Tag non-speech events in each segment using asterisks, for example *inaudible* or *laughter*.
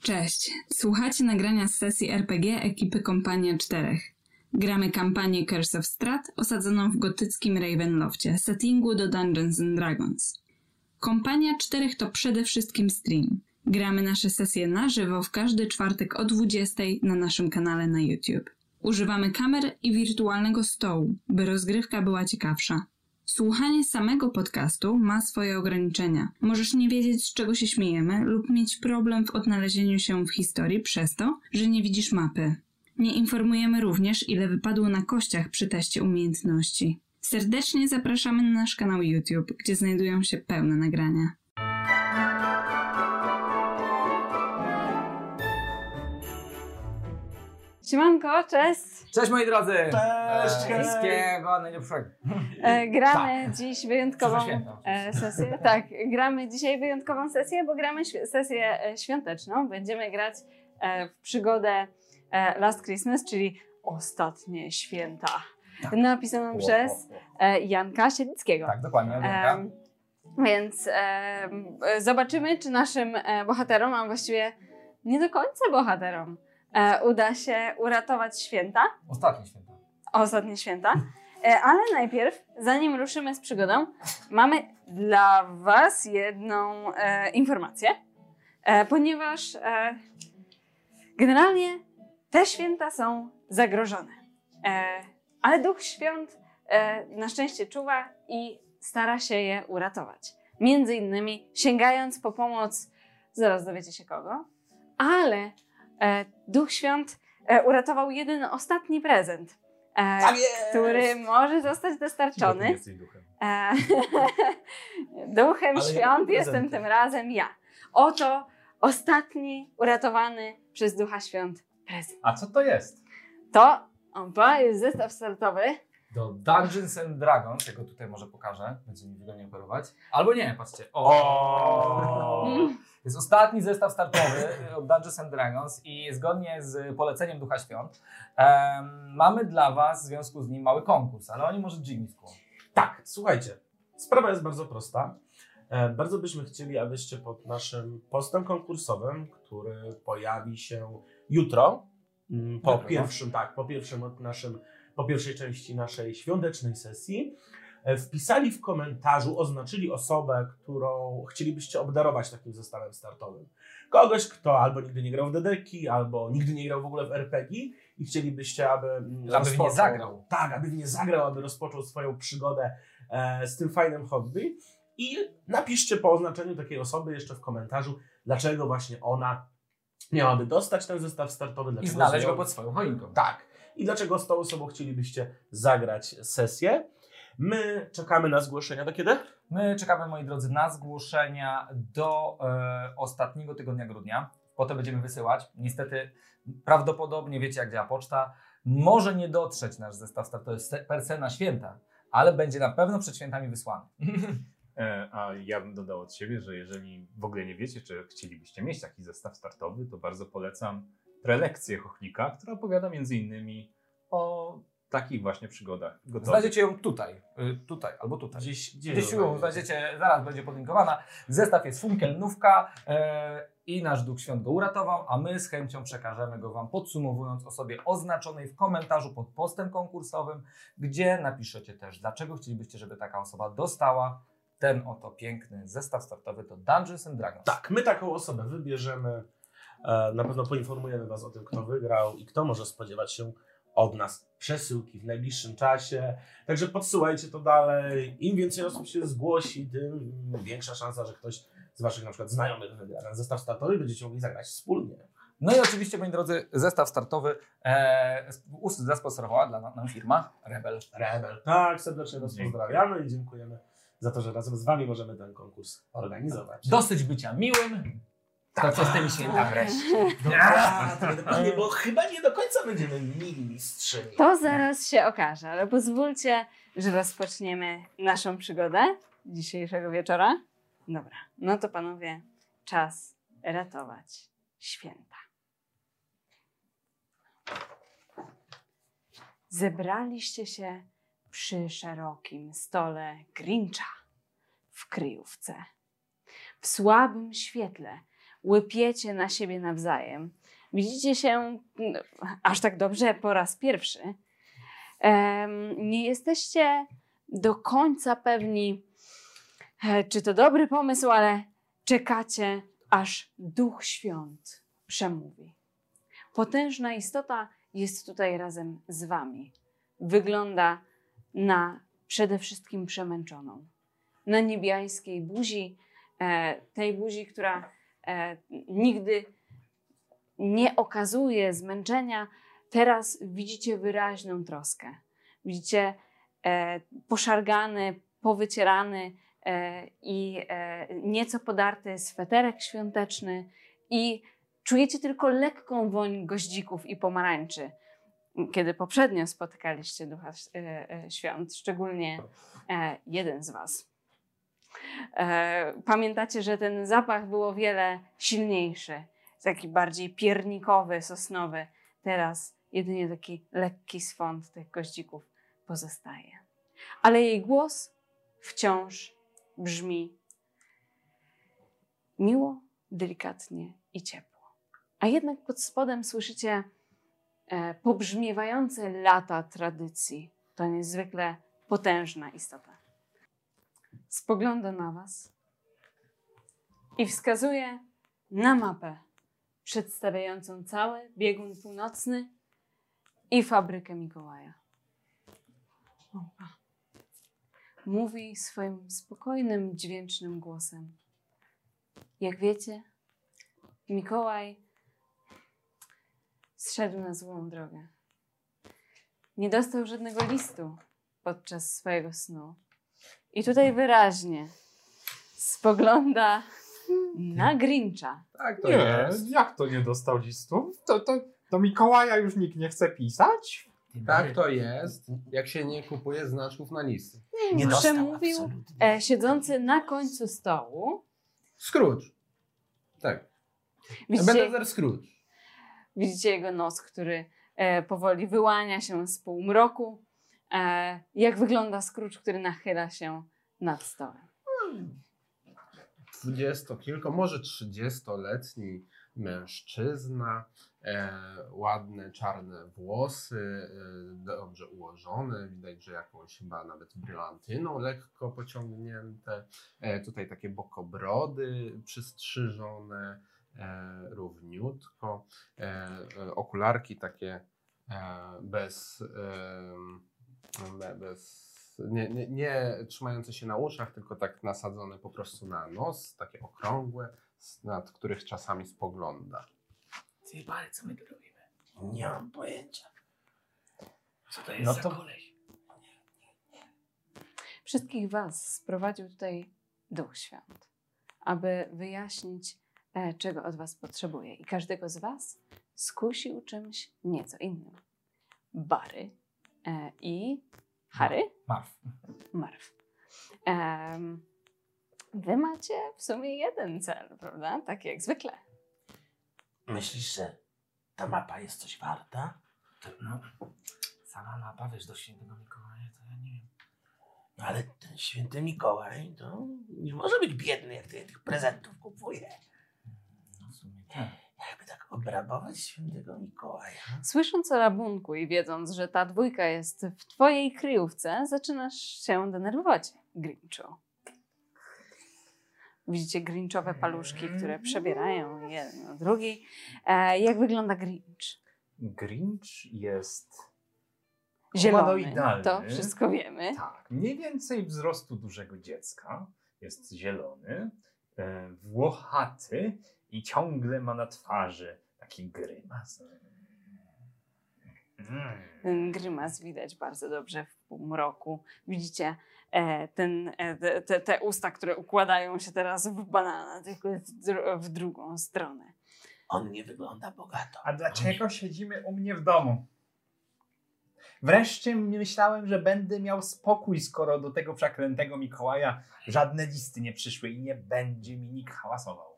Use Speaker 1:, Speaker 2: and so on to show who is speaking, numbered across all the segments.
Speaker 1: Cześć, słuchacie nagrania z sesji RPG ekipy Kompania 4. Gramy kampanię Curse of Strat osadzoną w gotyckim Ravenloftie, settingu do Dungeons and Dragons. Kompania 4 to przede wszystkim stream. Gramy nasze sesje na żywo w każdy czwartek o 20 na naszym kanale na YouTube. Używamy kamer i wirtualnego stołu, by rozgrywka była ciekawsza. Słuchanie samego podcastu ma swoje ograniczenia. Możesz nie wiedzieć, z czego się śmiejemy, lub mieć problem w odnalezieniu się w historii przez to, że nie widzisz mapy. Nie informujemy również, ile wypadło na kościach przy teście umiejętności. Serdecznie zapraszamy na nasz kanał YouTube, gdzie znajdują się pełne nagrania. Siemanko, cześć!
Speaker 2: Cześć moi drodzy!
Speaker 3: Cześć, hej!
Speaker 2: Wszystkiego najlepszego.
Speaker 1: E, gramy dziś wyjątkową
Speaker 2: Przed świętem
Speaker 1: e, sesję. Tak, gramy dzisiaj wyjątkową sesję, bo gramy świ- sesję e, świąteczną. Będziemy grać e, w przygodę e, Last Christmas, czyli ostatnie święta. Napisaną przez e, Janka Sielickiego.
Speaker 3: Tak, dokładnie.
Speaker 4: Eee,
Speaker 1: Em, więc em, e, zobaczymy, czy naszym e, bohaterom, a właściwie nie do końca bohaterom, e, uda się uratować święta.
Speaker 3: Ostatnie święta.
Speaker 1: ostatnie święta. E, Ale najpierw, zanim ruszymy z przygodą, mamy dla Was jedną e, informację, e, ponieważ e, generalnie te święta są zagrożone. E, ale Duch Świąt e, na szczęście czuwa i stara się je uratować. Między innymi sięgając po pomoc, zaraz dowiecie się kogo, ale e, Duch Świąt e, uratował jeden ostatni prezent. E, który może zostać dostarczony. E, *laughs* duchem
Speaker 3: Ale jakim
Speaker 1: świąt
Speaker 3: prezentem?
Speaker 1: jestem tym razem ja. Oto ostatni uratowany przez ducha świąt prezent.
Speaker 3: A co to jest?
Speaker 1: To opa, jest zestaw startowy.
Speaker 3: Do Dungeons and Dragons, tego tutaj może pokażę, będzie mi wygodnie operować. Albo nie, patrzcie. O!
Speaker 1: Mm.
Speaker 3: *laughs* Jest ostatni zestaw startowy e, od Dungeons and Dragons i zgodnie z poleceniem Ducha Świąt em, mamy dla Was w związku z nim mały konkurs, ale oni może Jimmy wkłon.
Speaker 5: Tak, słuchajcie, sprawa jest bardzo prosta. E, Bardzo byśmy chcieli, abyście pod naszym postem konkursowym, który pojawi się jutro, mm, po
Speaker 3: Dobra, no.
Speaker 5: pierwszym, tak, po pierwszym od naszym, po pierwszej części naszej świątecznej sesji, e, wpisali w komentarzu, oznaczyli osobę, którą chcielibyście obdarować takim zestawem startowym. Kogoś, kto albo nigdy nie grał w dedeki, albo nigdy nie grał w ogóle w RPG i chcielibyście, aby mm,
Speaker 3: Aby w nie
Speaker 5: rozpoczął-
Speaker 3: zagrał.
Speaker 5: Tak, aby w nie zagrał, aby rozpoczął swoją przygodę e, z tym fajnym hobby. I napiszcie po oznaczeniu takiej osoby jeszcze w komentarzu, dlaczego właśnie ona miałaby dostać ten zestaw startowy.
Speaker 3: I
Speaker 5: dlaczego z
Speaker 3: znaleźć
Speaker 5: nią-
Speaker 3: go pod swoją choinką.
Speaker 5: Tak. I dlaczego z tą osobą chcielibyście zagrać sesję. My czekamy na zgłoszenia. Do kiedy?
Speaker 3: My czekamy, moi drodzy, na zgłoszenia do e, ostatniego tygodnia grudnia. Potem będziemy wysyłać. Niestety, prawdopodobnie wiecie, jak działa poczta. Może nie dotrzeć nasz zestaw startowy se- per se na święta, ale będzie na pewno przed świętami wysłany.
Speaker 6: E, A ja bym dodał od siebie, że jeżeli w ogóle nie wiecie, czy chcielibyście mieć taki zestaw startowy, to bardzo polecam prelekcję Chochlika, która opowiada między innymi o takich właśnie przygodach gotowych.
Speaker 3: Znajdziecie ją tutaj, y, tutaj albo tutaj.
Speaker 5: Gdzieś, gdzieś,
Speaker 3: Gdzieś ją znajdziecie, zaraz będzie podlinkowana. Zestaw jest funkelnówka e, i nasz Duch Świąt go uratował, a my z chęcią przekażemy go Wam, podsumowując o sobie oznaczonej w komentarzu pod postem konkursowym, gdzie napiszecie też, dlaczego chcielibyście, żeby taka osoba dostała ten oto piękny zestaw startowy do Dungeons and Dragons.
Speaker 5: Tak, my taką osobę wybierzemy. E, Na pewno poinformujemy Was o tym, kto wygrał i kto może spodziewać się od nas przesyłki w najbliższym czasie. Także podsyłajcie to dalej. Im więcej osób się zgłosi, tym większa szansa, że ktoś z Waszych na przykład znajomych wygra ten zestaw startowy i będziecie mogli zagrać wspólnie.
Speaker 3: No i oczywiście, moi drodzy, zestaw startowy e, us- zasponsorowała dla nam firma Rebel.
Speaker 5: Rebel. Tak, serdecznie Was
Speaker 6: Dzięki.
Speaker 5: pozdrawiamy i dziękujemy za to, że razem z Wami możemy ten konkurs organizować.
Speaker 3: Dosyć bycia miłym. To co z tymi świętami wreszcie?
Speaker 5: *laughs* Dobra, to będę pewnie, bo chyba nie do końca będziemy mili mistrzyni.
Speaker 1: To zaraz się okaże, ale pozwólcie, że rozpoczniemy naszą przygodę dzisiejszego wieczora. Dobra, no to panowie, czas ratować święta. Zebraliście się przy szerokim stole Grincha w kryjówce. W słabym świetle
Speaker 4: łypiecie na siebie nawzajem. Widzicie się no, aż tak dobrze po raz pierwszy. Em, Nie jesteście do końca pewni, e, czy to dobry pomysł, ale czekacie, aż Duch Świąt przemówi. Potężna istota jest tutaj razem z Wami. Wygląda na przede wszystkim przemęczoną. Na niebiańskiej buzi, e, tej buzi, która e, nigdy nie okazuje zmęczenia, teraz widzicie wyraźną troskę. Widzicie e, poszargany, powycierany e, i e, nieco podarty sweterek świąteczny i czujecie tylko lekką woń goździków i pomarańczy. Kiedy poprzednio spotykaliście Ducha e, e, Świąt, szczególnie e, jeden z Was. E, pamiętacie, że ten zapach był o wiele silniejszy, taki bardziej piernikowy, sosnowy. Teraz jedynie taki lekki swąd tych goździków pozostaje. Ale jej głos wciąż brzmi miło, delikatnie i ciepło. A jednak pod spodem słyszycie e, pobrzmiewające lata tradycji. To niezwykle potężna istota spogląda na Was i wskazuje na mapę przedstawiającą cały biegun północny i fabrykę Mikołaja. Opa. Mówi swoim spokojnym, dźwięcznym głosem. Jak wiecie, Mikołaj zszedł na złą drogę. Nie dostał żadnego listu podczas swojego snu. I tutaj wyraźnie spogląda na Grincha.
Speaker 6: Tak,
Speaker 7: to
Speaker 6: nie,
Speaker 7: jest.
Speaker 6: jak to nie dostał listów? To, to do Mikołaja już nikt nie chce pisać?
Speaker 3: Tak to jest, jak się nie kupuje znaczków na listy.
Speaker 5: Nie
Speaker 4: Przemówił e, siedzący na końcu stołu.
Speaker 3: Scrooge. Tak.
Speaker 4: Widzicie,
Speaker 3: Ebenezer Scrooge.
Speaker 4: widzicie jego nos, który e, powoli wyłania się z półmroku. E, jak wygląda Scrooge, który nachyla się nad stołem.
Speaker 8: dwudziestokilko, może trzydziestoletni mężczyzna, e, ładne czarne włosy, e, dobrze ułożone, widać, że jakąś chyba nawet brylantyną lekko pociągnięte, e, tutaj takie bokobrody przystrzyżone e, równiutko, e, e, okularki takie e, bez, e, be- bez nie, nie, nie trzymające się na uszach, tylko tak nasadzone po prostu na nos, takie okrągłe, z- nad których czasami spogląda.
Speaker 9: Ty, ale co my tu robimy?
Speaker 5: Nie mam pojęcia.
Speaker 9: Co to jest
Speaker 5: No
Speaker 9: za
Speaker 5: to-
Speaker 9: koleś?
Speaker 4: Wszystkich Was sprowadził tutaj Duch Świąt, aby wyjaśnić, e, czego od Was potrzebuje. I każdego z Was skusił czymś nieco innym. Bary e, i Harry?
Speaker 7: Marw.
Speaker 4: Marw. Em, wy macie w sumie jeden cel, prawda? Tak jak zwykle.
Speaker 5: Myślisz, że ta mapa jest coś warta?
Speaker 9: No, sama mapa, wiesz, do świętego Mikołaja, to ja nie wiem.
Speaker 5: No ale ten święty Mikołaj, to nie może być biedny, jak tyle tych prezentów kupuje.
Speaker 9: No w sumie tak.
Speaker 5: Jakby tak obrabować świętego Mikołaja.
Speaker 4: Słysząc o rabunku i wiedząc, że ta dwójka jest w twojej kryjówce, zaczynasz się denerwować, Grinchu. Widzicie grinchowe paluszki, które przebierają jedno drugi. E, jak wygląda Grinch?
Speaker 6: Grinch jest...
Speaker 4: Zielony,
Speaker 6: Humanoidalny.
Speaker 4: to wszystko wiemy.
Speaker 6: Tak, mniej więcej wzrostu dużego dziecka. Jest zielony, e, włochaty i ciągle ma na twarzy taki grymas. Mm.
Speaker 4: Ten grymas widać bardzo dobrze w półmroku. Widzicie e, ten, e, te- te, te usta, które układają się teraz w banana, tylko w dru- w drugą stronę.
Speaker 5: On nie wygląda bogato.
Speaker 6: A dlaczego siedzimy u mnie w domu? Wreszcie myślałem, że będę miał spokój, skoro do tego przeklętego Mikołaja żadne listy nie przyszły i nie będzie mi nikt hałasował.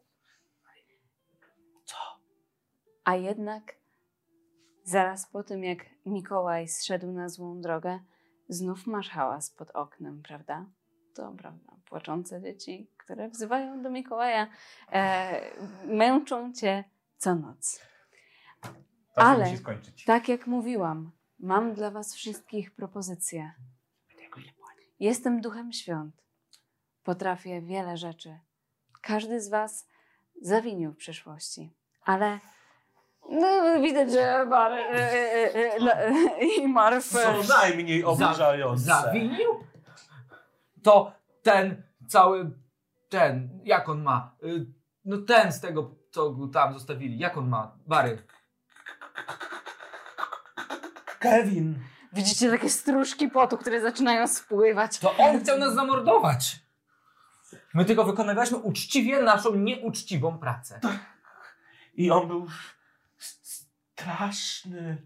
Speaker 4: A jednak zaraz po tym, jak Mikołaj zszedł na złą drogę, znów masz hałas pod oknem, prawda? to prawda, płaczące dzieci, które wzywają do Mikołaja, e, męczą cię co noc.
Speaker 10: To się
Speaker 4: Ale-
Speaker 10: musi skończyć.
Speaker 4: Tak jak mówiłam, mam dla was wszystkich propozycję. Jestem duchem świąt. Potrafię wiele rzeczy. Każdy z was zawinił w przeszłości, ale no, widać, że Mar e, e, e, la- e, i Marw
Speaker 5: Są najmniej obrażające.
Speaker 3: Zawinił? To ten cały, ten, jak on ma, y, no ten z tego, co go tam zostawili, jak on ma, Bary.
Speaker 5: Kevin.
Speaker 4: Widzicie takie stróżki potu, które zaczynają spływać.
Speaker 3: To on chciał nas zamordować. My tylko wykonywaliśmy uczciwie naszą nieuczciwą pracę.
Speaker 5: I on był straszny.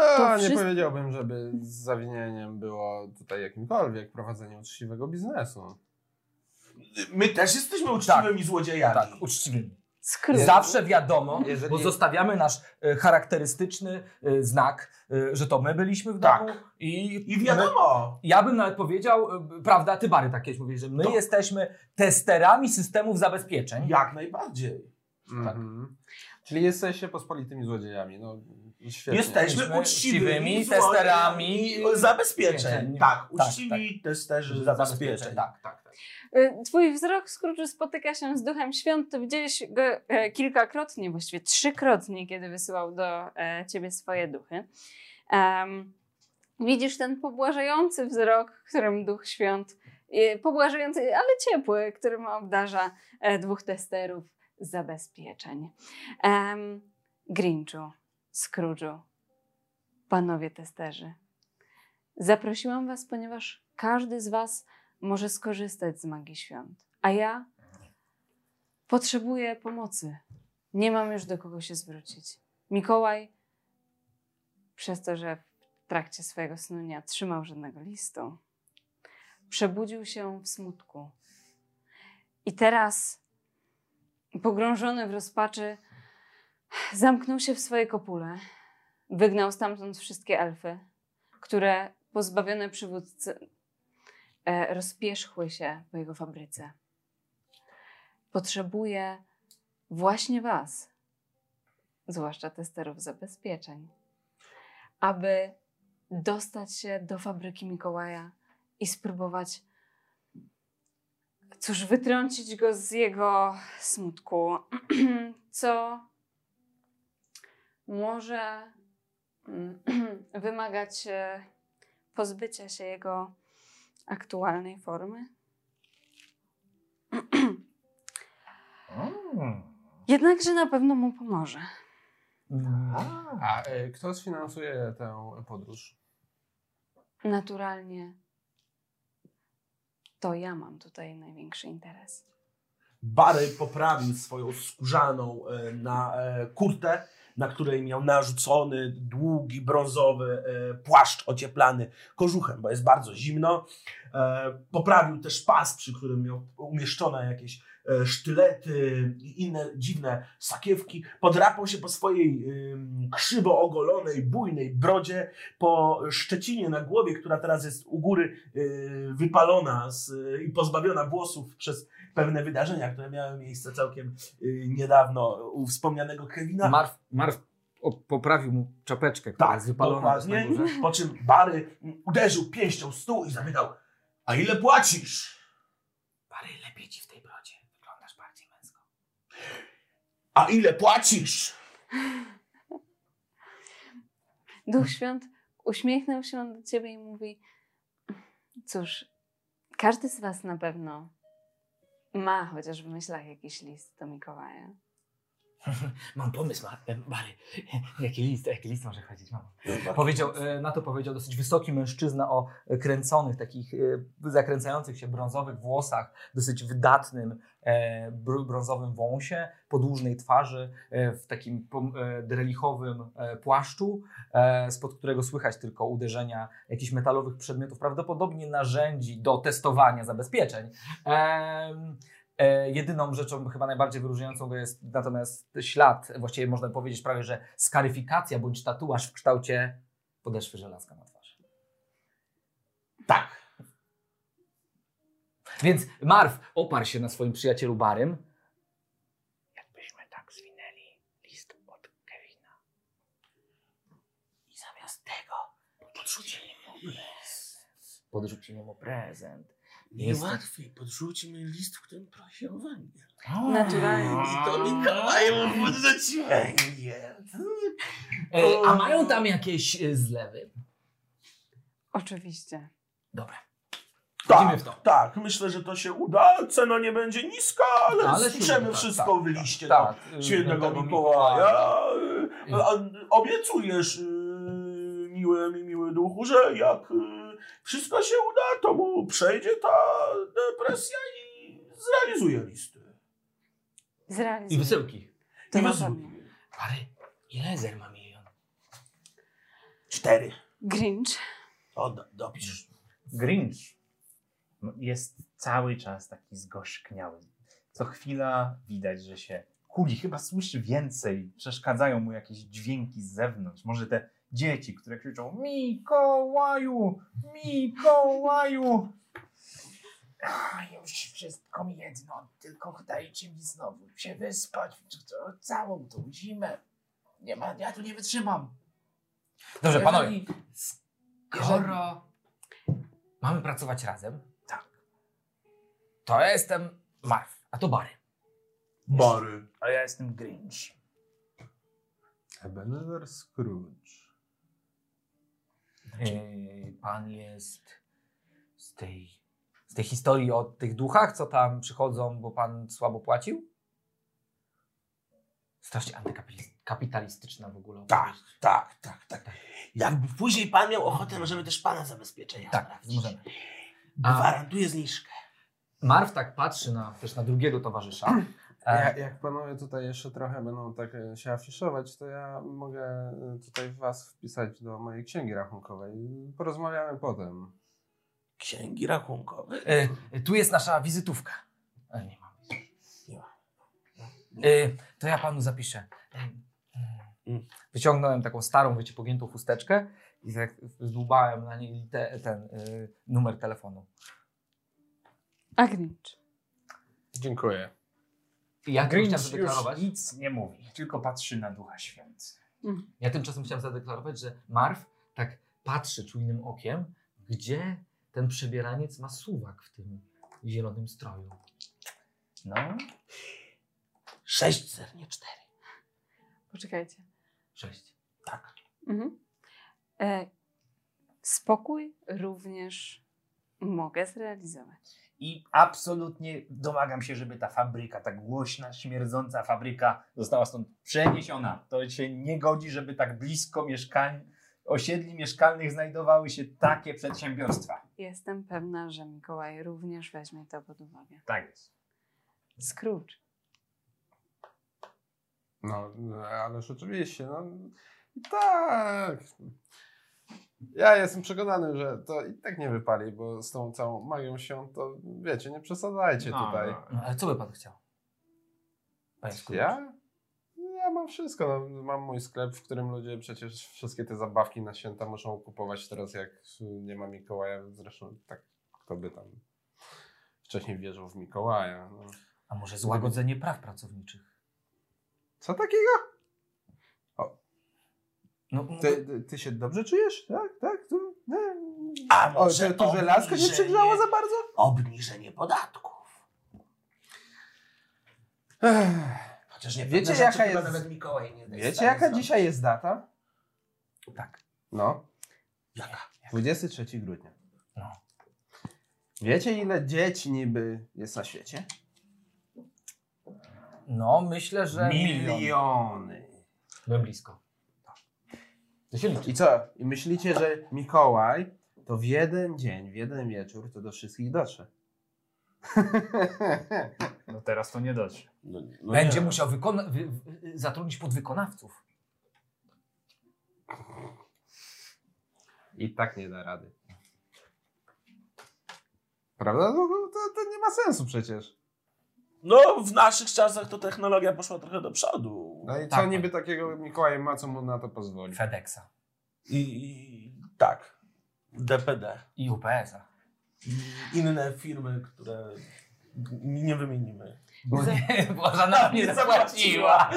Speaker 6: A, nie
Speaker 4: wszystko-
Speaker 6: powiedziałbym, żeby z zawinieniem było tutaj jakimkolwiek prowadzenie uczciwego biznesu.
Speaker 5: My też jesteśmy uczciwymi złodziejami.
Speaker 3: Tak, uczciwie.
Speaker 4: Skrót.
Speaker 3: Zawsze wiadomo,
Speaker 6: Jeżeli-
Speaker 3: bo zostawiamy nasz e, charakterystyczny e, znak, e, że to my byliśmy w
Speaker 5: Tak.
Speaker 3: domu i,
Speaker 5: I wiadomo.
Speaker 3: Ja bym nawet powiedział, e, prawda, ty Bary tak kiedyś mówisz, że my
Speaker 5: No.
Speaker 3: jesteśmy testerami systemów zabezpieczeń.
Speaker 5: Jak najbardziej.
Speaker 6: Mhm.
Speaker 5: tak.
Speaker 6: Czyli jesteście pospolitymi złodziejami. No, świetnie.
Speaker 5: Jesteśmy
Speaker 3: Jesteśmy
Speaker 5: uczciwymi
Speaker 3: uczciwymi testerami
Speaker 5: złodziejami zabezpieczeń.
Speaker 3: Zabezpieczeń.
Speaker 5: Tak,
Speaker 3: Tak,
Speaker 5: uczciwi testerzy
Speaker 3: Zabezpieczeń,
Speaker 5: zabezpieczeń.
Speaker 3: tak.
Speaker 5: tak, tak.
Speaker 4: Y, Twój wzrok, Scrooge, spotyka się z duchem świąt. To widziałeś go e, kilkakrotnie, właściwie trzykrotnie, kiedy wysyłał do e, ciebie swoje duchy. Em, widzisz ten pobłażający wzrok, którym duch świąt, e, pobłażający, ale ciepły, którym obdarza e, dwóch testerów zabezpieczeń. Um, Grinchu, Scrooge'u, panowie testerzy. Zaprosiłam was, ponieważ każdy z was może skorzystać z magii świąt. A ja potrzebuję pomocy. Nie mam już do kogo się zwrócić. Mikołaj, przez to, że w trakcie swojego snu nie otrzymał żadnego listu, przebudził się w smutku. I teraz, pogrążony w rozpaczy, zamknął się w swojej kopule. Wygnał stamtąd wszystkie elfy, które pozbawione przywódcy, e, rozpierzchły się po jego fabryce. Potrzebuje właśnie Was, zwłaszcza testerów zabezpieczeń, aby dostać się do fabryki Mikołaja i spróbować, cóż, wytrącić go z jego smutku, *clears throat* co może mm, *clears throat* wymagać e, pozbycia się jego aktualnej formy.
Speaker 10: Mm.
Speaker 4: Jednakże na pewno mu pomoże.
Speaker 3: Mm.
Speaker 6: A e, kto sfinansuje tę podróż?
Speaker 4: Naturalnie to ja mam tutaj największy interes.
Speaker 5: Barry poprawił swoją skórzaną e, na e, kurtę, na której miał narzucony długi, brązowy e, płaszcz ocieplany kożuchem, bo jest bardzo zimno. E, Poprawił też pas, przy którym miał umieszczone jakieś e, sztylety i inne dziwne sakiewki. Podrapał się po swojej ym, krzywo ogolonej, bujnej brodzie, po szczecinie na głowie, która teraz jest u góry y, wypalona z, i pozbawiona włosów przez pewne wydarzenia, które miały miejsce całkiem y, niedawno u wspomnianego
Speaker 11: tak.
Speaker 5: Kevina.
Speaker 3: Marw, Marw o, poprawił mu czapeczkę, która
Speaker 5: Tak,
Speaker 3: jest wypalona też na
Speaker 5: dokładnie.
Speaker 3: górze.
Speaker 5: Po czym Bary mm, uderzył pięścią w stół i zapytał, a ile płacisz?
Speaker 11: Bary, lepiej ci w tej brodzie. Wyglądasz bardziej męsko.
Speaker 5: A ile płacisz? Hmm.
Speaker 4: Duch Świąt uśmiechnął się do ciebie i mówi: Cóż, każdy z Was na pewno ma chociaż w myślach jakiś list do Mikołaja.
Speaker 11: Mam pomysł, ma, e, Bary. *laughs* Jaki list, jaki list może chodzić? Mam.
Speaker 5: tak,
Speaker 3: Powiedział, e, na to powiedział dosyć wysoki mężczyzna o e, kręconych, takich e, zakręcających się brązowych włosach, dosyć wydatnym e, br- brązowym wąsie, podłużnej twarzy, e, w takim pom- e, drelichowym e, płaszczu, e, spod którego słychać tylko uderzenia jakichś metalowych przedmiotów, prawdopodobnie narzędzi do testowania zabezpieczeń. Em, E, jedyną rzeczą chyba najbardziej wyróżniającą go jest natomiast ślad, właściwie można powiedzieć prawie, że skaryfikacja bądź tatuaż w kształcie podeszwy żelazka na twarzy.
Speaker 5: Tak.
Speaker 3: Więc Marw oparł się na swoim przyjacielu Barym.
Speaker 12: Jakbyśmy tak zwinęli list od Kevina. I zamiast tego podrzucili mu prezent.
Speaker 3: Podrzucili mu prezent.
Speaker 5: Niełatwiej, podrzućmy list, w którym prosi o węgiel.
Speaker 13: Naturalnie.
Speaker 5: I to Mikołaj mu podrzuci węgiel.
Speaker 3: E, a mają tam jakieś e, zlewy?
Speaker 13: Oczywiście.
Speaker 3: Dobra. Wchodzimy
Speaker 5: Tak,
Speaker 3: w to.
Speaker 5: tak, myślę, że to się uda. Cena nie będzie niska, ale,
Speaker 3: Ale
Speaker 5: ale
Speaker 3: się
Speaker 5: spiszemy
Speaker 3: uda, tak,
Speaker 5: wszystko
Speaker 3: tak,
Speaker 5: w liście. Tak,
Speaker 3: Tak. e,
Speaker 5: Świętego
Speaker 3: Świętego
Speaker 5: Mikołaja.
Speaker 3: Mikołaja.
Speaker 5: A, Obiecujesz, yy, miły, mi- miły duchu, że jak yy, wszystko się uda, to mu przejdzie ta depresja i zrealizuje listy.
Speaker 3: I
Speaker 13: Zrealizuję.
Speaker 3: wysyłki.
Speaker 13: To
Speaker 5: I
Speaker 13: na
Speaker 5: wysłuje.
Speaker 13: pewno.
Speaker 12: Pary, ile zer ma milion?
Speaker 5: Cztery.
Speaker 13: Grinch.
Speaker 5: O, do, dopisz.
Speaker 6: Grinch jest cały czas taki zgorzkniały. Co chwila widać, że się kuli, chyba słyszy więcej, przeszkadzają mu jakieś dźwięki z zewnątrz. Może te dzieci, które krzyczą Mikołaju, Mikołaju.
Speaker 12: A już wszystko mi jedno, tylko dajcie mi znowu się wyspać czy to całą tą zimę. Nie ma, ja tu nie wytrzymam.
Speaker 3: Dobrze, panowie.
Speaker 12: Jeżeli- Skoro...
Speaker 3: Mamy pracować razem? Tak. To ja jestem Marw, a to Bary.
Speaker 5: Bary.
Speaker 6: A ja jestem Grinch.
Speaker 2: Ebenezer Scrooge.
Speaker 3: Yy, pan jest z tej, z tej historii o tych duchach, co tam przychodzą, bo pan słabo płacił? Strasznie antykapitalistyczna w ogóle.
Speaker 5: Tak, tak, tak, tak. Jakby później pan miał ochotę, możemy też pana zabezpieczenia
Speaker 3: Tak,
Speaker 5: sprawdzić.
Speaker 3: możemy. A-
Speaker 5: Gwarantuję zniżkę.
Speaker 3: Marw tak patrzy na, też na drugiego towarzysza.
Speaker 2: Ja,
Speaker 3: E,
Speaker 2: jak panowie tutaj jeszcze trochę będą tak e, się afiszować, to ja mogę e, tutaj was wpisać do mojej księgi rachunkowej. Porozmawiamy potem.
Speaker 5: Księgi rachunkowe.
Speaker 3: e, tu jest nasza wizytówka. E, nie mam.
Speaker 5: Nie
Speaker 3: E, to ja panu zapiszę. Mm. Wyciągnąłem taką starą, wiecie, pogiętą chusteczkę i tak zdłubałem na niej te, ten y, numer telefonu.
Speaker 13: A Grinch.
Speaker 2: Dziękuję.
Speaker 3: I ja tym chciałem
Speaker 6: Grinch
Speaker 3: zadeklarować.
Speaker 6: już nic nie mówi, tylko patrzy na Ducha Święty.
Speaker 3: Ja tymczasem chciałem zadeklarować, że Marw tak patrzy czujnym okiem, gdzie ten przebieraniec ma suwak w tym zielonym stroju.
Speaker 6: No,
Speaker 5: Sześć zer, nie cztery.
Speaker 13: Poczekajcie.
Speaker 3: Sześć.
Speaker 13: Mhm. E, spokój również mogę zrealizować.
Speaker 6: I absolutnie domagam się, żeby ta fabryka, ta głośna, śmierdząca fabryka została stąd przeniesiona. To się nie godzi, żeby tak blisko mieszkań, osiedli mieszkalnych znajdowały się takie przedsiębiorstwa.
Speaker 13: Jestem pewna, że Mikołaj również weźmie to pod uwagę.
Speaker 6: Tak jest.
Speaker 13: Scrooge.
Speaker 2: No, ależ oczywiście, no tak. Ja jestem przekonany, że to i tak nie wypali, bo z tą całą magią się to, wiecie, nie przesadzajcie tutaj.
Speaker 3: No, ale co by pan chciał? Panie Scrooge.
Speaker 2: Ja? Ja mam wszystko. No, mam mój sklep, w którym ludzie przecież wszystkie te zabawki na święta muszą kupować teraz, jak nie ma Mikołaja. Zresztą tak, kto by tam wcześniej wierzył w Mikołaja. No.
Speaker 3: A może złagodzenie praw pracowniczych?
Speaker 2: Co takiego?
Speaker 3: No,
Speaker 2: Ty, ty, ty się dobrze czujesz? Tak, tak? Tu, nie.
Speaker 5: A
Speaker 2: O,
Speaker 5: może
Speaker 2: to, to żelazko się
Speaker 5: obniżenie-
Speaker 2: przygrzało za bardzo?
Speaker 5: Obniżenie podatków. Chociaż nie
Speaker 2: Wiecie,
Speaker 5: pewne rzeczy
Speaker 2: jaka
Speaker 5: chyba
Speaker 2: jest-
Speaker 5: nawet Mikołaj nie jest w
Speaker 2: Wiecie,
Speaker 5: stanie
Speaker 2: jaka
Speaker 5: zrobić.
Speaker 2: dzisiaj jest data?
Speaker 3: tak.
Speaker 2: No,
Speaker 5: Jaka?
Speaker 2: 23 grudnia.
Speaker 3: No.
Speaker 2: Wiecie, ile dzieci niby jest na świecie?
Speaker 3: No, myślę, że milion.
Speaker 2: Miliony.
Speaker 3: Byłem blisko. To się liczy.
Speaker 2: I co? I myślicie, że Mikołaj to w jeden dzień, w jeden wieczór to do wszystkich dotrze?
Speaker 6: No teraz to nie dotrze.
Speaker 5: No, no
Speaker 3: Będzie
Speaker 5: nie.
Speaker 3: musiał wykona- wy- wy- zatrudnić podwykonawców.
Speaker 2: I tak nie da rady. Prawda? No, no, to, to nie ma sensu przecież.
Speaker 5: No, w naszych czasach to technologia poszła trochę do przodu.
Speaker 2: No i co
Speaker 3: Tak.
Speaker 2: niby takiego Mikołaj ma, co mu na to pozwoli?
Speaker 3: FedExa
Speaker 5: I, i tak. DPD.
Speaker 3: i UPS-a.
Speaker 5: i inne firmy, które n- nie wymienimy.
Speaker 3: Bo nie, *laughs* bo żadna nie *laughs* zapłaciła.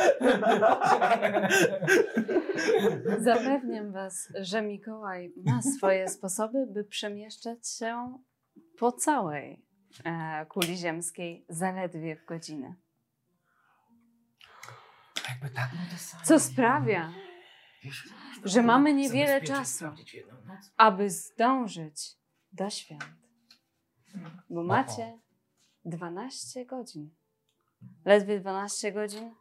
Speaker 4: Zapewniam Was, że Mikołaj ma swoje sposoby, by przemieszczać się po całej e, kuli ziemskiej zaledwie w godzinę.
Speaker 14: Jakby tak, no to sami.
Speaker 4: Co sprawia,
Speaker 14: Wiesz, można
Speaker 4: że
Speaker 14: było
Speaker 4: mamy niewiele
Speaker 14: zabezpieczyć,
Speaker 4: czasu.
Speaker 14: sprawdzić w jedną noc.
Speaker 4: aby zdążyć do świąt. Bo macie 12 godzin. Ledwie 12 godzin,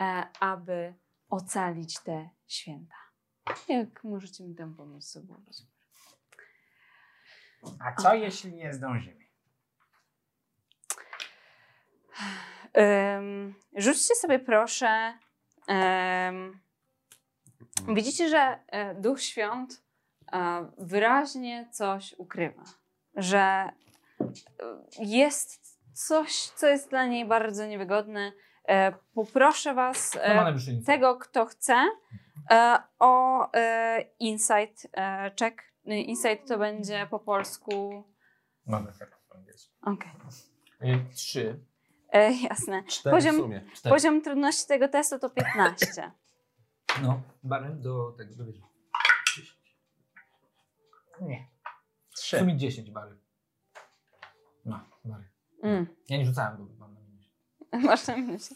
Speaker 4: e, aby ocalić te święta. Jak możecie mi tam pomóc zobaczyć?
Speaker 6: A co jeśli nie zdążymy?
Speaker 4: Em, rzućcie sobie proszę. em, widzicie, że e, Duch Świąt e, wyraźnie coś ukrywa, że e, jest coś, co jest dla niej bardzo niewygodne. E, poproszę Was,
Speaker 3: To
Speaker 6: No,
Speaker 3: ma
Speaker 4: e,
Speaker 3: najwyższy insight.
Speaker 4: tego kto chce, e, o e, insight e, check. Insight to będzie po polsku.
Speaker 15: Mamy efekt po angielsku.
Speaker 4: Okej,
Speaker 6: Y, Trzy.
Speaker 4: E, jasne.
Speaker 2: Cztery
Speaker 4: Poziom-
Speaker 2: w sumie.
Speaker 6: Cztery.
Speaker 4: Poziom trudności tego testu to 15.
Speaker 3: No, barem do tego, do wieży.
Speaker 6: Nie.
Speaker 3: W
Speaker 6: Trzy.
Speaker 3: sumie 10 bary. No, bary.
Speaker 4: Mm.
Speaker 3: Ja nie rzucałem go, mam na minusie.
Speaker 4: *laughs* Masz na minusie.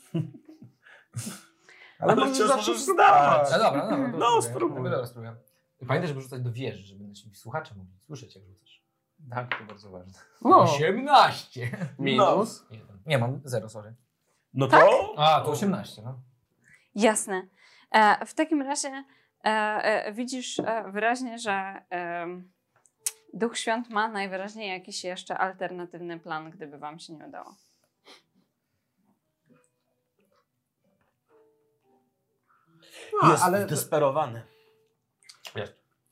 Speaker 5: Ale
Speaker 3: może
Speaker 5: wciąż
Speaker 3: zawsze
Speaker 5: możesz zdawać.
Speaker 3: No dobra, dobra. to
Speaker 5: No,
Speaker 3: spróbuję.
Speaker 5: spróbuj.
Speaker 3: Dobra, spróbuję. Pamiętaj, żeby rzucać do wieży, żeby nasi słuchacze mogli słyszeć, jak rzucasz.
Speaker 15: Tak, to bardzo ważne.
Speaker 3: 18!
Speaker 2: Minus.
Speaker 3: Jeden. Nie, mam 0, sorry.
Speaker 5: No to
Speaker 3: A, to 18, no.
Speaker 4: Jasne. E, w takim razie e, e, widzisz e, wyraźnie, że em, Duch Świąt ma najwyraźniej jakiś jeszcze alternatywny plan, gdyby wam się nie udało. *clears throat*
Speaker 2: No,
Speaker 3: A,
Speaker 5: jest
Speaker 3: ale-
Speaker 5: ale... desperowany.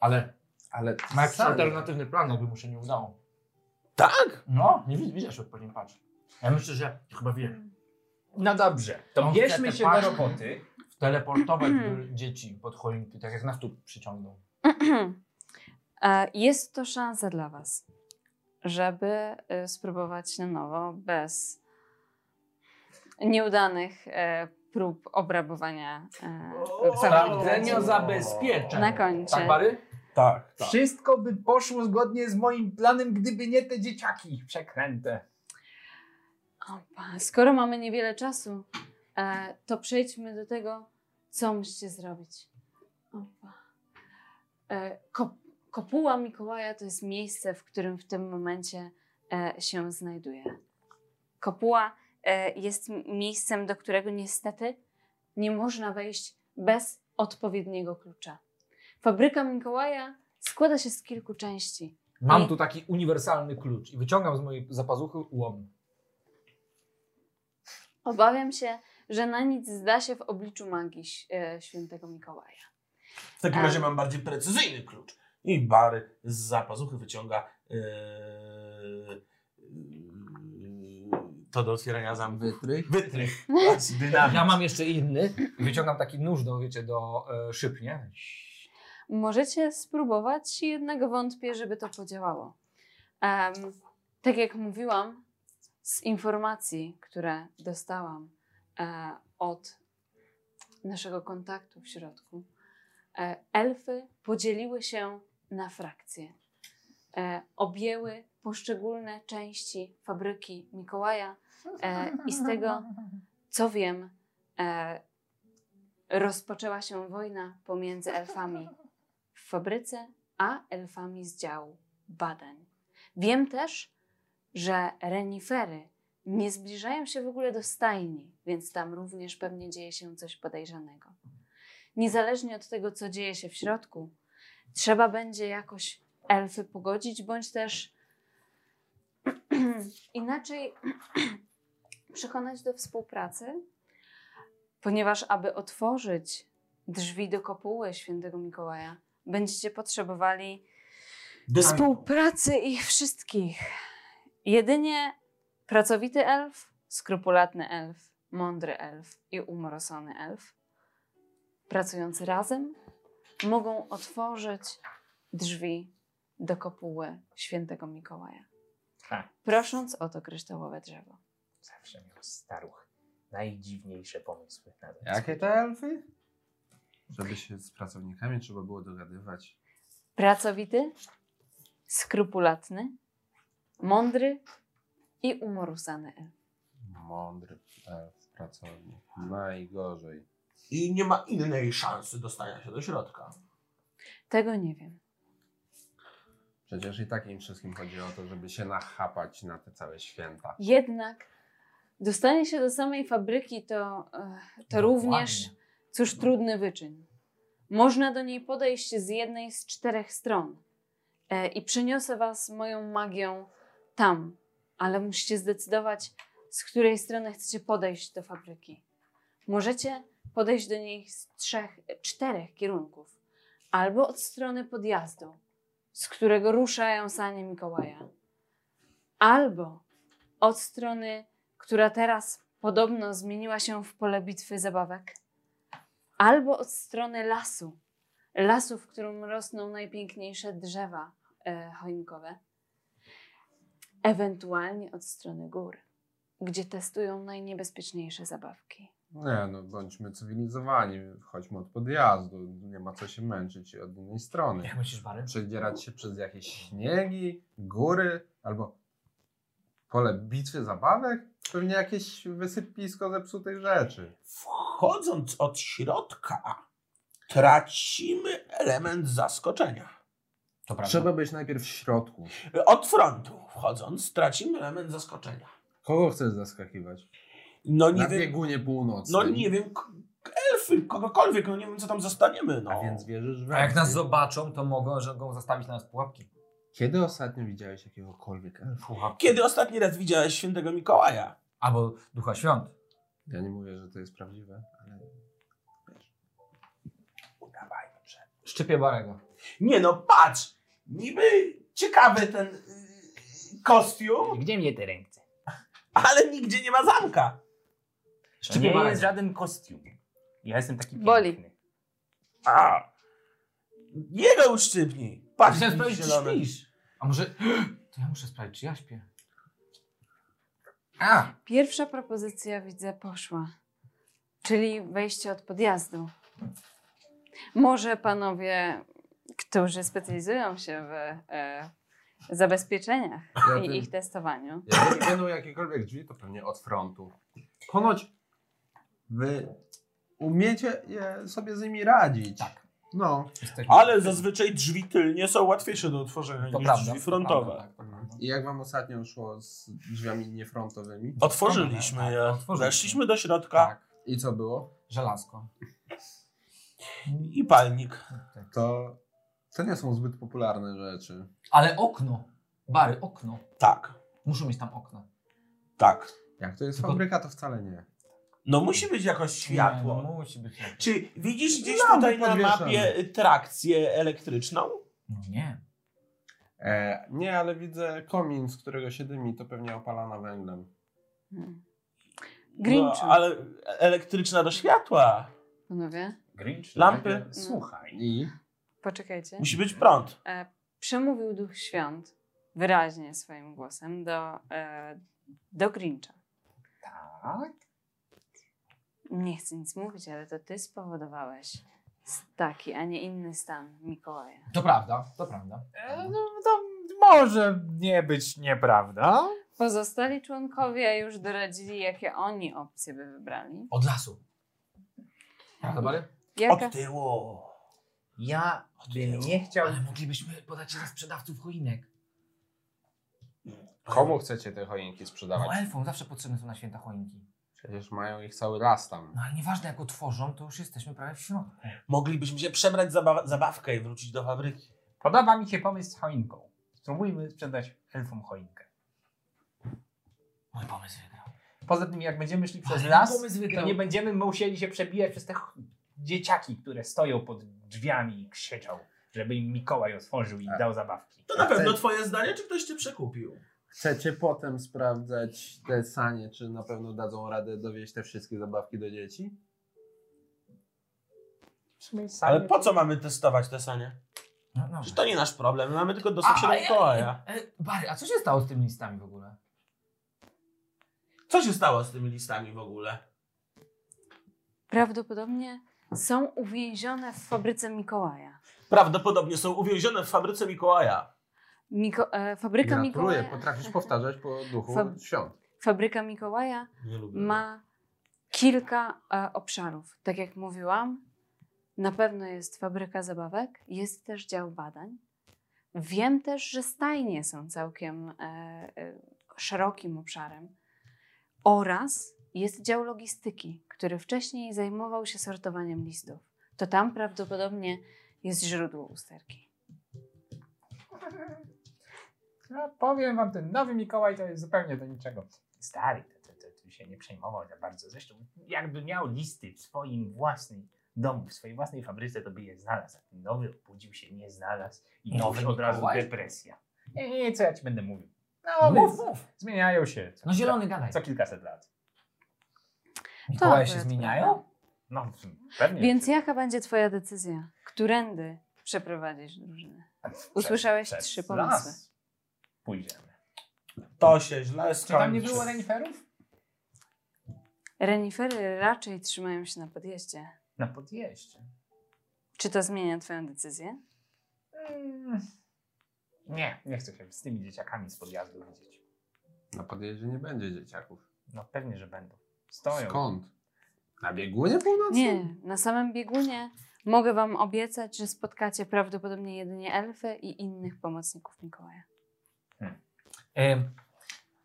Speaker 3: Ale
Speaker 6: Ale
Speaker 3: ma jakiś alternatywny plan, jakby mu się nie udało.
Speaker 5: Tak?
Speaker 3: No, nie widzisz, widzisz, jak po nim patrz.
Speaker 5: Ja myślę, że chyba wiem.
Speaker 6: No dobrze, to
Speaker 3: On
Speaker 6: bierzmy
Speaker 3: chce
Speaker 6: się
Speaker 3: te
Speaker 6: do
Speaker 3: paszki.
Speaker 6: roboty. *clears throat*
Speaker 3: Teleportować do dzieci pod choinki, tak jak nas tu przyciągnął.
Speaker 4: E, Jest to szansa dla Was, żeby e, spróbować na nowo bez nieudanych e, prób obrabowania. e,
Speaker 3: Sprawdzenia
Speaker 4: zawodu.
Speaker 3: zabezpieczeń.
Speaker 4: Na końcu.
Speaker 3: Tak, Bary?
Speaker 5: Tak, tak.
Speaker 6: Wszystko by poszło zgodnie z moim planem, gdyby nie te dzieciaki przekręte.
Speaker 4: O, pa- skoro mamy niewiele czasu, e, to przejdźmy do tego, co musicie zrobić. O, pa. E, ko, kopuła Mikołaja to jest miejsce, w którym w tym momencie e, się znajduje. Kopuła e, jest m- miejscem, do którego niestety nie można wejść bez odpowiedniego klucza. Fabryka Mikołaja składa się z kilku części.
Speaker 3: Mam tu taki uniwersalny klucz i wyciągam z mojej zapazuchy łom.
Speaker 4: Obawiam się, że na nic zda się w obliczu magii ś- e, świętego Mikołaja.
Speaker 5: W takim
Speaker 4: A.
Speaker 5: razie mam bardziej precyzyjny klucz. I Bary z zapazuchy wyciąga yy, yy, to do otwierania zamku.
Speaker 16: Wytrych.
Speaker 5: Wytrych.
Speaker 3: Ja mam jeszcze inny i wyciągam taki nóż do, wiecie, do e, szyb, nie?
Speaker 4: Możecie spróbować, jednak wątpię, żeby to podziałało. Em, tak jak mówiłam, z informacji, które dostałam e, od naszego kontaktu w środku, e, elfy podzieliły się na frakcje. E, objęły poszczególne części fabryki Mikołaja e, i z tego, co wiem, e, rozpoczęła się wojna pomiędzy elfami w fabryce, a elfami z działu badań. Wiem też, że renifery nie zbliżają się w ogóle do stajni, więc tam również pewnie dzieje się coś podejrzanego. Niezależnie od tego, co dzieje się w środku, trzeba będzie jakoś elfy pogodzić, bądź też *clears throat* inaczej *clears throat* przekonać do współpracy, ponieważ aby otworzyć drzwi do kopuły świętego Mikołaja, będziecie potrzebowali współpracy ich wszystkich. Jedynie pracowity elf, skrupulatny elf, mądry elf i umorosony elf, pracujący razem, mogą otworzyć drzwi do kopuły świętego Mikołaja.
Speaker 6: Tak.
Speaker 4: prosząc o to kryształowe drzewo.
Speaker 17: Zawsze miał staruch najdziwniejsze pomysły. Nawet
Speaker 2: Jakie te elfy? Żeby się z pracownikami trzeba było dogadywać.
Speaker 4: Pracowity, skrupulatny, mądry i umorusany elf.
Speaker 2: Mądry elf, pracownik. Najgorzej.
Speaker 5: I nie ma innej szansy dostania się do środka.
Speaker 4: Tego nie wiem.
Speaker 2: Przecież i tak im wszystkim chodzi o to, żeby się nachapać na te całe święta.
Speaker 4: Jednak dostanie się do samej fabryki to, e, to
Speaker 3: Dokładnie.
Speaker 4: również, cóż, trudny wyczyn. Można do niej podejść z jednej z czterech stron e, i przeniosę was moją magią tam, ale musicie zdecydować, z której strony chcecie podejść do fabryki. Możecie podejść do niej z trzech, e, czterech kierunków, albo od strony podjazdu, z którego ruszają sanie Mikołaja, albo od strony, która teraz podobno zmieniła się w pole bitwy zabawek, albo od strony lasu, lasu, w którym rosną najpiękniejsze drzewa e, choinkowe, ewentualnie od strony gór, gdzie testują najniebezpieczniejsze zabawki.
Speaker 2: Nie no, bądźmy cywilizowani, chodźmy od podjazdu, nie ma co się męczyć od innej strony.
Speaker 3: Jak myślisz, Barry?
Speaker 2: Przedzierać się przez jakieś śniegi, góry albo pole bitwy zabawek? Pewnie jakieś wysypisko zepsutych rzeczy.
Speaker 5: Wchodząc od środka, tracimy element zaskoczenia.
Speaker 3: To prawda.
Speaker 2: Trzeba być najpierw w środku.
Speaker 5: Od frontu wchodząc, tracimy element zaskoczenia.
Speaker 2: Kogo chcesz zaskakiwać?
Speaker 5: No nie
Speaker 2: Na
Speaker 5: wiem,
Speaker 2: biegunie północnym.
Speaker 5: no nie wiem, k- elfy, kogokolwiek, no nie wiem, co tam zostaniemy, no.
Speaker 2: A więc wierzysz w
Speaker 3: A jak
Speaker 2: elfy?
Speaker 3: nas zobaczą, to mogą, że mogą zastawić na nas pułapki.
Speaker 2: Kiedy ostatnio widziałeś jakiegokolwiek elfa?
Speaker 3: Pułapki.
Speaker 5: Kiedy ostatni raz widziałeś świętego Mikołaja?
Speaker 3: Albo ducha świąt.
Speaker 2: Ja nie mówię, że to jest prawdziwe, ale
Speaker 5: Udawajmy, że...
Speaker 3: Szczypie Barego.
Speaker 5: Nie no, patrz! Niby ciekawy ten y, kostium,
Speaker 17: Gdzie mnie te ręce?
Speaker 5: ale nigdzie nie ma zamka.
Speaker 6: To
Speaker 3: Szczypie
Speaker 6: nie
Speaker 3: Barego.
Speaker 6: jest żaden kostium. Ja jestem taki
Speaker 4: Boli.
Speaker 6: piękny.
Speaker 5: A. Jego uszczypnij. Patrz,
Speaker 3: Chciałem sprawdzić, czy
Speaker 5: zielony.
Speaker 3: śpisz. A może... *gasps* To ja muszę sprawdzić, czy ja śpię. A!
Speaker 4: Pierwsza propozycja, widzę, poszła, czyli wejście od podjazdu. Może panowie, którzy specjalizują się w e, zabezpieczeniach
Speaker 2: Ja
Speaker 4: i
Speaker 2: wiem.
Speaker 4: ich testowaniu,
Speaker 3: *coughs*
Speaker 2: jeżeli będą jakiekolwiek drzwi, to pewnie od frontu. Ponoć wy umiecie je sobie z nimi radzić. Tak. No.
Speaker 3: Jesteśmy-
Speaker 5: Ale zazwyczaj drzwi tylnie są łatwiejsze do otworzenia
Speaker 3: To
Speaker 5: niż
Speaker 3: prawda,
Speaker 5: drzwi
Speaker 3: to
Speaker 5: frontowe.
Speaker 3: prawda, tak, to prawda.
Speaker 2: I jak wam ostatnio szło z drzwiami niefrontowymi?
Speaker 5: Otworzyliśmy je.
Speaker 3: Tak, Otworzyliśmy.
Speaker 5: Weszliśmy do środka
Speaker 3: Tak,
Speaker 2: I co było?
Speaker 3: żelazko. Tak.
Speaker 5: i palnik.
Speaker 2: To, to nie są zbyt popularne rzeczy.
Speaker 3: Ale okno. Bary, okno.
Speaker 5: Tak,
Speaker 3: Muszą mieć tam okno.
Speaker 5: tak.
Speaker 2: Jak to jest
Speaker 3: Tylko-
Speaker 2: fabryka, to wcale nie.
Speaker 5: No musi być jakoś
Speaker 3: Nie, no
Speaker 5: światło.
Speaker 3: musi być światło.
Speaker 5: Czy widzisz gdzieś
Speaker 2: Lampy
Speaker 5: tutaj na
Speaker 2: podwieszane.
Speaker 5: mapie trakcję elektryczną?
Speaker 3: No nie.
Speaker 2: E, nie, ale widzę komin, z którego się dymi, to pewnie opalana węglem.
Speaker 4: hmm. Grinchu,
Speaker 5: No, ale elektryczna do światła.
Speaker 4: panowie,
Speaker 6: Grinch,
Speaker 5: Lampy.
Speaker 6: lepiej- Słuchaj.
Speaker 2: I
Speaker 4: poczekajcie.
Speaker 5: Musi być prąd.
Speaker 4: E, przemówił Duch Świąt wyraźnie swoim głosem do, e, do Grincha.
Speaker 6: Tak.
Speaker 4: Nie chcę nic mówić, ale to ty spowodowałeś taki, a nie inny stan Mikołaja.
Speaker 3: To prawda, to prawda.
Speaker 6: E, No, to może nie być nieprawda.
Speaker 4: Pozostali członkowie już doradzili, jakie oni opcje by wybrali.
Speaker 3: Od lasu. Prawda, Bary?
Speaker 4: Jaka?
Speaker 5: Od tyłu.
Speaker 17: Ja bym nie chciał.
Speaker 3: Ale moglibyśmy podać się za sprzedawców choinek.
Speaker 2: komu chcecie te choinki
Speaker 3: No
Speaker 2: sprzedawać?
Speaker 3: elfom zawsze potrzebne są na święta choinki.
Speaker 2: Przecież mają ich cały las tam.
Speaker 3: No ale nieważne jak otworzą, to już jesteśmy prawie w środku.
Speaker 5: Moglibyśmy się przebrać za ba- zabawkę i wrócić do fabryki.
Speaker 6: Podoba mi się pomysł z choinką. Spróbujmy sprzedać elfom choinkę.
Speaker 3: Mój pomysł wygrał.
Speaker 6: Poza tym, jak będziemy szli przez
Speaker 3: Ale
Speaker 6: las,
Speaker 3: pomysł
Speaker 6: to
Speaker 3: wygrał.
Speaker 6: nie będziemy musieli się przebijać przez te ch- dzieciaki, które stoją pod drzwiami i krzyczą, żeby im Mikołaj otworzył i
Speaker 2: A.
Speaker 6: dał zabawki.
Speaker 5: To na
Speaker 2: Chcę-
Speaker 5: pewno twoje zdanie, czy ktoś cię przekupił?
Speaker 2: Chcecie potem sprawdzać te sanie, czy na pewno dadzą radę dowieść te wszystkie zabawki do dzieci?
Speaker 6: *laughs*
Speaker 5: Ale po co mamy testować te sanie?
Speaker 18: No, no.
Speaker 5: Że to nie nasz problem, mamy tylko do
Speaker 18: A,
Speaker 5: sąsiada
Speaker 18: a ja-
Speaker 5: Mikołaja.
Speaker 18: E, Barry, a co się stało z tymi listami w ogóle?
Speaker 5: Co się stało z tymi listami w ogóle?
Speaker 4: Prawdopodobnie są uwięzione w fabryce Mikołaja.
Speaker 5: Prawdopodobnie są uwięzione w fabryce Mikołaja.
Speaker 4: Miko, e, fabryka
Speaker 2: Gratuluję,
Speaker 4: Mikołaja.
Speaker 2: potrafisz powtarzać po duchu
Speaker 4: Fab-
Speaker 2: świąt.
Speaker 4: Fabryka Mikołaja
Speaker 5: Nie lubię.
Speaker 4: ma kilka e, obszarów. Tak jak mówiłam, na pewno jest fabryka zabawek, jest też dział badań. Wiem też, że stajnie są całkiem e, e, szerokim obszarem. Oraz jest dział logistyki, który wcześniej zajmował się sortowaniem listów. To tam prawdopodobnie jest źródło usterki.
Speaker 3: Ja powiem wam, ten nowy Mikołaj to jest zupełnie do niczego.
Speaker 6: Stary, to, to, to, to się nie przejmował za bardzo. Zresztą, jakby miał listy w swoim własnym domu, w swojej własnej fabryce, to by je znalazł. A ten Nowy obudził się, nie znalazł. I nowy od razu
Speaker 18: Mikołaj.
Speaker 6: depresja.
Speaker 3: Nie, nie, co ja ci będę mówił.
Speaker 18: No,
Speaker 3: No, Tak.
Speaker 18: mów,
Speaker 3: więc
Speaker 18: mów.
Speaker 3: zmieniają się. Co,
Speaker 18: No zielony gadaj.
Speaker 3: co kilkaset lat.
Speaker 18: Mikołaje się
Speaker 4: akurat
Speaker 18: zmieniają?
Speaker 4: prawda.
Speaker 6: No,
Speaker 19: Pewnie.
Speaker 4: Więc jaka będzie Twoja decyzja? Którędy przeprowadzisz drużynę? Usłyszałeś
Speaker 6: przez
Speaker 4: trzy
Speaker 6: las.
Speaker 4: pomysły.
Speaker 6: Pójdziemy.
Speaker 5: To się źle
Speaker 3: Czy tam nie
Speaker 5: skończy.
Speaker 3: było reniferów?
Speaker 4: Renifery raczej trzymają się na podjeździe.
Speaker 6: Na podjeździe.
Speaker 4: Czy to zmienia Twoją decyzję?
Speaker 6: Mm. Nie, nie chcę się z tymi dzieciakami z podjazdu widzieć.
Speaker 2: Na podjeździe nie będzie dzieciaków.
Speaker 6: No pewnie, że będą. Stoją.
Speaker 2: Skąd? Na biegunie północnym?
Speaker 4: Nie, na samym biegunie mogę Wam obiecać, że spotkacie prawdopodobnie jedynie elfy i innych pomocników Mikołaja.
Speaker 18: Ym,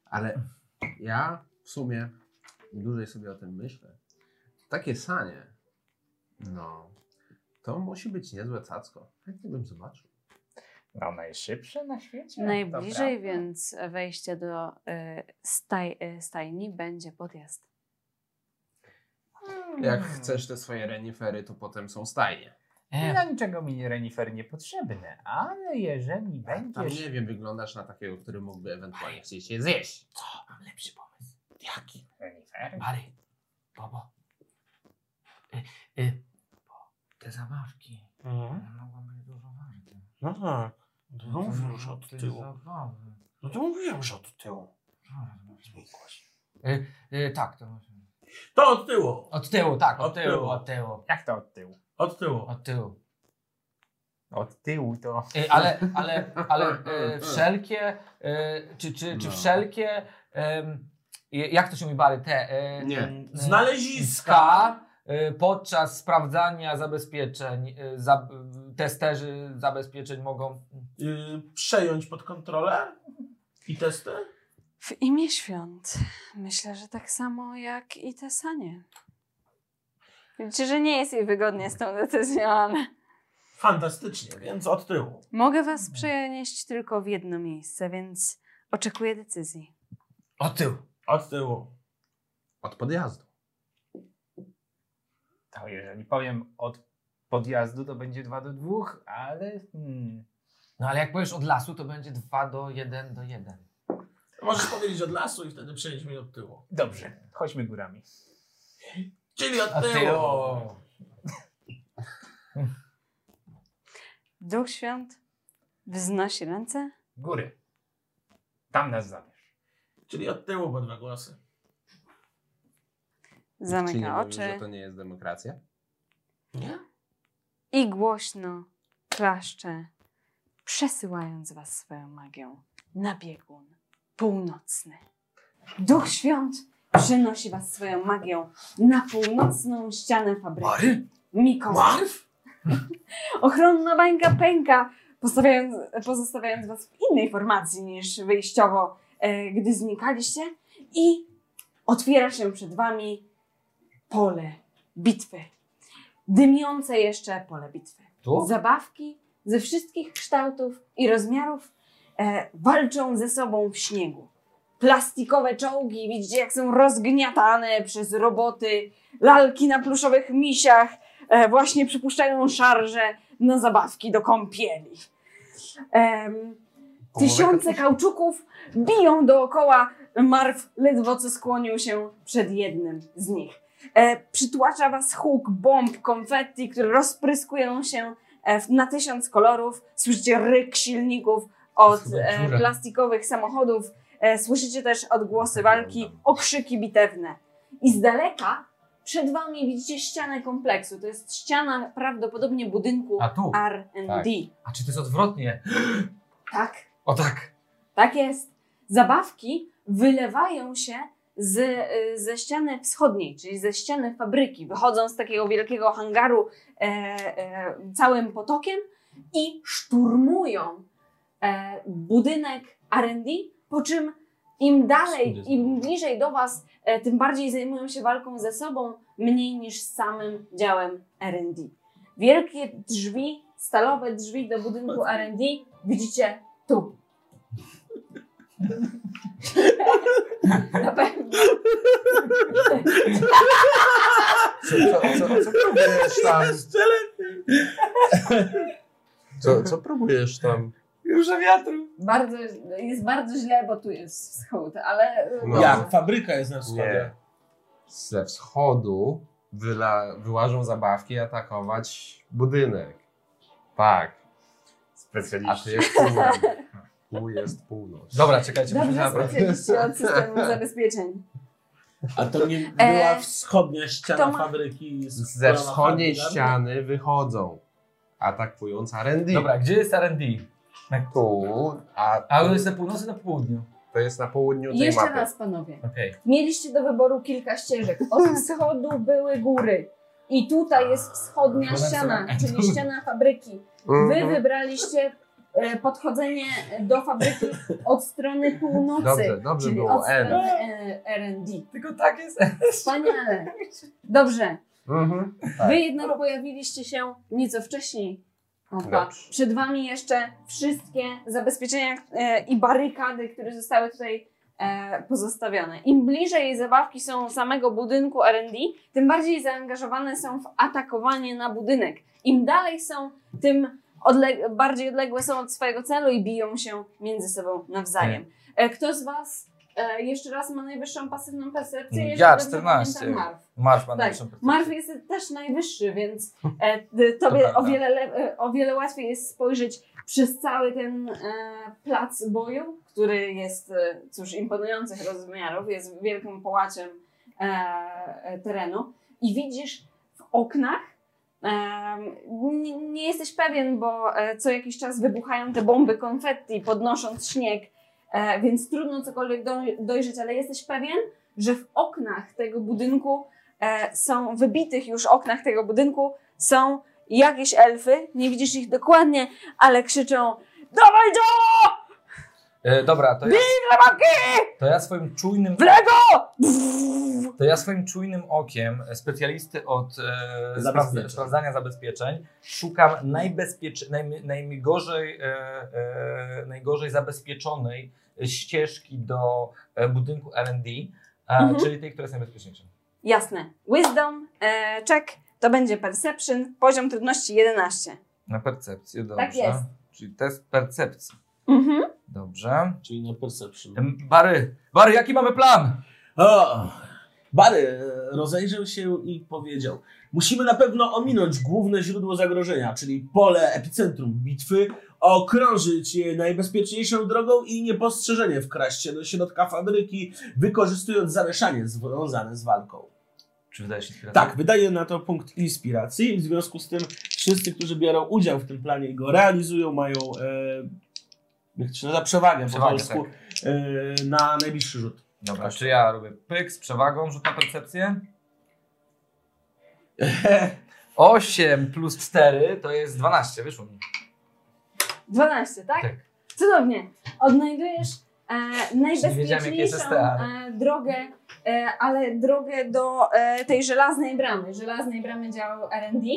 Speaker 2: Ale ja w sumie im dłużej sobie o tym myślę. Takie sanie, no, to musi być niezłe cacko. Chętnie bym zobaczył.
Speaker 6: No najszybsze na świecie.
Speaker 4: Najbliżej
Speaker 6: Tak, Dobra.
Speaker 4: więc wejścia do y, staj, y, stajni będzie podjazd.
Speaker 6: Mm.
Speaker 2: Jak chcesz te swoje renifery, to potem są stajnie.
Speaker 3: E,
Speaker 18: ym,
Speaker 6: Dla niczego mi renifer niepotrzebne, ale jeżeli
Speaker 2: Tam
Speaker 6: będziesz...
Speaker 2: nie wiem, wyglądasz na takiego, który mógłby ewentualnie chcieć się zjeść.
Speaker 6: Co? Mam lepszy pomysł. Jaki? Renifer?
Speaker 3: Mary, Bobo. Y, y, te zabawki. No,
Speaker 5: Mhm.
Speaker 3: Mogą być dużo warte.
Speaker 5: No tak. No mówiłem, że od tyłu.
Speaker 3: Zabawy.
Speaker 5: No to mówiłem, że od tyłu.
Speaker 3: Y, tak, to może.
Speaker 5: To od tyłu!
Speaker 3: Od tyłu, tak, od,
Speaker 5: Od
Speaker 3: tyłu,
Speaker 5: tyłu.
Speaker 3: od tyłu,
Speaker 6: Jak to od tyłu?
Speaker 5: Od tyłu.
Speaker 3: od tyłu.
Speaker 6: Od tyłu to...
Speaker 3: Y, ale, ale, ale y, wszelkie, y, czy, czy, czy
Speaker 2: No.
Speaker 3: wszelkie, em, y, jak to się mówi, Bary, te y,
Speaker 2: Nie.
Speaker 3: y,
Speaker 5: Znaleziska!
Speaker 3: Ska y, podczas sprawdzania zabezpieczeń, y, za, y, testerzy zabezpieczeń mogą...
Speaker 5: Y, przejąć pod kontrolę i testy?
Speaker 4: W imię świąt. Myślę, że tak samo jak i te sanie. Widzicie, że nie jest jej wygodnie z tą decyzją, ale
Speaker 5: Fantastycznie, więc od tyłu.
Speaker 4: mogę was przenieść tylko w jedno miejsce, więc oczekuję decyzji.
Speaker 3: Od tyłu.
Speaker 5: Od tyłu.
Speaker 2: Od podjazdu.
Speaker 6: To jeżeli powiem od podjazdu, to będzie 2 do 2, ale... Hmm.
Speaker 3: No ale jak powiesz od lasu, to będzie 2 do 1 do 1.
Speaker 5: Możesz powiedzieć od lasu i wtedy przejdźmy od tyłu.
Speaker 6: Dobrze, chodźmy górami.
Speaker 5: Czyli od
Speaker 3: Od
Speaker 5: tyłu.
Speaker 3: tyłu.
Speaker 4: Duch świąt wznosi ręce.
Speaker 6: Góry. Tam nas zabierz.
Speaker 5: Czyli od tyłu, bo dwa głosy.
Speaker 2: Czy nie
Speaker 4: Zamyka
Speaker 2: mówisz,
Speaker 4: oczy
Speaker 2: że tak. to nie jest demokracja?
Speaker 5: Nie?
Speaker 4: i głośno klaszcze, przesyłając was swoją magią na biegun północny. Duch Świąt przenosi was swoją magią na północną ścianę fabryki. Mikołaj. Ochronna bańka pęka, postawiając, pozostawiając was w innej formacji niż wyjściowo, e, gdy znikaliście i otwiera się przed wami pole bitwy dymiące jeszcze pole bitwy.
Speaker 3: Tu?
Speaker 4: Zabawki ze wszystkich kształtów i rozmiarów e, walczą ze sobą w śniegu. Plastikowe czołgi, widzicie jak są rozgniatane przez roboty, lalki na pluszowych misiach e, właśnie przypuszczają szarże na zabawki do kąpieli. Em, tysiące kauczuków biją dookoła Marw ledwo co skłonił się przed jednym z nich. E, przytłacza was huk bomb, konfetti, które rozpryskują się e, w- na tysiąc kolorów, słyszycie ryk silników od
Speaker 20: Chyba
Speaker 4: e,
Speaker 20: dziura.
Speaker 4: plastikowych samochodów, e, słyszycie też odgłosy walki, okrzyki bitewne. I z daleka przed wami widzicie ścianę kompleksu. To jest ściana prawdopodobnie budynku
Speaker 3: A tu?
Speaker 4: R&D.
Speaker 3: A czy to jest odwrotnie?
Speaker 4: Tak.
Speaker 3: O tak.
Speaker 4: Tak jest. Zabawki wylewają się z, y, ze ściany wschodniej, czyli ze ściany fabryki. Wychodzą z takiego wielkiego hangaru e, e, całym potokiem i szturmują e, budynek R&D, po czym im dalej, im bliżej do Was, e, tym bardziej zajmują się walką ze sobą, mniej niż z samym działem R&D. Wielkie drzwi, stalowe drzwi do budynku R&D widzicie tu. Na pewno.
Speaker 2: Co, co, co,
Speaker 4: *laughs*
Speaker 2: co próbujesz tam? Co, co próbujesz tam?
Speaker 3: Dużo wiatru.
Speaker 4: Bardzo, jest bardzo źle, bo tu jest wschód, ale...
Speaker 2: No.
Speaker 5: Jak? Fabryka jest na wschodzie.
Speaker 2: Nie. Ze wschodu wyla, wyłażą zabawki i atakować budynek. Tak. A
Speaker 6: Specjaliści.
Speaker 2: ty jest północ. Tu jest północ.
Speaker 3: Dobra, czekajcie, muszę
Speaker 4: Dobrze
Speaker 3: zabrać.
Speaker 4: specjaliści od
Speaker 2: *laughs*
Speaker 4: systemu zabezpieczeń.
Speaker 5: A to nie
Speaker 4: E,
Speaker 5: była wschodnia ściana
Speaker 4: kto ma-
Speaker 5: fabryki. tak? z
Speaker 2: Ze
Speaker 5: którą
Speaker 2: wschodniej
Speaker 5: fabrika-
Speaker 2: ściany wychodzą. Atakując R&D.
Speaker 3: Dobra, gdzie jest R&D?
Speaker 2: Tu, a
Speaker 3: A on jest na północy, na południu.
Speaker 2: to jest na południu tej
Speaker 4: Jeszcze
Speaker 2: mapy.
Speaker 4: raz, panowie.
Speaker 3: Okej.
Speaker 4: Mieliście do wyboru kilka ścieżek.
Speaker 2: *laughs*
Speaker 4: Od wschodu były góry. I tutaj jest wschodnia ściana, czyli ściana fabryki. Wy
Speaker 2: Mhm.
Speaker 4: wybraliście e, podchodzenie do fabryki od strony północy.
Speaker 2: Dobrze, dobrze
Speaker 4: czyli
Speaker 2: było.
Speaker 4: od
Speaker 2: N.
Speaker 4: strony e, R&D.
Speaker 3: Tylko tak jest.
Speaker 4: Wspaniale. Dobrze.
Speaker 2: Mhm.
Speaker 4: Wy jednak pojawiliście się nieco wcześniej. Opa.
Speaker 2: Dobrze.
Speaker 4: Przed wami jeszcze wszystkie zabezpieczenia e, i barykady, które zostały tutaj e, pozostawione. Im bliżej zabawki są samego budynku R&D, tym bardziej zaangażowane są w atakowanie na budynek. Im dalej są, tym odle- bardziej odległe są od swojego celu i biją się między sobą nawzajem. E, kto z was e, jeszcze raz ma najwyższą pasywną percepcję?
Speaker 3: Ja,
Speaker 4: Jeżeli dobrze
Speaker 3: 14.
Speaker 4: pamiętam, Marv.
Speaker 3: Marsz ma
Speaker 4: Tak,
Speaker 3: najlepszą percepcję.
Speaker 4: Marv jest też najwyższy, więc e, ty- tobie
Speaker 3: prawda.
Speaker 4: o wiele, le, e, o wiele łatwiej jest spojrzeć przez cały ten e, plac boju, który jest, e, cóż, imponujących rozmiarów, jest wielkim połaciem e, e, terenu i widzisz w oknach, em, nie, nie jesteś pewien, bo e, co jakiś czas wybuchają te bomby konfetti, podnosząc śnieg, e, więc trudno cokolwiek do, dojrzeć, ale jesteś pewien, że w oknach tego budynku e, są, wybitych już oknach tego budynku są jakieś elfy, nie widzisz ich dokładnie, ale krzyczą Dawaj do
Speaker 3: E, dobra, to ja,
Speaker 4: lewakie!
Speaker 3: to ja swoim czujnym...
Speaker 4: W lewo!
Speaker 3: To ja swoim czujnym okiem e, specjalisty od e,
Speaker 5: Zabezpieczeń.
Speaker 3: sprawdza- sprawdzania zabezpieczeń szukam najbezpiecz... najm- najgorzej, e, e, najgorzej zabezpieczonej ścieżki do e, budynku R&D, e,
Speaker 4: Mhm.
Speaker 3: czyli tej, która jest najbezpieczniejsza.
Speaker 4: Jasne. Wisdom, e, check, to będzie perception, poziom trudności 11.
Speaker 3: Na percepcję, dobrze.
Speaker 4: Tak jest.
Speaker 3: Czyli test percepcji.
Speaker 4: Mhm.
Speaker 3: Dobrze.
Speaker 5: Czyli na perception.
Speaker 3: Em, Bary, Bary, jaki mamy plan?
Speaker 5: O! Bary e, rozejrzał się i powiedział: Musimy na pewno ominąć główne źródło zagrożenia, czyli pole epicentrum bitwy, okrążyć je najbezpieczniejszą drogą i niepostrzeżenie wkraść się do środka fabryki, wykorzystując zamieszanie związane z walką.
Speaker 3: Czy wydaje się inspiracja?
Speaker 5: Tak, wydaje na to punkt inspiracji. W związku z tym wszyscy, którzy biorą udział w tym planie i go realizują, mają e, jak to się nazywa, przewagę,
Speaker 3: Przewagę,
Speaker 5: po polsku e, na najbliższy rzut.
Speaker 3: Dobra, czy ja robię pyk z przewagą, rzut na percepcję? 8 plus 4 to jest 12, wyszło mi.
Speaker 4: 12, tak?
Speaker 3: Tak.
Speaker 4: Cudownie. Odnajdujesz e,
Speaker 3: wiedziałem, jakie jest
Speaker 4: najbezpieczniejszą
Speaker 3: STA.
Speaker 4: e, drogę, e, ale drogę do e, tej żelaznej bramy, żelaznej bramy działu R&D.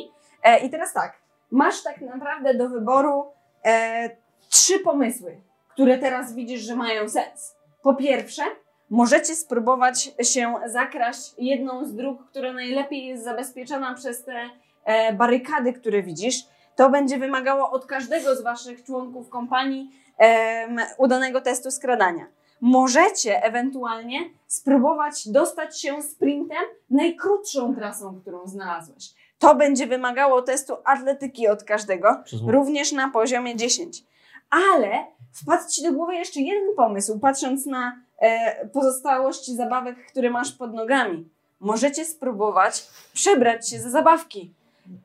Speaker 4: E, I teraz tak, masz tak naprawdę do wyboru e, trzy pomysły, które teraz widzisz, że mają sens. Po pierwsze, możecie spróbować się zakraść jedną z dróg, która najlepiej jest zabezpieczona przez te e, barykady, które widzisz. To będzie wymagało od każdego z Waszych członków kompanii em, udanego testu skradania. Możecie ewentualnie spróbować dostać się sprintem najkrótszą trasą, którą znalazłeś. To będzie wymagało testu atletyki od każdego,
Speaker 3: Przez
Speaker 4: również na poziomie 10. Ale wpadł Ci do głowy jeszcze jeden pomysł, patrząc na e, pozostałość zabawek, które masz pod nogami. Możecie spróbować przebrać się za zabawki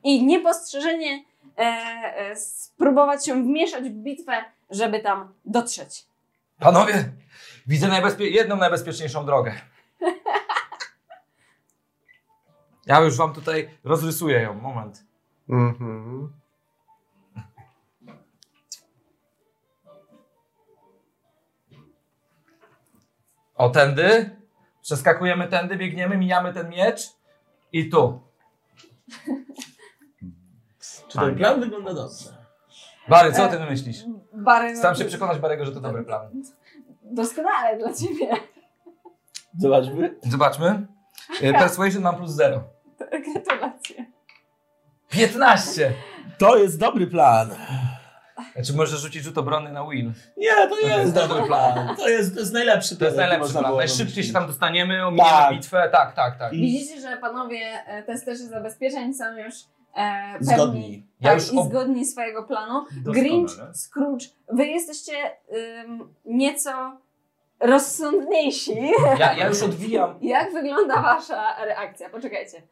Speaker 4: i niepostrzeżenie e, e, spróbować się wmieszać w bitwę, żeby tam dotrzeć.
Speaker 3: Panowie, widzę najbezpie- jedną najbezpieczniejszą drogę. Ja już wam tutaj rozrysuję ją. Moment.
Speaker 2: Mhm.
Speaker 3: O tędy. Przeskakujemy tędy, biegniemy, mijamy ten miecz. I tu.
Speaker 5: Czy ten plan wygląda dobrze?
Speaker 3: Bary, co o tym myślisz?
Speaker 4: Bary,
Speaker 3: Staram się przekonać Barego, że to dobry plan.
Speaker 4: no, Doskonale dla ciebie.
Speaker 5: Zobaczmy.
Speaker 3: Zobaczmy. E, Persuasion mam plus 0.
Speaker 4: *laughs* Gratulacje.
Speaker 3: 15!
Speaker 5: To jest dobry plan.
Speaker 3: Znaczy możesz rzucić rzut obronny na Will.
Speaker 5: Nie, to
Speaker 3: jest
Speaker 5: jest dobry
Speaker 3: dobry
Speaker 5: plan. To jest, to jest najlepszy plan.
Speaker 3: To jest
Speaker 5: jaki
Speaker 3: najlepszy
Speaker 5: można
Speaker 3: plan.
Speaker 5: było
Speaker 3: Najszybciej się
Speaker 5: wymyślić.
Speaker 3: tam dostaniemy, ominiemy
Speaker 5: Tak.
Speaker 3: bitwę. Tak, tak, tak.
Speaker 4: Widzicie, że panowie e, testerzy zabezpieczeń są już e, pewni
Speaker 5: Zgodni.
Speaker 3: Ja
Speaker 4: tak,
Speaker 3: już
Speaker 4: i
Speaker 3: ob-
Speaker 4: zgodni swojego planu.
Speaker 6: Doskonale.
Speaker 4: Grinch, Scrooge, wy jesteście ym, nieco rozsądniejsi. *laughs*
Speaker 3: Ja, ja
Speaker 5: *laughs*
Speaker 3: już odwijam.
Speaker 4: Jak wygląda wasza reakcja? Poczekajcie.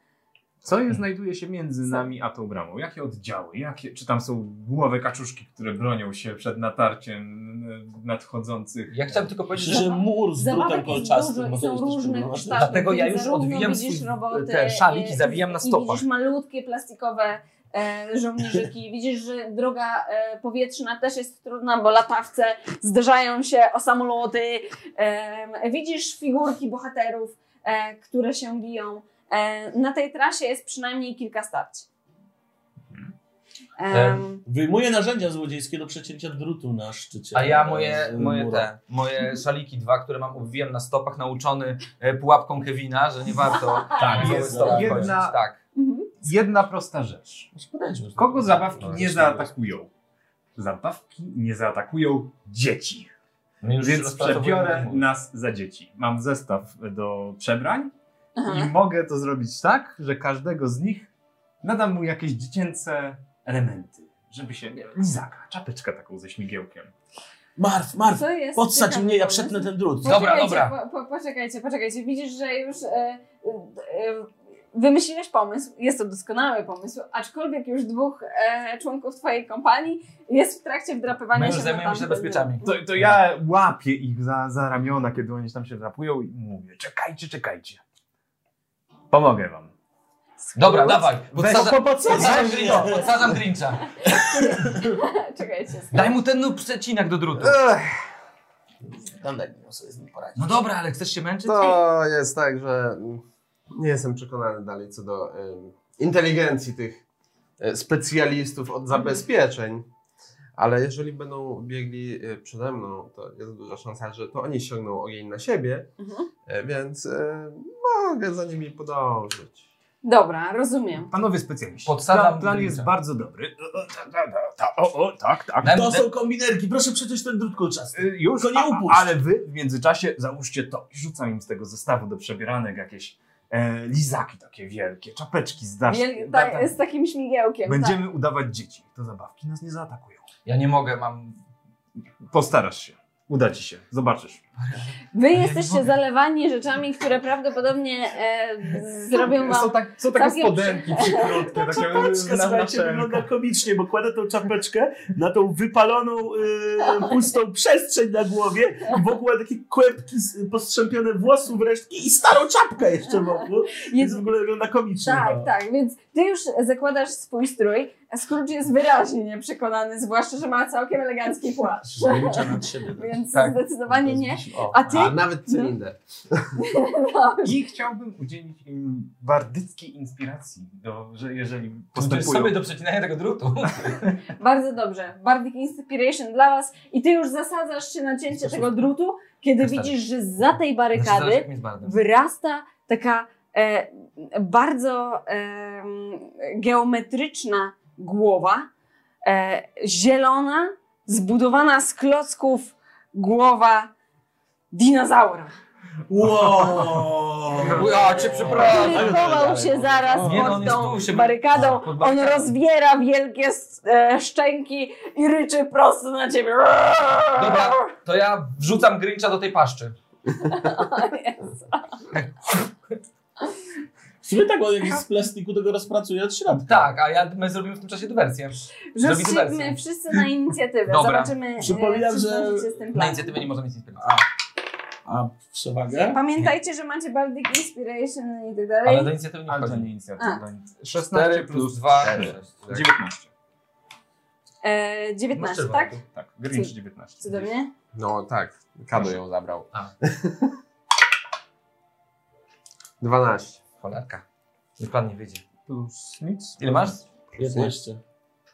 Speaker 6: Co je znajduje się między nami a tą bramą? Jakie oddziały? Jakie, czy tam są głowy kaczuszki, które bronią się przed natarciem e, nadchodzących?
Speaker 3: Ja chciałem tylko powiedzieć, że
Speaker 5: Że mur z drutem
Speaker 4: Zabawek jest dużo
Speaker 5: kolczastym no
Speaker 4: i
Speaker 5: może
Speaker 4: są
Speaker 5: być też
Speaker 4: różnych
Speaker 5: problematyczny.
Speaker 4: kształtów.
Speaker 3: Dlatego ja
Speaker 4: więc
Speaker 3: już
Speaker 4: zarówno
Speaker 3: odwijam
Speaker 4: widzisz
Speaker 3: swój,
Speaker 4: roboty,
Speaker 3: ten szalik i
Speaker 4: e,
Speaker 3: zawijam na
Speaker 4: i
Speaker 3: stopach.
Speaker 4: Widzisz malutkie plastikowe e,
Speaker 5: *laughs*
Speaker 4: żołnierzyki, widzisz, że droga e, powietrzna też jest trudna, bo latawce zderzają się o samoloty. E, widzisz figurki bohaterów, e, które się biją. E, na tej trasie jest przynajmniej kilka starć.
Speaker 5: E,
Speaker 4: Em,
Speaker 5: Wyjmuję narzędzia złodziejskie do przecięcia drutu na szczycie.
Speaker 3: A ja
Speaker 5: e,
Speaker 3: moje,
Speaker 5: z
Speaker 3: moje
Speaker 5: mura.
Speaker 3: te, moje szaliki dwa, które mam obwijam na stopach, nauczony e, pułapką Kevina, że nie warto
Speaker 5: *laughs* Tak,
Speaker 3: całe
Speaker 5: jest
Speaker 3: stopy
Speaker 5: jedna-
Speaker 3: kończyć. Tak.
Speaker 4: mhm.
Speaker 6: Jedna prosta rzecz.
Speaker 5: Podejdźmy.
Speaker 6: Kogo zabawki
Speaker 2: No,
Speaker 6: nie
Speaker 3: tak-
Speaker 6: zaatakują? Zabawki nie zaatakują dzieci.
Speaker 5: No
Speaker 3: My już
Speaker 6: Więc
Speaker 3: rozpracowujemy
Speaker 6: przebiorę
Speaker 3: rozmowę.
Speaker 6: nas za dzieci. Mam zestaw do przebrań
Speaker 4: Aha.
Speaker 6: i mogę to zrobić tak, że każdego z nich nadam mu jakieś dziecięce elementy. Żeby się, nie wiem, lizaka, czapeczkę taką ze śmigiełkiem.
Speaker 5: Marf, Marf,
Speaker 4: Co jest
Speaker 5: podsać
Speaker 4: ciekawy
Speaker 5: mnie, ja
Speaker 4: pomysł?
Speaker 5: przetnę ten drut.
Speaker 3: Dobra,
Speaker 4: Poczekajcie,
Speaker 3: dobra.
Speaker 4: Po, po, poczekajcie, poczekajcie. Widzisz, że już e, e, wymyśliłeś pomysł. Jest to doskonały pomysł, aczkolwiek już dwóch e, członków twojej kompanii jest w trakcie wdrapywania
Speaker 3: My
Speaker 4: się
Speaker 3: już
Speaker 4: na
Speaker 3: zajmujemy się
Speaker 4: tamten
Speaker 3: bezpieczami.
Speaker 6: To, to ja łapię ich za, za ramiona, kiedy oni tam się drapują i mówię, czekajcie, czekajcie. Pomogę wam.
Speaker 3: Dobra, dawaj. Podsadzam, podsadzam
Speaker 5: Podsać
Speaker 3: Grincha.
Speaker 5: mnie.
Speaker 3: Podsadzam Grincha.
Speaker 4: rynek. *laughs* Czekajcie.
Speaker 3: Daj mu ten no, przecinak do drutu.
Speaker 5: Tam daj mi sobie z nim poradzić.
Speaker 3: No dobra, ale chcesz się męczyć?
Speaker 2: To jest tak, że mm, nie jestem przekonany dalej co do em, inteligencji tych e, specjalistów
Speaker 4: Mhm.
Speaker 2: od zabezpieczeń, ale jeżeli będą biegli e, przede mną, to jest duża szansa, że to oni ściągną ogień na siebie,
Speaker 4: Mhm.
Speaker 2: e, więc e, mogę za nimi podążyć.
Speaker 4: Dobra, rozumiem.
Speaker 6: Panowie specjaliści,
Speaker 3: Podsadzam
Speaker 6: plan, plan
Speaker 3: Grincha.
Speaker 6: jest bardzo dobry. O, o, ta, ta, ta, ta, O, o, tak, tak.
Speaker 3: Daj mu
Speaker 5: To
Speaker 3: ten...
Speaker 5: są kombinerki, proszę przeczytać ten drut kolczasty.
Speaker 6: Y, Już,
Speaker 5: Tylko nie
Speaker 6: a- a-
Speaker 5: upuść.
Speaker 6: ale wy w międzyczasie załóżcie to. I Rzucam im z tego zestawu do przebieranek jakieś e, lizaki takie wielkie, czapeczki z dasz.
Speaker 4: Wiel-
Speaker 6: da-
Speaker 4: ta, z takim śmigiełkiem. tak.
Speaker 6: Będziemy udawać dzieci. To zabawki nas nie zaatakują.
Speaker 3: Ja nie mogę, mam...
Speaker 6: Postarasz się. Uda ci się. Zobaczysz.
Speaker 4: Tak. Wy
Speaker 3: nie
Speaker 4: jesteście
Speaker 3: mogę.
Speaker 4: zelewani rzeczami, które prawdopodobnie e, zrobią wam.
Speaker 6: tak, są
Speaker 4: takie Tak, całkiem- spodenki *laughs*
Speaker 6: przykrutne.
Speaker 5: Czapeczka, słuchajcie, wygląda komicznie, bo kładę tą czapeczkę na tą wypaloną, y, pustą przestrzeń na głowie, wokół mam takie kłębki z- postrzępione włosów resztki i starą czapkę jeszcze wokół, więc w ogóle wygląda komicznie.
Speaker 4: Tak,
Speaker 5: no.
Speaker 4: tak, więc ty już zakładasz swój strój, a Scrooge jest wyraźnie nieprzekonany, zwłaszcza, że ma całkiem elegancki płaszcz.
Speaker 5: Życzę nad siebie.
Speaker 4: Więc
Speaker 3: Tak.
Speaker 4: zdecydowanie nie.
Speaker 5: O.
Speaker 4: A ty? Mhm.
Speaker 2: A nawet cylinder.
Speaker 4: No,
Speaker 6: I chciałbym udzielić im bardyckiej inspiracji, do, że jeżeli
Speaker 3: Postępują.
Speaker 6: postępują...
Speaker 3: sobie do przecinania tego drutu.
Speaker 4: bardzo dobrze. Bardic Inspiration dla was. I ty już zasadzasz się na cięcie tego drutu, kiedy
Speaker 3: Zostawię.
Speaker 4: widzisz, że za tej
Speaker 3: Znaczy, zależy,
Speaker 4: barykady
Speaker 3: jak mi z bardem.
Speaker 4: wyrasta taka e, bardzo e, geometryczna głowa, e, zielona, zbudowana z klocków głowa dinozaura.
Speaker 5: Wow!
Speaker 3: Ja cię przepraszam.
Speaker 4: który chował się zaraz
Speaker 3: Nie, no, on
Speaker 4: pod
Speaker 3: jest
Speaker 4: tą
Speaker 3: tu, się-
Speaker 4: barykadą.
Speaker 3: pod
Speaker 4: On
Speaker 3: barykadą.
Speaker 4: rozbiera wielkie s- e, szczęki i ryczy prosto na ciebie. *laughs*
Speaker 3: Dobra, to ja wrzucam Grincha do tej paszczy.
Speaker 5: W sumie tak, on jakiś z plastiku tego rozpracuje od środka.
Speaker 3: Tak, a ja, my zrobimy w tym czasie dywersję. Zrobimy
Speaker 4: Rzucimy
Speaker 3: dywersję.
Speaker 4: wszyscy na inicjatywę.
Speaker 3: Dobra.
Speaker 4: Zobaczymy, e,
Speaker 5: Przypominam,
Speaker 4: czy
Speaker 5: że-
Speaker 4: zdążycie z tym
Speaker 3: Na
Speaker 4: planem.
Speaker 3: inicjatywę nie możemy nic inspirować.
Speaker 5: A przewagę?
Speaker 4: Pamiętajcie, że macie Baldic Inspiration i tak
Speaker 3: Ale do
Speaker 4: dalej.
Speaker 3: inicjatywy nie
Speaker 6: Ale to nie
Speaker 3: wchodzi.
Speaker 6: inicjatywa.
Speaker 4: A.
Speaker 6: 16 plus 2, 19.
Speaker 4: E, 19, tak?
Speaker 6: Tak, Grinch 19.
Speaker 4: Cudownie.
Speaker 2: No tak, Kado ją zabrał. *laughs*
Speaker 3: A.
Speaker 2: 12.
Speaker 3: Cholerka. tak. Niech pan nie wiedzie.
Speaker 6: Plus nic.
Speaker 3: Ile masz?
Speaker 5: 15.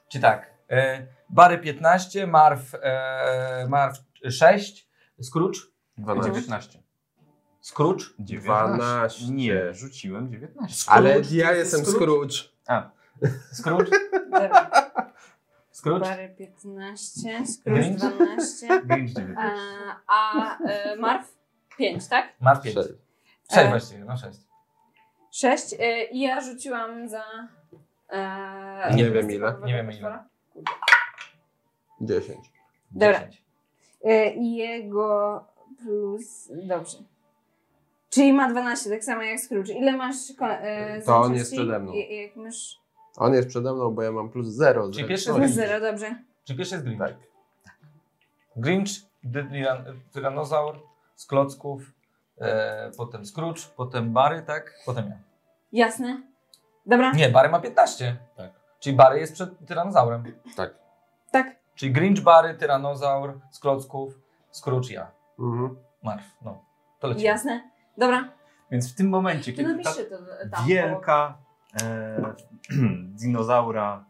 Speaker 3: Czy tak? E, Bary 15, Marw, e, Marw 6, Scrooge,
Speaker 2: 12.
Speaker 6: 19.
Speaker 3: Scrooge.
Speaker 2: 12.
Speaker 6: Nie, rzuciłem 19.
Speaker 2: Ale
Speaker 3: Scrooge,
Speaker 2: ja
Speaker 3: ty
Speaker 2: jestem
Speaker 3: Scrooge?
Speaker 2: Scrooge.
Speaker 3: Scrooge,
Speaker 4: Dobra.
Speaker 3: Scrooge.
Speaker 4: Bary 15, skrót
Speaker 3: Grinch?
Speaker 4: 12,
Speaker 6: Grinch
Speaker 4: a,
Speaker 6: 19.
Speaker 4: a e, Marw 5, tak?
Speaker 3: Marw 5.
Speaker 2: Sześć.
Speaker 3: 6
Speaker 4: E,
Speaker 3: właściwie, no 6.
Speaker 4: 6 e, i ja rzuciłam za... E,
Speaker 2: Nie wiem ile.
Speaker 3: Nie wiem ile.
Speaker 2: 10.
Speaker 4: Dobra. E, i jego plus... Dobrze. Czyli ma 12, tak samo jak Scrooge. Ile masz ko- e,
Speaker 2: To on
Speaker 4: zręczności?
Speaker 2: jest przede mną.
Speaker 4: I, jak masz...
Speaker 2: On jest przede mną, bo ja mam plus 0.
Speaker 3: Czyli pierwszy
Speaker 4: Plus 0, dobrze.
Speaker 3: Czy pierwszy jest Grinch?
Speaker 2: Tak.
Speaker 3: Grinch, dy- tyran- Tyranozaur, z klocków, e, potem Scrooge, potem Bary, tak? Potem ja.
Speaker 4: Jasne? Dobra?
Speaker 3: Nie, Bary ma 15.
Speaker 5: Tak.
Speaker 3: Czyli Bary jest przed Tyranozaurem.
Speaker 4: Tak.
Speaker 3: Czyli Grinch, Bary, Tyranozaur, z klocków, Scrooge, ja.
Speaker 2: Mhm.
Speaker 3: Marw, no. To lecimy.
Speaker 4: Jasne? Dobra.
Speaker 6: Więc w tym momencie,
Speaker 4: To
Speaker 6: kiedy ta
Speaker 4: napiszcie to tam.
Speaker 6: wielka e, *clears throat* dinozaura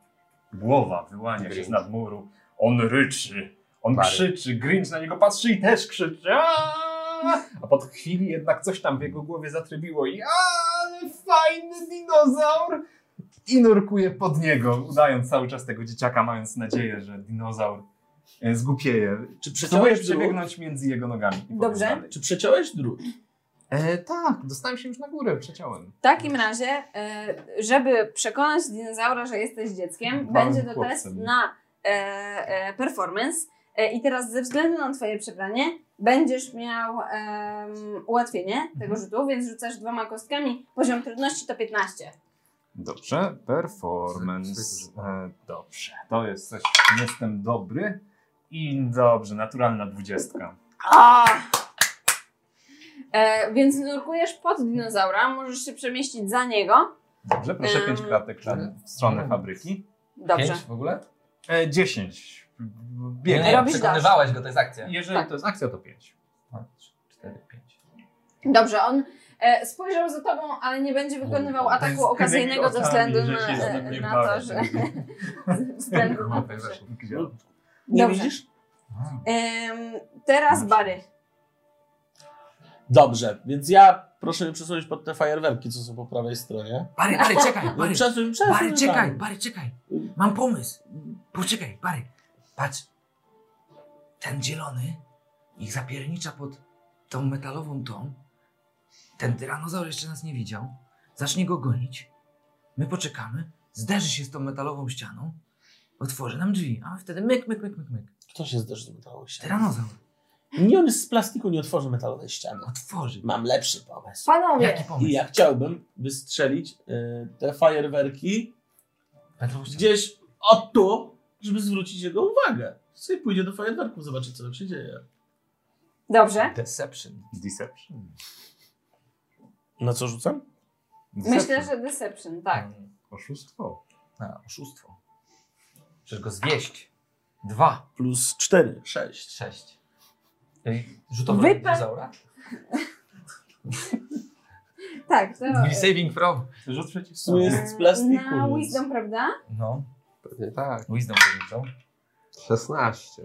Speaker 6: głowa wyłania się
Speaker 2: Grinch.
Speaker 6: z nadmuru, on ryczy, on
Speaker 2: Bary.
Speaker 6: krzyczy, Grinch na niego patrzy i też krzyczy. Aaaa! A po chwili jednak coś tam w jego głowie zatrybiło i "Aaa, ale fajny dinozaur! I nurkuje pod niego, udając cały czas tego dzieciaka, mając nadzieję, że dinozaur e, zgupieje. Czy
Speaker 5: przeciąłeś
Speaker 6: przeciąłeś
Speaker 5: drut?
Speaker 6: przebiegnąć między jego nogami? I powiem
Speaker 4: Dobrze.
Speaker 6: dalej.
Speaker 5: Czy przeciąłeś drut?
Speaker 6: E, tak, dostałem się już na górę, przeciąłem.
Speaker 4: W takim razie, e, żeby przekonać dinozaura, że jesteś dzieckiem,
Speaker 6: Małym
Speaker 4: będzie to
Speaker 6: chłopcem.
Speaker 4: test na e, e, performance. E, I teraz ze względu na twoje przebranie będziesz miał em, ułatwienie tego rzutu, więc rzucasz dwoma kostkami. Poziom trudności to 15.
Speaker 6: Dobrze, performance. E, dobrze, to jest coś, w czym jestem dobry. I dobrze, naturalna dwudziestka.
Speaker 4: A! E, więc nurkujesz pod dinozaura, możesz się przemieścić za niego.
Speaker 6: Dobrze, proszę
Speaker 4: Em,
Speaker 6: 5 klatek przed- w stronę fabryki.
Speaker 4: Dobrze.
Speaker 3: Pięć no. w ogóle? No,
Speaker 6: E, 10.
Speaker 3: Nie,
Speaker 6: Biegnie.
Speaker 3: nie,
Speaker 4: Robisz
Speaker 3: przekonywałeś go, to jest akcja.
Speaker 4: Tak.
Speaker 6: Jeżeli to jest akcja, to 5.
Speaker 3: Cztery, pięć.
Speaker 4: Dobrze, on e, spojrzał za tobą, ale nie będzie wykonywał ataku tak okazyjnego ze względu na, e, na to, że. *laughs* ze
Speaker 3: No,
Speaker 4: względu
Speaker 6: No,
Speaker 4: na
Speaker 6: tak,
Speaker 4: to, że.
Speaker 5: Nie
Speaker 4: Dobrze.
Speaker 5: widzisz?
Speaker 4: Em, teraz Bary.
Speaker 5: Dobrze, więc ja proszę mnie przesunąć pod te fajerwerki, co są po prawej stronie.
Speaker 21: Bary, Bary, czekaj,
Speaker 5: No
Speaker 21: Bary,
Speaker 5: Przesuń, przesuń.
Speaker 21: Bary,
Speaker 5: tam.
Speaker 21: czekaj, Bary, czekaj. Mam pomysł. Poczekaj, Bary, patrz. Ten zielony ich zapiernicza pod tą metalową tą. Ten tyranozaur jeszcze nas nie widział. Zacznie go gonić. My poczekamy, zderzy się z tą metalową ścianą, otworzy nam drzwi, a my wtedy myk, myk, myk, myk, myk.
Speaker 5: Kto się zderzy z metalowej ściany?
Speaker 21: Tyranozaur
Speaker 5: Nie, on jest z plastiku, nie otworzy metalowej ściany.
Speaker 21: otworzy.
Speaker 5: Mam lepszy pomysł.
Speaker 4: Panowie,
Speaker 21: Jaki
Speaker 5: I
Speaker 21: pomysł?
Speaker 5: ja chciałbym wystrzelić y, te fajerwerki
Speaker 21: Metalową ścianę.
Speaker 5: gdzieś od tu, żeby zwrócić jego uwagę. Sobie pójdzie do fajerwerków, zobaczy co tam się dzieje.
Speaker 4: dobrze.
Speaker 3: Deception.
Speaker 6: Deception.
Speaker 5: Na co rzucam?
Speaker 4: Myślę, że Deception, tak.
Speaker 6: Oszustwo.
Speaker 3: A, oszustwo. Przecież go zwieść. Dwa.
Speaker 5: Plus 4, 6.
Speaker 3: Sześć. Ej, Rzutowy
Speaker 4: Wypa-
Speaker 3: dinozaura?
Speaker 4: Tak, to.
Speaker 3: Will saving from.
Speaker 6: Rzut przeciw
Speaker 5: Tu
Speaker 6: sobie.
Speaker 5: jest z plastiku.
Speaker 4: Na
Speaker 5: więc-
Speaker 4: Wisdom, prawda?
Speaker 3: No,
Speaker 2: Pewnie tak.
Speaker 3: wisdom saving throw.
Speaker 2: 16.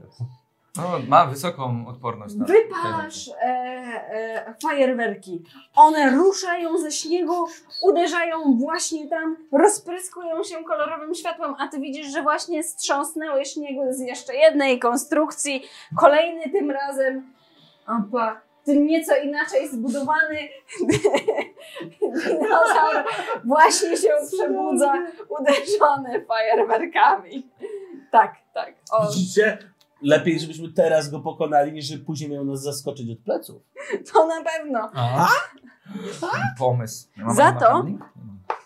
Speaker 3: No, ma wysoką odporność na
Speaker 4: Wypalasz e, e, fajerwerki. One ruszają ze śniegu, uderzają właśnie tam, rozpryskują się kolorowym światłem, a ty widzisz, że właśnie strząsnęły śniegu z jeszcze jednej konstrukcji. Kolejny tym razem opa, nieco inaczej zbudowany *laughs* dinozaur właśnie się przebudza uderzony fajerwerkami. Tak, tak. O,
Speaker 5: Widzicie? Lepiej, żebyśmy teraz go pokonali, niż żeby później miał nas zaskoczyć od pleców.
Speaker 4: to na pewno.
Speaker 6: Pomysł. Nie ma
Speaker 3: Za
Speaker 6: pani
Speaker 3: to-
Speaker 6: Matalni?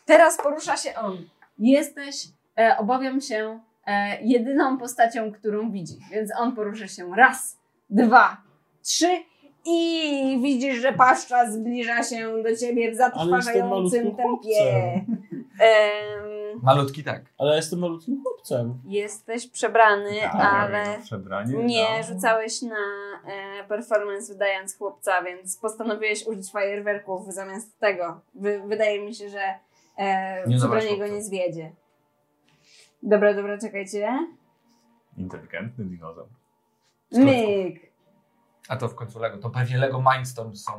Speaker 4: Teraz porusza się on. Jesteś, e, obawiam się, e, jedyną postacią, którą widzi. Więc on porusza się raz, dwa, trzy i widzisz, że paszcza zbliża się do ciebie w zatrważającym
Speaker 5: malutkim
Speaker 4: tempie.
Speaker 5: chłopcem.
Speaker 3: Em,
Speaker 6: Malutki tak.
Speaker 5: Ale ja jestem malutkim chłopcem.
Speaker 3: jesteś przebrany,
Speaker 5: Tak,
Speaker 3: ale
Speaker 22: Przebranie.
Speaker 3: nie
Speaker 22: no.
Speaker 3: rzucałeś na e, performance wydając chłopca, więc postanowiłeś użyć fajerwerków zamiast tego. Wy, wydaje mi się, że
Speaker 6: Nie
Speaker 3: e,
Speaker 6: zabrać
Speaker 3: przebranie go
Speaker 6: chłopca.
Speaker 3: nie zwiedzie. Dobra, dobra, czekajcie.
Speaker 22: Inteligentny dinozaur.
Speaker 3: Myk.
Speaker 6: A to w końcu Lego. To pewnie Lego Mindstorm są.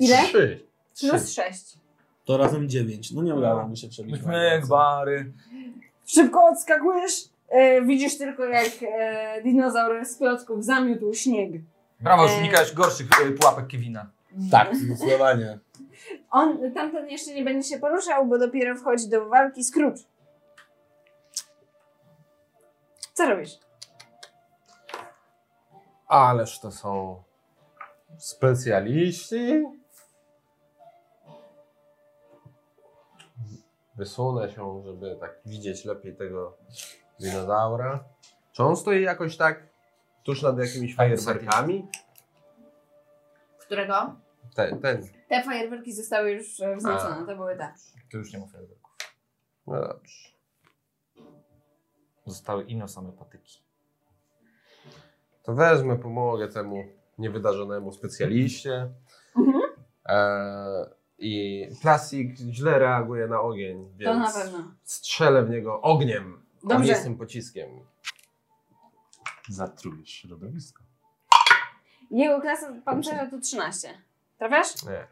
Speaker 3: Ile?
Speaker 5: Trzy.
Speaker 3: Plus sześć.
Speaker 5: To razem dziewięć. No nie udało mi się przebić.
Speaker 6: Myk, bary.
Speaker 4: Szybko odskakujesz. E, widzisz tylko, jak e, dinozaur z klocków zamiótł śnieg.
Speaker 6: Brawo,
Speaker 3: Eee.
Speaker 6: że unikałeś gorszych e, pułapek Kevina.
Speaker 5: Tak, zdecydowanie.
Speaker 4: On, tamten jeszcze nie będzie się poruszał, bo dopiero wchodzi do walki Scrooge. Co robisz?
Speaker 2: Ależ to są specjaliści. Wysunę się, żeby tak widzieć lepiej tego dinozaura. Czy on stoi jakoś tak tuż nad jakimiś fajerwerkami?
Speaker 4: Którego?
Speaker 2: Ten, ten.
Speaker 4: Te fajerwerki zostały już e, wzmocnione, to były te.
Speaker 6: To już nie ma fajerwerków.
Speaker 2: No dobrze.
Speaker 6: Zostały ino same patyki.
Speaker 2: To wezmę, pomogę temu niewydarzonemu specjaliście.
Speaker 4: Mhm.
Speaker 2: E, I plastik źle reaguje na ogień,
Speaker 4: To
Speaker 2: więc
Speaker 4: na pewno.
Speaker 2: strzelę w niego ogniem, a
Speaker 4: Dobrze.
Speaker 2: nie z tym pociskiem.
Speaker 22: Zatrujesz środowisko.
Speaker 3: Jego klasa pancerza to 13. Trafiasz?
Speaker 2: Nie.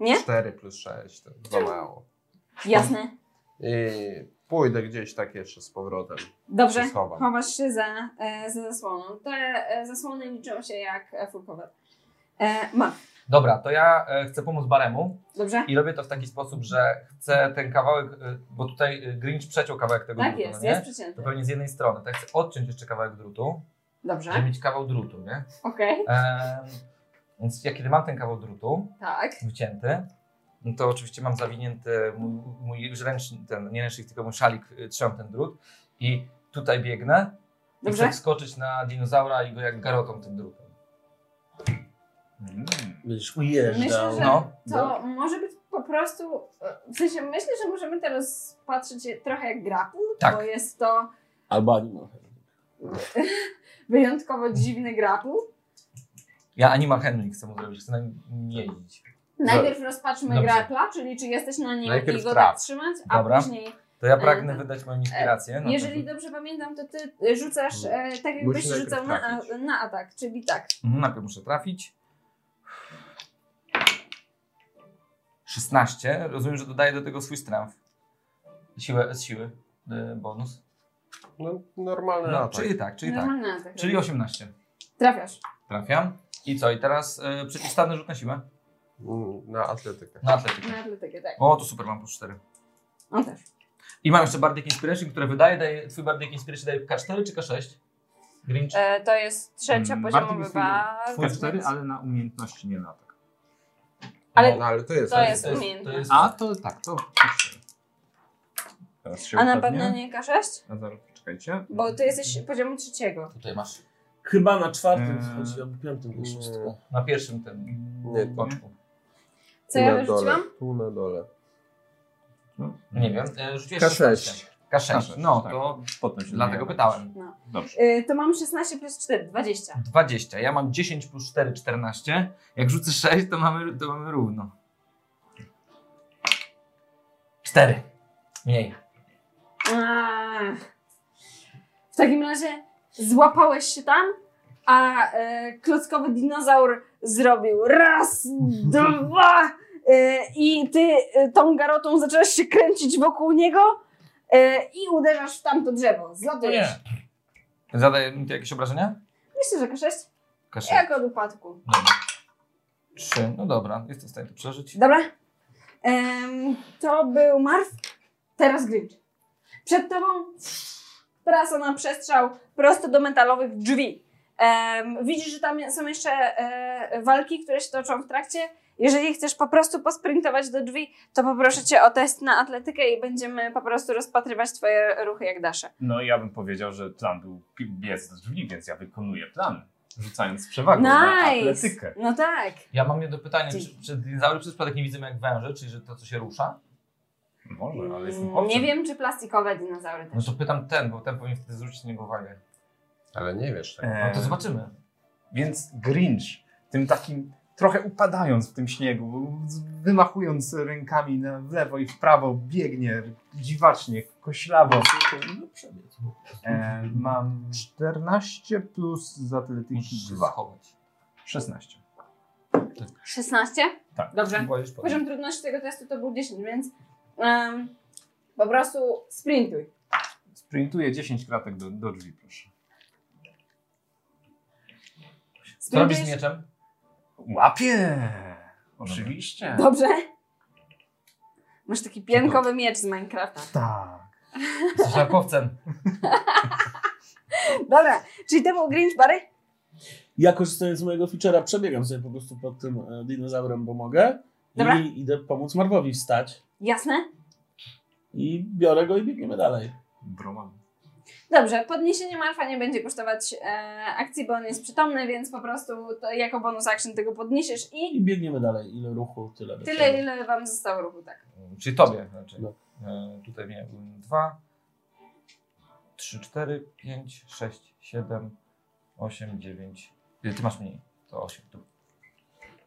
Speaker 3: Nie?
Speaker 2: 4 plus 6 to za mało.
Speaker 3: Jasne.
Speaker 2: I pójdę gdzieś tak jeszcze z powrotem.
Speaker 3: Dobrze.
Speaker 2: Się schowam.
Speaker 3: Chowasz się za, e, za zasłoną. Te e, zasłony liczą się jak e, furkowe.
Speaker 4: E, ma.
Speaker 6: Dobra, to ja e, chcę pomóc Baremu
Speaker 3: Dobrze?
Speaker 6: i robię to w taki sposób, że chcę ten kawałek, e, bo tutaj e, Grinch przeciął kawałek tego
Speaker 3: Tak
Speaker 6: drutu,
Speaker 3: jest,
Speaker 6: no
Speaker 3: jest
Speaker 6: nie?
Speaker 3: przecięty.
Speaker 6: To pewnie z jednej strony, tak chcę odciąć jeszcze kawałek drutu, żeby
Speaker 3: Dobrze.
Speaker 6: mieć kawał drutu, nie?
Speaker 3: Okej.
Speaker 6: Em, więc ja kiedy mam ten kawał drutu
Speaker 3: Tak.
Speaker 6: wycięty, no to oczywiście mam zawinięty mój, mój ręczny, ten, nie ręcznik, tylko mój szalik, y, trzymam ten drut i tutaj biegnę i
Speaker 3: Dobrze.
Speaker 6: chcę wskoczyć na dinozaura i go jak garotą tym drutem.
Speaker 3: Hmm.
Speaker 22: Mm.
Speaker 5: Będziesz ujeżdżał.
Speaker 4: Myślę, że
Speaker 6: No,
Speaker 4: to może być po prostu. e, W sensie myślę, że możemy teraz patrzeć je trochę jak grapple,
Speaker 6: Tak.
Speaker 4: bo jest to
Speaker 5: Albo animal.
Speaker 4: wyjątkowo dziwny grapple.
Speaker 6: Ja Animal Handling chcę mu zrobić, chcę na nim jeździć.
Speaker 4: Najpierw rozpatrzmy
Speaker 6: Dobrze.
Speaker 4: grapla, czyli czy jesteś na nim
Speaker 2: Najpierw
Speaker 4: i go
Speaker 2: traf.
Speaker 4: tak trzymać, a
Speaker 6: Dobra.
Speaker 4: później.
Speaker 6: To ja pragnę
Speaker 4: E,
Speaker 6: wydać moją inspirację. na
Speaker 4: Jeżeli
Speaker 6: ten...
Speaker 4: dobrze pamiętam, to ty e, rzucasz e, tak, jakbyś
Speaker 2: Musisz najpierw
Speaker 4: rzucał na,
Speaker 2: trafić.
Speaker 4: na atak, czyli tak.
Speaker 6: Mhm, Najpierw muszę trafić. 16. Rozumiem, że dodaję do tego swój strength. Siłę, z siły. y, Bonus.
Speaker 2: No, normalny
Speaker 6: No,
Speaker 2: atak.
Speaker 6: czyli tak, czyli tak.
Speaker 4: Normalny atak.
Speaker 6: Czyli 18.
Speaker 4: Trafiasz.
Speaker 6: Trafiam. I co? I teraz y, przeciwstawny rzut na siłę.
Speaker 2: Mm, Na atletykę.
Speaker 6: Na atletykę.
Speaker 4: Na atletykę, tak.
Speaker 6: O, to super, mam plus 4.
Speaker 4: On też.
Speaker 6: I mam jeszcze Bardic Inspiration, które wydaje, daje, twój Bardic Inspiration daje K4 czy K6? Grinch?
Speaker 3: E, to jest trzecia
Speaker 22: Mm, Bartek
Speaker 3: poziomowy
Speaker 22: jest
Speaker 3: bar.
Speaker 22: K4, ale na umiejętności nie na atak.
Speaker 3: ale
Speaker 2: no, ale to jest.
Speaker 3: to jest
Speaker 6: to jest- to
Speaker 3: umiejętność.
Speaker 6: jest-
Speaker 22: A to tak, to. K4. Teraz się
Speaker 3: A na
Speaker 22: upewnię.
Speaker 3: pewno nie K6?
Speaker 22: A zaraz poczekajcie.
Speaker 3: Bo ty jesteś
Speaker 4: Mm.
Speaker 3: poziomu trzeciego.
Speaker 6: Tutaj masz.
Speaker 5: Chyba na czwartym
Speaker 3: Mm.
Speaker 22: Eee.
Speaker 5: schodzi, albo piątym, albo szóstym.
Speaker 6: Na pierwszym tym
Speaker 2: Mm, Nie, to-
Speaker 6: boczku.
Speaker 3: Co ja
Speaker 2: na dole.
Speaker 3: wyrzuciłam?
Speaker 2: Tu na dole.
Speaker 6: Nie wiem. y, Rzuciłeś
Speaker 2: K6.
Speaker 6: 16. K6.
Speaker 22: K6,
Speaker 6: No,
Speaker 22: tak.
Speaker 6: to
Speaker 22: Potem się
Speaker 6: dlatego
Speaker 22: zmienia.
Speaker 6: pytałem.
Speaker 22: Dobrze.
Speaker 3: Y,
Speaker 4: E, to mam 16 plus 4, 20.
Speaker 6: 20. Ja mam 10 plus 4, 14. Jak rzucę 6, to mamy, to mamy równo. 4. Mniej.
Speaker 4: Ach. W takim razie złapałeś się tam, a e, klockowy dinozaur zrobił raz, dwa e, i ty e, tą garotą zaczęłaś się kręcić wokół niego e, i uderzasz w tamto drzewo. Zlatujesz.
Speaker 6: Zadaje mi to jakieś obrażenia?
Speaker 4: Myślę, że K6.
Speaker 3: K6.
Speaker 4: Jak od upadku.
Speaker 3: Dobra. Trzy. No dobra, jestem w stanie to przeżyć.
Speaker 4: Dobra. Em, to był Marw, teraz Grinch. Przed tobą trasa na przestrzał prosto do metalowych drzwi. Em, widzisz, że tam są jeszcze e, walki, które się toczą w trakcie. Jeżeli chcesz po prostu posprintować do drzwi, to poproszę cię o test na atletykę i będziemy po prostu rozpatrywać twoje ruchy jak dasze.
Speaker 6: No ja bym powiedział, że plan był pi- biec do drzwi, więc ja wykonuję plan, rzucając przewagę Tak, na
Speaker 4: Nice!
Speaker 6: atletykę.
Speaker 4: No tak.
Speaker 23: Ja mam jedno pytanie. Czy, czy dinozaury przez przypadek nie widzą jak węże, czyli że to, co się rusza?
Speaker 6: Może, ale jestem
Speaker 4: Mm,
Speaker 6: owcem.
Speaker 4: Nie wiem, czy plastikowe dinozaury też.
Speaker 23: No to pytam ten, bo ten powinien wtedy zwrócić na niego uwagę.
Speaker 24: Ale nie wiesz
Speaker 2: tak.
Speaker 24: tego.
Speaker 6: E,
Speaker 23: No to zobaczymy.
Speaker 6: Więc Grinch, tym takim trochę upadając w tym śniegu, z- wymachując rękami na w lewo i w prawo, biegnie dziwacznie, koślawo.
Speaker 4: No
Speaker 6: E, mam 14 plus z atletyki
Speaker 23: Musisz się
Speaker 6: 2.
Speaker 23: schować.
Speaker 6: 16.
Speaker 4: 16?
Speaker 6: Tak.
Speaker 4: Dobrze.
Speaker 23: Boisz po-
Speaker 4: Poziom trudności tego testu to był 10, więc em, po prostu sprintuj.
Speaker 6: Sprintuję 10 kratek do, do drzwi, proszę.
Speaker 23: Co robisz z
Speaker 4: Spróbujesz-
Speaker 23: mieczem?
Speaker 6: Łapię! Oczywiście.
Speaker 4: Dobrze? Masz taki piankowy miecz z Minecrafta.
Speaker 6: Tak.
Speaker 23: Jesteś szarkowcem.
Speaker 4: Dobra, czyli to był Grinch Barry?
Speaker 5: Ja korzystając z mojego feature'a przebiegam sobie po prostu pod tym e, dinozaurem, bo mogę.
Speaker 4: Dobra.
Speaker 5: I idę pomóc Marwowi wstać.
Speaker 4: Jasne?
Speaker 5: I biorę go i biegniemy dalej.
Speaker 6: Broman.
Speaker 4: Dobrze, podniesienie Marfa nie będzie kosztować e, akcji, bo on jest przytomny, więc po prostu to jako bonus action tego podniesiesz i
Speaker 5: I biegniemy dalej. Ile ruchu, tyle. do przodu.
Speaker 4: tyle, ile wam zostało ruchu, tak.
Speaker 23: Czyli tobie raczej.
Speaker 5: No.
Speaker 23: E, tutaj miałem 2, 3, 4, 5, 6, 7, 8, 9. Ty masz mniej. To 8 tu.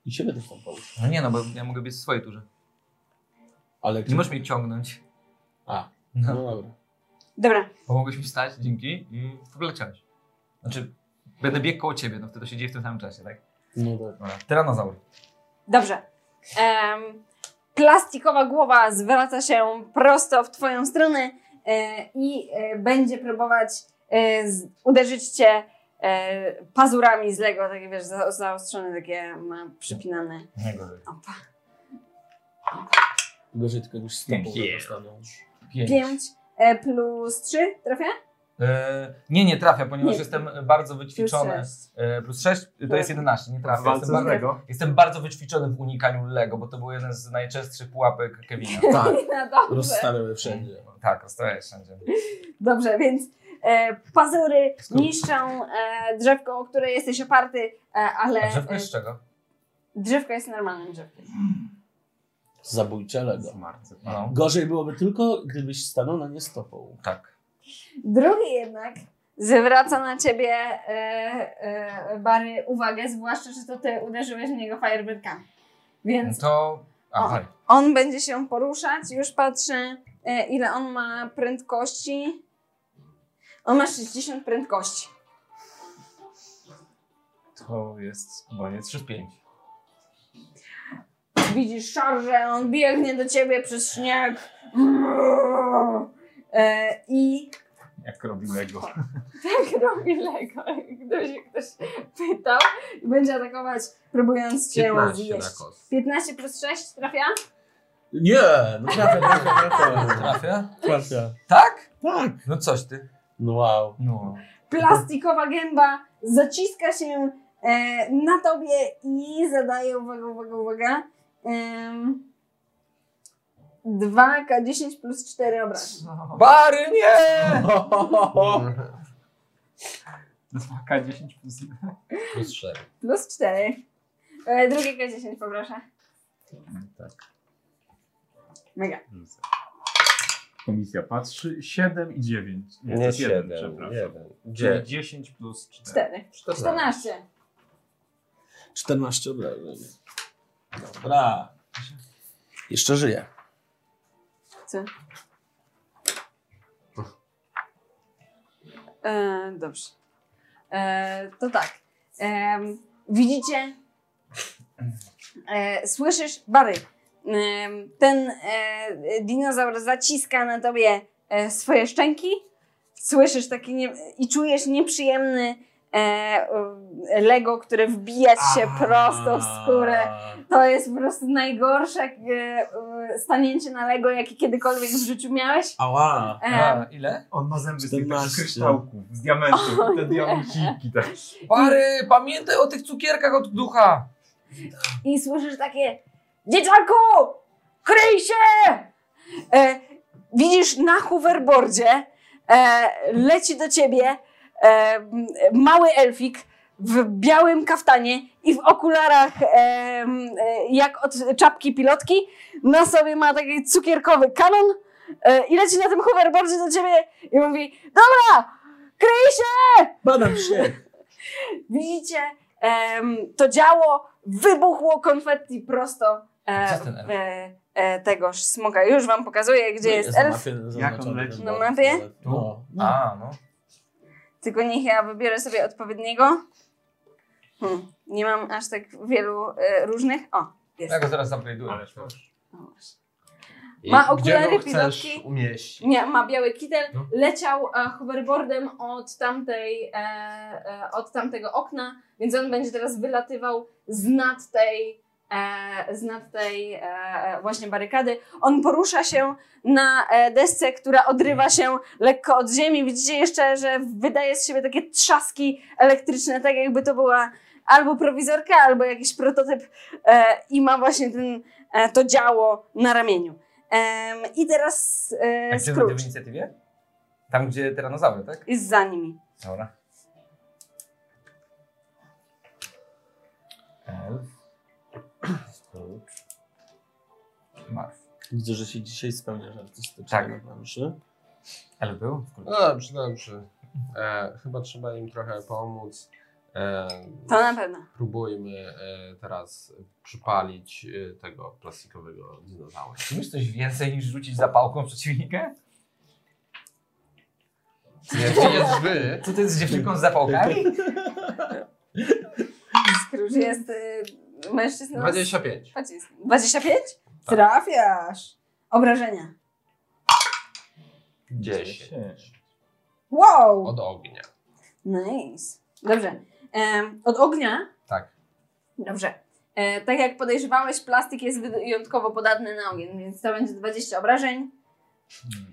Speaker 5: I siebie też tam połóż.
Speaker 23: No nie no, bo ja mogę być w swojej turze.
Speaker 5: Ale
Speaker 23: Nie możesz mnie ciągnąć.
Speaker 5: A. No
Speaker 23: No.
Speaker 5: dobra.
Speaker 4: Dobra,
Speaker 23: Pomogłeś mi wstać, dzięki i wleciałeś. Znaczy, będę biegł koło ciebie, no wtedy to się dzieje w tym samym czasie, tak?
Speaker 5: No tak.
Speaker 23: Dobra. Tyranozaur.
Speaker 4: dobrze. Em, plastikowa głowa zwraca się prosto w twoją stronę e, i e, będzie próbować e, z, uderzyć cię e, pazurami z Lego, takie wiesz, za, zaostrzone, takie ma przypinane.
Speaker 23: Nie gorzej.
Speaker 4: Opa.
Speaker 5: Gorzej tylko już stopą
Speaker 6: Yeah.
Speaker 5: postawią.
Speaker 23: Pięć.
Speaker 4: 5 e, plus 3, trafia?
Speaker 23: E, nie, nie trafia, ponieważ
Speaker 4: Nie.
Speaker 23: jestem bardzo wyćwiczony.
Speaker 4: sześć. *laughs*
Speaker 23: E, plus 6 to jest 11, nie trafia. Jestem bardzo,
Speaker 6: Lego.
Speaker 23: jestem bardzo wyćwiczony w unikaniu Lego, bo to był jeden z najczęstszych pułapek Kevina.
Speaker 5: Tak,
Speaker 4: No dobrze.
Speaker 5: rozstawiamy wszędzie.
Speaker 3: Mm.
Speaker 23: Tak, rozstawiasz wszędzie.
Speaker 4: Dobrze, więc e, pazury niszczą e, drzewko, o które jesteś oparty, e, ale
Speaker 23: A
Speaker 4: e,
Speaker 23: drzewko jest z czego?
Speaker 4: drzewko jest normalnym drzewkiem.
Speaker 5: Zabójcze Lego.
Speaker 23: No,
Speaker 5: Gorzej byłoby tylko, gdybyś stanął na nie stopą.
Speaker 23: tak.
Speaker 4: Drugi jednak zwraca na ciebie e, e, Bary uwagę, zwłaszcza, że to ty uderzyłeś w niego fajerwerkami. Więc
Speaker 23: No To... Aha,
Speaker 4: On będzie się poruszać, już patrzę, e, ile on ma prędkości. On ma 60 prędkości.
Speaker 6: To jest koniec 3-5.
Speaker 4: Widzisz szarżę, on biegnie do ciebie przez śnieg. E, I
Speaker 6: Jak robił Lego.
Speaker 4: tak *laughs* robi Lego. Gdyby się ktoś pytał, i będzie atakować, próbując cię
Speaker 24: 15 na
Speaker 4: zjeść.
Speaker 24: kost.
Speaker 4: 15 plus 6 trafia?
Speaker 5: Nie, *laughs* no trafia, trafia, trafia.
Speaker 23: trafia?
Speaker 5: Trafia.
Speaker 23: Tak?
Speaker 5: Tak.
Speaker 23: No coś ty.
Speaker 5: No wow.
Speaker 23: No.
Speaker 4: Plastikowa gęba zaciska się e, na tobie i zadaje, uwaga, uwaga, uwaga, em, 2K10 plus 4 obrażeń.
Speaker 23: Bary, nie!
Speaker 2: Mhm.
Speaker 6: K 10 plus
Speaker 24: Plus 4.
Speaker 4: Plus 4. E, drugie K10 poproszę.
Speaker 6: Tak.
Speaker 4: Mega.
Speaker 6: Komisja patrzy. 7 i 9.
Speaker 24: Nie
Speaker 6: siedem,
Speaker 24: 7,
Speaker 6: przepraszam.
Speaker 24: 9.
Speaker 6: 10 plus 4.
Speaker 4: 4. 14.
Speaker 5: 14 obrażeń. Dobra. Jeszcze żyję.
Speaker 4: E, dobrze. E, to tak. Em, widzicie? E, słyszysz, Bary, em, ten e, dinozaur zaciska na tobie e, swoje szczęki. Słyszysz taki nie, i czujesz nieprzyjemny e, Lego, które wbija ci się prosto w skórę. To jest po prostu najgorsze e, e, stanięcie na Lego, jakie kiedykolwiek w życiu miałeś.
Speaker 5: Ała!
Speaker 4: E,
Speaker 6: ile?
Speaker 3: On ma zęby z tych takich
Speaker 5: 14.
Speaker 3: kryształków, z diamentów, i te diamenciki tak.
Speaker 6: Pary, pamiętaj o tych cukierkach od ducha.
Speaker 4: I słyszysz takie Dzieciaku! Kryj się! E, widzisz na hoverboardzie e, leci do ciebie e, m, mały elfik w białym kaftanie i w okularach e, m, e, jak od czapki pilotki. Na sobie ma taki cukierkowy kanon e, i leci na tym hoverboardzie do ciebie i mówi Dobra! Kryj się!
Speaker 5: Badam się!
Speaker 4: *laughs* Widzicie, em, to działo wybuchło konfetti prosto e,
Speaker 6: Gdzie jest ten elf? No
Speaker 4: e, e, tegoż smoka. Już wam pokazuję, gdzie jest
Speaker 5: na
Speaker 4: elf.
Speaker 5: mapie
Speaker 3: Jak on
Speaker 5: zaznaczony
Speaker 3: leci?
Speaker 5: ten
Speaker 4: Na
Speaker 5: bord.
Speaker 4: mapie?
Speaker 5: No. no.
Speaker 6: A, no.
Speaker 4: Tylko niech ja wybiorę sobie odpowiedniego. Hm, nie mam aż tak wielu e, różnych. O, jest.
Speaker 6: Ja go zaraz upgrade'uję.
Speaker 3: Ależ masz.
Speaker 4: O, właśnie. Ma okulary,
Speaker 25: Gdzie go chcesz
Speaker 4: pilotki?
Speaker 25: umieścić?
Speaker 4: Nie, ma biały kitel.
Speaker 25: No.
Speaker 4: Leciał e, hoverboardem od, tamtej, e, e, od tamtego okna, więc on będzie teraz wylatywał z nad tej, e, z nad tej e, e, właśnie barykady. On porusza się na e, desce, która odrywa się lekko od ziemi. Widzicie jeszcze, że wydaje z siebie takie trzaski elektryczne, tak jakby to była albo prowizorka, albo jakiś prototyp e, i ma właśnie ten, e, to działo na ramieniu. Em, I teraz
Speaker 6: A
Speaker 4: e,
Speaker 6: gdzie będę
Speaker 4: Scrooge
Speaker 6: w inicjatywie? Tam, gdzie tyranozaury, tak?
Speaker 4: jest za nimi.
Speaker 6: Dobra. Elf. Scrooge. Marf.
Speaker 5: Widzę, że się dzisiaj spełniasz artystycznie. no,
Speaker 6: Tak.
Speaker 5: na planszy.
Speaker 6: Elf był?
Speaker 2: No dobrze, dobrze. E, chyba trzeba im trochę pomóc. E,
Speaker 4: To na pewno.
Speaker 2: Próbujmy e, teraz przypalić e, tego plastikowego
Speaker 5: *laughs*
Speaker 2: dinozaura.
Speaker 6: Czy masz coś więcej niż rzucić zapałką w przeciwnikę?
Speaker 2: Nie, ty jest wy.
Speaker 6: Co to jest z dziewczynką z zapałkami?
Speaker 4: Scrooge jest e, mężczyzną. z
Speaker 2: 25.
Speaker 4: pociskiem. 25?
Speaker 2: Tak.
Speaker 4: Trafiasz. Obrażenia.
Speaker 2: 10.
Speaker 4: Wow!
Speaker 2: Od ognia.
Speaker 4: Nice. Dobrze. Em, od ognia
Speaker 2: Tak.
Speaker 4: Dobrze. E, tak jak podejrzewałeś, plastik jest wyjątkowo podatny na ogień, więc to będzie 20 obrażeń.
Speaker 2: Hmm.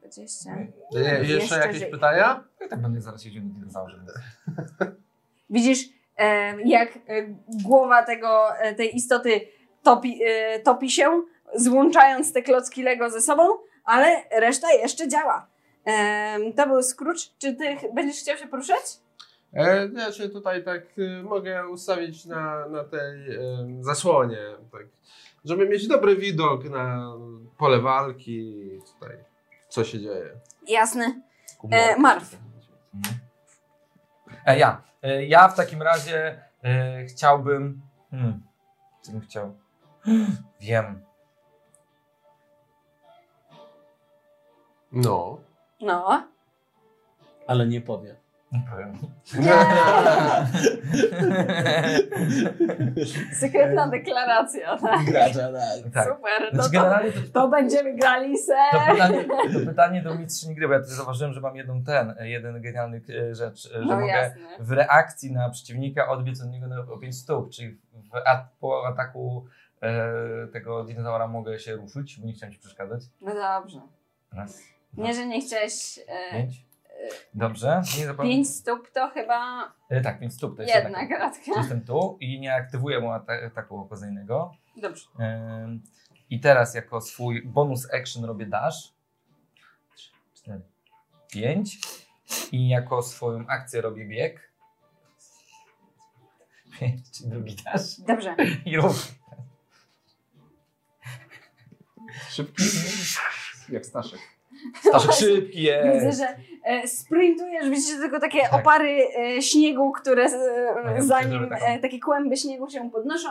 Speaker 4: 20.
Speaker 2: Je, jeszcze
Speaker 4: Jeszcze
Speaker 2: jakieś
Speaker 4: żyje.
Speaker 2: pytania?
Speaker 6: Ja tak będę zaraz jeździł na dinozaurze.
Speaker 4: Widzisz, e, jak e, głowa tego, e, tej istoty topi, e, topi się, złączając te klocki Lego ze sobą, ale reszta jeszcze działa. Em, to był Scrooge. Czy ty ch- będziesz chciał się poruszać?
Speaker 2: E, ja się tutaj tak e, mogę ustawić na, na tej e, zasłonie, tak, żeby mieć dobry widok na pole walki, tutaj, co się dzieje.
Speaker 4: Jasne. E, Marw.
Speaker 6: E, ja. E, ja w takim razie e, chciałbym. Hmm, co bym chciał? Wiem.
Speaker 2: No.
Speaker 4: No.
Speaker 5: Ale nie
Speaker 3: *laughs*
Speaker 5: powiem.
Speaker 6: Nie powiem. *laughs* Tak.
Speaker 4: Sekretna deklaracja. Tak.
Speaker 5: Gracza, tak.
Speaker 6: tak.
Speaker 4: Super. No
Speaker 6: Znaczy,
Speaker 4: to,
Speaker 6: generalnie to,
Speaker 4: to będziemy grali se. *laughs*
Speaker 6: to, pytanie, to pytanie do mistrzyni gry, bo ja też zauważyłem, że mam jeden ten, jeden genialny e, rzecz, e, że
Speaker 4: No
Speaker 6: mogę
Speaker 4: jasne.
Speaker 6: w reakcji na przeciwnika odbiec od niego na o 5 stóp, czyli w a, po ataku e, tego dinozaura mogę się ruszyć, bo nie chciałem ci przeszkadzać.
Speaker 4: No dobrze.
Speaker 6: Raz, dwa,
Speaker 4: Nie, że nie chciałeś. E,
Speaker 6: pięć. Dobrze. Nie zapomnę-
Speaker 4: pięć stóp to chyba
Speaker 6: E, tak, 5 stóp to jest
Speaker 4: jedna
Speaker 6: jednak.
Speaker 4: kratka.
Speaker 6: Jestem tu i nie aktywuję mu ata- ataku okazyjnego.
Speaker 4: Dobrze.
Speaker 6: Ym, I teraz jako swój bonus action robię dash. 4, 5. I jako swoją akcję robię bieg. 5, drugi dash.
Speaker 4: Dobrze.
Speaker 6: I rób.
Speaker 3: Szybki. Jak Staszek.
Speaker 6: Staszek szybki
Speaker 4: Widzę,
Speaker 6: jest.
Speaker 4: że e, sprintujesz, widzicie tylko takie
Speaker 6: Tak.
Speaker 4: opary e, śniegu, które
Speaker 6: No
Speaker 4: e,
Speaker 6: ja
Speaker 4: za
Speaker 6: myślę,
Speaker 4: nim,
Speaker 6: żeby tak.
Speaker 4: e, takie kłęby śniegu się podnoszą.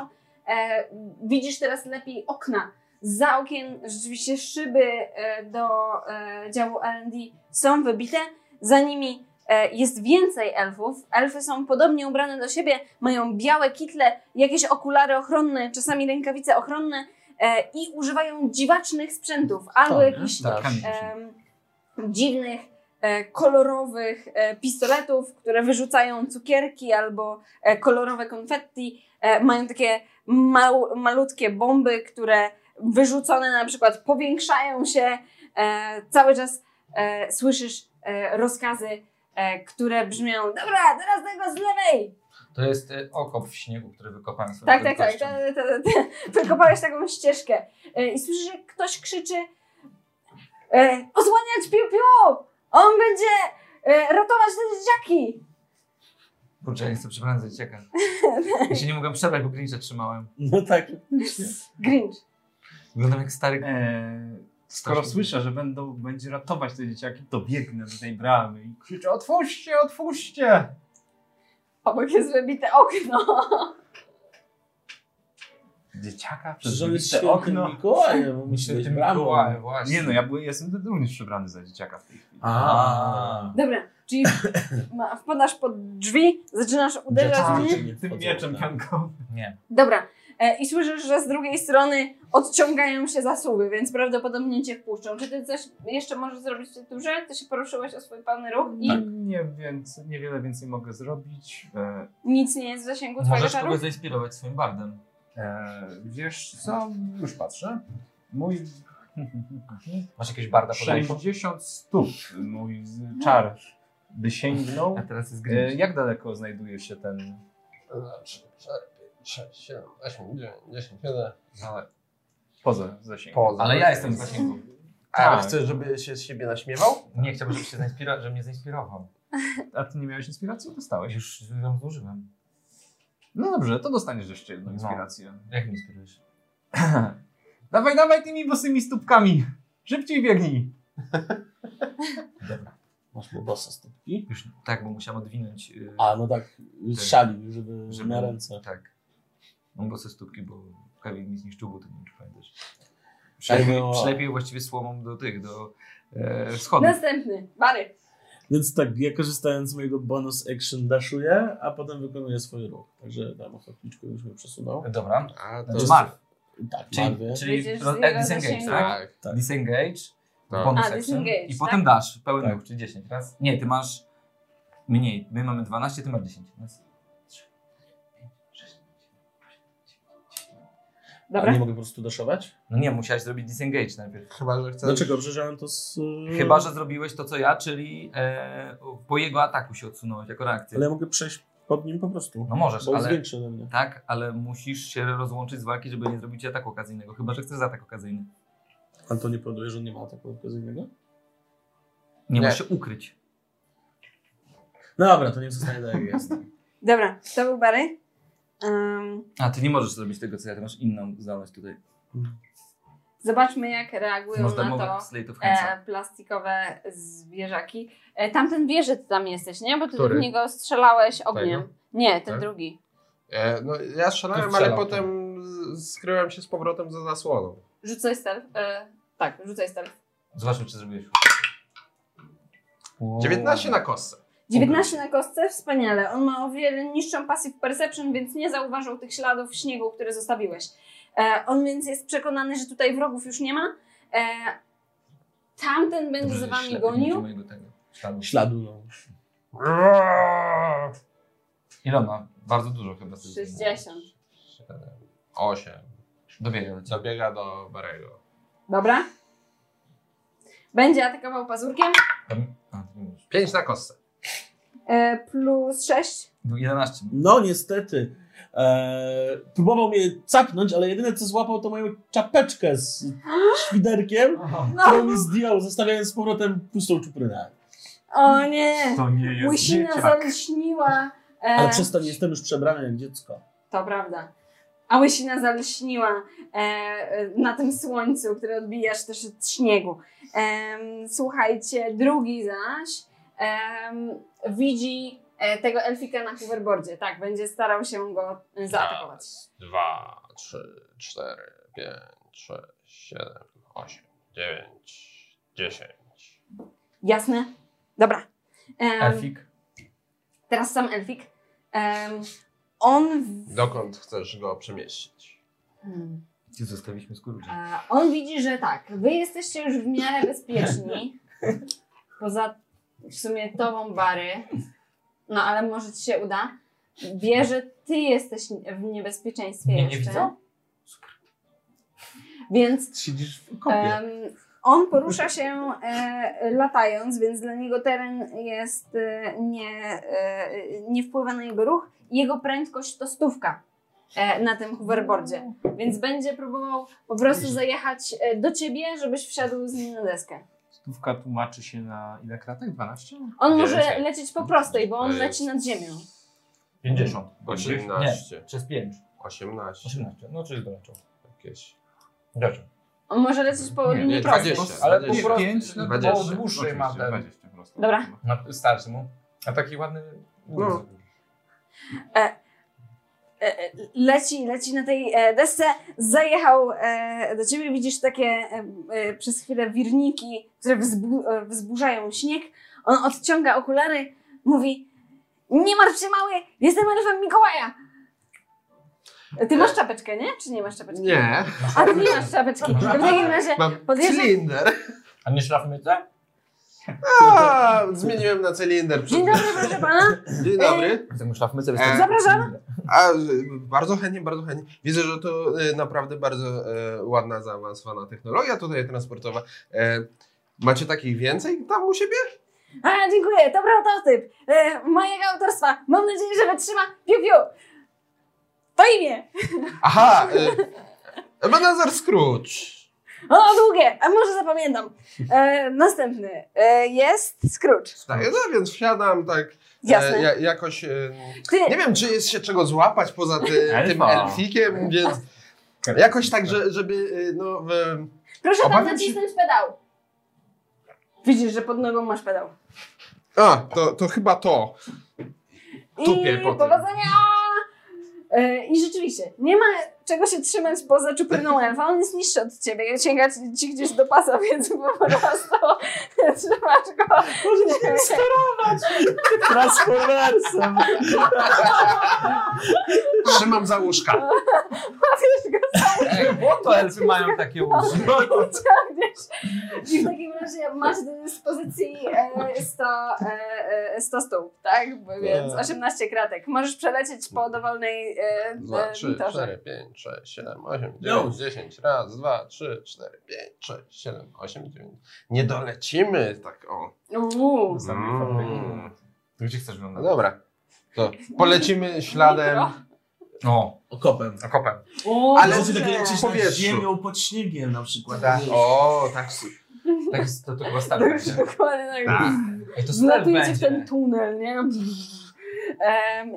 Speaker 4: E, widzisz teraz lepiej okna. Za okien rzeczywiście szyby e, do e, działu R&D są wybite. Za nimi e, jest więcej elfów. Elfy są podobnie ubrane do siebie, mają białe kitle, jakieś okulary ochronne, czasami rękawice ochronne e, i używają dziwacznych sprzętów albo
Speaker 5: Tak,
Speaker 4: jakichś
Speaker 5: tak.
Speaker 4: em, dziwnych e, kolorowych e, pistoletów, które wyrzucają cukierki albo e, kolorowe konfetti. E, Mają takie mał, malutkie bomby, które wyrzucone na przykład powiększają się. E, Cały czas e, słyszysz e, rozkazy, e, które brzmią: Dobra, teraz tego z lewej!
Speaker 23: To jest y, okop w śniegu, który wykopałem sobie.
Speaker 4: Tak, tak, tak.
Speaker 23: prędkością.
Speaker 4: Te, te, te, wykopałeś taką ścieżkę. E, I słyszysz, że ktoś krzyczy e, osłaniać piu, piu! On będzie e, ratować te dzieciaki!
Speaker 23: Kurczę, ja nie chcę przebrać cieka.
Speaker 4: *laughs*
Speaker 23: Ja się nie mogłem przebrać, bo klincza trzymałem.
Speaker 5: No tak.
Speaker 4: Grinch.
Speaker 23: Wyglądam jak stary.
Speaker 6: Eee, skoro słyszę, że będą, będzie ratować te dzieciaki, to biegnę do tej bramy i krzyczę otwórzcie, otwórzcie!
Speaker 4: Obok jest wybite okno. *laughs*
Speaker 6: Dzieciaka przez
Speaker 5: Że jest
Speaker 6: wybite
Speaker 5: świętym
Speaker 6: okno.
Speaker 5: Mikołajem, musi być
Speaker 23: Świętym
Speaker 5: bramą.
Speaker 23: Mikołajem, właśnie.
Speaker 6: Nie no, ja byłem, jestem również przebrany za dzieciaka w tej chwili.
Speaker 23: A.
Speaker 4: Dobra, czyli ma- wpadasz pod drzwi, zaczynasz uderzać
Speaker 5: Dzieciaki.
Speaker 4: w nie.
Speaker 5: nie
Speaker 6: Tym
Speaker 5: wchodzą,
Speaker 6: mieczem
Speaker 5: tak.
Speaker 6: piankowym.
Speaker 23: Nie.
Speaker 4: Dobra, e, i słyszysz, że z drugiej strony odciągają się zasuwy, więc prawdopodobnie cię wpuszczą. Czy ty coś jeszcze możesz zrobić w tej turze? Ty się poruszyłeś o swój pełny ruch i
Speaker 23: Tak.
Speaker 6: Nie więcej, niewiele więcej mogę zrobić. E,
Speaker 4: nic nie jest w zasięgu twojego
Speaker 23: Możesz
Speaker 4: czaru?
Speaker 23: kogoś zainspirować swoim bardem.
Speaker 6: e, wiesz co, już patrzę. Mój
Speaker 23: Masz jakiegoś barda pod ręką?
Speaker 6: 60 stóp mój z- czar by sięgnął.
Speaker 23: *laughs* A teraz jest gry.
Speaker 6: E, Jak daleko znajduje się ten...
Speaker 2: 3, 4, 5, 6, 7, 8, 9, 10, 11.
Speaker 6: Poza zasięgiem.
Speaker 2: Poza.
Speaker 23: Ale ja jestem w zasięgu.
Speaker 2: A
Speaker 6: Tak.
Speaker 2: chcesz, żeby się z siebie naśmiewał?
Speaker 23: Nie chciałbym, żebyś się zainspira- żeby mnie zainspirował.
Speaker 6: *laughs* A ty nie miałeś inspiracji? Dostałeś.
Speaker 23: Już ją zużyłem.
Speaker 6: No dobrze, to dostaniesz jeszcze jedną
Speaker 23: No.
Speaker 6: inspirację.
Speaker 23: Jak mnie inspirujesz?
Speaker 6: dawaj, dawaj tymi bosymi stópkami. Szybciej biegnij.
Speaker 5: Masz mu bossa stópki.
Speaker 23: Już tak, bo musiałem odwinąć. y,
Speaker 5: A, no tak, strzalił, żeby,
Speaker 23: żeby-
Speaker 5: na ręce.
Speaker 23: Tak. No bo ze stópki, bo Kevin mi zniszczył buty, nie wiem czy pamiętasz.
Speaker 5: Tak
Speaker 23: Przylepił,
Speaker 5: było.
Speaker 23: przylepił właściwie słomą do tych, do e, schodów.
Speaker 4: Następny, Bary.
Speaker 5: Więc tak, ja korzystając z mojego bonus action daszuję, a potem wykonuję swój ruch. Także tam ochotniczkę już mnie przesunął.
Speaker 23: Dobra.
Speaker 2: A,
Speaker 5: To jest-
Speaker 23: Marw.
Speaker 5: Tak,
Speaker 23: Czyli,
Speaker 5: Marwy.
Speaker 23: czyli
Speaker 4: Wyjdziesz z
Speaker 23: roz-
Speaker 4: jego
Speaker 23: e, disengage,
Speaker 4: zasięgu.
Speaker 23: tak?
Speaker 2: Tak.
Speaker 5: Tak.
Speaker 23: Disengage,
Speaker 2: Tak.
Speaker 23: bonus
Speaker 4: A,
Speaker 23: action
Speaker 4: disengage,
Speaker 23: i
Speaker 4: tak?
Speaker 23: potem dasz pełen
Speaker 5: Tak.
Speaker 23: ruch, czyli 10 raz. Nie, ty masz mniej. My mamy 12, ty masz 10. Raz.
Speaker 5: A nie
Speaker 4: Dobra.
Speaker 5: mogę po prostu daszować?
Speaker 23: No nie, musiałeś zrobić disengage najpierw.
Speaker 2: Chyba, że chcesz.
Speaker 5: Dlaczego? Przeżyłem to z...
Speaker 4: Mm.
Speaker 5: y,
Speaker 23: Chyba, że zrobiłeś to co ja, czyli e, po jego ataku się odsunąłeś jako reakcję.
Speaker 5: Ale ja mogę przejść pod nim po prostu.
Speaker 23: No możesz,
Speaker 5: Bo jest
Speaker 23: ale,
Speaker 5: większy ode mnie.
Speaker 23: Tak, ale musisz się rozłączyć z walki, żeby nie zrobić ci ataku okazyjnego. Chyba, że chcesz atak okazyjny.
Speaker 5: Ale to nie powoduje, że on nie ma ataku okazyjnego?
Speaker 23: Nie,
Speaker 2: Nie.
Speaker 23: możesz się ukryć.
Speaker 5: No dobra, to nie zostanie tak jak jest.
Speaker 4: Dobra, to był Bary. Ym,
Speaker 23: A ty nie możesz zrobić tego, co ja, ty masz inną zdolność tutaj.
Speaker 4: zobaczmy, jak reagują
Speaker 23: Można
Speaker 4: na
Speaker 23: mówić
Speaker 4: to
Speaker 23: Slate of Handsa.
Speaker 4: e, plastikowe zwierzaki. E, tamten wie, że ty tam jesteś, nie? Bo ty
Speaker 2: Który?
Speaker 4: w niego strzelałeś ogniem.
Speaker 2: Tego?
Speaker 4: Nie, ten
Speaker 2: Tak?
Speaker 4: drugi.
Speaker 2: E, no, ja strzelałem,
Speaker 23: To
Speaker 2: ale
Speaker 23: strzelał,
Speaker 2: potem z- skryłem się z powrotem za zasłoną.
Speaker 4: Rzucaj stealth. E, tak, rzucaj stealth.
Speaker 23: Zobaczmy, czy zrobiłeś.
Speaker 2: 19 na kostce.
Speaker 4: 19 na kostce, wspaniale. On ma o wiele niższą passive perception, więc nie zauważył tych śladów śniegu, które zostawiłeś. E, on więc jest przekonany, że tutaj wrogów już nie ma. E, tamten będzie
Speaker 23: Dobrze,
Speaker 4: za
Speaker 23: że
Speaker 4: wami
Speaker 23: ślepy nie widzi
Speaker 4: gonił.
Speaker 23: mojego tego śladu.
Speaker 5: Śladu, no.
Speaker 23: Ile on ma? Bardzo dużo chyba.
Speaker 4: 60.
Speaker 2: 8.
Speaker 23: Dobiegam do ciebie.
Speaker 2: Zabiega do Barego.
Speaker 4: Dobra. Będzie atakował pazurkiem.
Speaker 23: A, ty nie możesz.
Speaker 2: 5 na kostce.
Speaker 4: E, plus 6.
Speaker 23: Był 11.
Speaker 5: No niestety. Eee, próbował mnie capnąć, ale jedyne co złapał to moją czapeczkę z świderkiem, którą mi zdjął, zostawiając z powrotem pustą czuprynę.
Speaker 4: O nie!
Speaker 6: To nie jest
Speaker 4: Łysina
Speaker 6: dzieciak.
Speaker 4: zalśniła. E,
Speaker 5: Ale przez to nie jestem już przebrany jak dziecko.
Speaker 4: To prawda. A łysina zalśniła e, e, na tym słońcu, które odbijasz też od śniegu. Em, słuchajcie, drugi zaś em, widzi e, tego elfika na hoverboardzie. Tak, będzie starał się go
Speaker 6: Tak.
Speaker 4: e, zaatakować.
Speaker 2: 2, 3, 4, 5, 6, 7, 8, 9, 10.
Speaker 4: Jasne? Dobra. Em,
Speaker 23: Elfik.
Speaker 4: Teraz sam elfik. Em, on
Speaker 2: Dokąd chcesz go przemieścić?
Speaker 4: Hmm.
Speaker 23: Gdzie zostawiliśmy skurcza?
Speaker 4: E, On widzi, że tak, wy jesteście już w miarę bezpieczni. Poza w sumie tobą Bary, no ale może ci się uda, wie, że ty jesteś w niebezpieczeństwie
Speaker 3: Mnie nie
Speaker 4: jeszcze.
Speaker 3: widzą?
Speaker 4: Więc
Speaker 5: Siedzisz w kopie.
Speaker 4: Em, on porusza się e, latając, więc dla niego teren jest e, nie, e, nie wpływa na jego ruch. Jego prędkość to stówka e, na tym hoverboardzie, więc będzie próbował po prostu zajechać e, do ciebie, żebyś wsiadł z nim na deskę.
Speaker 6: Stówka tłumaczy się na ile kratek? 12?
Speaker 4: On może
Speaker 6: Więcej.
Speaker 4: lecieć po prostej, bo on
Speaker 2: To jest-
Speaker 4: leci nad ziemią.
Speaker 3: 50.
Speaker 2: 18.
Speaker 3: Przez 5.
Speaker 2: 18.
Speaker 3: 18. No czyli doleczą.
Speaker 2: Jakieś.
Speaker 3: Dobrze.
Speaker 4: On może lecieć po
Speaker 6: Nie,
Speaker 4: linii
Speaker 2: nie,
Speaker 4: prostej.
Speaker 2: 20.
Speaker 3: Ale po
Speaker 2: 20.
Speaker 3: prostu
Speaker 6: Pięć, no to
Speaker 3: bo
Speaker 2: 20.
Speaker 3: dłuższy ma
Speaker 6: Oczywiście,
Speaker 3: ten.
Speaker 6: 20 po prostu.
Speaker 4: Dobra.
Speaker 3: No, Starszy mu. A taki ładny.
Speaker 2: No.
Speaker 4: E, e, leci, leci na tej e, desce, zajechał e, do ciebie, widzisz takie e, e, przez chwilę wirniki, które wzbu e, wzburzają śnieg. On odciąga okulary, mówi nie martw się mały, jestem elfem Mikołaja. E, Ty masz czapeczkę, nie? Czy nie masz czapeczki?
Speaker 2: Nie,
Speaker 4: A ty nie masz czapeczki. To w takim razie
Speaker 2: mam
Speaker 4: podjeżdża-
Speaker 2: cylinder.
Speaker 3: A nie szlafmyce?
Speaker 2: A, zmieniłem na cylinder.
Speaker 4: Dzień dobry, proszę pana.
Speaker 2: Dzień dobry.
Speaker 3: Chcemy szlafmyce
Speaker 2: E,
Speaker 4: Zapraszam.
Speaker 2: A, y, bardzo chętnie, bardzo chętnie. Widzę, że to y, naprawdę bardzo e, ładna, zaawansowana technologia tutaj transportowa. E, macie takich więcej tam u siebie?
Speaker 4: A, dziękuję, to prototyp e, mojego autorstwa. Mam nadzieję, że wytrzyma. Piu, piu. To imię.
Speaker 2: Aha! E, Benazar Scrooge.
Speaker 4: O, długie, a może zapamiętam. E, następny e, jest Scrooge.
Speaker 2: Tak, no więc wsiadam tak
Speaker 4: Jasne.
Speaker 2: e, ja, jakoś... E,
Speaker 4: Ty,
Speaker 2: nie wiem, czy jest się czego złapać poza ty, tym
Speaker 6: Elfa.
Speaker 2: elfikiem, więc jakoś tak, że, żeby e, no... w-
Speaker 4: proszę pan
Speaker 2: obawiam się-
Speaker 4: nacisnąć pedał. Widzisz, że pod nogą masz pedał.
Speaker 2: A, to, to chyba to. Tupię
Speaker 4: I
Speaker 2: po tym.
Speaker 4: powodzenia! E, I rzeczywiście, nie ma czego się trzymać poza czupryną elfa, on jest niższy od ciebie, sięga ci- ci gdzieś do pasa, więc po prostu *laughs* trzymasz go. *laughs* Możesz
Speaker 5: Transformersem.
Speaker 2: Trzymam za
Speaker 3: *laughs*
Speaker 2: łóżka.
Speaker 4: go
Speaker 3: Bo to elfy mają takie uszy.
Speaker 4: *laughs* ciągniesz. I w takim razie masz do dyspozycji e, 100, e, e, 100 stóp, tak? Bo Więc 18 kratek. Możesz przelecieć po dowolnej e,
Speaker 2: Dwa,
Speaker 4: e,
Speaker 2: trzy,
Speaker 4: torze.
Speaker 2: cztery, pięć, sześć, siedem, osiem,
Speaker 5: No.
Speaker 2: dziewięć, dziesięć. Raz, dwa, trzy, cztery, pięć, sześć, siedem, osiem, dziewięć. Nie dolecimy tak o.
Speaker 4: Uuu.
Speaker 2: Mm.
Speaker 6: Tu Gdzie chcesz
Speaker 2: No
Speaker 6: wyglądać?
Speaker 2: dobra. To polecimy śladem.
Speaker 3: O,
Speaker 5: Okopem.
Speaker 3: okopem.
Speaker 4: Uuu,
Speaker 2: Ale
Speaker 5: Ale takie
Speaker 4: dobrze.
Speaker 5: lecisz nad
Speaker 2: Powietrzu.
Speaker 5: ziemią, pod śniegiem na przykład.
Speaker 2: Tak. O, tak.
Speaker 3: Tak jest, to, to chyba
Speaker 4: To
Speaker 3: stary.
Speaker 4: już
Speaker 3: będzie.
Speaker 4: dokładnie tak.
Speaker 2: tak.
Speaker 3: Ej, to stary
Speaker 4: Zlatujecie w
Speaker 3: będzie.
Speaker 4: ten tunel, nie? Em,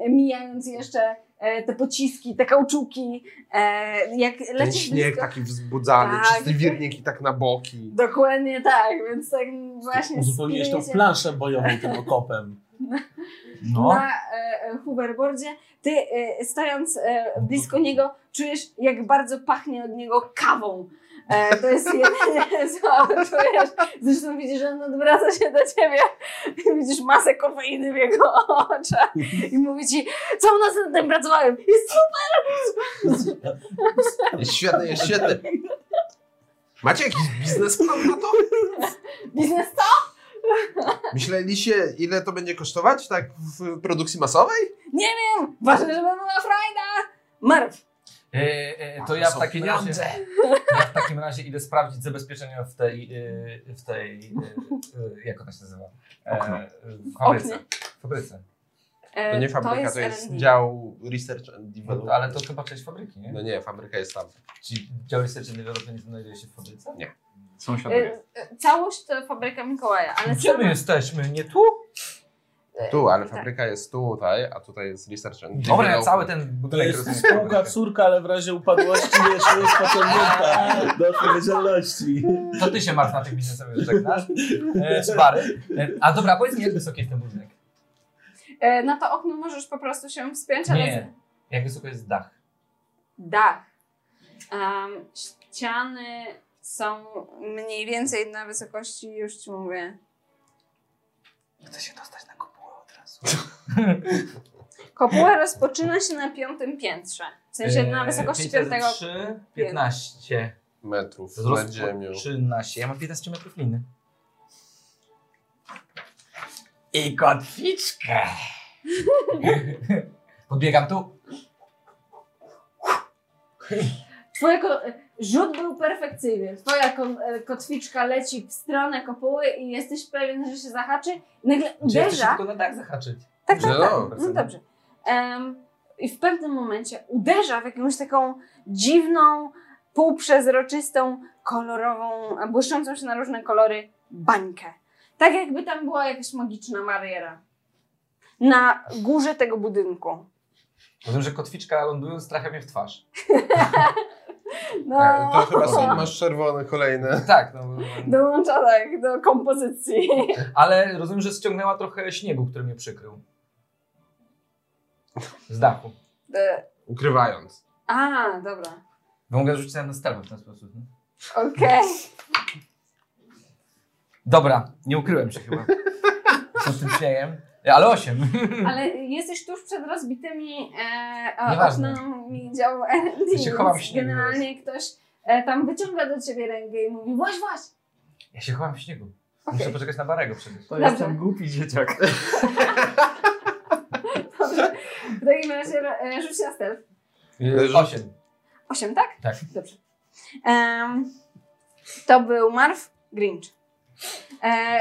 Speaker 4: mijając jeszcze e, te pociski, te kauczuki, e, jak
Speaker 2: Ten
Speaker 4: lecisz
Speaker 2: śnieg
Speaker 4: blisko,
Speaker 2: taki wzbudzany,
Speaker 4: Tak.
Speaker 2: przez te wirniki tak na boki.
Speaker 4: dokładnie tak, więc tak właśnie
Speaker 5: Uzupełniłeś tą
Speaker 4: spinujecie-
Speaker 5: planszę bojową tym okopem.
Speaker 3: No.
Speaker 4: na e, e, hoverboardzie. Ty e, stojąc e, blisko niego czujesz, jak bardzo pachnie od niego kawą. E, to jest *laughs* jedyne, co czujesz. Zresztą widzisz, że on odwraca się do ciebie i widzisz masę kofeiny w jego oczach i mówi ci, całą noc nad tym pracowałem. Jest
Speaker 2: Jest świetny, jest świetny. Macie jakiś biznesplan na to?
Speaker 4: biznes to?
Speaker 2: Myśleliście, ile to będzie kosztować tak w produkcji masowej?
Speaker 4: Ważne, żeby była frajda. Marw,
Speaker 3: E, e, to ja w takim razie. *laughs* Ja w takim razie idę sprawdzić zabezpieczenia w tej. e, w tej. e, e, jak ona się nazywa? E,
Speaker 6: Okno.
Speaker 3: W fabryce.
Speaker 4: Oknie.
Speaker 3: W fabryce.
Speaker 4: e,
Speaker 2: To nie fabryka, to jest
Speaker 4: R&D.
Speaker 2: dział research and
Speaker 3: No,
Speaker 2: development.
Speaker 3: to- ale to chyba część fabryki, nie?
Speaker 2: No nie, fabryka jest tam.
Speaker 3: Czyli dział research and development znajduje się w fabryce?
Speaker 4: E, e, Całość to fabryka Mikołaja, ale
Speaker 3: Gdzie
Speaker 4: sama-
Speaker 3: my jesteśmy? Nie tu?
Speaker 4: e,
Speaker 2: Tu, ale
Speaker 4: tak.
Speaker 2: fabryka jest tutaj, a tutaj jest research and
Speaker 3: Dobra, ja
Speaker 2: development.
Speaker 3: cały ten
Speaker 5: To
Speaker 3: budynek
Speaker 5: jest
Speaker 3: rozumiem.
Speaker 5: spółka córka, ale w razie upadłości jeszcze jest pociągnięta do odpowiedzialności.
Speaker 3: To ty się martw na tych biznesowych żegnasz. E, z bary. E, a dobra, powiedz mi, jak wysoki jest ten budynek?
Speaker 4: E, Na to okno możesz po prostu się wspiąć, ale
Speaker 3: Nie. Jak wysoko jest dach?
Speaker 4: dach. Em, ściany są mniej więcej na wysokości, już ci mówię,
Speaker 3: Chcę się dostać na kopułę od razu.
Speaker 4: *laughs* kopuła rozpoczyna się na piątym piętrze. W sensie E, na
Speaker 3: Eee,
Speaker 6: E,
Speaker 4: wysokości piątego.
Speaker 3: 3, 15.
Speaker 2: metrów nad ziemią.
Speaker 3: Rozpoczyna się. Ja mam 15 metrów liny.
Speaker 6: I kotwiczkę. *laughs* Podbiegam tu.
Speaker 4: Twoje ko- rzut był perfekcyjny. Twoja ko- e, kotwiczka leci w stronę kopuły i jesteś pewien, że się zahaczy. Nagle
Speaker 6: Czy ja chcę się
Speaker 4: uderza.
Speaker 6: tylko na dach zahaczyć?
Speaker 4: Tak, tak, tak.
Speaker 3: No.
Speaker 4: No dobrze. Em, I w pewnym momencie uderza w jakąś taką dziwną, półprzezroczystą, kolorową, błyszczącą się na różne kolory bańkę. Tak jakby tam była jakaś magiczna bariera. Na górze tego budynku.
Speaker 6: Rozumiem, że kotwiczka lądując trafia mnie w twarz.
Speaker 4: No,
Speaker 3: E, To chyba są, masz czerwone kolejne.
Speaker 6: Tak, no, bo-
Speaker 4: dołącza tak do kompozycji. *laughs*
Speaker 6: ale rozumiem, że ściągnęła trochę śniegu, który mnie przykrył. Z dachu.
Speaker 4: E,
Speaker 2: Ukrywając.
Speaker 4: A, dobra.
Speaker 6: Bo mogę rzucić na stelę w ten sposób. nie?
Speaker 4: Okej.
Speaker 6: Dobra, nie ukryłem się chyba. Z tym śmiejem. Ale osiem.
Speaker 4: Ale jesteś tuż przed rozbitymi e,
Speaker 6: Nieważne.
Speaker 4: oknami działu R&D,
Speaker 6: Ja się chowam w
Speaker 4: więc
Speaker 6: śniegu
Speaker 4: Generalnie ktoś e, tam wyciąga do ciebie rękę i mówi właź, właź.
Speaker 6: Ja się chowam w śniegu. Muszę poczekać na Barego przecież.
Speaker 26: To
Speaker 4: Dobrze.
Speaker 26: jestem głupi dzieciak.
Speaker 4: Dobrze. W takim razie e, rzuć na stealth.
Speaker 3: Rzuć.
Speaker 6: Osiem.
Speaker 4: Osiem, tak?
Speaker 6: Tak.
Speaker 4: Dobrze. Em, to był Marv Grinch. E,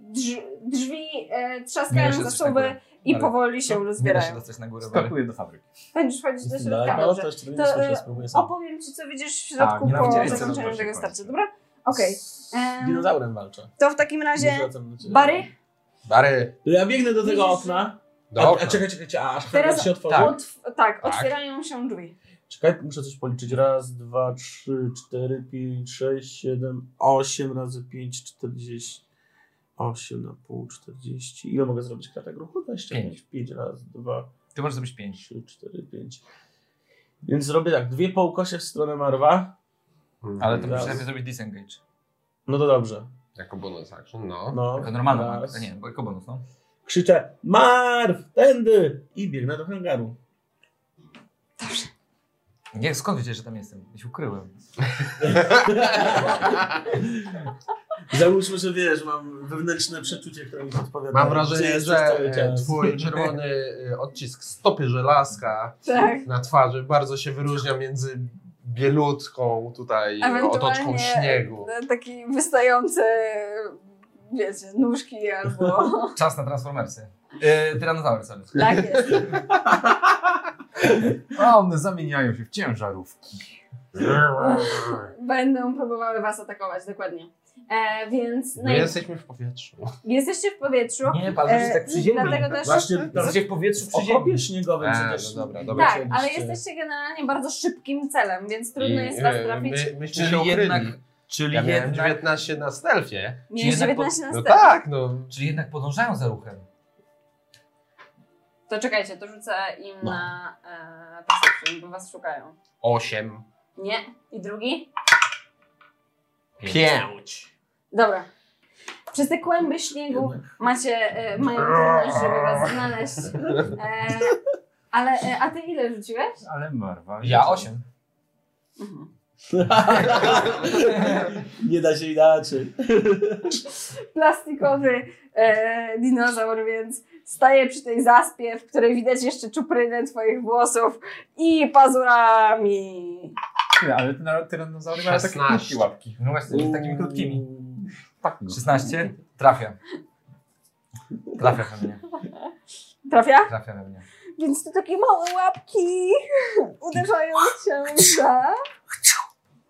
Speaker 4: drz, drzwi e, trzaskają
Speaker 6: Zmienia się
Speaker 4: za
Speaker 6: coś na
Speaker 4: sobą
Speaker 6: górę.
Speaker 4: i
Speaker 6: Ale- no,
Speaker 4: powoli się
Speaker 6: Nie da się
Speaker 4: rozbierają.
Speaker 6: dostać na górę. Barry.
Speaker 26: Skakuję do fabryki.
Speaker 4: Będziesz chodzić do
Speaker 5: Dalej,
Speaker 4: środka,
Speaker 5: no,
Speaker 4: dobrze.
Speaker 5: to jeszcze nie
Speaker 4: To,
Speaker 5: słyszę,
Speaker 4: e,
Speaker 5: spróbuję sam.
Speaker 4: Opowiem ci, co widzisz w środku
Speaker 6: Tak,
Speaker 26: nie
Speaker 4: po
Speaker 26: widziałeś, co
Speaker 4: zakończeniu
Speaker 26: zobaczy
Speaker 4: tego
Speaker 26: w
Speaker 4: starcia,
Speaker 26: końcu.
Speaker 4: dobra? Okej.
Speaker 5: Z
Speaker 4: Em,
Speaker 5: dinozaurem walczę.
Speaker 4: To w takim
Speaker 5: Nie
Speaker 4: razie,
Speaker 5: wracam do ciebie.
Speaker 4: Bary,
Speaker 3: Bary,
Speaker 5: To Ja biegnę do tego
Speaker 4: Widzisz?
Speaker 5: okna. A,
Speaker 3: do
Speaker 5: a
Speaker 3: okna.
Speaker 5: czekaj, czekaj, czekaj, a aż
Speaker 4: Teraz-
Speaker 5: Teraz... się otworzy.
Speaker 4: tak, tak otwierają się drzwi.
Speaker 5: Czekaj, muszę coś policzyć. Raz, dwa, trzy, cztery, pięć, sześć, siedem, osiem razy pięć, czterdzieści. Osiem na pół, czterdzieści. Ile mogę zrobić kratek ruchu? 25.
Speaker 6: Pięć.
Speaker 5: Pięć raz, dwa,
Speaker 6: Ty możesz zrobić pięć.
Speaker 5: trzy, cztery, pięć. Więc zrobię tak, dwie połkosie w stronę Marwa.
Speaker 2: Hmm,
Speaker 6: Ale to
Speaker 5: Raz.
Speaker 6: musisz najpierw zrobić disengage.
Speaker 5: No to dobrze.
Speaker 2: Jako bonus action, no.
Speaker 5: No,
Speaker 6: Jako normalna
Speaker 5: raz.
Speaker 6: walka. Nie, bo jako bonus, no.
Speaker 5: Krzyczę, Marw, tędy! I biegnę do hangaru.
Speaker 6: Nie, skąd wiecie, że tam jestem? Ja się ukryłem.
Speaker 5: *laughs* Załóżmy, że wiesz, mam wewnętrzne przeczucie, które mi podpowiada.
Speaker 2: Mam
Speaker 5: gdzie
Speaker 2: wrażenie,
Speaker 5: jesteś
Speaker 2: że
Speaker 5: cały
Speaker 2: e,
Speaker 5: czas.
Speaker 2: twój czerwony e, odcisk stopy żelazka
Speaker 4: Tak.
Speaker 2: na twarzy bardzo się wyróżnia między bielutką tutaj e, otoczką śniegu.
Speaker 4: e, Taki wystający, wiecie, nóżki albo...
Speaker 6: *laughs* Czas na transformersy. Yy, tyranozaur, sorry.
Speaker 4: tak jest.
Speaker 26: A one zamieniają się w ciężarówki.
Speaker 4: Będą próbowały was atakować, dokładnie. E, więc
Speaker 2: My
Speaker 4: naj...
Speaker 2: jesteśmy w powietrzu.
Speaker 4: jesteście w powietrzu.
Speaker 3: No,
Speaker 6: Nie, patrz, że się tak przy ziemi.
Speaker 4: E, dlatego też...
Speaker 5: Właśnie
Speaker 6: Jesteście w powietrzu przy
Speaker 5: w
Speaker 6: ziemi.
Speaker 5: okopie śniegowym
Speaker 2: A,
Speaker 5: przecież.
Speaker 2: no dobra, dobra.
Speaker 4: Tak, ale jesteście generalnie bardzo szybkim celem, więc trudno
Speaker 2: I,
Speaker 4: jest was
Speaker 2: e,
Speaker 4: trafić.
Speaker 2: My, myśmy
Speaker 6: Czyli
Speaker 2: się ukryli.
Speaker 6: jednak, czyli,
Speaker 2: Ja miałem
Speaker 6: jednak,
Speaker 2: 19 na stealthie.
Speaker 4: Mieliście
Speaker 6: jednak po-
Speaker 4: 19 na
Speaker 2: No
Speaker 4: step.
Speaker 2: tak, no.
Speaker 6: czyli jednak podążają za ruchem.
Speaker 4: To czekajcie, to rzucę im
Speaker 5: No.
Speaker 4: na e, perception, bo was szukają.
Speaker 2: 8.
Speaker 4: Nie. I drugi?
Speaker 2: 5.
Speaker 4: Dobra. Przez te kłęby śniegu macie, e, mają trudność, żeby was znaleźć. E, ale, e, a ty ile rzuciłeś?
Speaker 26: Ale Marwa.
Speaker 6: Ja osiem.
Speaker 5: Nie da się inaczej.
Speaker 4: Plastikowy e, dinozaur, więc staje przy tej zaspie, w której widać jeszcze czuprynę twoich włosów i pazurami.
Speaker 26: Ty, ale ty na tyranozaury mają takie
Speaker 2: 16.
Speaker 26: krótkie łapki.
Speaker 6: No właśnie, z takimi krótkimi.
Speaker 26: Tak,
Speaker 6: 16? Trafia. Trafia we mnie.
Speaker 4: Trafia?
Speaker 6: Trafia we mnie.
Speaker 4: Więc to takie małe łapki uderzają cię za...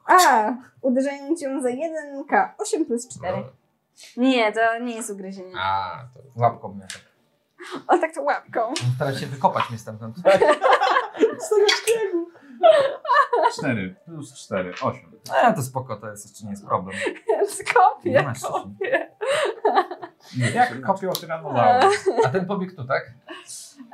Speaker 4: A, uderzają cię za 1K. 8 plus 4. Nie, to nie jest ugryzienie.
Speaker 2: A, to
Speaker 6: Łapką mnie. tak.
Speaker 4: O, tak to łapką. *laughs*
Speaker 6: Staram się wykopać
Speaker 26: *laughs*
Speaker 6: mnie stamtąd.
Speaker 26: Cztery plus cztery, osiem.
Speaker 6: E, to spoko, to jest jeszcze nie jest problem.
Speaker 4: Kopię,
Speaker 6: Nie masz co.
Speaker 4: kopię.
Speaker 26: Jak kopią tyranozaury?
Speaker 6: A ten pobieg tu, tak?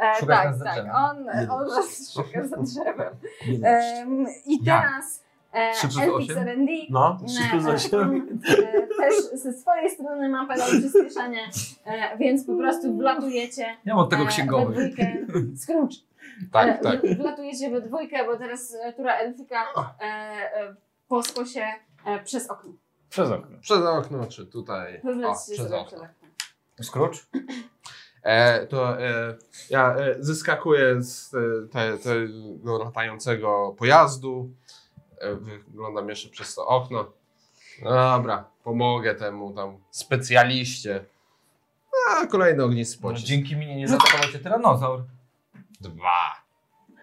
Speaker 4: E,
Speaker 6: Szukasz
Speaker 4: tak,
Speaker 6: nas za
Speaker 4: tak.
Speaker 6: drzewem.
Speaker 4: On, on was szuka za drzewem.
Speaker 5: Jedenaście.
Speaker 4: Em, I
Speaker 6: Jak?
Speaker 4: teraz e,
Speaker 6: Trzy plus
Speaker 4: Elfix
Speaker 6: osiem?
Speaker 4: R&D
Speaker 5: No,
Speaker 4: e,
Speaker 5: trzy plus osiem.
Speaker 4: e, też ze swojej strony ma pedał przyspieszania, e, więc po prostu wlatujecie
Speaker 6: Ja mam od tego
Speaker 4: e, we
Speaker 6: księgowy.
Speaker 4: dwójkę. Scrooge. E,
Speaker 2: tak, tak.
Speaker 4: W- Wlatujecie we dwójkę, bo teraz e, tura Elfika e, e, posko się e, przez okno.
Speaker 26: Przez okno.
Speaker 2: Przez okno, czy tutaj?
Speaker 4: Wywleć
Speaker 2: O,
Speaker 4: się tak.
Speaker 2: przez
Speaker 4: sobie
Speaker 2: okno.
Speaker 4: przez okno.
Speaker 3: Scrooge?
Speaker 2: E, to e, ja e, zeskakuję z e, te, tego latającego pojazdu. E, wyglądam jeszcze przez to okno. No Dobra, pomogę temu tam specjaliście. A kolejny
Speaker 3: No,
Speaker 2: ognispocisk.
Speaker 3: dzięki mnie nie zaatakował cię tyranozaur.
Speaker 2: Dwa.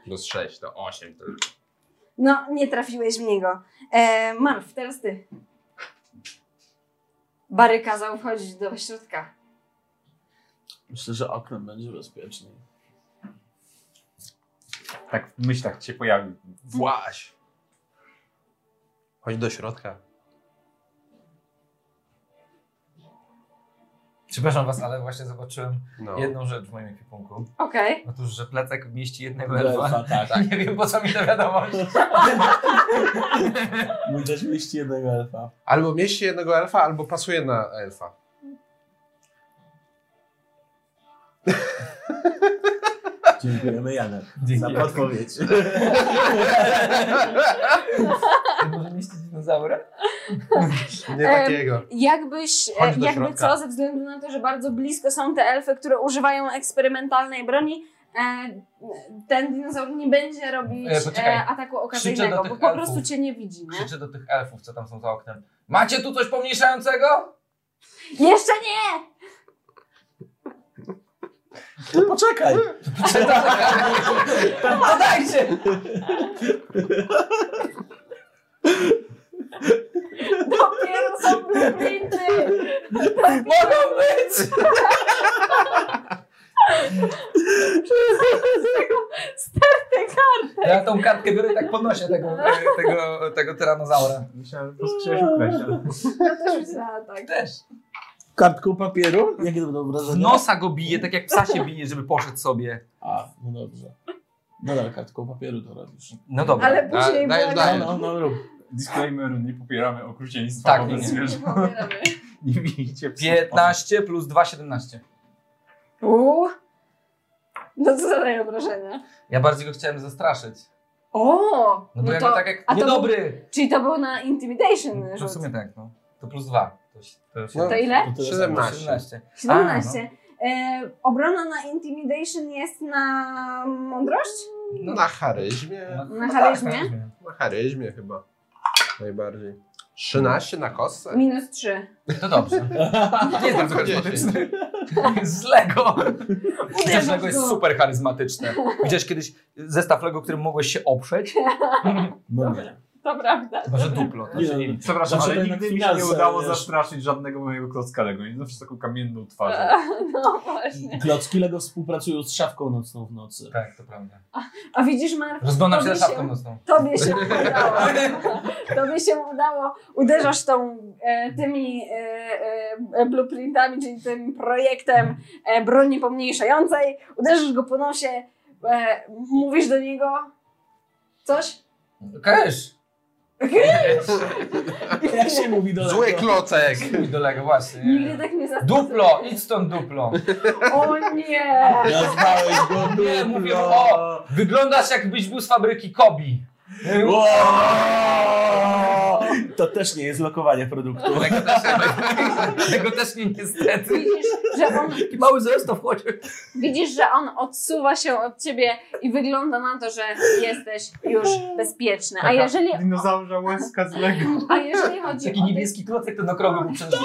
Speaker 2: Plus sześć to osiem tylko.
Speaker 4: No, nie trafiłeś w niego. E, Marw, teraz ty. Bary kazał wchodzić do środka.
Speaker 5: Myślę, że oknem będzie bezpieczniej.
Speaker 6: Tak w myślach się pojawił.
Speaker 2: Właś. Chodź do środka.
Speaker 3: Przepraszam was, ale właśnie zobaczyłem
Speaker 2: No.
Speaker 3: jedną rzecz w moim ekwipunku.
Speaker 4: Okej.
Speaker 3: Otóż, że plecak mieści jednego elfa.
Speaker 5: Elfa,
Speaker 3: *laughs*
Speaker 5: tak.
Speaker 3: Nie wiem, po co mi ta wiadomość.
Speaker 5: Mój też mieści jednego elfa.
Speaker 2: Albo mieści jednego elfa, albo pasuje na elfa.
Speaker 5: Dziękujemy Janek
Speaker 3: Dzięki.
Speaker 5: za podpowiedź.
Speaker 2: No,
Speaker 3: Może mieścić dinozaura?
Speaker 2: Nie
Speaker 4: Em,
Speaker 2: takiego.
Speaker 4: Jakbyś, e,
Speaker 2: Chodź do
Speaker 4: jakby
Speaker 2: środka.
Speaker 4: co, ze względu na to, że bardzo blisko są te elfy, które używają eksperymentalnej broni, e, ten dinozaur nie będzie robić
Speaker 3: E, poczekaj.
Speaker 4: e, ataku
Speaker 3: Krzyczę do
Speaker 4: okazyjnego,
Speaker 3: tych
Speaker 4: bo po
Speaker 3: elfów.
Speaker 4: prostu cię nie widzi, nie?
Speaker 3: Krzyczę do tych elfów, co tam są za oknem. Macie tu coś pomniejszającego?
Speaker 4: Jeszcze nie!
Speaker 5: No poczekaj!
Speaker 3: Podajcie!
Speaker 4: Dopiero są blueprinty!
Speaker 3: *laughs* Mogą
Speaker 4: *laughs*
Speaker 3: być! *laughs*
Speaker 4: Z tego starteka!
Speaker 3: Ja tą kartkę biorę i tak podnoszę tego,
Speaker 4: No.
Speaker 3: tego, tego tyranozaura.
Speaker 6: Myślałem, że po prostu chciałeś ukraść, ale...
Speaker 3: No,
Speaker 4: Ja też myślałam tak.
Speaker 3: Też.
Speaker 5: Kartką papieru? Jakie to będą
Speaker 3: W
Speaker 5: wrażenia?
Speaker 3: nosa go bije, tak jak psa się bije, żeby poszedł sobie.
Speaker 5: A, no dobrze. Nadal kartką papieru to robisz.
Speaker 3: No dobra.
Speaker 4: Ale później
Speaker 2: dajesz
Speaker 4: była-
Speaker 2: dalej.
Speaker 5: No, no, no rób.
Speaker 6: Disclaimer, nie popieramy okrucieństwa
Speaker 3: Tak,
Speaker 6: tak, wobec
Speaker 3: nie, nie.
Speaker 4: Nie
Speaker 6: zwierząt.
Speaker 4: pobieramy.
Speaker 6: *laughs* Nie bijcie psów.
Speaker 3: 15 plus 2, 17.
Speaker 4: Uuu. No co za obrażenia.
Speaker 3: Ja bardziej go chciałem zastraszyć.
Speaker 4: O!
Speaker 3: No bo ja
Speaker 4: to,
Speaker 3: go tak jak.
Speaker 4: a to
Speaker 3: Niedobry!
Speaker 4: Czyli to był na intimidation
Speaker 3: To w
Speaker 4: rzut.
Speaker 3: sumie tak, no. To plus 2. To, się- to, się-
Speaker 4: To ile?
Speaker 5: To tyle
Speaker 2: 17.
Speaker 3: 17. A, no.
Speaker 4: 17. E, obrona na intimidation jest na mądrość?
Speaker 2: no, Na charyzmie.
Speaker 4: Na
Speaker 3: tak,
Speaker 4: charyzmie?
Speaker 3: charyzmie.
Speaker 2: Na charyzmie chyba. Najbardziej. 13 na
Speaker 3: tak.
Speaker 2: kostce?
Speaker 4: Minus 3.
Speaker 3: To dobrze. Nie jestem charyzmatyczny. *laughs* Z Lego. Chociaż Lego jest super charyzmatyczne. Widziałeś kiedyś zestaw Lego, którym mogłeś się oprzeć?
Speaker 5: No
Speaker 4: Dobra.
Speaker 5: nie.
Speaker 4: To prawda.
Speaker 3: Może duplo. To
Speaker 5: Nie,
Speaker 3: się
Speaker 5: no,
Speaker 3: nie liczy.
Speaker 6: Przepraszam,
Speaker 5: Zawsze
Speaker 6: ale
Speaker 5: to
Speaker 6: nigdy
Speaker 5: jednak
Speaker 6: mi się nie
Speaker 5: finanse,
Speaker 6: udało
Speaker 5: wiesz.
Speaker 6: zastrzyć żadnego mojego klocka Lego. Nie zawsze z taką kamienną twarzą.
Speaker 4: *laughs* No właśnie.
Speaker 5: *laughs* Klocki Lego współpracują z szafką nocną w nocy.
Speaker 3: Tak, to prawda.
Speaker 4: A widzisz, Mark,
Speaker 3: Rozglądam się
Speaker 4: To
Speaker 3: za
Speaker 4: by
Speaker 3: szafką
Speaker 4: się-
Speaker 3: nocną.
Speaker 4: tobie się udało. Tobie się udało. Uderzasz tą, e, tymi e, e, blueprintami, czyli tym projektem e, broni pomniejszającej. Uderzysz go po nosie, e, mówisz do niego coś.
Speaker 3: Kesz! Eee,
Speaker 6: Tak.
Speaker 5: *laughs* Jak się mówi do
Speaker 2: Zły
Speaker 5: Lego?
Speaker 2: klocek!
Speaker 3: Mój dolega, właśnie.
Speaker 4: Nigdy tak nie zastosował.
Speaker 3: Duplo! Idź stąd, duplo!
Speaker 4: O nie!
Speaker 5: Nazwałeś go *laughs*
Speaker 3: Nie,
Speaker 5: duplo.
Speaker 3: mówię, o! Wyglądasz jakbyś był z fabryki Kobi.
Speaker 5: Ło! To też nie jest lokowanie
Speaker 6: *laughs*
Speaker 5: produktu.
Speaker 3: Tego też, tego też nie niestety.
Speaker 4: Widzisz, że on,
Speaker 3: Taki mały zestaw chodzi.
Speaker 4: widzisz, że on odsuwa się od ciebie i wygląda na to, że jesteś już bezpieczny. A jeżeli,
Speaker 6: Dinozaurza łezka z Lego.
Speaker 4: a jeżeli chodzi
Speaker 3: Taki
Speaker 4: o tych
Speaker 3: niebieski klocek ten okrągły mu przeżył.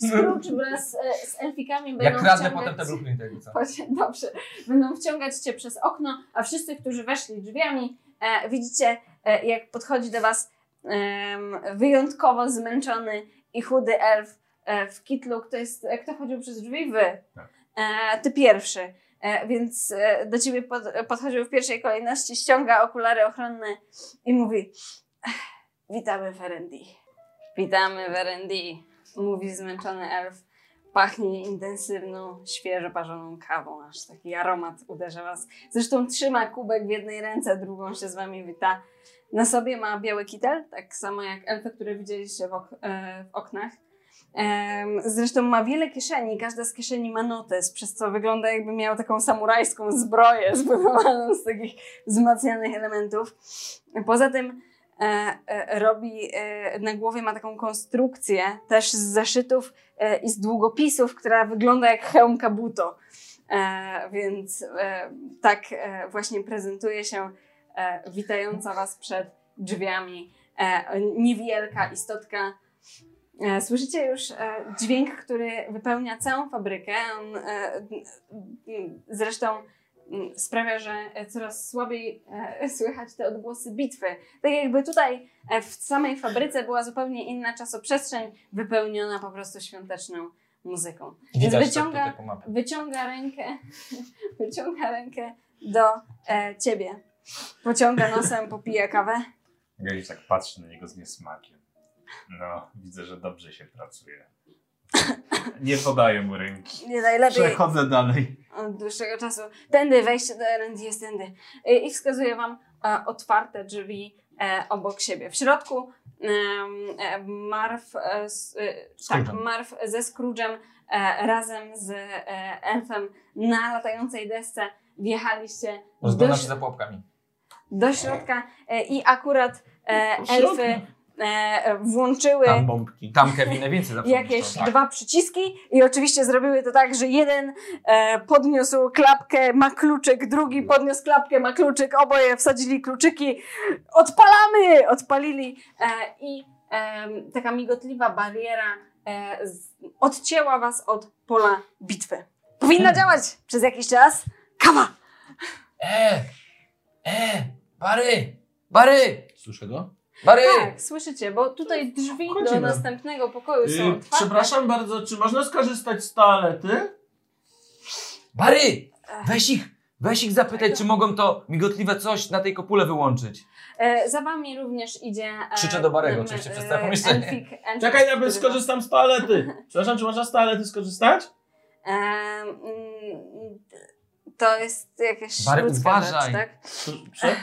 Speaker 4: Scrooge wraz e, z elfikami będą
Speaker 3: Jak kradnę
Speaker 4: wciągać-
Speaker 3: potem te blueprinty. co?
Speaker 4: Chodź, *laughs* Dobrze. Będą wciągać cię przez okno, a wszyscy, którzy weszli drzwiami, e, widzicie, e, jak podchodzi do was em, wyjątkowo zmęczony i chudy elf e, w kitlu. Kto, jest, e, kto chodził przez drzwi? Wy.
Speaker 6: Tak.
Speaker 4: E, ty pierwszy. E, więc e, do ciebie pod, podchodził w pierwszej kolejności, ściąga okulary ochronne i mówi "Ech, witamy w R&D. Witamy w R&D, mówi zmęczony elf. Pachnie intensywną, świeżo parzoną kawą, aż taki aromat uderza was. Zresztą trzyma kubek w jednej ręce, drugą się z wami wita. Na sobie ma biały kitel, tak samo jak elfy, które widzieliście w, ok e, w oknach. Em, zresztą ma wiele kieszeni, każda z kieszeni ma notes, przez co wygląda jakby miał taką *laughs* samurajską zbroję zbudowaną z takich wzmacnianych elementów. Poza tym e, e, robi, e, na głowie ma taką konstrukcję też z zeszytów e, i z długopisów, która wygląda jak hełm kabuto. E, więc e, tak e, właśnie prezentuje się e, witająca Was przed drzwiami e, niewielka istotka. E, słyszycie już e, dźwięk, który wypełnia całą fabrykę. On, e, n- n- zresztą mm, sprawia, że coraz słabiej e, *laughs* słychać te odgłosy bitwy. Tak jakby tutaj e, w samej fabryce była zupełnie inna czasoprzestrzeń, wypełniona po prostu świąteczną muzyką. Więc
Speaker 3: Widać to
Speaker 4: wyciąga
Speaker 3: tutaj po mapie.
Speaker 4: wyciąga rękę, *laughs* wyciąga rękę do e, ciebie. Pociąga nosem, popija kawę.
Speaker 6: Gdzieś tak patrzy na niego z niesmakiem. No, widzę, że dobrze się pracuje. Nie podaję mu ręki.
Speaker 4: Nie najlepiej
Speaker 6: Przechodzę dalej.
Speaker 4: od dłuższego czasu. Tędy, wejście do R&D jest tędy. E, I wskazuje wam e, otwarte drzwi e, obok siebie. W środku em, e, Marv, e, s, e, tak,
Speaker 3: Scrooge'em.
Speaker 4: Marv ze Scrooge'em e, razem z e, elfem na latającej desce wjechaliście
Speaker 3: Rozglądam
Speaker 4: ś-
Speaker 3: się za pułapkami.
Speaker 4: do środka e, i akurat e, elfy e, włączyły
Speaker 5: Tam bombki.
Speaker 3: Tam Kevin najwięcej zawsze
Speaker 4: jakieś
Speaker 3: niszczą. Tak.
Speaker 4: dwa przyciski i oczywiście zrobiły to tak, że jeden e, podniósł klapkę, ma kluczyk, drugi
Speaker 5: Mhm.
Speaker 4: podniósł klapkę, ma kluczyk, oboje wsadzili kluczyki, odpalamy, odpalili e, i em, taka migotliwa bariera e, z, odcięła was od pola bitwy.
Speaker 5: Hmm.
Speaker 4: Powinna działać przez jakiś czas. Kawa!
Speaker 3: E! E! Bary! Bary!
Speaker 5: Słyszę go?
Speaker 3: Bary!
Speaker 4: Tak, słyszycie, bo tutaj drzwi do
Speaker 5: Wchodzimy.
Speaker 4: następnego pokoju są
Speaker 5: Y,
Speaker 4: otwarte.
Speaker 5: przepraszam bardzo, czy można skorzystać z toalety?
Speaker 3: Bary! Weź ich! Weź ich zapytaj, czy mogą to migotliwe coś na tej kopule wyłączyć.
Speaker 4: E, za wami również idzie... E,
Speaker 3: Krzyczę do Barego
Speaker 4: m,
Speaker 3: oczywiście przez całe pomieszczenie.
Speaker 4: Elfik, elfik,
Speaker 5: *laughs* Czekaj, ja
Speaker 4: który
Speaker 5: bym
Speaker 4: was-
Speaker 5: skorzystam z toalety. Przepraszam, czy można z toalety skorzystać?
Speaker 4: E, mm, to jest jakaś
Speaker 3: Bary,
Speaker 4: ludzka
Speaker 3: uważaj.
Speaker 4: rzecz, tak?
Speaker 5: Prze-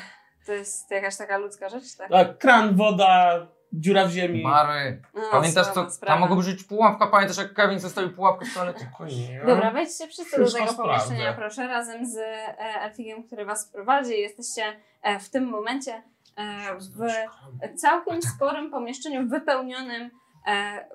Speaker 4: To jest jakaś taka ludzka rzecz, *laughs* tak?
Speaker 5: Tak, kran, woda, dziura w ziemi.
Speaker 3: Bary!
Speaker 4: No,
Speaker 3: Pamiętasz
Speaker 4: słaba
Speaker 3: co? Tam
Speaker 4: sprawa.
Speaker 3: mogłoby być pułapka. Pamiętasz jak Kevin zostawił pułapkę w toalecie?
Speaker 4: Dobra, wejdźcie wszyscy do
Speaker 5: Już to
Speaker 4: tego
Speaker 5: sprawdzę.
Speaker 4: pomieszczenia, proszę, razem z e, Elfikiem, który was prowadzi. Jesteście e, w tym momencie e, w całkiem sporym pomieszczeniu wypełnionym e,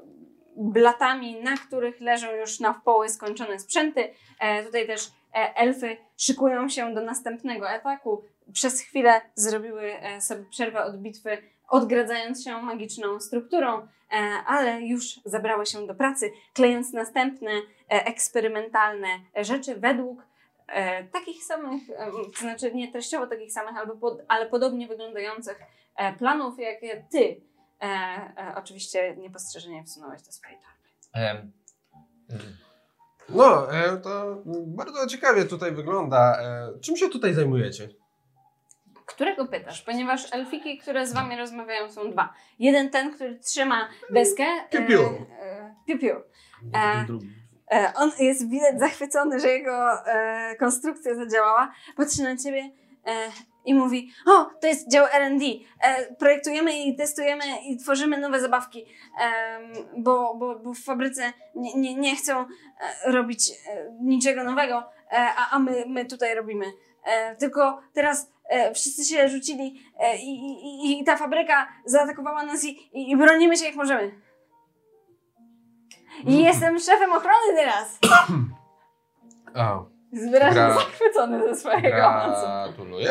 Speaker 4: blatami, na których leżą już na wpoły skończone sprzęty. E, tutaj też e, elfy szykują się do następnego ataku. Przez chwilę zrobiły e, sobie przerwę od bitwy, odgradzając się magiczną strukturą, e, ale już zabrały się do pracy, klejąc następne e, eksperymentalne rzeczy według e, takich samych, e, to znaczy nie treściowo takich samych, albo pod, ale podobnie wyglądających e, planów, jakie ty e, e, oczywiście niepostrzeżenie wsunąłeś do swojej torby.
Speaker 3: Em,
Speaker 2: No, e, to bardzo ciekawie tutaj wygląda. E, Czym się tutaj zajmujecie?
Speaker 4: Którego pytasz? Ponieważ elfiki, które z wami rozmawiają są dwa. Jeden ten, który trzyma deskę.
Speaker 2: Piu, piu.
Speaker 4: e, e, Piu, piu.
Speaker 5: Ten drugi.
Speaker 4: E, On jest widać zachwycony, że jego e, konstrukcja zadziałała. Patrzy na ciebie e, i mówi: O, to jest dział RD. E, projektujemy i testujemy i tworzymy nowe zabawki, em, bo, bo, bo w fabryce nie, nie, nie chcą e, robić e, niczego nowego, e, a, a my, my tutaj robimy. E, tylko teraz e, wszyscy się rzucili e, i, i, i- i ta fabryka zaatakowała nas i, i, i bronimy się jak możemy. I jestem szefem ochrony teraz!
Speaker 2: O,
Speaker 4: Jest wyraźnie
Speaker 2: Gra-
Speaker 4: zachwycony ze swojego awansu.
Speaker 2: gratuluję.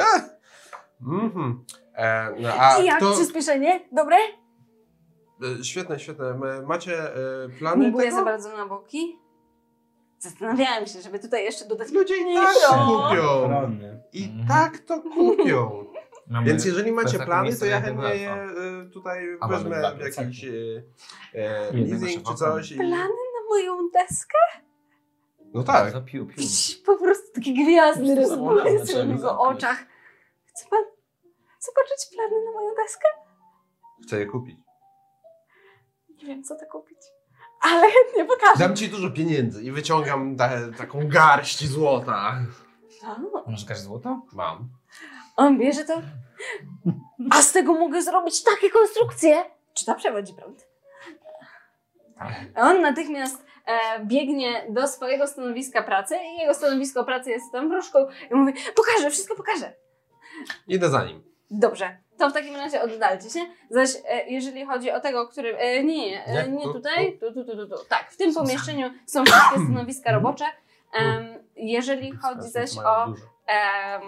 Speaker 2: Mhm. E, no, a
Speaker 4: I jak
Speaker 2: kto,
Speaker 4: przyspieszenie? Dobre?
Speaker 2: e, świetne, świetne. M- Macie e,
Speaker 4: Nie
Speaker 2: plany
Speaker 4: buję
Speaker 2: tego?
Speaker 4: za bardzo na boki. Zastanawiałem się, żeby tutaj jeszcze dodać...
Speaker 2: Ludzie i tak to kupią.
Speaker 5: Ochronny.
Speaker 2: I
Speaker 3: Mhm.
Speaker 2: tak to kupią.
Speaker 3: *laughs* mamy-
Speaker 2: Więc jeżeli macie
Speaker 3: tak
Speaker 2: plany,
Speaker 3: miejsce
Speaker 2: to ja
Speaker 3: na jednego
Speaker 2: chętnie je
Speaker 3: elfa.
Speaker 2: e, tutaj
Speaker 3: A mamy tak.
Speaker 2: wezmę
Speaker 3: dwa
Speaker 2: w
Speaker 3: plecaki.
Speaker 2: jakiś e, e,
Speaker 3: Jednego
Speaker 2: leasing
Speaker 3: szefa
Speaker 2: czy coś. I...
Speaker 4: Plany na moją
Speaker 2: Hmm.
Speaker 4: deskę?
Speaker 2: No tak.
Speaker 3: Za piu, piu.
Speaker 4: Iś, Po prostu takie gwiazdy rozmawiają
Speaker 5: Zaczęły
Speaker 4: w jego
Speaker 5: zamknąć.
Speaker 4: oczach. Chce pan zobaczyć plany na moją deskę?
Speaker 2: Chcę je kupić.
Speaker 4: Nie wiem, co to kupić. Ale chętnie pokażę.
Speaker 2: Dam ci dużo pieniędzy i wyciągam da, taką garść złota.
Speaker 4: A,
Speaker 3: Masz jakaś złoto?
Speaker 2: Mam.
Speaker 4: On bierze to. A z tego mogę zrobić takie konstrukcje! Czy ta przewodzi prąd? On natychmiast e, biegnie do swojego stanowiska pracy i jego stanowisko pracy jest tam w różku i mówi, pokażę, wszystko pokażę.
Speaker 2: Idę za nim.
Speaker 4: Dobrze, to w takim razie oddalcie się. Zaś e, jeżeli chodzi o tego, który. E, nie, nie, e, nie tutaj, tu, tu, tu, tu, tu. Tak, w tym pomieszczeniu są wszystkie stanowiska robocze. Em, jeżeli chodzi zaś o
Speaker 5: Dużo.
Speaker 4: em,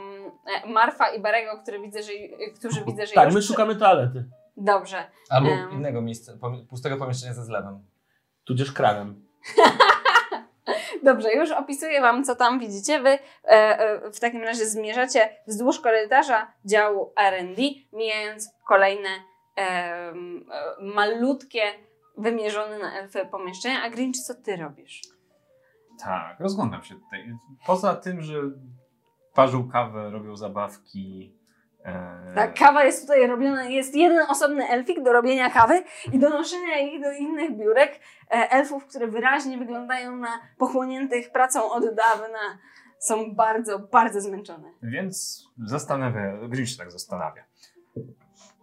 Speaker 4: e, Marfa i Barego, który widzę, że, którzy widzę, że
Speaker 5: Tak,
Speaker 4: już
Speaker 5: my
Speaker 4: przy-
Speaker 5: szukamy toalety.
Speaker 4: Dobrze.
Speaker 23: Albo
Speaker 4: Em.
Speaker 23: innego miejsca, pomie- pustego pomieszczenia ze zlewem.
Speaker 5: Tudzież kranem.
Speaker 4: Dobrze, już opisuję Wam, co tam widzicie. Wy e, e, w takim razie zmierzacie wzdłuż korytarza działu RD, mijając kolejne em, e, malutkie, wymierzone na elfy pomieszczenia. A Grinch, co Ty robisz?
Speaker 6: Tak, rozglądam się tutaj. Poza tym, że parzą kawę, robią zabawki. e,
Speaker 4: Ta Tak, kawa jest tutaj robiona, jest jeden osobny elfik do robienia kawy i donoszenia ich do innych biurek. E, Elfów, które wyraźnie wyglądają na pochłoniętych pracą od dawna, są bardzo, bardzo zmęczone.
Speaker 6: Więc zastanawia, Grinch się tak zastanawia.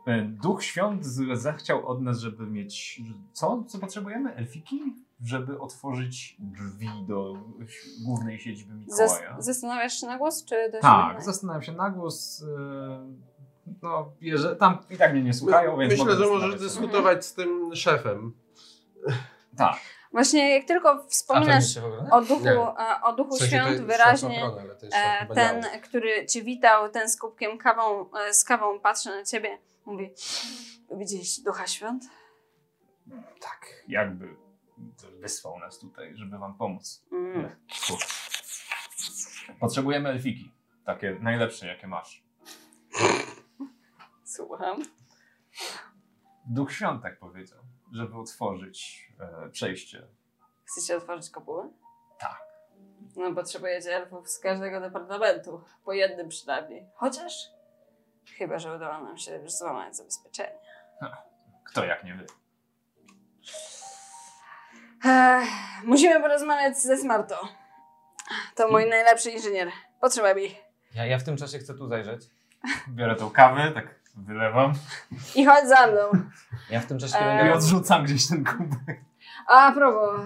Speaker 6: E, Duch Świąt z- zechciał od nas, żeby mieć. Co? Co potrzebujemy? Elfiki? Żeby otworzyć drzwi do ś- głównej siedziby
Speaker 4: Zas-
Speaker 6: Mikołaja.
Speaker 4: zastanawiasz się na głos, czy do siebie?
Speaker 6: Tak, zastanawiam się na głos. e, No, jeżeli, tam i tak mnie nie słuchają, więc.
Speaker 2: Myślę,
Speaker 6: mogę
Speaker 2: że możesz
Speaker 6: zastanawiać się.
Speaker 2: dyskutować z tym szefem.
Speaker 6: Tak.
Speaker 4: Właśnie jak tylko wspominasz
Speaker 23: w ogóle?
Speaker 4: o duchu,
Speaker 2: Nie.
Speaker 4: e, o duchu
Speaker 2: W sensie to
Speaker 4: świąt
Speaker 2: jest szef
Speaker 4: wyraźnie,
Speaker 2: na tronę, ale to jest szef
Speaker 4: e,
Speaker 2: chyba
Speaker 4: ten,
Speaker 2: działu.
Speaker 4: który cię witał, ten z kubkiem kawą, e, z kawą patrzy na ciebie, mówi, widzisz ducha świąt?
Speaker 6: Tak, jakby wysłał nas tutaj, żeby wam pomóc.
Speaker 4: Mm.
Speaker 6: Potrzebujemy elfiki. Takie najlepsze, jakie masz.
Speaker 4: Słucham.
Speaker 6: Duch Świąt tak powiedział, żeby otworzyć e, przejście.
Speaker 4: Chcecie otworzyć kopułę?
Speaker 6: Tak.
Speaker 4: No potrzebujecie elfów z każdego departamentu, po jednym przynajmniej. Chociaż, chyba że udało nam się już złamać zabezpieczenie.
Speaker 6: Kto jak nie wy?
Speaker 4: Ech, musimy porozmawiać ze Smarto. To mój najlepszy inżynier. Potrzeba mi.
Speaker 23: Ja, ja w tym czasie chcę tu zajrzeć.
Speaker 6: Biorę tą kawę, tak wylewam
Speaker 4: I chodź za mną.
Speaker 23: Ja w tym czasie
Speaker 4: Eee.
Speaker 6: i
Speaker 23: eee.
Speaker 6: odrzucam gdzieś ten kubek.
Speaker 4: A propos.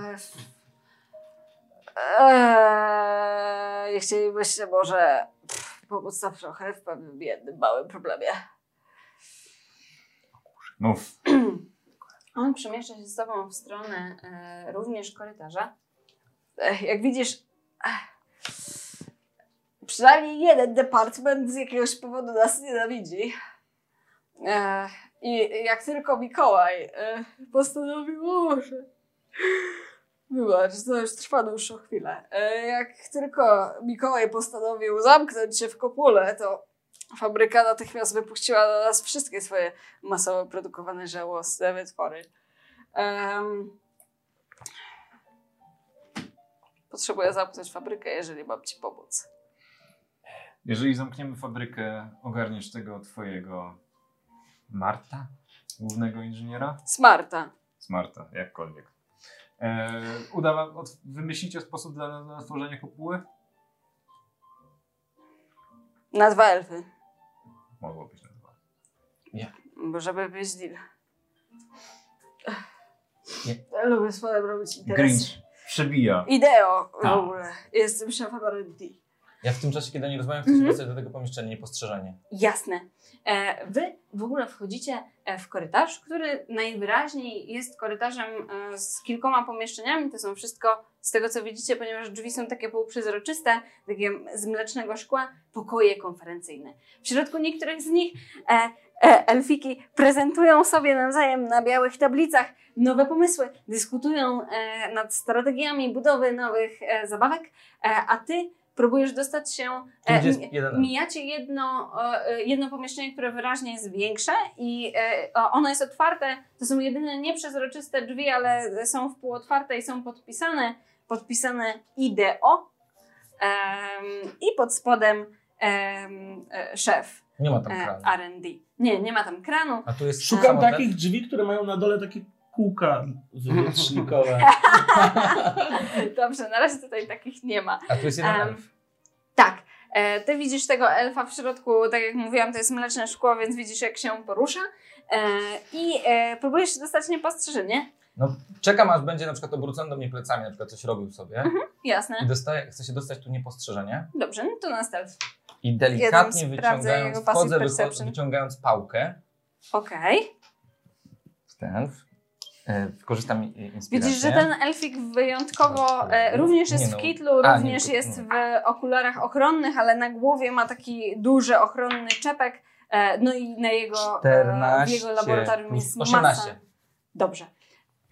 Speaker 4: Eee, chcielibyście może pff, pomóc nam trochę w pewnym jednym małym problemie.
Speaker 6: Mów.
Speaker 4: On przemieszcza się z tobą w stronę e, również korytarza. Ech, jak widzisz, ech, przynajmniej jeden department z jakiegoś powodu nas nienawidzi. E, I jak tylko Mikołaj e, postanowił, o Boże, wybacz, to już trwa dłuższą chwilę. E, jak tylko Mikołaj postanowił zamknąć się w kopule, to fabryka natychmiast wypuściła na nas wszystkie swoje masowo produkowane żałosne wytwory. Um, potrzebuję zamknąć fabrykę, jeżeli mam ci pomóc.
Speaker 6: Jeżeli zamkniemy fabrykę, ogarniesz tego twojego Marta? Głównego inżyniera?
Speaker 4: Smarta.
Speaker 6: Smarta, jakkolwiek. E, uda wam, od, wymyślicie sposób dla, na otworzenie kopuły?
Speaker 4: Na dwa elfy.
Speaker 6: Mogło być na dwa.
Speaker 4: Bo żeby być deal.
Speaker 23: Nie.
Speaker 4: Lubię z panem robić interesy.
Speaker 6: Grinch przebija.
Speaker 4: Ideo w
Speaker 6: Tak.
Speaker 4: ogóle. Jestem szefem R&D.
Speaker 23: Ja w tym czasie, kiedy nie rozmawiam, chcę się
Speaker 4: Mhm.
Speaker 23: dostać do tego pomieszczenia niepostrzeżenie.
Speaker 4: Jasne. E, Wy w ogóle wchodzicie e, w korytarz, który najwyraźniej jest korytarzem e, z kilkoma pomieszczeniami. To są wszystko z tego, co widzicie, ponieważ drzwi są takie półprzezroczyste, takie z mlecznego szkła, pokoje konferencyjne. W środku niektórych z nich e, e, elfiki prezentują sobie nawzajem na białych tablicach nowe pomysły, dyskutują e, nad strategiami budowy nowych e, zabawek, e, a ty próbujesz dostać się... e,
Speaker 23: Tu gdzie jest
Speaker 4: mi-
Speaker 23: jeden.
Speaker 4: Mijacie jedno, e, jedno pomieszczenie, które wyraźnie jest większe i e, o- ono jest otwarte. To są jedyne nieprzezroczyste drzwi, ale są wpółotwarte i są podpisane. Podpisane IDO em, i pod spodem em, e, szef
Speaker 23: Nie ma tam
Speaker 4: e,
Speaker 23: kranu.
Speaker 4: R&D. Nie, nie ma tam kranu. *laughs*
Speaker 23: A tu jest
Speaker 5: Szukam
Speaker 23: samo te-
Speaker 5: takich drzwi, które mają na dole takie kółka wywietrznikowe.
Speaker 4: Dobrze, na razie tutaj takich nie ma.
Speaker 23: A tu jest jeden
Speaker 4: Em,
Speaker 23: elf.
Speaker 4: Tak. E, Ty widzisz tego elfa w środku, tak jak mówiłam, to jest mleczne szkło, więc widzisz jak się porusza. E, I e, próbujesz się dostać niepostrzeżenie.
Speaker 23: No, czekam aż będzie na przykład obrócony do mnie plecami,
Speaker 4: Mhm.
Speaker 23: na przykład coś robił sobie.
Speaker 4: Jasne.
Speaker 23: I dostaję, chcę się dostać tu niepostrzeżenie.
Speaker 4: Dobrze, no to na stealth.
Speaker 3: I
Speaker 4: Jeden
Speaker 3: delikatnie
Speaker 4: sprawdza
Speaker 3: wyciągając,
Speaker 4: jego passive
Speaker 3: wchodzę, wycho-
Speaker 4: perception.
Speaker 3: wyciągając pałkę.
Speaker 4: Okej.
Speaker 3: w Ten. w- e, Wykorzystam i- i inspirację.
Speaker 4: Widzisz, że ten elfik wyjątkowo e, również jest
Speaker 3: Nie no.
Speaker 4: w kitlu,
Speaker 3: A, nie, no.
Speaker 4: również
Speaker 3: tylko-
Speaker 4: jest w okularach ochronnych, ale na głowie ma taki duży ochronny czepek. E, no i na jego, e, w
Speaker 3: 14
Speaker 4: jego laboratorium
Speaker 3: plus
Speaker 4: jest
Speaker 3: 18.
Speaker 4: masa. Dobrze.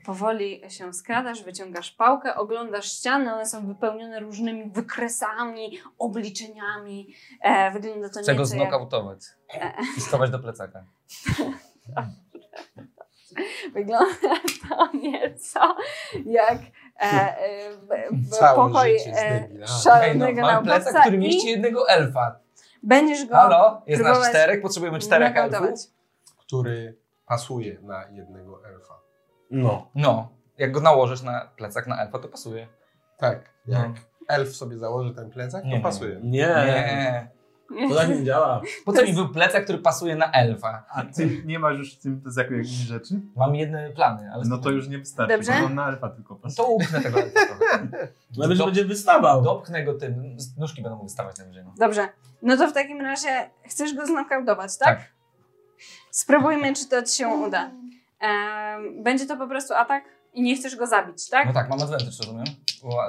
Speaker 4: Powoli się skradasz, wyciągasz pałkę, oglądasz ściany, one są wypełnione różnymi wykresami, obliczeniami. E, wygląda to
Speaker 3: Chcę go
Speaker 4: nieco jak E.
Speaker 3: znokautować i schować do
Speaker 4: *laughs*
Speaker 3: plecaka.
Speaker 4: Wygląda *laughs* to nieco jak e, e, b- b-
Speaker 3: Całe
Speaker 4: pokoj
Speaker 3: życie z
Speaker 4: e,
Speaker 3: debila. Ej,
Speaker 4: szalonego
Speaker 3: no, mam plecak,
Speaker 4: naukowca
Speaker 3: który mieści
Speaker 4: i
Speaker 3: jednego elfa.
Speaker 4: będziesz go
Speaker 3: Halo, jest nas
Speaker 4: próbować
Speaker 3: czterech, potrzebujemy czterech
Speaker 4: nokautować.
Speaker 3: elfów.
Speaker 2: który pasuje na jednego elfa.
Speaker 5: No.
Speaker 3: No, jak go nałożysz na plecak na elfa, to pasuje.
Speaker 2: Tak, jak
Speaker 3: No.
Speaker 2: elf sobie założy ten plecak,
Speaker 3: Nie,
Speaker 2: to
Speaker 3: nie,
Speaker 2: pasuje.
Speaker 5: Nie. To tak nie działa.
Speaker 3: Po co mi był plecak, który pasuje na elfa?
Speaker 6: A ty nie masz już w tym plecaku jakichś rzeczy?
Speaker 3: Mam jedne plany, ale No
Speaker 6: No to już nie wystarczy,
Speaker 4: Dobrze.
Speaker 6: bo on na alfa tylko pasuje.
Speaker 3: to upchnę tego elfa *laughs* trochę.
Speaker 5: Nawet
Speaker 3: Do-
Speaker 5: będzie wystawał.
Speaker 3: Dopchnę go tym, No, nóżki będą mu wystawać na wyżej. no.
Speaker 4: Dobrze, no to w takim razie chcesz go znokautować, tak?
Speaker 3: Tak.
Speaker 4: Spróbujmy, czy to ci się uda. Em, będzie to po prostu atak i nie chcesz go zabić, tak?
Speaker 3: No tak, mam advantage, rozumiem? Była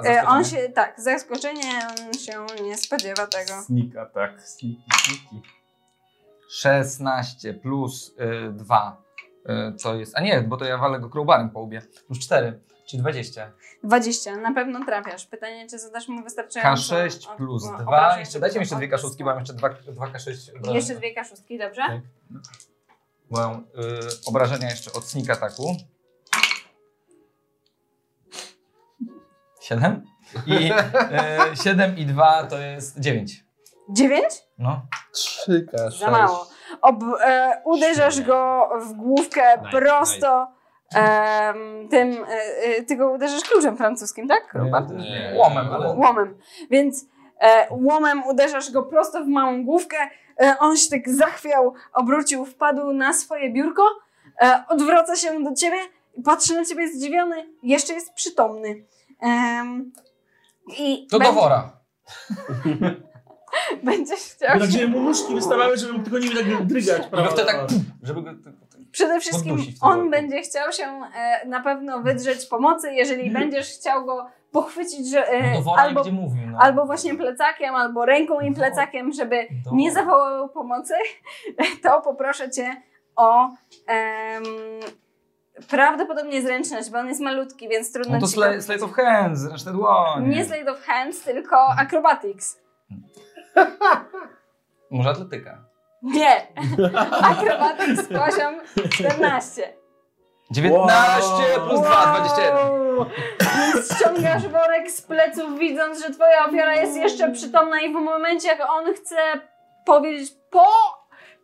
Speaker 4: E, on
Speaker 3: zaskoczenie.
Speaker 4: się, tak, zaskoczenie, on się nie spodziewa tego.
Speaker 6: Sneak attack, sneaky, sneaky.
Speaker 3: 16 plus 2 to jest. A nie, bo to ja walę go crowbarem po łbie. Plus 4, czyli 20.
Speaker 4: 20, na pewno trafiasz. Pytanie, czy zadasz mu wystarczająco...
Speaker 3: K6
Speaker 4: o-
Speaker 3: plus
Speaker 4: o-
Speaker 3: 2.
Speaker 4: obrażeń?
Speaker 3: Jeszcze dajcie mi jeszcze dwie kaszustki, bo mam jeszcze 2 K6 obrażenia.
Speaker 4: Jeszcze dwie kaszustki, dobrze?
Speaker 3: e, Bo mam y, obrażenia jeszcze od sneak ataku. 7? I 7 i 2 to jest 9.
Speaker 4: Dziewięć?
Speaker 3: No.
Speaker 2: Trzy K6.
Speaker 4: Za mało. Ob, e, uderzasz go w główkę prosto em, tym... E, e, ty go uderzasz kluczem francuskim, tak? Krowbar?
Speaker 3: Nie, E, Łomem, ale.
Speaker 4: Łomem. Więc e, łomem uderzasz go prosto w małą główkę. E, on się tak zachwiał, obrócił, wpadł na swoje biurko, e, odwraca się do ciebie, patrzy na ciebie zdziwiony, jeszcze jest przytomny. Em, i
Speaker 3: To do
Speaker 4: będzie-
Speaker 3: wora.
Speaker 4: *laughs* Będziesz chciał.
Speaker 5: Tak, żeby mu nóżki wystawały, żeby mógł tylko nimi tak drygać.
Speaker 3: I go
Speaker 5: prawda?
Speaker 3: wtedy tak. Żeby go.
Speaker 4: Przede wszystkim
Speaker 3: poddusić w tym
Speaker 4: on
Speaker 3: worku.
Speaker 4: będzie chciał się e, na pewno wydrzeć pomocy, jeżeli będziesz chciał go pochwycić, że, e,
Speaker 3: No do wora
Speaker 4: albo,
Speaker 3: nie będzie mówił. No.
Speaker 4: albo właśnie plecakiem, albo ręką i plecakiem, żeby
Speaker 3: Do
Speaker 4: nie
Speaker 3: wora.
Speaker 4: zawołał pomocy, *laughs* to poproszę cię o em, prawdopodobnie zręczność, bo on jest malutki, więc trudno
Speaker 3: No to
Speaker 4: ci go-
Speaker 3: sli- sleight of hand, resztę dłoni.
Speaker 4: Nie slide of hands, tylko acrobatics.
Speaker 3: Może atletyka. *laughs*
Speaker 4: Nie! *laughs* acrobatics poziom
Speaker 3: *laughs*
Speaker 4: 14.
Speaker 3: 19 plus 2, 21.
Speaker 4: Wow! Więc ściągasz worek z pleców, widząc, że twoja ofiara jest jeszcze przytomna i w momencie, jak on chce powiedzieć po,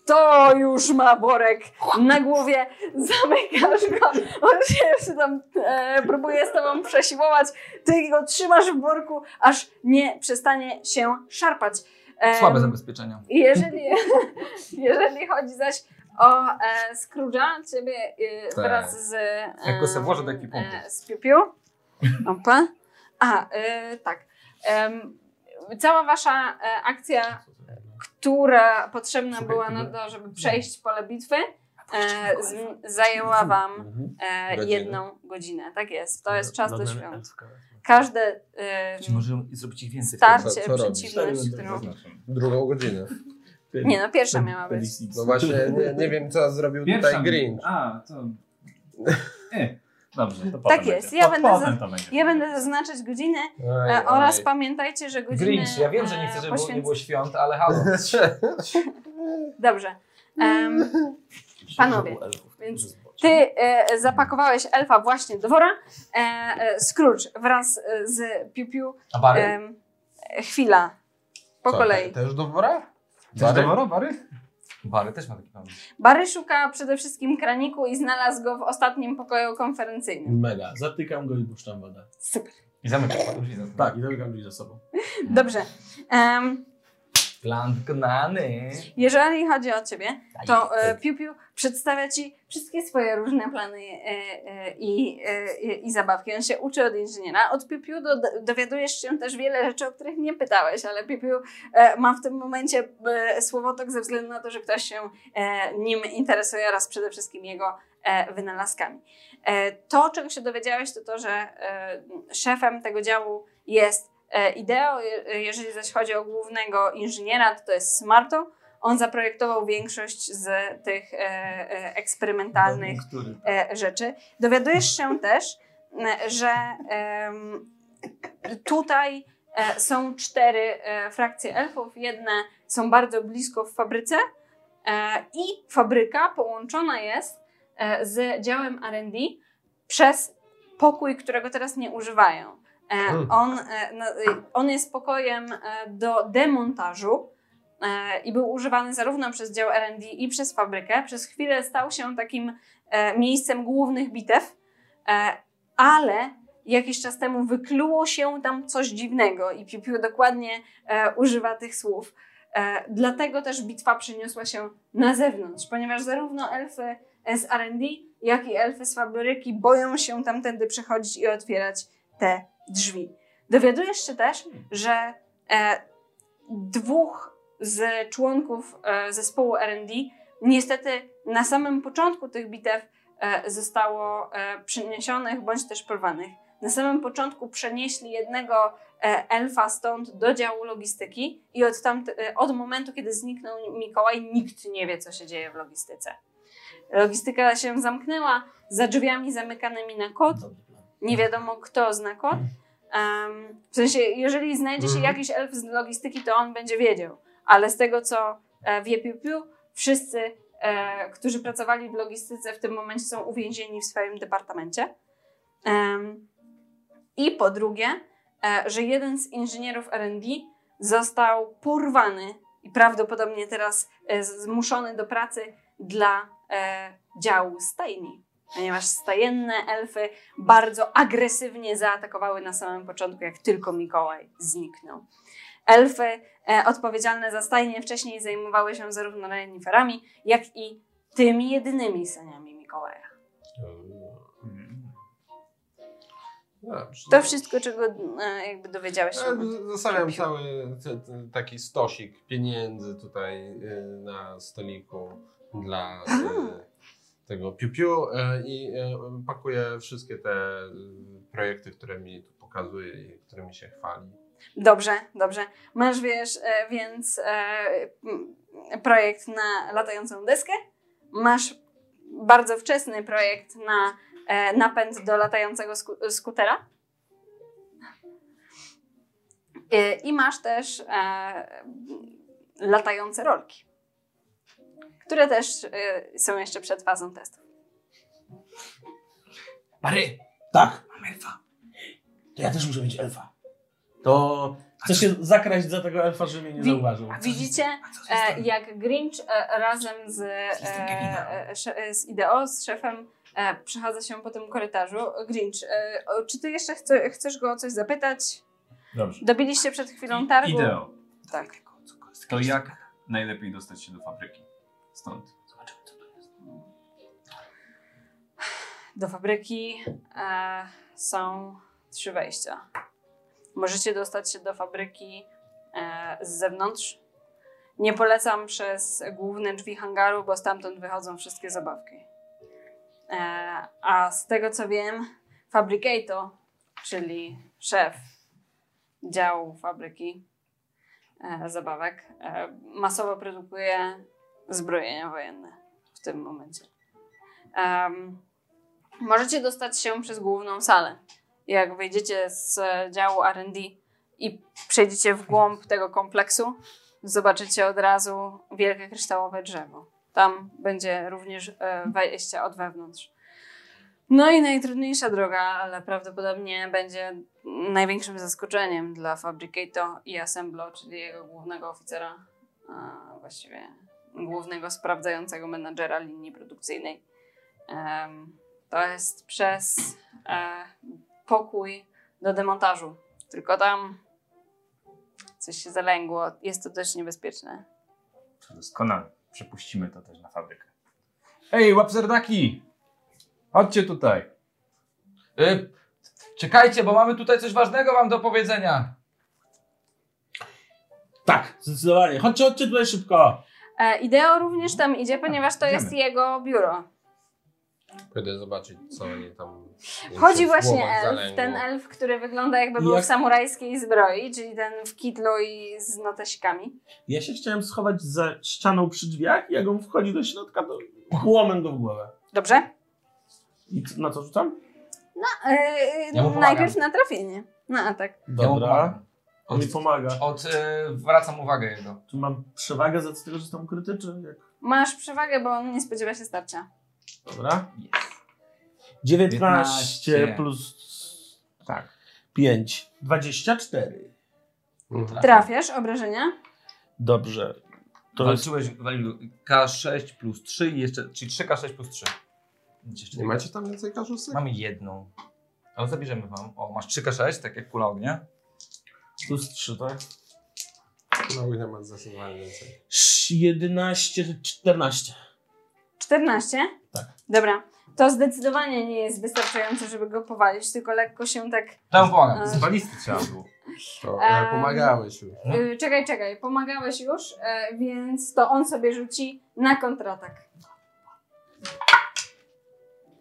Speaker 4: to już ma worek na głowie, zamykasz go, on się jeszcze tam e, próbuje z tobą przesiłować, ty go trzymasz w worku, aż nie przestanie się szarpać. Em,
Speaker 3: Słabe zabezpieczenia.
Speaker 4: i Jeżeli, *laughs* jeżeli chodzi zaś o e, Scrooge'a, ciebie e,
Speaker 3: Tak.
Speaker 4: wraz z... E,
Speaker 3: Jak go se włożę, taki punkt.
Speaker 4: E, z Piu-Piu. Opa. A, e, tak. Em, cała wasza e, akcja, która potrzebna była na to, żeby przejść pole bitwy, e, z, zajęła wam e,
Speaker 2: Godzinę.
Speaker 4: jedną godzinę. Tak jest. To jest czas do
Speaker 5: Dobra,
Speaker 4: świąt.
Speaker 5: elfka.
Speaker 4: Każde e,
Speaker 3: Czy może zrobić ich więcej?
Speaker 4: starcie,
Speaker 2: Co- co robisz?
Speaker 4: przeciwność, którą...
Speaker 2: Drugą godzinę.
Speaker 4: Nie no, pierwsza miała być.
Speaker 2: No właśnie, nie, nie wiem co zrobił tutaj Grinch.
Speaker 6: A, *laughs* to... Nie. Dobrze, to
Speaker 4: Tak
Speaker 6: potem
Speaker 4: jest,
Speaker 6: będzie.
Speaker 4: ja
Speaker 6: Po-
Speaker 4: będę
Speaker 6: potem
Speaker 4: za-
Speaker 6: to będzie.
Speaker 4: Ja będę zaznaczać godziny
Speaker 2: Oj,
Speaker 4: e, oraz
Speaker 2: oj.
Speaker 4: pamiętajcie, że godziny...
Speaker 3: Grinch, ja wiem, że nie
Speaker 4: e,
Speaker 3: chcę, żeby było, nie
Speaker 4: poświęc-
Speaker 3: było świąt, ale halo.
Speaker 4: Dobrze. Em, panowie, więc ty e, zapakowałeś elfa właśnie do wora. E, e, Scrooge wraz e, z Piu-Piu.
Speaker 3: A Barry? tak.
Speaker 4: em, e, chwila. *laughs* Po
Speaker 2: Co,
Speaker 4: kolei.
Speaker 2: Też do wora?
Speaker 6: Chcesz
Speaker 2: Bary?
Speaker 6: do wora, Bary?
Speaker 3: Barry też ma taki problem.
Speaker 4: Barry szuka przede wszystkim kraniku i znalazł go w ostatnim pokoju konferencyjnym.
Speaker 5: Mega. Zatykam go i puszczam wodę.
Speaker 4: Super.
Speaker 3: I zamykam drzwi za sobą.
Speaker 5: Tak, i zamykam drzwi za sobą.
Speaker 4: Dobrze. Em,
Speaker 3: Plan wykonany.
Speaker 4: Jeżeli chodzi o ciebie, to e, Piu Piu przedstawia ci wszystkie swoje różne plany e, e, i, e, i zabawki. On się uczy od inżyniera. Od Piu Piu do, dowiadujesz się też wiele rzeczy, o których nie pytałeś, ale Piu Piu e, ma w tym momencie e, słowotok ze względu na to, że ktoś się e, nim interesuje oraz przede wszystkim jego e, wynalazkami. E, to, czego się dowiedziałeś, to to, że e, szefem tego działu jest e, Ideo. Je- Jeżeli zaś chodzi o głównego inżyniera, to to jest Smarto. On zaprojektował większość z tych e, e, eksperymentalnych
Speaker 5: Który?
Speaker 4: e, rzeczy. Dowiadujesz się też, e, że em, tutaj e, są cztery e, frakcje elfów. Jedne są bardzo blisko w fabryce e, i fabryka połączona jest e, z działem R&D przez pokój, którego teraz nie używają. E,
Speaker 2: Mm.
Speaker 4: On, e, no, e, on jest pokojem e, do demontażu e, i był używany zarówno przez dział R&D i przez fabrykę. Przez chwilę stał się takim e, miejscem głównych bitew, e, ale jakiś czas temu wykluło się tam coś dziwnego i Piu Piu dokładnie e, używa tych słów. E, dlatego też bitwa przeniosła się na zewnątrz, ponieważ zarówno elfy z R&D, jak i elfy z fabryki boją się tamtędy przechodzić i otwierać te drzwi. Dowiadujesz się też, że e, dwóch z członków e, zespołu R&D niestety na samym początku tych bitew e, zostało e, przeniesionych bądź też porwanych. Na samym początku przenieśli jednego e, elfa stąd do działu logistyki i od, tamte, e, od momentu, kiedy zniknął Mikołaj, nikt nie wie, co się dzieje w logistyce. Logistyka się zamknęła za drzwiami zamykanymi na kod. Nie wiadomo, kto zna kod. Em, w sensie, jeżeli znajdzie się
Speaker 2: Mhm.
Speaker 4: jakiś elf z logistyki, to on będzie wiedział. Ale z tego, co e, wie Piu Piu, wszyscy, e, którzy pracowali w logistyce w tym momencie są uwięzieni w swoim departamencie. Em, I po drugie, e, że jeden z inżynierów R&D został porwany i prawdopodobnie teraz e, zmuszony do pracy dla e, działu stajni. Ponieważ stajenne elfy bardzo agresywnie zaatakowały na samym początku, jak tylko Mikołaj zniknął. Elfy e, odpowiedzialne za stajnie wcześniej zajmowały się zarówno reniferami, jak i tymi jedynymi seniami Mikołaja.
Speaker 2: No, Dobrze.
Speaker 4: To wszystko, czego e, jakby dowiedziałeś się. od-
Speaker 2: No. E, Zostawiam cały t- t- taki stosik pieniędzy tutaj e, na stoliku dla e, tego piu-piu e, i e, pakuję wszystkie te e, projekty, które mi tu pokazuje i którymi się chwali.
Speaker 4: Dobrze, dobrze. Masz, wiesz, e, więc e, m, projekt na latającą deskę, masz bardzo wczesny projekt na e, napęd do latającego sku- skutera E, i masz też e, m, latające rolki, które też e, są jeszcze przed fazą testów.
Speaker 27: Pary,
Speaker 5: Tak,
Speaker 27: mam elfa.
Speaker 5: to ja też muszę mieć elfa. To chcę się zakraść za tego elfa, żeby mnie nie
Speaker 4: Wi-
Speaker 5: zauważył.
Speaker 4: Widzicie, e, jak Grinch e, razem z, e, e, sze- z IDEO, z szefem, e, przechadza się po tym korytarzu. Grinch, e, o, czy ty jeszcze chce, chcesz go o coś zapytać?
Speaker 6: Dobrze.
Speaker 4: Dobiliście przed chwilą targu.
Speaker 6: Ideo.
Speaker 4: Tak.
Speaker 6: To jak najlepiej dostać się do fabryki? Stąd.
Speaker 4: Do fabryki e, są trzy wejścia. Możecie dostać się do fabryki e, z zewnątrz. Nie polecam przez główne drzwi hangaru, bo stamtąd wychodzą wszystkie zabawki. E, a z tego co wiem, Fabricato, czyli szef działu fabryki e, zabawek, e, masowo produkuje zbrojenia wojenne w tym momencie. Em, Możecie dostać się przez główną salę. Jak wyjdziecie z e, działu RD i przejdziecie w głąb tego kompleksu, zobaczycie od razu wielkie kryształowe drzewo. Tam będzie również e, wejście od wewnątrz. No i najtrudniejsza droga, ale prawdopodobnie będzie największym zaskoczeniem dla Fabricato i Assemblo, czyli jego głównego oficera, a właściwie głównego sprawdzającego menadżera linii produkcyjnej. Em, to jest przez e, pokój do demontażu. Tylko tam coś się zalęgło. Jest to dość niebezpieczne.
Speaker 6: Doskonale. Przepuścimy to też na fabrykę. Ej, łapserdaki! Chodźcie tutaj.
Speaker 23: Y, czekajcie, bo mamy tutaj coś ważnego wam do powiedzenia.
Speaker 5: Tak, zdecydowanie. Chodźcie, chodźcie tutaj szybko.
Speaker 4: E, Ideo również tam idzie, ponieważ to jest jego biuro.
Speaker 2: Pójdę zobaczyć, co oni tam. im
Speaker 4: Chodzi
Speaker 2: się w
Speaker 4: właśnie
Speaker 2: głowach
Speaker 4: elf,
Speaker 2: zalęgło.
Speaker 4: ten elf, który wygląda jakby był
Speaker 5: Jak-
Speaker 4: w samurajskiej zbroi, czyli ten w kitlu i z notesikami.
Speaker 5: Ja się chciałem schować za ścianą przy drzwiach i jak on wchodzi do środka, to łomę go w głowę.
Speaker 4: Dobrze? E,
Speaker 5: I c- na co rzucam?
Speaker 4: No, e,
Speaker 23: Ja mu pomagam.
Speaker 4: najpierw na trafienie, No, tak. na atak.
Speaker 23: mu
Speaker 5: Dobra.
Speaker 23: pomagam.
Speaker 5: On mi pomaga.
Speaker 23: Od, y, wracam uwagę jego.
Speaker 5: Tu mam przewagę z racji tego, że jestem ukryty, czy jak?
Speaker 4: Masz przewagę, bo on nie spodziewa się starcia.
Speaker 5: Dobra. 19
Speaker 23: 19.
Speaker 5: plus tak. 5. 24.
Speaker 4: Trafiasz, obrażenia?
Speaker 5: Dobrze. To jest
Speaker 23: Walczyłeś Walilu, K6 plus 3 i jeszcze, czyli 3K6 plus 3. Jeszcze
Speaker 2: Nie macie tam więcej karzusy?
Speaker 23: Mamy jedną. Ale zabierzemy wam. O, masz 3K6, tak jak kula ognia.
Speaker 5: plus 3, tak?
Speaker 2: No, ile masz zdecydowanie więcej.
Speaker 5: Sz- 11, 14.
Speaker 4: 14? Tak. Dobra. To zdecydowanie nie jest wystarczające, żeby go powalić, tylko lekko się tak.
Speaker 23: Tam pomagam.
Speaker 6: Z balisty trzeba
Speaker 4: *laughs*
Speaker 6: było.
Speaker 2: To
Speaker 4: Em,
Speaker 2: ale pomagałeś już.
Speaker 4: Yy, czekaj, czekaj, pomagałeś już, e, więc to on sobie rzuci na kontratak.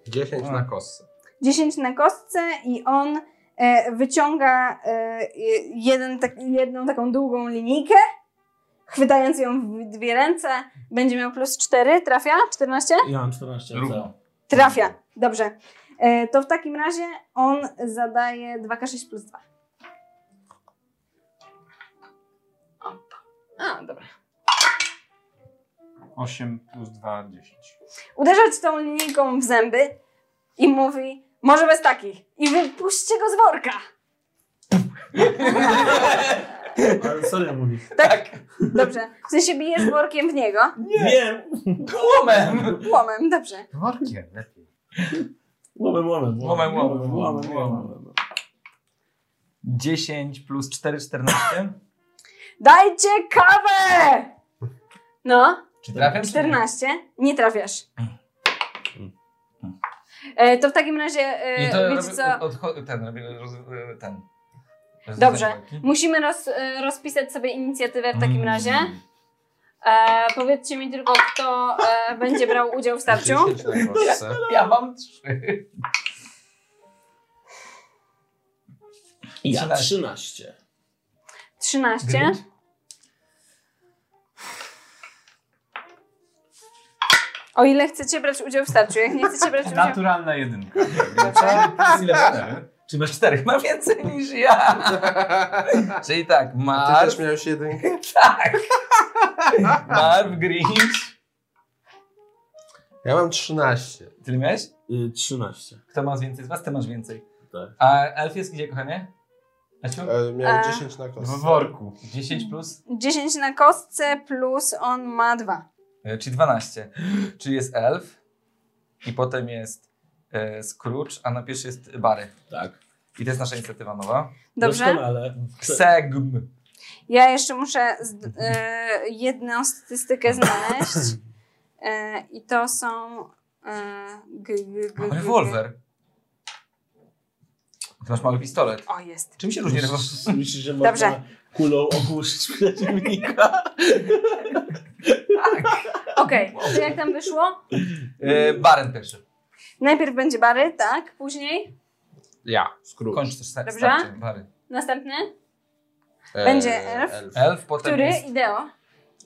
Speaker 2: 10 na kostce.
Speaker 4: 10 na kostce i on e, wyciąga e, jeden, tak, jedną taką długą linijkę, chwytając ją w dwie ręce. Będzie miał plus 4, trafia? 14?
Speaker 5: Ja mam 14.
Speaker 6: Równo.
Speaker 4: Trafia, dobrze. E, to w takim razie on zadaje 2K6 plus 2. Opa. A, dobra.
Speaker 6: 8 plus 2, 10.
Speaker 4: Uderza ci tą linijką w zęby i mówi, może bez takich. I wypuśćcie go z worka.
Speaker 5: Ale serio mówi.
Speaker 4: Dobrze. W sensie bijesz workiem w niego.
Speaker 5: Nie. Wiem.
Speaker 23: Łomem!
Speaker 4: Łomem, dobrze.
Speaker 6: Workiem lepiej.
Speaker 5: Łomem, łomem.
Speaker 23: Łomem, łomem,
Speaker 5: łomem,
Speaker 23: łomem.
Speaker 5: łomem.
Speaker 23: 10 plus 4, 14.
Speaker 4: Dajcie kawę! No,
Speaker 23: Czy trafiam?
Speaker 4: 14. Nie trafiasz. E, to w takim razie, e,
Speaker 23: I to
Speaker 4: wiecie
Speaker 23: robię,
Speaker 4: co,
Speaker 23: Od, odcho- ten, robię, roz, ten.
Speaker 4: Dobrze.
Speaker 23: Rozwiązanie walki.
Speaker 4: musimy roz, e, rozpisać sobie inicjatywę w takim
Speaker 23: Mm.
Speaker 4: razie. E, powiedzcie mi tylko, kto e, będzie brał udział w starciu.
Speaker 2: 10 na
Speaker 4: *laughs*
Speaker 2: kostce.
Speaker 23: Ja mam 3.
Speaker 5: Ja
Speaker 23: 13.
Speaker 5: 13.
Speaker 4: 13. O ile chcecie brać udział w starciu, jak nie chcecie brać udziału...
Speaker 6: Naturalna jedynka.
Speaker 23: Czy masz czterech? *laughs* Mam więcej niż ja. Czyli tak,
Speaker 2: A ty
Speaker 23: Marv,
Speaker 2: też miałeś jedynkę?
Speaker 23: Marv, Grinch.
Speaker 2: Ja mam 13.
Speaker 23: Ty miałeś?
Speaker 5: Y, 13.
Speaker 23: Kto ma więcej z was? Ty masz więcej.
Speaker 5: Tak.
Speaker 23: A elf jest gdzie, kochanie? Asiu?
Speaker 2: E, miałem
Speaker 4: A.
Speaker 2: 10 na kostce.
Speaker 6: W worku.
Speaker 23: 10 plus,
Speaker 4: 10 na kostce plus on ma 2.
Speaker 23: e, czyli 12. Czyli jest elf i potem jest e, Scrooge, a na pierwszy jest Barry.
Speaker 5: Tak.
Speaker 23: I to jest nasza inicjatywa nowa.
Speaker 4: Dobrze?
Speaker 5: Doskonale.
Speaker 23: Ksegm.
Speaker 4: Ja jeszcze muszę z, e, jedną statystykę
Speaker 23: *laughs*
Speaker 4: znaleźć. E, I to są... E, g, g, g,
Speaker 23: Mam
Speaker 4: g,
Speaker 23: rewolwer. Ty masz mały pistolet.
Speaker 4: O, jest.
Speaker 23: Czym się różni
Speaker 5: no,
Speaker 23: rewolwer?
Speaker 5: Myślisz, *laughs* że
Speaker 4: Dobrze.
Speaker 5: można kulą ogłuszyć przeciwnika?
Speaker 4: Okej, to jak tam wyszło?
Speaker 23: E, Baren pierwszy.
Speaker 4: Najpierw będzie Bary, tak? Później?
Speaker 2: Ja, skrót.
Speaker 23: Kończ też
Speaker 4: Dobrze.
Speaker 23: starcie. Bary.
Speaker 4: Następny?
Speaker 2: E,
Speaker 4: będzie elf.
Speaker 23: Elf, potem
Speaker 4: Który?
Speaker 23: jest...
Speaker 4: Ideo.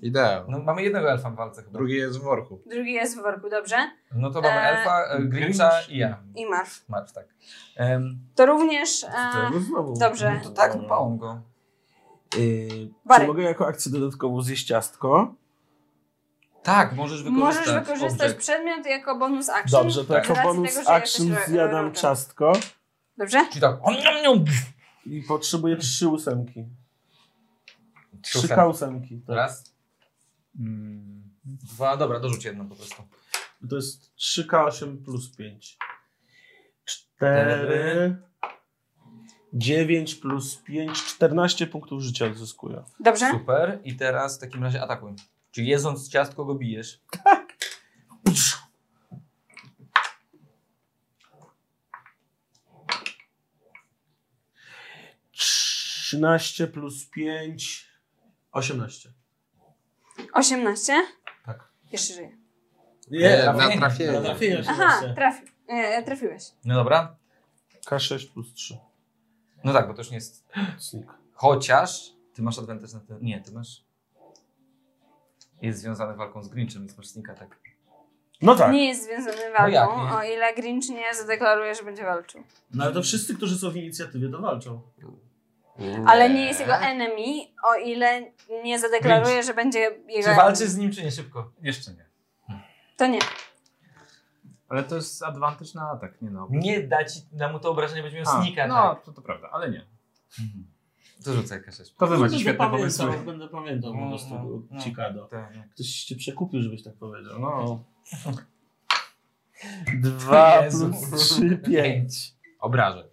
Speaker 2: Ideał.
Speaker 23: No, mamy jednego elfa w walce chyba.
Speaker 2: Drugi jest w worku.
Speaker 4: Drugi jest w worku, dobrze?
Speaker 23: No to mamy
Speaker 4: E,
Speaker 23: elfa, e, Grincha i ja.
Speaker 4: I Marw.
Speaker 23: Marv, tak. Em,
Speaker 4: To również... E,
Speaker 5: znowu. No
Speaker 4: dobrze.
Speaker 23: to tak, dbałem go.
Speaker 5: Y,
Speaker 4: Barek.
Speaker 5: czy mogę jako akcję dodatkową zjeść ciastko?
Speaker 23: Tak, możesz wykorzystać.
Speaker 4: Możesz wykorzystać
Speaker 23: object.
Speaker 4: przedmiot jako bonus action.
Speaker 5: Dobrze, to jako
Speaker 4: Z racji
Speaker 5: bonus
Speaker 4: Znaczy, tego, że
Speaker 5: action
Speaker 4: jesteś ro-
Speaker 5: zjadam
Speaker 4: rodem.
Speaker 5: ciastko
Speaker 4: Dobrze?
Speaker 23: Czyli tak. Om, niom, niom.
Speaker 5: i potrzebuję trzy ósemki. Trzy
Speaker 23: Trzy
Speaker 5: K ósemki. Tak.
Speaker 23: Raz, Mm. dwa, dobra, dorzuć jedną po prostu.
Speaker 5: To jest 3K8 plus 5. 4. 9 plus 5, 14 punktów życia odzyskuję.
Speaker 4: Dobrze?
Speaker 23: Super. I teraz w takim razie atakuj. Czyli jedząc ciastko go bijesz.
Speaker 5: Trzynaście plus pięć, osiemnaście.
Speaker 4: 18?
Speaker 5: Tak.
Speaker 4: Jeszcze żyję.
Speaker 2: Nie, na trafienie.
Speaker 5: Na trafienie
Speaker 4: Aha,
Speaker 5: 18.
Speaker 4: trafi, e, trafiłeś.
Speaker 23: No dobra.
Speaker 5: K6 plus 3.
Speaker 23: No tak, bo to już nie jest.
Speaker 5: Sneak.
Speaker 23: Chociaż ty masz advantage na ten. Nie, ty masz. Jest związany walką z Grinchem, więc masz snika tak.
Speaker 5: No tak.
Speaker 4: Nie jest związany
Speaker 23: No jak
Speaker 4: walką,
Speaker 23: nie?
Speaker 4: o ile Grinch nie zadeklaruje, że będzie walczył.
Speaker 5: No ale to wszyscy, którzy są w inicjatywie, to walczą.
Speaker 4: Ale nie jest jego enemy, o ile nie zadeklaruje, że będzie jego
Speaker 23: Czy
Speaker 4: enemy.
Speaker 23: walczysz z nim, czy nie szybko?
Speaker 6: Jeszcze nie.
Speaker 4: To nie.
Speaker 6: Ale to jest advantage na atak, nie na obrót.
Speaker 23: Nie da ci da mu to obrażenie, będzie miał
Speaker 6: A,
Speaker 23: snika.
Speaker 6: No,
Speaker 23: tak.
Speaker 6: to, to prawda, ale nie.
Speaker 23: To rzucaj K6.
Speaker 6: To wy macie
Speaker 5: Będę
Speaker 6: świetne
Speaker 5: pamiętał,
Speaker 6: pomysły.
Speaker 5: Będę pamiętał po
Speaker 23: No,
Speaker 5: prostu
Speaker 23: no, no.
Speaker 5: Cikado.
Speaker 23: Tak, tak.
Speaker 5: Ktoś cię przekupił, żebyś tak powiedział. No. *laughs*
Speaker 23: Dwa
Speaker 5: Dwa
Speaker 23: Jezu.
Speaker 5: plus trzy, pięć.
Speaker 23: Obrażeń.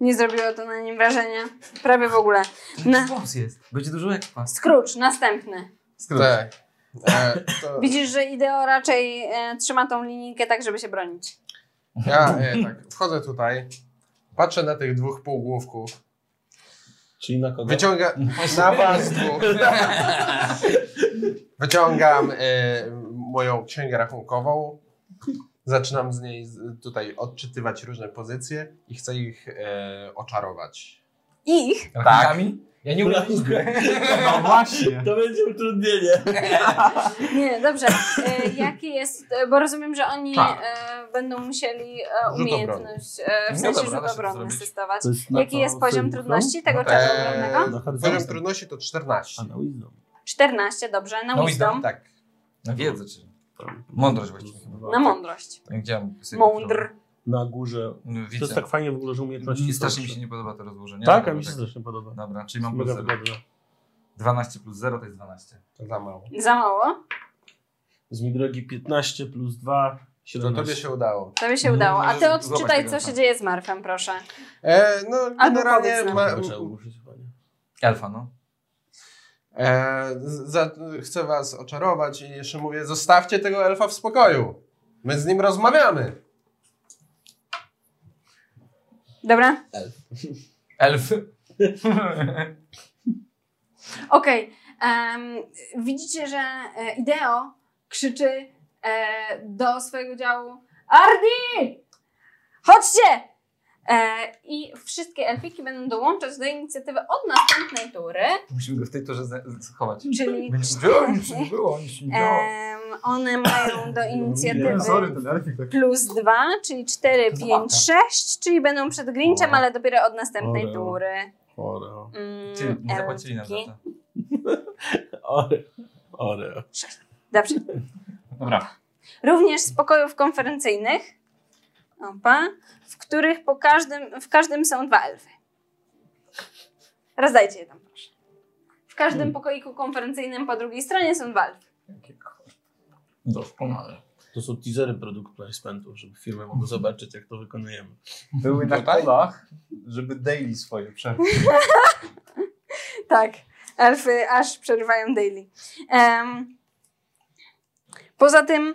Speaker 4: Nie zrobiło to na nim wrażenia. Prawie w ogóle. Na...
Speaker 23: Boss jest. Będzie dużo ekwa.
Speaker 4: Scrooge, następny.
Speaker 2: Tak. E, to
Speaker 4: Widzisz, że Ideo raczej e, trzyma tą linijkę tak, żeby się bronić.
Speaker 2: ja e, tak, wchodzę tutaj, patrzę na tych dwóch półgłówków,
Speaker 5: Czyli na kogo?
Speaker 2: wyciąga na was dwóch. Wyciągam e, moją księgę rachunkową, zaczynam z niej z, tutaj odczytywać różne pozycje i chcę ich e, oczarować.
Speaker 4: Ich?
Speaker 23: Tak. Ja nie umiem.
Speaker 5: *laughs*
Speaker 6: No właśnie.
Speaker 5: To będzie utrudnienie.
Speaker 4: Nie, dobrze. E, jaki jest, e, bo rozumiem, że oni
Speaker 2: Tak.
Speaker 4: e, będą musieli e,
Speaker 2: obrony.
Speaker 4: umiejętność, e, w
Speaker 23: No
Speaker 4: sensie
Speaker 23: dobra, da się
Speaker 4: rzut
Speaker 23: to
Speaker 4: obrony
Speaker 23: zrobić. tak.
Speaker 4: testować.
Speaker 5: To jest na
Speaker 4: Jaki
Speaker 5: No to
Speaker 4: jest poziom
Speaker 5: film,
Speaker 4: trudności
Speaker 5: no?
Speaker 4: tego
Speaker 5: No.
Speaker 4: czasu
Speaker 2: Eee,
Speaker 4: obronnego?
Speaker 5: Na
Speaker 2: Poziom
Speaker 5: horyzoncie.
Speaker 2: trudności to 14.
Speaker 5: A, na wisdom.
Speaker 4: 14, dobrze, na
Speaker 23: Na
Speaker 4: wisdom.
Speaker 2: Tak.
Speaker 23: Na wiedzę, czy. Mądrość właściwie. chyba.
Speaker 4: Na mądrość.
Speaker 23: Ja Widziałem sobie-
Speaker 4: Mądr.
Speaker 5: Na górze.
Speaker 23: No,
Speaker 5: To
Speaker 23: Widzę.
Speaker 5: jest tak fajnie w ogóle, że umiejętności...
Speaker 23: Nie, strasznie
Speaker 5: są-
Speaker 23: mi się nie podoba to rozłożenie.
Speaker 5: Tak,
Speaker 23: ale
Speaker 5: a mi się
Speaker 23: dobra,
Speaker 5: strasznie podoba.
Speaker 23: Dobra, czyli mam plus
Speaker 5: Mega
Speaker 23: 0.
Speaker 5: wygodne.
Speaker 23: 12 plus 0 to jest 12.
Speaker 2: Za mało.
Speaker 4: Za mało?
Speaker 5: Z mi drogi 15 plus 2,
Speaker 2: To
Speaker 5: 17.
Speaker 2: tobie się udało.
Speaker 4: Tobie się
Speaker 23: No,
Speaker 4: udało. A ty
Speaker 23: zobacz
Speaker 4: odczytaj,
Speaker 23: tego
Speaker 4: co
Speaker 23: tam.
Speaker 4: się dzieje z Marfem, proszę.
Speaker 2: E, no,
Speaker 4: Albo
Speaker 2: generalnie
Speaker 4: powiedz nam.
Speaker 2: ma,
Speaker 5: Chyba trzeba użyć chyba, nie?
Speaker 23: Elfa, no.
Speaker 2: e, z- za, chcę was oczarować i jeszcze mówię, zostawcie tego elfa w spokoju. My z nim rozmawiamy.
Speaker 4: Dobra?
Speaker 23: Elf.
Speaker 4: Okej. em, widzicie, że e, Ideo krzyczy e, do swojego działu Ardi! Chodźcie! E, I wszystkie elfiki będą dołączać do inicjatywy od następnej tury,
Speaker 23: Musimy go w tej torze zna- schować.
Speaker 4: czyli
Speaker 23: Będzie
Speaker 4: cztery.
Speaker 23: wyłącz, no.
Speaker 4: Em, one mają do inicjatywy
Speaker 6: Sorry, ten elfik tak...
Speaker 4: plus 2, czyli 4,
Speaker 23: To
Speaker 4: 5,
Speaker 23: zabawka.
Speaker 4: 6, czyli będą przed Grinchem, ale dopiero od następnej
Speaker 5: Oreo.
Speaker 4: tury.
Speaker 5: Oreo.
Speaker 4: Mm,
Speaker 23: Ty, nie zapłacili nam za
Speaker 4: elfki.
Speaker 23: to.
Speaker 5: Oreo. Oreo.
Speaker 4: Dobrze.
Speaker 6: Dobra,
Speaker 4: Również z pokojów konferencyjnych, opa, w których po każdym, w każdym są dwa elfy. Rozdajcie je tam, proszę. W każdym pokoiku konferencyjnym po drugiej stronie są dwa elfy.
Speaker 23: Doskonale.
Speaker 5: To są teasery produkt placementów, żeby firmy mogły zobaczyć, jak to wykonujemy.
Speaker 6: były na kolach, żeby daily swoje przerwy.
Speaker 4: Tak, elfy aż przerywają daily. Em, poza tym,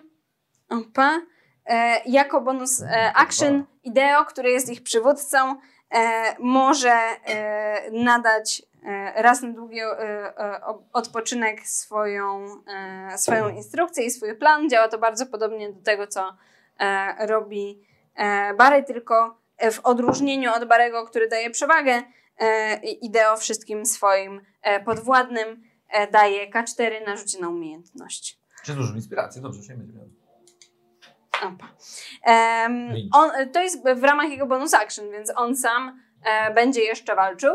Speaker 4: opa, e, jako bonus e, action, Ideo, który jest ich przywódcą, e, może e, nadać e, raz na długi e, e, o- odpoczynek swoją, e, swoją instrukcję i swój plan. Działa to bardzo podobnie do tego, co e, robi e, Barry, tylko w odróżnieniu od Barego, który daje przewagę, e, Ideo wszystkim swoim e, podwładnym e, daje K4 na rzucie na umiejętność.
Speaker 23: Czy dużo inspiracji? Dobrze, już nie będzie miał.
Speaker 4: Opa. Em,
Speaker 23: Lynch.
Speaker 4: on, to jest w ramach jego bonus action, więc on sam e, będzie jeszcze walczył.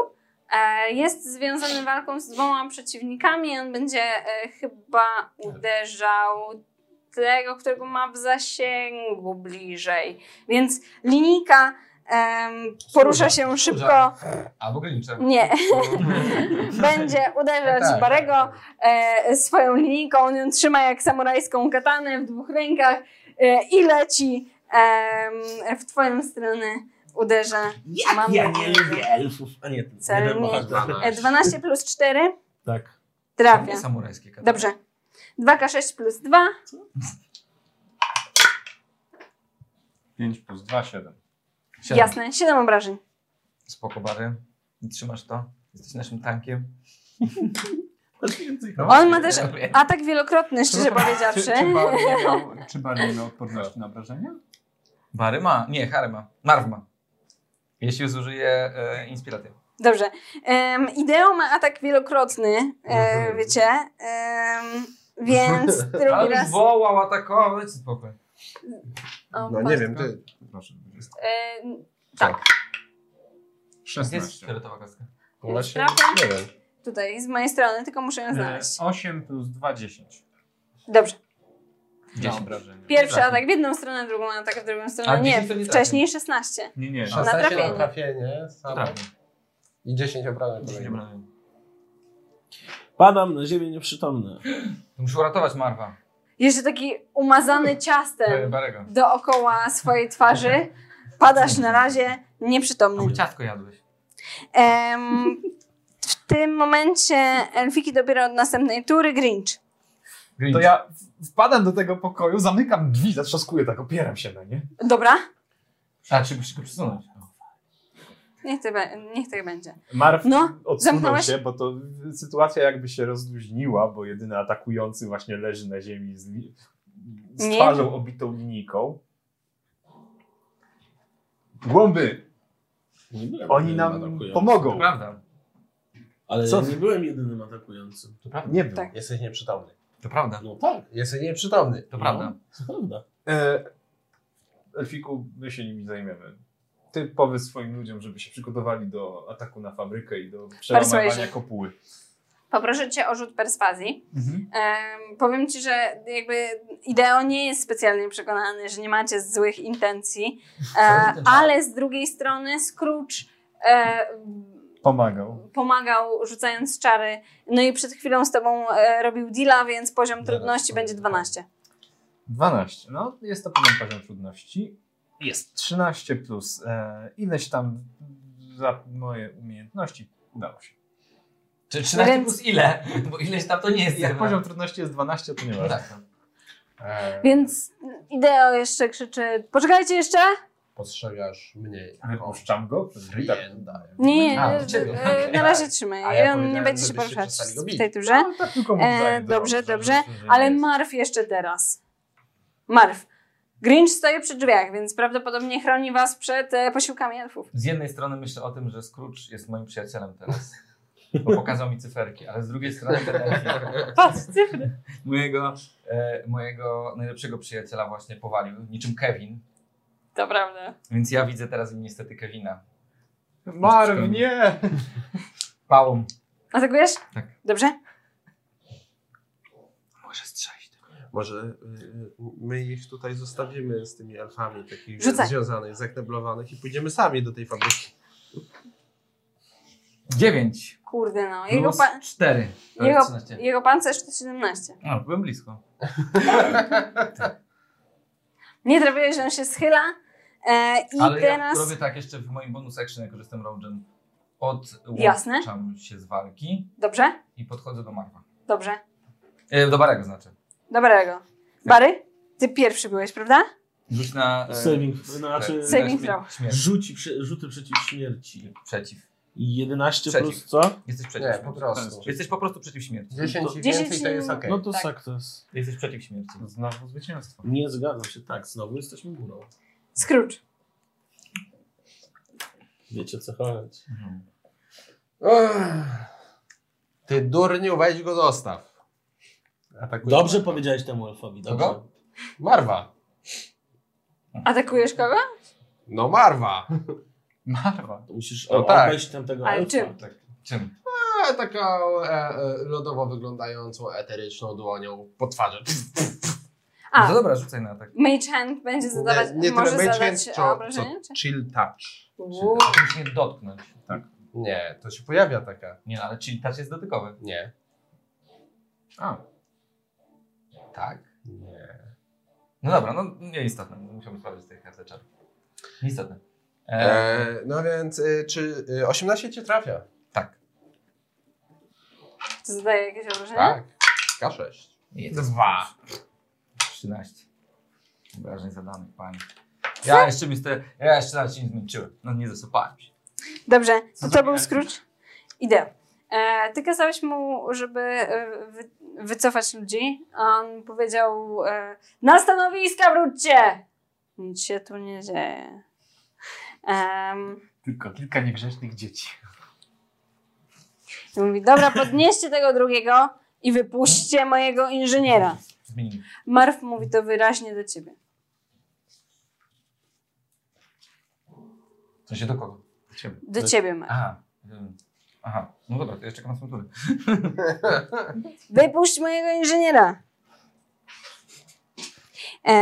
Speaker 4: E, jest związany walką z dwoma przeciwnikami. On będzie e, chyba uderzał tego, którego ma w zasięgu bliżej. Więc linijka em, porusza się szybko.
Speaker 23: Albo Grincha. *laughs*
Speaker 4: Nie. Będzie uderzać
Speaker 23: Mhm. Tak, tak.
Speaker 4: Barego e, swoją linijką. On ją trzyma jak samurajską katanę w dwóch rękach e, i leci em, w twoją stronę uderzę.
Speaker 5: Jak
Speaker 4: Mam
Speaker 5: ja nie
Speaker 4: nadzieję,
Speaker 5: lubię elfów? A nie, nie
Speaker 4: Celnie.
Speaker 5: bohatera.
Speaker 4: E, 12 plus 4
Speaker 5: Tak.
Speaker 4: trafia.
Speaker 23: Samurajskie kadry.
Speaker 4: Dobrze. 2K6 plus 2.
Speaker 6: 5 plus 2, 7.
Speaker 23: Siadaj.
Speaker 4: Jasne, 7 obrażeń.
Speaker 23: Spoko, Bary. Trzymasz to. Jesteś naszym tankiem. No,
Speaker 4: On ma też
Speaker 23: dziękuję.
Speaker 4: atak wielokrotny, szczerze powiedziawszy.
Speaker 6: Czy Barry miał odporność na obrażenia?
Speaker 23: Bary ma. Nie, Harry ma. Marw ma. Jeśli zużyje e, inspirację.
Speaker 4: Dobrze. Um, Ideo ma atak wielokrotny, e, wiecie. Em,
Speaker 23: *laughs*
Speaker 4: więc drugi
Speaker 23: Mhm. Ale
Speaker 4: raz.
Speaker 23: wołał, atakować. Spoko.
Speaker 4: O,
Speaker 2: No nie
Speaker 4: patrz.
Speaker 2: wiem, ty.
Speaker 6: Proszę. dwudziestka.
Speaker 4: E,
Speaker 2: Tak.
Speaker 6: 16.
Speaker 23: Fioletowa kostka.
Speaker 2: Właśnie,
Speaker 4: No, Trafia?
Speaker 2: nie wiem.
Speaker 4: tutaj, z mojej strony, tylko muszę
Speaker 23: E,
Speaker 4: ją znaleźć.
Speaker 6: 8 plus 2, 10.
Speaker 4: Dobrze.
Speaker 6: Na obrażenia.
Speaker 4: Pierwszy
Speaker 23: Trafi.
Speaker 4: atak w jedną stronę, drugą atak w drugą stronę.
Speaker 23: A
Speaker 4: nie,
Speaker 23: 10 to nie tak. trafi.
Speaker 4: wcześniej 16.
Speaker 6: Nie, nie.
Speaker 4: Na
Speaker 2: na
Speaker 4: trafienie.
Speaker 2: trafienie samo.
Speaker 28: Tak.
Speaker 23: Trafi.
Speaker 2: i 10 obrażeń kolejnych.
Speaker 5: Padam na ziemię nieprzytomny.
Speaker 23: Muszę uratować Marwa.
Speaker 4: Jeszcze taki umazany
Speaker 23: E,
Speaker 4: ciastem
Speaker 23: Barego.
Speaker 4: dookoła swojej twarzy. Padasz na razie nieprzytomny.
Speaker 23: No, ciastko jadłeś.
Speaker 4: Em, w tym momencie elfiki dopiero od następnej tury Grinch.
Speaker 6: To ja w- wpadam do tego pokoju, zamykam drzwi, zatrzaskuję tak, opieram się na nie.
Speaker 4: Dobra?
Speaker 23: A, czy musisz go przesunąć?
Speaker 4: Niech tak, be- niech tak będzie.
Speaker 6: Marw
Speaker 4: No,
Speaker 6: odsunął
Speaker 4: zamknąłeś?
Speaker 6: się, bo to sytuacja jakby się rozluźniła, bo jedyny atakujący właśnie leży na ziemi z, li- z
Speaker 4: Nie.
Speaker 6: twarzą obitą linijką. Głąby,
Speaker 5: Nie byłem
Speaker 6: oni
Speaker 5: jedynym
Speaker 6: nam
Speaker 5: atakującym.
Speaker 6: pomogą.
Speaker 23: Prawda.
Speaker 5: Ale
Speaker 2: Co
Speaker 5: Co?
Speaker 2: ty?
Speaker 5: nie byłem jedynym atakującym.
Speaker 23: To prawda.
Speaker 6: Nie był.
Speaker 4: Tak.
Speaker 29: Jesteś nieprzytomny.
Speaker 23: To prawda.
Speaker 5: No tak,
Speaker 2: Jesteś nieprzytomny. No,
Speaker 23: To prawda.
Speaker 5: to prawda.
Speaker 6: E, Elfiku, my się nimi zajmiemy. Ty powiedz swoim ludziom, żeby się przygotowali do ataku na fabrykę i do przełamywania
Speaker 4: Persuasion.
Speaker 6: kopuły.
Speaker 4: Poproszę cię o rzut perswazji.
Speaker 2: Mhm.
Speaker 4: Em, powiem ci, że jakby Ideo nie jest specjalnie przekonany, że nie macie złych
Speaker 2: *laughs*
Speaker 4: intencji, e, ale z drugiej strony Scrooge e,
Speaker 6: Pomagał.
Speaker 4: pomagał rzucając czary, no i przed chwilą z tobą e, robił deala, więc poziom
Speaker 5: Zaraz
Speaker 4: trudności
Speaker 5: powiem.
Speaker 4: będzie 12.
Speaker 6: 12. No, jest to pewien poziom trudności. Jest 13 plus e, ileś tam za moje umiejętności. Udało się.
Speaker 23: Czy 13
Speaker 4: Więc-
Speaker 23: plus ile? *laughs* Bo ileś tam to nie jest.
Speaker 6: Jak
Speaker 23: jeden.
Speaker 6: poziom trudności jest 12, to nie ma.
Speaker 23: Tak.
Speaker 2: E,
Speaker 4: Więc Ideo jeszcze krzyczy, poczekajcie jeszcze!
Speaker 2: Postrzegasz mnie.
Speaker 23: tak.
Speaker 6: Wypuszczam go przez drzwi, tak.
Speaker 4: Nie,
Speaker 23: A,
Speaker 4: e,
Speaker 23: do ciebie,
Speaker 4: e,
Speaker 23: okej.
Speaker 4: na razie trzymaj.
Speaker 2: A ja
Speaker 4: I on nie
Speaker 2: powiedziałem,
Speaker 4: będzie się
Speaker 2: żebyście
Speaker 4: poruszać
Speaker 2: przestali go
Speaker 4: w
Speaker 2: bić.
Speaker 4: tej turze.
Speaker 6: No, tak tylko mu
Speaker 4: E,
Speaker 6: zdaję do
Speaker 4: dobrze,
Speaker 6: roboty,
Speaker 4: dobrze,
Speaker 6: że- że
Speaker 4: Ale
Speaker 6: jest.
Speaker 4: Marw jeszcze teraz. Marw. Grinch stoi przy drzwiach, więc prawdopodobnie chroni was przed e, posiłkami elfów.
Speaker 23: Z jednej strony myślę o tym, że Scrooge jest moim przyjacielem teraz. Bo pokazał mi cyferki, ale z drugiej strony ten elfik
Speaker 4: Patrz, cyfry.
Speaker 23: mojego, e, mojego najlepszego przyjaciela właśnie powalił, niczym Kevin.
Speaker 4: To prawda.
Speaker 23: Więc ja widzę teraz niestety Kevina.
Speaker 6: Marv, nie!
Speaker 23: Pałą.
Speaker 4: Atakujesz?
Speaker 23: Tak.
Speaker 4: Dobrze?
Speaker 23: Może strzelić.
Speaker 28: Może y, my ich tutaj zostawimy z tymi elfami takich
Speaker 4: Rzucaj.
Speaker 28: związanych, zakneblowanych i pójdziemy sami do tej fabryki.
Speaker 23: Dziewięć
Speaker 4: Kurde no. Jego,
Speaker 23: plus
Speaker 4: pa-
Speaker 23: cztery. To
Speaker 4: jego-
Speaker 23: jest 13.
Speaker 4: jego pancerz to 17.
Speaker 23: A, byłem blisko.
Speaker 4: Nie trafiłeś, on się schyla. E, I
Speaker 23: Ale
Speaker 4: teraz...
Speaker 23: ja robię tak jeszcze w moim bonus action, jako że jestem rogen.
Speaker 4: Jasne.
Speaker 23: Odłączam się z walki
Speaker 4: Dobrze?
Speaker 23: i podchodzę do Marwa.
Speaker 4: Dobrze.
Speaker 23: E, do Barego znaczy.
Speaker 4: Dobrego. Bary? Ty pierwszy byłeś, prawda?
Speaker 23: Rzuć na... e,
Speaker 5: Saving, znaczy
Speaker 23: na
Speaker 4: Saving
Speaker 23: śmier-
Speaker 4: throw.
Speaker 23: Śmierć.
Speaker 5: rzuci, przy- rzuty przeciw śmierci.
Speaker 23: Przeciw.
Speaker 5: I 11
Speaker 23: Przeciw.
Speaker 5: plus co?
Speaker 23: Jesteś przeciw
Speaker 2: Nie, po
Speaker 23: śmierci.
Speaker 2: prostu.
Speaker 23: Jesteś po prostu przeciw śmierci.
Speaker 2: 10 i
Speaker 4: 10
Speaker 2: więcej to jest okej.
Speaker 5: No to
Speaker 4: Tak.
Speaker 5: success.
Speaker 23: Jesteś przeciw śmierci.
Speaker 6: Znowu zwycięstwo.
Speaker 5: Nie zgadzam się, tak, znowu jesteśmy górą.
Speaker 4: Scrooge.
Speaker 5: Wiecie o co chodzi.
Speaker 23: Mhm.
Speaker 2: Ech. Ty durniu, weź go zostaw. Atakuje
Speaker 5: Dobrze
Speaker 2: Marwa.
Speaker 5: powiedziałeś temu elfowi, dobrze.
Speaker 2: Kogo? Marwa.
Speaker 4: Atakujesz kogo?
Speaker 2: No Marwa.
Speaker 6: Marwa.
Speaker 5: To musisz
Speaker 2: No
Speaker 5: o-
Speaker 2: tak.
Speaker 5: obejść tam tego
Speaker 4: Ale
Speaker 5: elfa. Tak.
Speaker 4: czym?
Speaker 23: Czym?
Speaker 2: E, Taką e, e, lodowo wyglądającą, eteryczną dłonią po twarzy. *laughs*
Speaker 23: No
Speaker 4: A,
Speaker 23: to dobra, rzucaj na tak. atak.
Speaker 4: Mage Hand będzie zadawać,
Speaker 2: Nie- nie
Speaker 4: może
Speaker 2: tyle mage
Speaker 4: zadać
Speaker 2: hand, co-
Speaker 4: obrażenie? Czy...
Speaker 2: Chill touch.
Speaker 4: Uuu.
Speaker 23: To musisz mnie dotknąć.
Speaker 2: Nie, to się pojawia taka.
Speaker 23: Nie, ale czyli touch jest dotykowy.
Speaker 2: Nie.
Speaker 23: A. Tak?
Speaker 2: Nie.
Speaker 23: No dobra, no nieistotne. Musiałbym sprawdzić tej karty czar. Nieistotne.
Speaker 2: E, no więc, e, czy e, 18 cię trafia?
Speaker 4: E.
Speaker 23: Tak.
Speaker 4: Czy zadaje jakieś obrażenia?
Speaker 2: Tak. K6.
Speaker 23: Dwa. 13. Obrażeń zadanych, pani. Ja jeszcze mi ste, ja jeszcze nawet się nie zmęczyłem. No nie zasypałem się.
Speaker 4: Dobrze, to, to był Scrooge. Idę. E, ty kazałeś mu, żeby e, wy, wycofać ludzi. a On powiedział: e, Na stanowiska wróćcie! Nic się tu nie dzieje. Em,
Speaker 6: Tylko kilka niegrzecznych dzieci.
Speaker 4: I mówi, dobra, podnieście tego drugiego i wypuśćcie mojego inżyniera.
Speaker 23: Zmienimy.
Speaker 4: Marv mówi to wyraźnie do ciebie.
Speaker 23: W sensie do kogo?
Speaker 6: Do ciebie.
Speaker 4: Do ciebie, Marv.
Speaker 23: Aha. ym, Aha. No dobra, to ja czekam na swoją turę.
Speaker 4: Wypuść mojego inżyniera. E,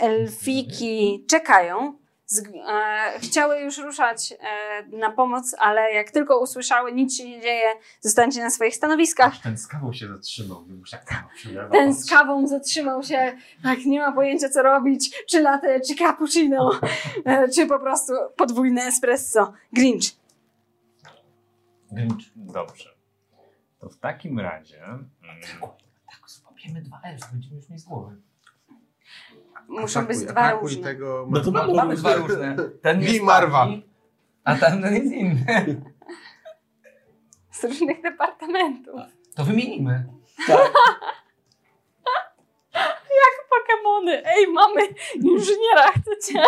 Speaker 4: elfiki czekają. Z, e, chciały już ruszać e, na pomoc, ale jak tylko usłyszały, nic się nie dzieje, zostańcie na swoich stanowiskach.
Speaker 6: Ten z kawą się zatrzymał, więc tak tam
Speaker 4: Ten z kawą zatrzymał się, tak nie ma pojęcia co robić, czy latte, czy cappuccino, e, czy po prostu podwójne espresso. Grinch.
Speaker 6: Grinch. Dobrze. To w takim razie... mm,
Speaker 23: Tak, złapiemy dwa elfy, będziemy już mieć z głowy.
Speaker 4: Muszą
Speaker 2: Atakuj,
Speaker 4: być dwa
Speaker 2: atakuj
Speaker 4: różne.
Speaker 2: Tego
Speaker 5: No to
Speaker 2: Marwa.
Speaker 5: mamy-
Speaker 23: Mamy dwa różne. Ten
Speaker 2: Bij
Speaker 23: jest
Speaker 2: Marwa.
Speaker 23: taki, a ten jest inny.
Speaker 4: Z różnych departamentów.
Speaker 23: To wymienimy.
Speaker 4: Pokemony. Ej, mamy inżyniera, chcecie?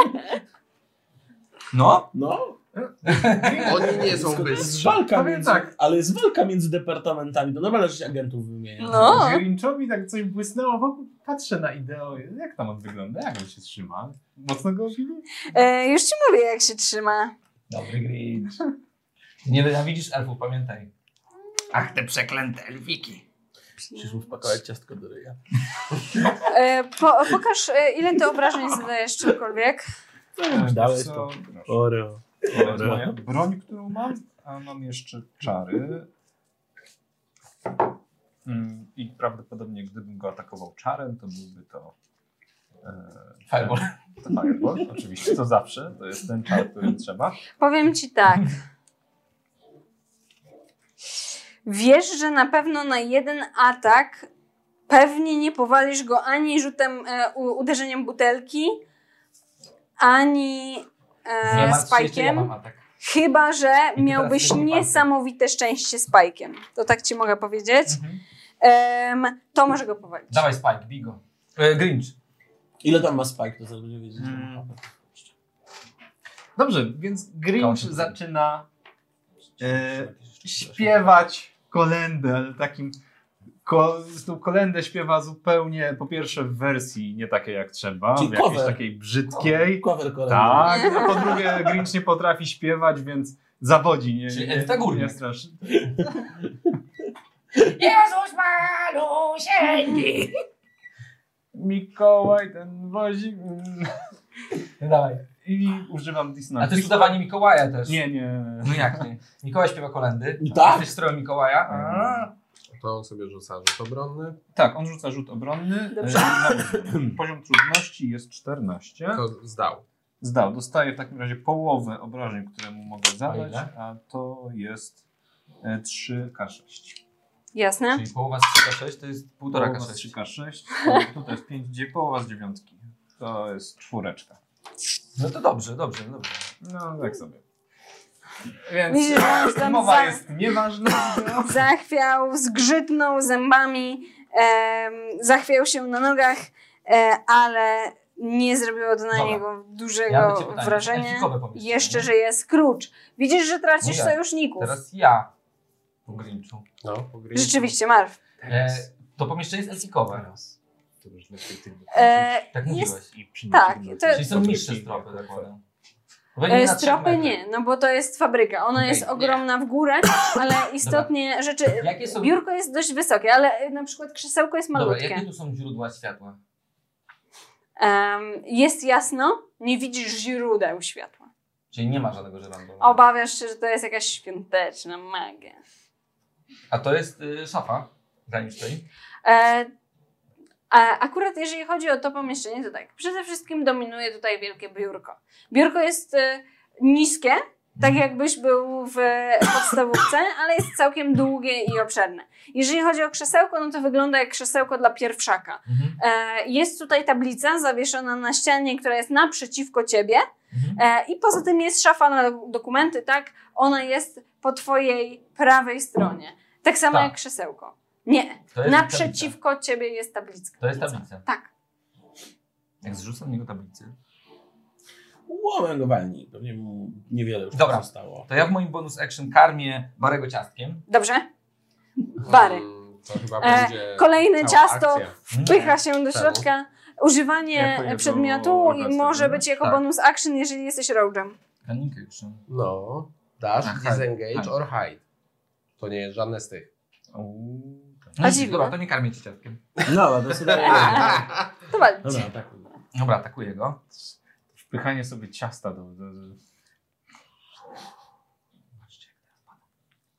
Speaker 23: No,
Speaker 5: No,
Speaker 2: Oni nie są
Speaker 5: jest
Speaker 2: bystrzy.
Speaker 5: walka
Speaker 6: Powiem
Speaker 5: między,
Speaker 6: tak.
Speaker 5: ale jest walka między departamentami. No normalnie, że się agentów wymienia.
Speaker 4: No.
Speaker 6: Grinchowi tak coś błysnęło wokół. Patrzę na ideę, jak tam on wygląda, jak on się trzyma. Mocno go obilu?
Speaker 4: E, już ci mówię, jak się trzyma.
Speaker 23: Dobry Grinch. Ty Nie nienawidzisz elfów, pamiętaj.
Speaker 30: Ach, te przeklęte elfiki.
Speaker 5: Przyszło wpakować ciastko do ryja.
Speaker 4: E, po, pokaż, e, ile ty obrażeń zadajesz czymkolwiek.
Speaker 5: dałeś
Speaker 6: Wiesz co? Proszę.
Speaker 5: Oreo.
Speaker 6: To jest moja broń, którą mam, a mam jeszcze czary. Mm, I prawdopodobnie gdybym go atakował czarem, to byłby to... E,
Speaker 23: Fireball.
Speaker 6: To fireball, oczywiście, to zawsze. To jest ten czar, który trzeba.
Speaker 4: Powiem ci tak. Wiesz, że na pewno na jeden atak pewnie nie powalisz go ani rzutem, e, u, uderzeniem butelki, ani
Speaker 23: Nie
Speaker 4: e,
Speaker 23: martw się, jeszcze ja
Speaker 4: spajkiem.
Speaker 23: mam atak.
Speaker 4: Chyba, że
Speaker 23: teraz
Speaker 4: miałbyś
Speaker 23: tylko walkę.
Speaker 4: niesamowite szczęście z pajkiem. To tak ci mogę powiedzieć.
Speaker 23: Mhm.
Speaker 4: Em, to może go powalić.
Speaker 23: Dawaj Spike, bij go. E, Grinch.
Speaker 5: Ile tam ma Spike, to zaraz będziemy wiedzieć.
Speaker 6: Mm. Dobrze, więc Grinch
Speaker 23: Kończy.
Speaker 6: zaczyna e, śpiewać kolendę, ale takim. Ko, tą kolendę śpiewa zupełnie, po pierwsze, w wersji nie takiej jak trzeba,
Speaker 5: Czyli
Speaker 6: w jakiejś
Speaker 5: cover.
Speaker 6: takiej brzydkiej.
Speaker 5: Cover kolejny.
Speaker 6: Tak, a po drugie, Grinch nie potrafi śpiewać, więc zawodzi. Nie,
Speaker 23: Czyli
Speaker 6: nie,
Speaker 23: Edyta Górnik.
Speaker 6: nie straszy.
Speaker 30: *laughs* Jezus malusieńki.
Speaker 6: Mikołaj ten wozi.
Speaker 23: No dawaj.
Speaker 6: I używam Disneya.
Speaker 23: A to jest udawanie Mikołaja też.
Speaker 6: Nie, nie.
Speaker 23: No jak nie? Mikołaj śpiewa kolendy.
Speaker 5: Tak?
Speaker 23: Jesteś stroją Mikołaja. A,
Speaker 2: To on sobie rzuca rzut obronny.
Speaker 6: Tak, on rzuca rzut obronny.
Speaker 4: Dobrze.
Speaker 6: E, zawodzi. *clears throat* Poziom trudności jest 14.
Speaker 2: To zdał.
Speaker 6: Zdał. Dostaje w takim razie połowę obrażeń, które mu mogę zadać,
Speaker 23: ile?
Speaker 6: a to jest e, 3K6.
Speaker 4: Jasne?
Speaker 23: czyli połowa z 3K6 to jest półtora
Speaker 6: Połowa z
Speaker 23: K6.
Speaker 6: 3K6, *laughs* tutaj jest 5, gdzie połowa z dziewiątki. To jest czwóreczka.
Speaker 23: No to dobrze, dobrze, dobrze.
Speaker 6: No, tak sobie. Więc
Speaker 4: Widzisz, że on tam
Speaker 6: mowa
Speaker 4: za-
Speaker 6: jest nieważna.
Speaker 4: Zachwiał, zgrzytnął zębami, em, zachwiał się na nogach, e, ale nie zrobiło to na
Speaker 23: Dobra.
Speaker 4: niego dużego
Speaker 23: Ja mam cię pytanie,
Speaker 4: wrażenia.
Speaker 23: elfikowe pomieszczenie,
Speaker 4: Jeszcze,
Speaker 23: nie?
Speaker 4: że jest klucz. Widzisz, że tracisz
Speaker 23: Mówię.
Speaker 4: sojuszników.
Speaker 23: Teraz ja po Grinchu.
Speaker 2: No, po gry.
Speaker 4: Rzeczywiście, Marw.
Speaker 23: E, to pomieszczenie jest elfikowe.
Speaker 6: To już dla ciebie tylko
Speaker 4: E,
Speaker 23: Tak
Speaker 4: Jest-
Speaker 23: mówiłeś.
Speaker 6: i przyniesie
Speaker 4: tak,
Speaker 6: do
Speaker 4: to-
Speaker 6: ciebie.
Speaker 23: Czyli są niższe stropy, zakładam. Bo
Speaker 4: E,
Speaker 23: nie na trzech
Speaker 4: Stropy
Speaker 23: metrach.
Speaker 4: nie, no bo to jest fabryka. Ona
Speaker 23: Okej,
Speaker 4: jest
Speaker 23: nie.
Speaker 4: ogromna w
Speaker 23: *coughs*
Speaker 4: górę, ale istotnie rzeczy.
Speaker 23: Jakie są,
Speaker 4: Biurko jest dość wysokie, ale e, na przykład krzesełko jest
Speaker 23: dobra,
Speaker 4: malutkie.
Speaker 23: jakie tu są źródła światła?
Speaker 4: Em, jest jasno, nie widzisz źródeł światła.
Speaker 23: Czyli nie ma żadnego żerandu.
Speaker 4: Obawiasz się, że to jest jakaś świąteczna magia.
Speaker 23: A to jest y, szafa granicznej.
Speaker 4: E, a akurat jeżeli chodzi o to pomieszczenie, to tak, przede wszystkim dominuje tutaj wielkie biurko. Biurko jest e, niskie, tak jakbyś był w podstawówce, ale jest całkiem długie i obszerne. Jeżeli chodzi o krzesełko, no to wygląda jak krzesełko dla pierwszaka. E, Jest tutaj tablica zawieszona na ścianie, która jest naprzeciwko ciebie E, i poza tym jest szafa na dok- dokumenty, tak? Ona jest po twojej prawej stronie. Tak samo
Speaker 23: Tak.
Speaker 4: jak krzesełko. Nie,
Speaker 23: To jest
Speaker 4: naprzeciwko ciebie jest tabliczka.
Speaker 23: To jest tablica.
Speaker 4: Tak.
Speaker 23: Jak zrzucę na niego tablicę.
Speaker 5: Łomę go walni. Pewnie mu niewiele już
Speaker 23: Dobra.
Speaker 5: zostało.
Speaker 23: To ja w moim bonus action karmię Barego ciastkiem.
Speaker 4: Dobrze? Bary.
Speaker 2: Mm, To chyba
Speaker 4: E,
Speaker 2: będzie
Speaker 4: Kolejne
Speaker 2: cała
Speaker 4: ciasto
Speaker 2: akcja.
Speaker 4: wpycha się do
Speaker 2: Czemu?
Speaker 4: środka.
Speaker 2: Jak
Speaker 4: Używanie
Speaker 2: to jest
Speaker 4: przedmiotu
Speaker 2: do
Speaker 4: i może być jako
Speaker 2: Tak.
Speaker 4: bonus action, jeżeli jesteś roadem.
Speaker 23: Kaninkę już. no.
Speaker 2: No, dash,
Speaker 23: Aha,
Speaker 2: disengage
Speaker 23: tak.
Speaker 2: or hide. To nie jest żadne z tych.
Speaker 23: No nic, Dobra, to nie karmię cię ciastkiem.
Speaker 5: No, to sobie
Speaker 4: To walcz.
Speaker 5: Dobra, atakuj.
Speaker 23: Dobra, atakuję go.
Speaker 6: Wpychanie sobie ciasta do... do, do.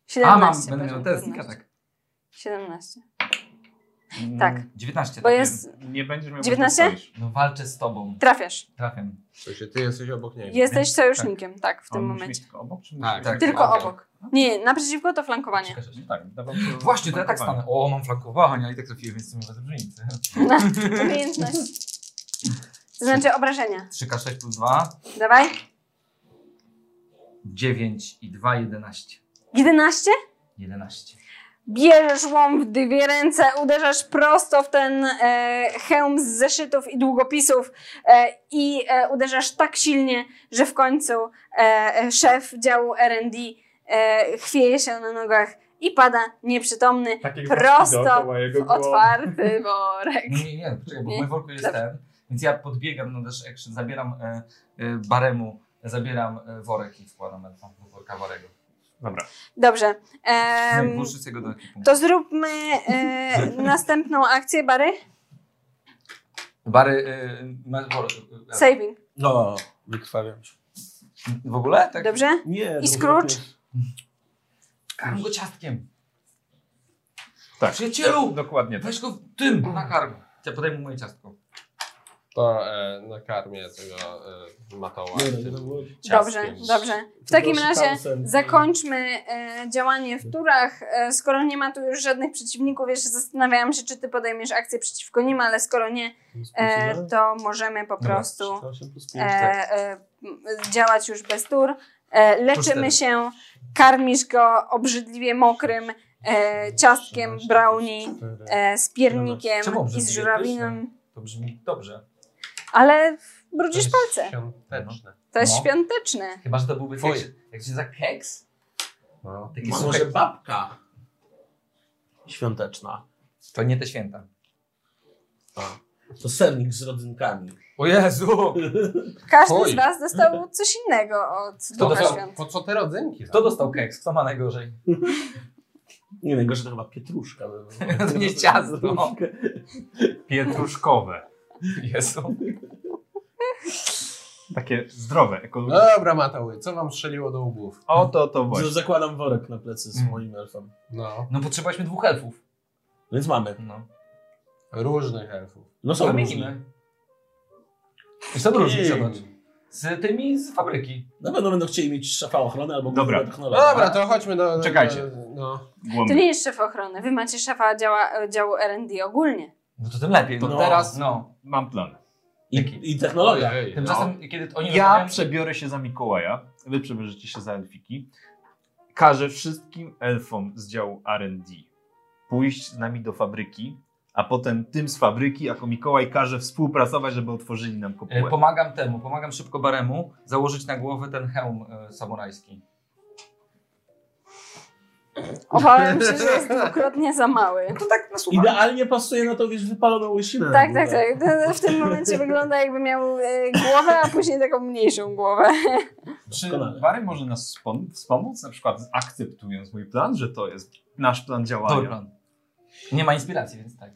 Speaker 4: 17.
Speaker 23: A, mam, będę
Speaker 4: poziom
Speaker 23: miał test,
Speaker 4: trudności.
Speaker 23: tak.
Speaker 4: 17. Tak.
Speaker 23: 19.
Speaker 4: Bo
Speaker 23: tak
Speaker 4: jest-
Speaker 23: wiem.
Speaker 6: no, Nie będziesz miał...
Speaker 4: 19?
Speaker 23: No walczę z tobą.
Speaker 4: Trafiasz.
Speaker 23: Trafiam.
Speaker 2: To się ty jesteś obok niego.
Speaker 4: Jesteś sojusznikiem, tak, w tym
Speaker 6: On musi
Speaker 4: momencie.
Speaker 6: mieć tylko obok, czy
Speaker 2: Tak,
Speaker 6: musi-
Speaker 2: tak.
Speaker 4: Tylko obok. Nie, naprzeciwko to
Speaker 6: *laughs*
Speaker 4: flankowanie. *laughs*
Speaker 6: Tak, dawał to
Speaker 23: Właśnie, to ja tak
Speaker 6: flankowanie.
Speaker 23: stanę. O, mam flankowanie, ale i tak trafiłem, więc to mi bez różnicy.
Speaker 4: Umiejętność. To znaczy obrażenia.
Speaker 23: 3K6 plus 2,
Speaker 4: Dawaj.
Speaker 23: 9 i 2, 11.
Speaker 4: 11.
Speaker 23: 11.
Speaker 4: Bierzesz łom w dwie ręce, uderzasz prosto w ten e, hełm z zeszytów i długopisów e, i e, uderzasz tak silnie, że w końcu e, e, szef działu R&D e, chwieje się na nogach i pada nieprzytomny
Speaker 6: Tak
Speaker 4: prosto w otwarty worek.
Speaker 23: Nie, nie, nie, poczekaj, bo
Speaker 4: Nie?
Speaker 23: w moim worku jest
Speaker 4: Dobra.
Speaker 23: ten, więc ja podbiegam no na dash action, zabieram e, e, baremu, zabieram e, worek i wkładam elfa do worka warego.
Speaker 6: Dobra.
Speaker 4: Dobrze.
Speaker 23: Um,
Speaker 4: em,
Speaker 23: Włożę go do ekipu.
Speaker 4: to zróbmy e, następną akcję, Bary.
Speaker 23: Bary, e, masz worek. e, e,
Speaker 4: Saving.
Speaker 5: No, wykrwawiam się.
Speaker 23: W ogóle? Tak?
Speaker 4: Dobrze?
Speaker 5: Nie,
Speaker 4: I Scrooge?
Speaker 3: Mm.
Speaker 23: Karm go ciastkiem.
Speaker 6: Tak.
Speaker 23: Przyjacielu!
Speaker 6: Dokładnie tak.
Speaker 23: Weź go tym na karm. Ja podaję mu moje ciastko.
Speaker 2: To e, nakarmię tego e, matoła.
Speaker 5: Nie,
Speaker 2: tym
Speaker 23: no,
Speaker 5: nie, to było-
Speaker 4: Dobrze,
Speaker 2: ciastkiem.
Speaker 4: dobrze. W takim
Speaker 5: Proszę,
Speaker 4: razie
Speaker 5: Townsend.
Speaker 4: zakończmy e, działanie w turach. E, skoro nie ma tu już żadnych przeciwników, jeszcze zastanawiałam się, czy ty podejmiesz akcję przeciwko nim, ale skoro nie,
Speaker 5: tak?
Speaker 4: e, to możemy po prostu e,
Speaker 23: tak.
Speaker 4: e, m, działać już bez tur. E, leczymy
Speaker 23: cztery.
Speaker 4: się, karmisz go obrzydliwie mokrym e, ciastkiem brownie e, z piernikiem
Speaker 23: Czemu
Speaker 4: i z
Speaker 23: obrzydliwie?
Speaker 4: żurawiną,
Speaker 23: To brzmi dobrze.
Speaker 4: ale brudzisz palce.
Speaker 2: Świąteczne.
Speaker 4: To jest
Speaker 23: No.
Speaker 4: świąteczne.
Speaker 23: Chyba, że to byłby
Speaker 2: Twoje.
Speaker 23: keks. Jak się za keks?
Speaker 2: No.
Speaker 23: Taki
Speaker 5: Może
Speaker 23: suchy.
Speaker 5: babka świąteczna.
Speaker 23: To nie te święta.
Speaker 5: To sernik z rodzynkami.
Speaker 23: O Jezu!
Speaker 4: Każdy
Speaker 2: Oj.
Speaker 4: z Was dostał coś innego od Ducha
Speaker 23: dostał?
Speaker 4: Świąt.
Speaker 2: Po co te rodzynki?
Speaker 23: Kto dostał keks? Kto ma najgorzej?
Speaker 5: Nie najgorsze to chyba *laughs* pietruszka. by była.
Speaker 23: To nie ciasto.
Speaker 6: Pietruszkowe.
Speaker 23: *laughs* Jezu.
Speaker 6: Takie zdrowe, ekologiczne.
Speaker 2: Dobra, matoły, co wam strzeliło do łbów?
Speaker 23: E!
Speaker 6: O to, to
Speaker 5: Że
Speaker 6: właśnie.
Speaker 5: Zakładam worek na plecy z
Speaker 23: Mm.
Speaker 5: moim elfem.
Speaker 2: No,
Speaker 23: No potrzebowaliśmy dwóch elfów.
Speaker 5: Więc mamy.
Speaker 23: No.
Speaker 2: różnych elfów.
Speaker 5: No są różne.
Speaker 23: Zamienimy. Wiesz, co różni,
Speaker 5: Jej.
Speaker 23: zobacz. Z tymi z fabryki.
Speaker 5: Na pewno będą chcieli mieć szafa ochrony albo
Speaker 6: Dobra.
Speaker 5: głowę technologa.
Speaker 2: Dobra, to chodźmy do... do-
Speaker 6: Czekajcie.
Speaker 2: No.
Speaker 4: To
Speaker 6: Głąby.
Speaker 4: nie jest szef ochrony. Wy macie szefa działa, działu R&D ogólnie.
Speaker 23: No to tym lepiej.
Speaker 5: To
Speaker 23: no,
Speaker 5: teraz-
Speaker 23: No.
Speaker 6: Mam plan.
Speaker 5: I, I technologa.
Speaker 2: Ojej, no.
Speaker 23: Tymczasem, kiedy
Speaker 6: Ja
Speaker 23: oni rozmawiają-
Speaker 6: przebiorę się za Mikołaja, wy przebierzecie się za Elfiki. Każę wszystkim elfom z działu R&D pójść z nami do fabryki, a potem tym z fabryki jako Mikołaj każe współpracować, żeby otworzyli nam
Speaker 23: E,
Speaker 6: kopułę.
Speaker 23: Pomagam temu, pomagam szybko Baremu założyć na głowę ten hełm e, samurajski.
Speaker 4: *laughs* Obawiam się, że jest dwukrotnie za mały.
Speaker 23: To tak na słuchaj.
Speaker 5: Idealnie pasuje na to, wiesz, wypaloną łysinę.
Speaker 4: Tak, tak, tak. To- to W tym momencie wygląda jakby miał e, głowę, a później taką mniejszą głowę.
Speaker 6: Czy
Speaker 5: Doskonale.
Speaker 6: Barry może nas wspom- wspomóc, na przykład akceptując mój plan, że to jest nasz plan działania?
Speaker 23: Dobry plan. Nie ma inspiracji, więc tak.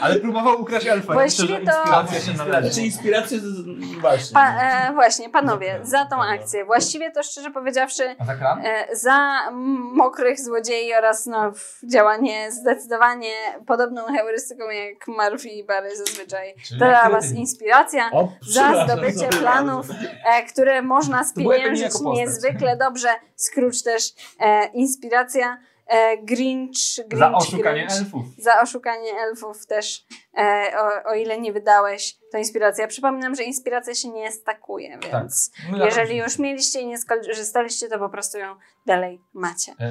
Speaker 31: Ale próbował ukraść elfa.
Speaker 4: Właściwie
Speaker 31: Myślę, że
Speaker 4: to-
Speaker 31: inspiracja się należy.
Speaker 5: Znaczy inspiracja, z- z- właśnie.
Speaker 4: Pa, e, właśnie, panowie, za tą akcję. Właściwie to szczerze powiedziawszy,
Speaker 23: A za kran?
Speaker 4: e, za m- mokrych złodziei oraz no, w- działanie zdecydowanie podobną heurystyką jak Marfi i Barry zazwyczaj.
Speaker 23: Czyli
Speaker 4: to dla
Speaker 23: jak
Speaker 4: was
Speaker 23: krytyk.
Speaker 4: inspiracja
Speaker 5: O,
Speaker 4: za
Speaker 5: przepraszam,
Speaker 4: zdobycie
Speaker 5: sorry
Speaker 4: planów, e, które można
Speaker 23: To była jakby
Speaker 4: spieniężyć
Speaker 23: niejako postać.
Speaker 4: niezwykle dobrze. Scrooge też e, inspiracja. E, Grinch, Grinch,
Speaker 23: Za oszukanie
Speaker 4: Grinch
Speaker 23: elfów.
Speaker 4: za oszukanie elfów też, e, o, o ile nie wydałeś, to inspiracja. Przypominam, że inspiracja się nie stakuje,
Speaker 23: Tak.
Speaker 4: więc
Speaker 23: My na
Speaker 4: jeżeli
Speaker 23: to-
Speaker 4: już mieliście i nie skorzystaliście, to po prostu ją dalej macie.
Speaker 23: E,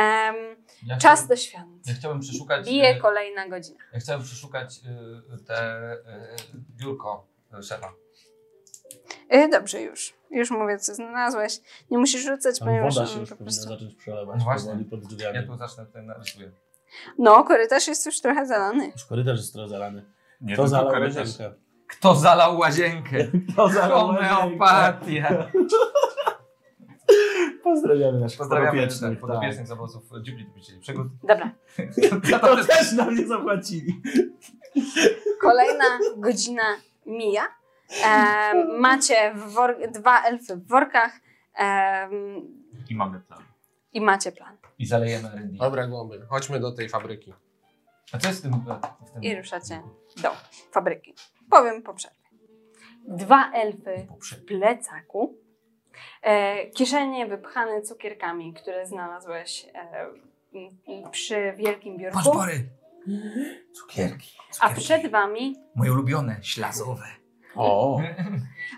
Speaker 4: Em,
Speaker 23: ja
Speaker 4: czas
Speaker 23: chciałbym-
Speaker 4: do świąt.
Speaker 23: Ja chciałbym przeszukać...
Speaker 4: Bije
Speaker 23: e,
Speaker 4: kolejna godzina.
Speaker 23: Ja chciałem przeszukać y, te y, biurko y, szefa.
Speaker 4: E, dobrze, już. Już mówię, co znalazłeś. Nie musisz rzucać,
Speaker 5: Tam
Speaker 4: ponieważ
Speaker 5: woda
Speaker 4: on
Speaker 5: się już
Speaker 4: po
Speaker 5: powinna
Speaker 4: prostu...
Speaker 5: zacząć przelewać
Speaker 23: No właśnie.
Speaker 5: powoli pod drzwiami.
Speaker 23: Ja tu zacznę tutaj narysuję.
Speaker 4: No, korytarz jest już trochę zalany.
Speaker 5: Już korytarz jest rozalany.
Speaker 6: Nie
Speaker 5: To
Speaker 6: tylko
Speaker 5: zalał
Speaker 6: korytarz.
Speaker 5: łazienkę.
Speaker 23: Kto zalał łazienkę?
Speaker 5: To *laughs* zalał łazienkę.
Speaker 23: Homeopatia.
Speaker 5: Pozdrawiamy naszych
Speaker 23: Pozdrawiamy
Speaker 5: podopiecznych.
Speaker 23: podopiecznych,
Speaker 5: Tak.
Speaker 23: podopiecznych z obozów e, Dziubli Dziubli
Speaker 5: *laughs*
Speaker 23: Przygód. *laughs*
Speaker 4: Dobra.
Speaker 23: Ja
Speaker 5: To też nam nie zapłacili.
Speaker 4: Kolejna godzina mija. E, macie w wor- dwa elfy w workach em,
Speaker 6: I mamy plan.
Speaker 4: i macie plan.
Speaker 23: I zalejemy Ryndi.
Speaker 2: Dobra, głąby, chodźmy do tej fabryki.
Speaker 23: A co jest w tym... e, W tym
Speaker 4: I ruszacie do fabryki. Powiem po przerwie. Dwa elfy w plecaku. E, kieszenie wypchane cukierkami, które znalazłeś e, m, m, przy wielkim
Speaker 3: Patrz,
Speaker 4: biurku.
Speaker 3: Bary! Cukierki.
Speaker 4: A
Speaker 3: cukierki.
Speaker 4: przed wami
Speaker 3: Moje ulubione, ślazowe.
Speaker 5: O,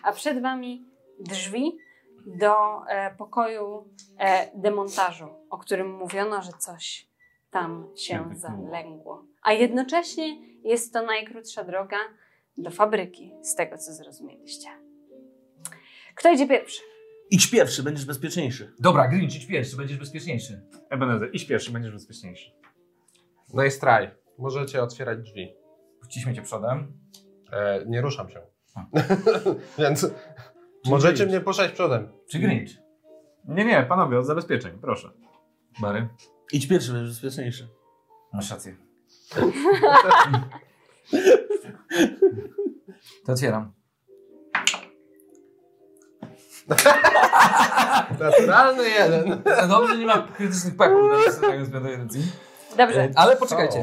Speaker 4: A przed Wami drzwi do e, pokoju e, demontażu, o którym mówiono, że coś tam
Speaker 23: tak
Speaker 4: się zalęgło. A jednocześnie jest to najkrótsza droga do fabryki, z tego co zrozumieliście. Kto idzie pierwszy?
Speaker 5: idź pierwszy, będziesz bezpieczniejszy.
Speaker 23: Dobra, Grinch, idź pierwszy, będziesz bezpieczniejszy.
Speaker 6: Ebenezer, idź pierwszy, będziesz bezpieczniejszy.
Speaker 2: No i straj. Możecie otwierać drzwi.
Speaker 23: Wciśmy cię przodem.
Speaker 2: E, nie ruszam się.
Speaker 23: A.
Speaker 2: *laughs* Więc możecie mnie poszać przodem.
Speaker 23: Czy Grinch?
Speaker 6: Nie, nie, panowie, od zabezpieczeń, proszę.
Speaker 23: Bary?
Speaker 5: Idź pierwszy, będziesz bezpieczniejszy.
Speaker 23: Masz rację. To otwieram.
Speaker 2: Naturalny jeden.
Speaker 23: Dobrze, nie ma krytycznych peków na tego zmiany edycji.
Speaker 4: Dobrze.
Speaker 23: Ale poczekajcie.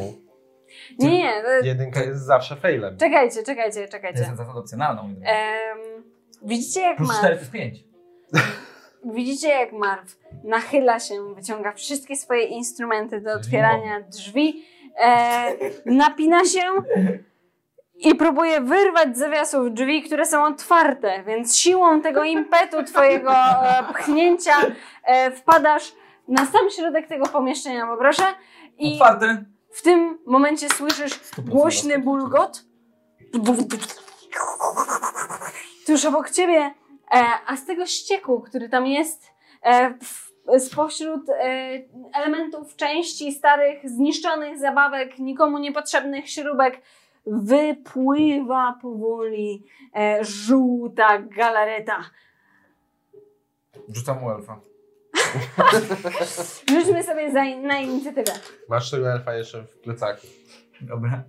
Speaker 4: Nie, nie, e,
Speaker 2: Jedynka jest zawsze failem.
Speaker 4: czekajcie, czekajcie,
Speaker 23: To
Speaker 4: czekajcie.
Speaker 23: jest zasada opcjonalną. moi drodzy.
Speaker 4: Em, widzicie jak
Speaker 23: Plus
Speaker 4: ma
Speaker 23: 4 plus 5.
Speaker 4: Widzicie, jak Marw nachyla się, wyciąga wszystkie swoje instrumenty do otwierania drzwi, e, napina się i próbuje wyrwać z zawiasów drzwi, które są otwarte, więc siłą tego impetu twojego e, pchnięcia e, wpadasz na sam środek tego pomieszczenia, poproszę. I
Speaker 23: Otwarty.
Speaker 4: w tym momencie słyszysz głośny bulgot. Tuż obok ciebie, e, a z tego ścieku, który tam jest, e, w- spośród e, elementów części starych, zniszczonych zabawek, nikomu niepotrzebnych śrubek, wypływa powoli e, żółta galareta.
Speaker 23: Rzucam mu elfa.
Speaker 4: *laughs* Rzućmy sobie za, na inicjatywę.
Speaker 2: Masz tego elfa jeszcze w plecaku.
Speaker 23: Dobra.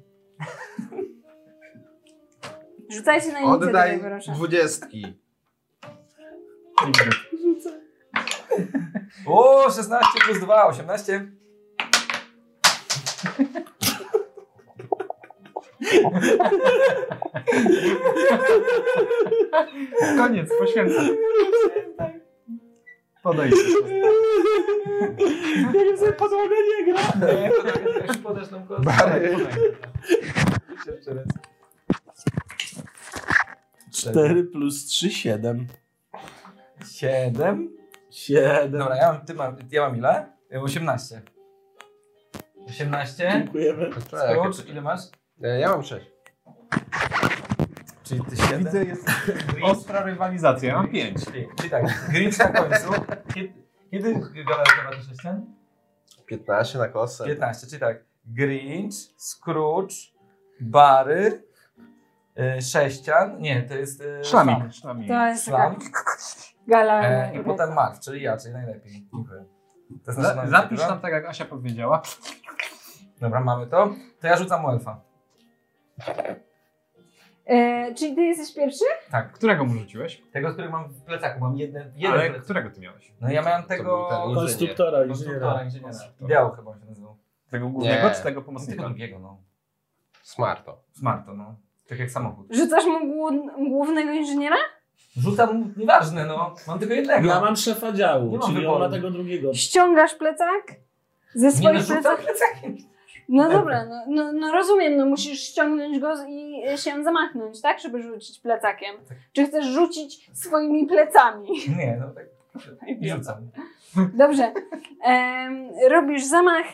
Speaker 4: Rzucajcie na inicjatywę,
Speaker 2: Oddaj
Speaker 4: proszę.
Speaker 2: dwudziestki.
Speaker 23: O, 16 plus 2, 18.
Speaker 6: Koniec, poświęcam. Podejdź.
Speaker 23: Nie, podasz- podasz nam kostkę. Jeszcze raz.
Speaker 5: 4 plus 3, 7.
Speaker 23: 7.
Speaker 5: 7.
Speaker 23: Dobra, ja mam, ty mam, ja mam ile? Ja mam 18. 18.
Speaker 5: Dziękujemy.
Speaker 23: Skrócz, ile masz?
Speaker 2: E, ja mam sześć.
Speaker 23: Czyli ty 7.
Speaker 6: Widzę, jest ostra rywalizacja. Ja mam pięć.
Speaker 23: Czyli tak, Grinch na końcu. Kiedy- Kiedy galaretka ma to 6 ten?
Speaker 2: 15 na kosę.
Speaker 23: 15, czyli tak. Grinch, Scrooge, Bary, y, Sześcian. Nie, to jest. y,
Speaker 6: Szlamik. Szlamik.
Speaker 4: To jest taka
Speaker 23: Szlam.
Speaker 4: galareta.
Speaker 23: E, I potem Mark, czyli ja, czyli najlepiej. Dziękuję. To jest
Speaker 6: Za-
Speaker 23: nasza
Speaker 6: Zapisz tak,
Speaker 23: inicjatywa.
Speaker 6: tam tak, jak Asia powiedziała.
Speaker 23: Dobra, mamy to. To ja rzucam u elfa.
Speaker 4: E, czyli ty jesteś pierwszy?
Speaker 23: Tak.
Speaker 6: Którego mu rzuciłeś?
Speaker 23: Tego, który mam w plecaku, mam jeden, jeden
Speaker 6: Ale
Speaker 23: plecak.
Speaker 6: którego ty miałeś?
Speaker 23: No ja miałem
Speaker 6: To
Speaker 23: tego...
Speaker 6: był ten inżynier.
Speaker 5: Konstruktora, inżyniera.
Speaker 23: Konstruktora, inżyniera. Ideał chyba on się nazywał.
Speaker 6: Tego głównego
Speaker 2: Nie.
Speaker 6: czy tego
Speaker 23: Tego
Speaker 6: pomocnika?
Speaker 23: drugiego, no.
Speaker 2: Smarto.
Speaker 23: Smarto, no. Tak jak samochód.
Speaker 4: Rzucasz mu głó- głównego inżyniera?
Speaker 23: Rzucam, mu- nieważne, no. Mam tylko jednego.
Speaker 5: Ja mam szefa działu,
Speaker 23: Nie mam
Speaker 5: czyli
Speaker 23: wyboru.
Speaker 5: on ma tego drugiego.
Speaker 4: Ściągasz plecak? Ze
Speaker 23: Nie no,
Speaker 4: swoich
Speaker 23: rzucam
Speaker 4: plecach?
Speaker 23: plecakiem.
Speaker 4: No dobra, no, no, no rozumiem, no musisz ściągnąć go i się zamachnąć, tak? Żeby rzucić plecakiem. Czy chcesz rzucić swoimi plecami?
Speaker 23: Nie, no tak. I rzucam.
Speaker 4: Dobrze. Em, robisz zamach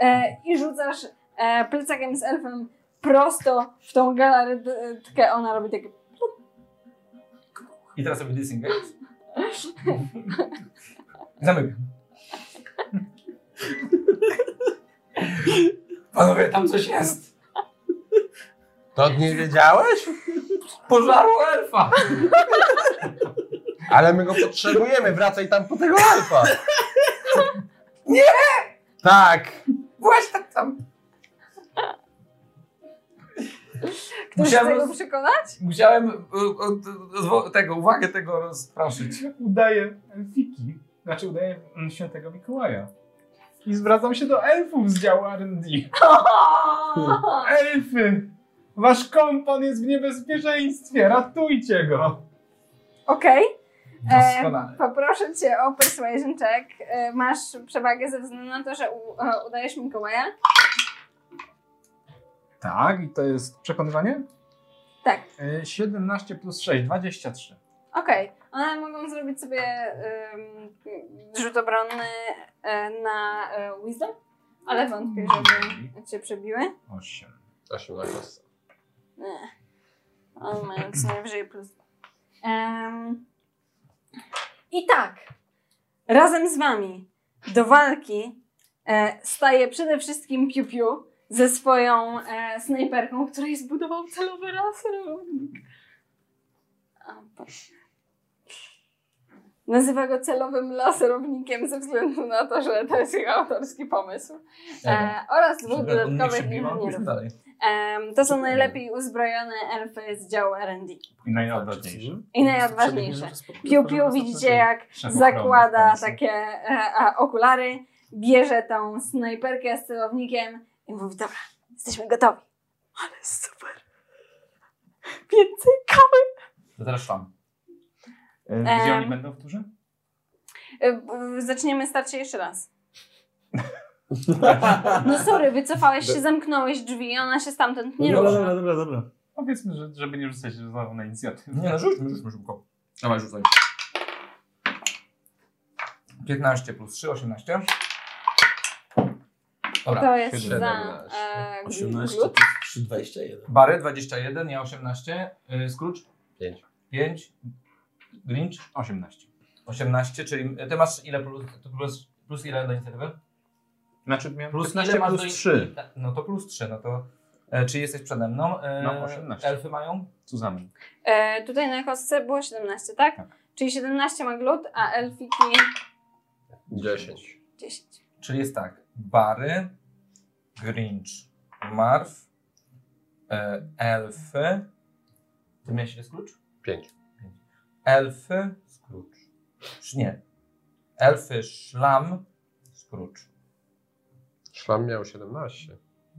Speaker 4: e, i rzucasz e, plecakiem z elfem prosto w tą galaretkę. Ona robi takie...
Speaker 23: I teraz robię disengage. Zamykam. Panowie, tam coś jest!
Speaker 2: To nie wiedziałeś?
Speaker 23: Pożarło elfa!
Speaker 2: Ale my go potrzebujemy, wracaj tam po tego alfa.
Speaker 23: Nie!
Speaker 2: Tak.
Speaker 23: Właśnie tam!
Speaker 4: Ktoś chce
Speaker 23: Musiałem
Speaker 4: go
Speaker 23: roz-
Speaker 4: przekonać?
Speaker 23: Musiałem y, od- zwo- tego, uwagę tego rozpraszyć.
Speaker 6: Udaję elfiki. Znaczy udaję mm, świętego Mikołaja. I zwracam się do elfów z działu R&D.
Speaker 23: Hmm.
Speaker 6: Elfy! Wasz kompan jest w niebezpieczeństwie, ratujcie go!
Speaker 4: Okej. E,
Speaker 23: Doskonale.
Speaker 4: Poproszę cię o persuasion check. E, Masz przewagę ze względu na to, że u, e, udajesz Mikołaja.
Speaker 6: Tak, i to jest przekonywanie?
Speaker 4: Tak.
Speaker 6: E, 17 plus 6, 23.
Speaker 4: Okej, one mogą zrobić sobie ym, rzut obronny e, na e, Wisdom, ale wątpię, żeby cię przebiły.
Speaker 6: 8.
Speaker 2: 18.
Speaker 4: Nie. One mają co najwyżej plus dwa. Em, I tak, razem z wami do walki e, staje przede wszystkim Piu Piu ze swoją e, snajperką, której zbudował celowy laserownik. A, bo- Nazywa go celowym laserownikiem ze względu na to, że to jest jego autorski pomysł. E, oraz dwóch dodatkowych inżynierów.
Speaker 23: dalej.
Speaker 4: Em, to są najlepiej uzbrojone elfy z działu R&D.
Speaker 6: I najodważniejszy.
Speaker 4: I najodważniejsze. Piu Piu widzicie jak
Speaker 6: tak.
Speaker 4: zakłada takie e, a, okulary, bierze tą snajperkę z celownikiem i mówi dobra, jesteśmy gotowi. Ale super. Więcej kawy.
Speaker 23: To teraz szlam.
Speaker 6: E, Gdzie oni
Speaker 4: Em.
Speaker 6: będą w turze?
Speaker 4: E, b- Zaczniemy starcie jeszcze raz. No sorry, wycofałeś się, zamknąłeś drzwi i ona się
Speaker 5: *laughs*
Speaker 4: stamtąd nie
Speaker 5: Dobra,
Speaker 4: rusza.
Speaker 5: dobra, dobra, dobra.
Speaker 6: Powiedzmy, że, żeby nie rzucać znowu na inicjatywę.
Speaker 23: Nie no, rzućmy, rzućmy szybko. Dawaj, rzucaj. 15 plus 3, 18. Dobra.
Speaker 4: To jest
Speaker 23: siedem.
Speaker 4: za e,
Speaker 5: 18
Speaker 4: glut.
Speaker 5: plus 3, 21.
Speaker 23: Bary 21, ja 18. Yy, Scrooge?
Speaker 2: Pięć.
Speaker 23: 5. Grinch? 18. 18, czyli ty masz ile plus, to plus, plus ile do inicjatywy?
Speaker 6: Znaczy miałem
Speaker 23: Plus
Speaker 6: 15
Speaker 23: ile masz
Speaker 6: plus
Speaker 23: do-
Speaker 6: 3.
Speaker 23: No to plus 3, no to e, czy jesteś przede mną? E,
Speaker 6: Mam 18.
Speaker 23: Elfy mają?
Speaker 6: Zuzamen.
Speaker 4: E, tutaj na kostce było 17, tak?
Speaker 6: Tak.
Speaker 4: Czyli 17 ma glut, a elfiki
Speaker 2: 10.
Speaker 4: 10.
Speaker 23: Czyli jest tak, Bary, Grinch, Marv, e, Elfy. Ty miałeś ile Scrooge?
Speaker 2: 5.
Speaker 23: Elfy, Scrooge. Czy nie? Elfy, Szlam, Scrooge.
Speaker 2: Szlam miał 17.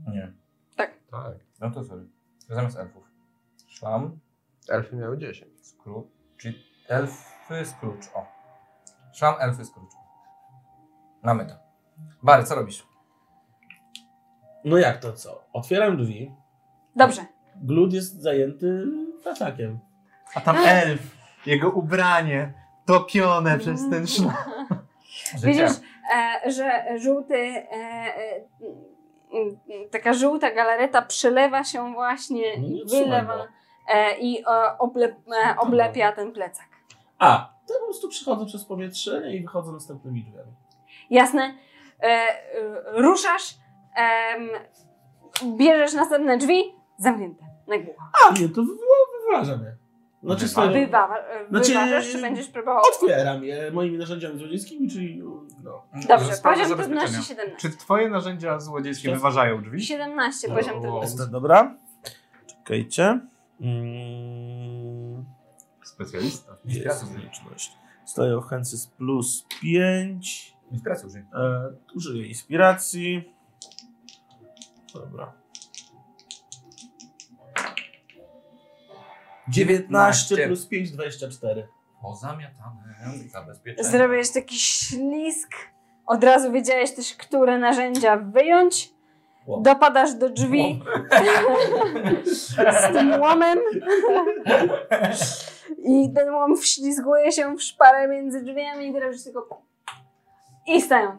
Speaker 23: Nie.
Speaker 2: Tak.
Speaker 23: No to sorry. Zamiast elfów. Szlam,
Speaker 2: Elfy miały 10.
Speaker 23: Scrooge, czyli elfy, Scrooge, o. Szlam, elfy, Scrooge. Mamy to. Bary, co robisz?
Speaker 5: No jak to co? Otwieram drzwi.
Speaker 4: Dobrze.
Speaker 5: Glut jest zajęty plecakiem.
Speaker 6: A tam elf, jego ubranie topione przez
Speaker 4: Mm.
Speaker 6: ten szlak.
Speaker 4: Widzisz, e, że żółty, e, e, m, m, taka żółta galareta przelewa się właśnie
Speaker 5: No
Speaker 4: i
Speaker 5: nie trzymaj
Speaker 4: wylewa
Speaker 5: go.
Speaker 4: e, i e, oble, e, oblepia ten plecak.
Speaker 5: A, to po prostu przechodzę przez powietrze i wychodzę następnymi drzwiami.
Speaker 4: Jasne? E, e, ruszasz, em, bierzesz następne drzwi, zamknięte na głowę.
Speaker 5: A nie, to wywo- wyważa mnie. Znaczy,
Speaker 6: Bywa.
Speaker 5: swoją-
Speaker 4: Bywa, wyważasz, czy będziesz próbował?
Speaker 5: Otwieram je moimi narzędziami złodziejskimi, czyli no.
Speaker 4: Dobrze,
Speaker 6: Sprawa
Speaker 4: poziom
Speaker 6: zabezpieczenia.
Speaker 4: trudności 17.
Speaker 6: Czy twoje narzędzia złodziejskie
Speaker 5: Siedem.
Speaker 6: wyważają drzwi?
Speaker 4: 17 poziom trudności.
Speaker 5: Jestem dobra. Czekajcie. Mm.
Speaker 6: Specjalista.
Speaker 5: Jest zręczność. Staję w chęcy z plus 5.
Speaker 6: Inspiracja użyj.
Speaker 5: E, użyję inspiracji. Dobra. 19 plus 5, 24.
Speaker 3: Pozamiatane, zabezpieczone.
Speaker 4: Zrobiłeś taki ślisk, od razu wiedziałeś też, które narzędzia wyjąć.
Speaker 3: Łom.
Speaker 4: Dopadasz do drzwi *laughs* z tym łomem i ten łom wślizguje się w szparę między drzwiami i teraz już tylko i stają.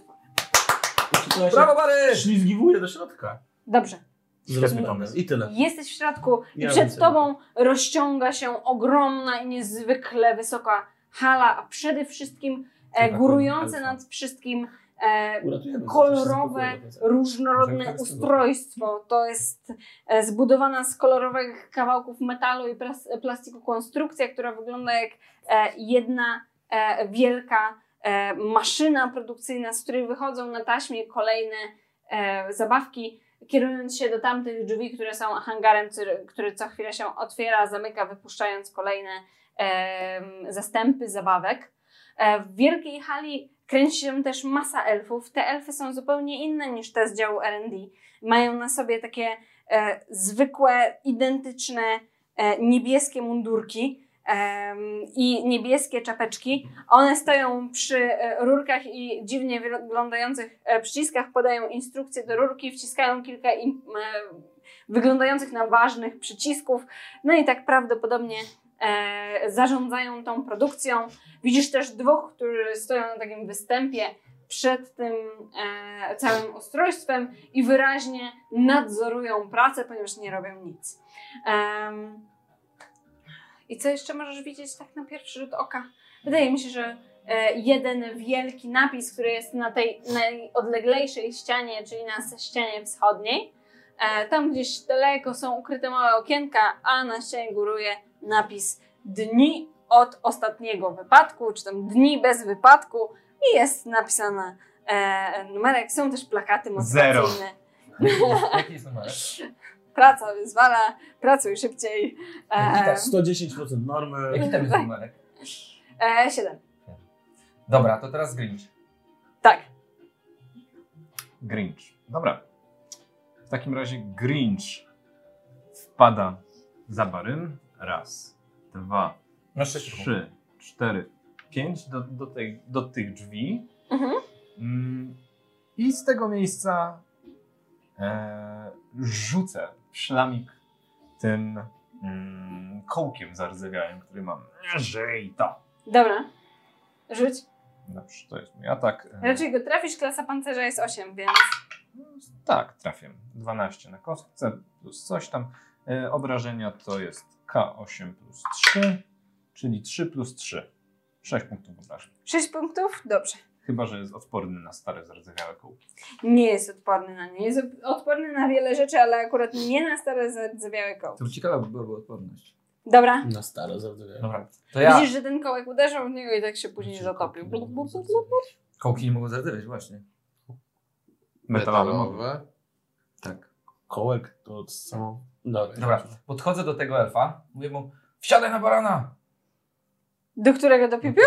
Speaker 3: Brawo, Bary!
Speaker 5: Ślizgiwuję do środka.
Speaker 4: Dobrze.
Speaker 5: Zrobię pomysł. I tyle.
Speaker 4: Jesteś w środku i
Speaker 5: Ja
Speaker 4: przed
Speaker 5: widzę.
Speaker 4: tobą rozciąga się ogromna i niezwykle wysoka hala, a przede wszystkim e,
Speaker 2: Taka
Speaker 4: górujące
Speaker 2: elfa.
Speaker 4: nad wszystkim e,
Speaker 5: Uratujemy.
Speaker 4: kolorowe,
Speaker 5: Zawsze się spokojnie.
Speaker 4: różnorodne
Speaker 2: Może
Speaker 4: ustrojstwo. To jest e, zbudowana z kolorowych kawałków metalu i plas- plastiku konstrukcja, która wygląda jak e, jedna e, wielka e, maszyna produkcyjna, z której wychodzą na taśmie kolejne e, zabawki, kierując się do tamtych drzwi, które są hangarem, który- który co chwilę się otwiera, zamyka, wypuszczając kolejne em, zastępy zabawek. E, W wielkiej hali kręci się też masa elfów. Te elfy są zupełnie inne niż te z działu RD. Mają na sobie takie e, zwykłe, identyczne e, niebieskie mundurki em, i niebieskie czapeczki. One stoją przy e, rurkach i dziwnie wyglądających e, przyciskach, podają instrukcje do rurki, wciskają kilka im, e, wyglądających na ważnych przycisków. No i tak prawdopodobnie e, zarządzają tą produkcją. Widzisz też dwóch, którzy stoją na takim występie przed tym e, całym ustrojstwem i wyraźnie nadzorują pracę, ponieważ nie robią nic. Em, I co jeszcze możesz widzieć tak na pierwszy rzut oka? Wydaje mi się, że e, jeden wielki napis, który jest na tej najodleglejszej ścianie, czyli na ścianie wschodniej. E, tam gdzieś daleko są ukryte małe okienka, a na ścianie góruje napis dni od ostatniego wypadku, czy tam dni bez wypadku i jest napisana e, numerek. Są też plakaty
Speaker 6: Zero.
Speaker 4: motywacyjne.
Speaker 3: Jaki jest numer?
Speaker 4: Praca wyzwala, pracuj szybciej. E,
Speaker 5: tak 110% normy.
Speaker 3: Jaki tam jest numerek?
Speaker 4: e, 7.
Speaker 3: Dobra, to teraz Grinch.
Speaker 4: Tak.
Speaker 6: Grinch. Dobra. W takim razie Grinch wpada za barym. Raz, dwa,
Speaker 3: Na sześć.
Speaker 6: trzy, cztery, pięć do, do, tej, do tych drzwi.
Speaker 4: Mhm.
Speaker 6: Mm, I z tego miejsca e, rzucę szlamik tym mm, kołkiem zardzewiałym, który mam. Żyj to!
Speaker 4: Dobra. Rzuć.
Speaker 6: Dobrze, to jest mój atak. E,
Speaker 4: Raczej go trafisz, klasa pancerza jest 8, więc
Speaker 6: Tak, trafię. 12 na kostce plus coś tam. E, obrażenia to jest K8 plus 3, czyli 3 plus 3. 6 punktów obrażeń.
Speaker 4: 6 punktów? Dobrze.
Speaker 6: Chyba, że jest odporny na stare zardzewiałe kołki.
Speaker 4: Nie jest odporny na nie. Jest odporny na wiele rzeczy, ale akurat nie na stare zardzewiałe koło.
Speaker 3: To by ciekawa by była odporność.
Speaker 4: Dobra.
Speaker 5: Na staro zrobię.
Speaker 3: Dobra, to ja...
Speaker 4: Widzisz, że ten kołek uderzył w niego i tak się później zatopił. Blup, blup, blup, blup.
Speaker 3: Kołki nie mogą zardzewiać, właśnie.
Speaker 6: Metalowe. mogą.
Speaker 3: Tak.
Speaker 5: Kołek to od samo. Dobra.
Speaker 3: Dobra, podchodzę do tego elfa, mówię mu, wsiadaj na barana!
Speaker 4: Do którego do pipiu?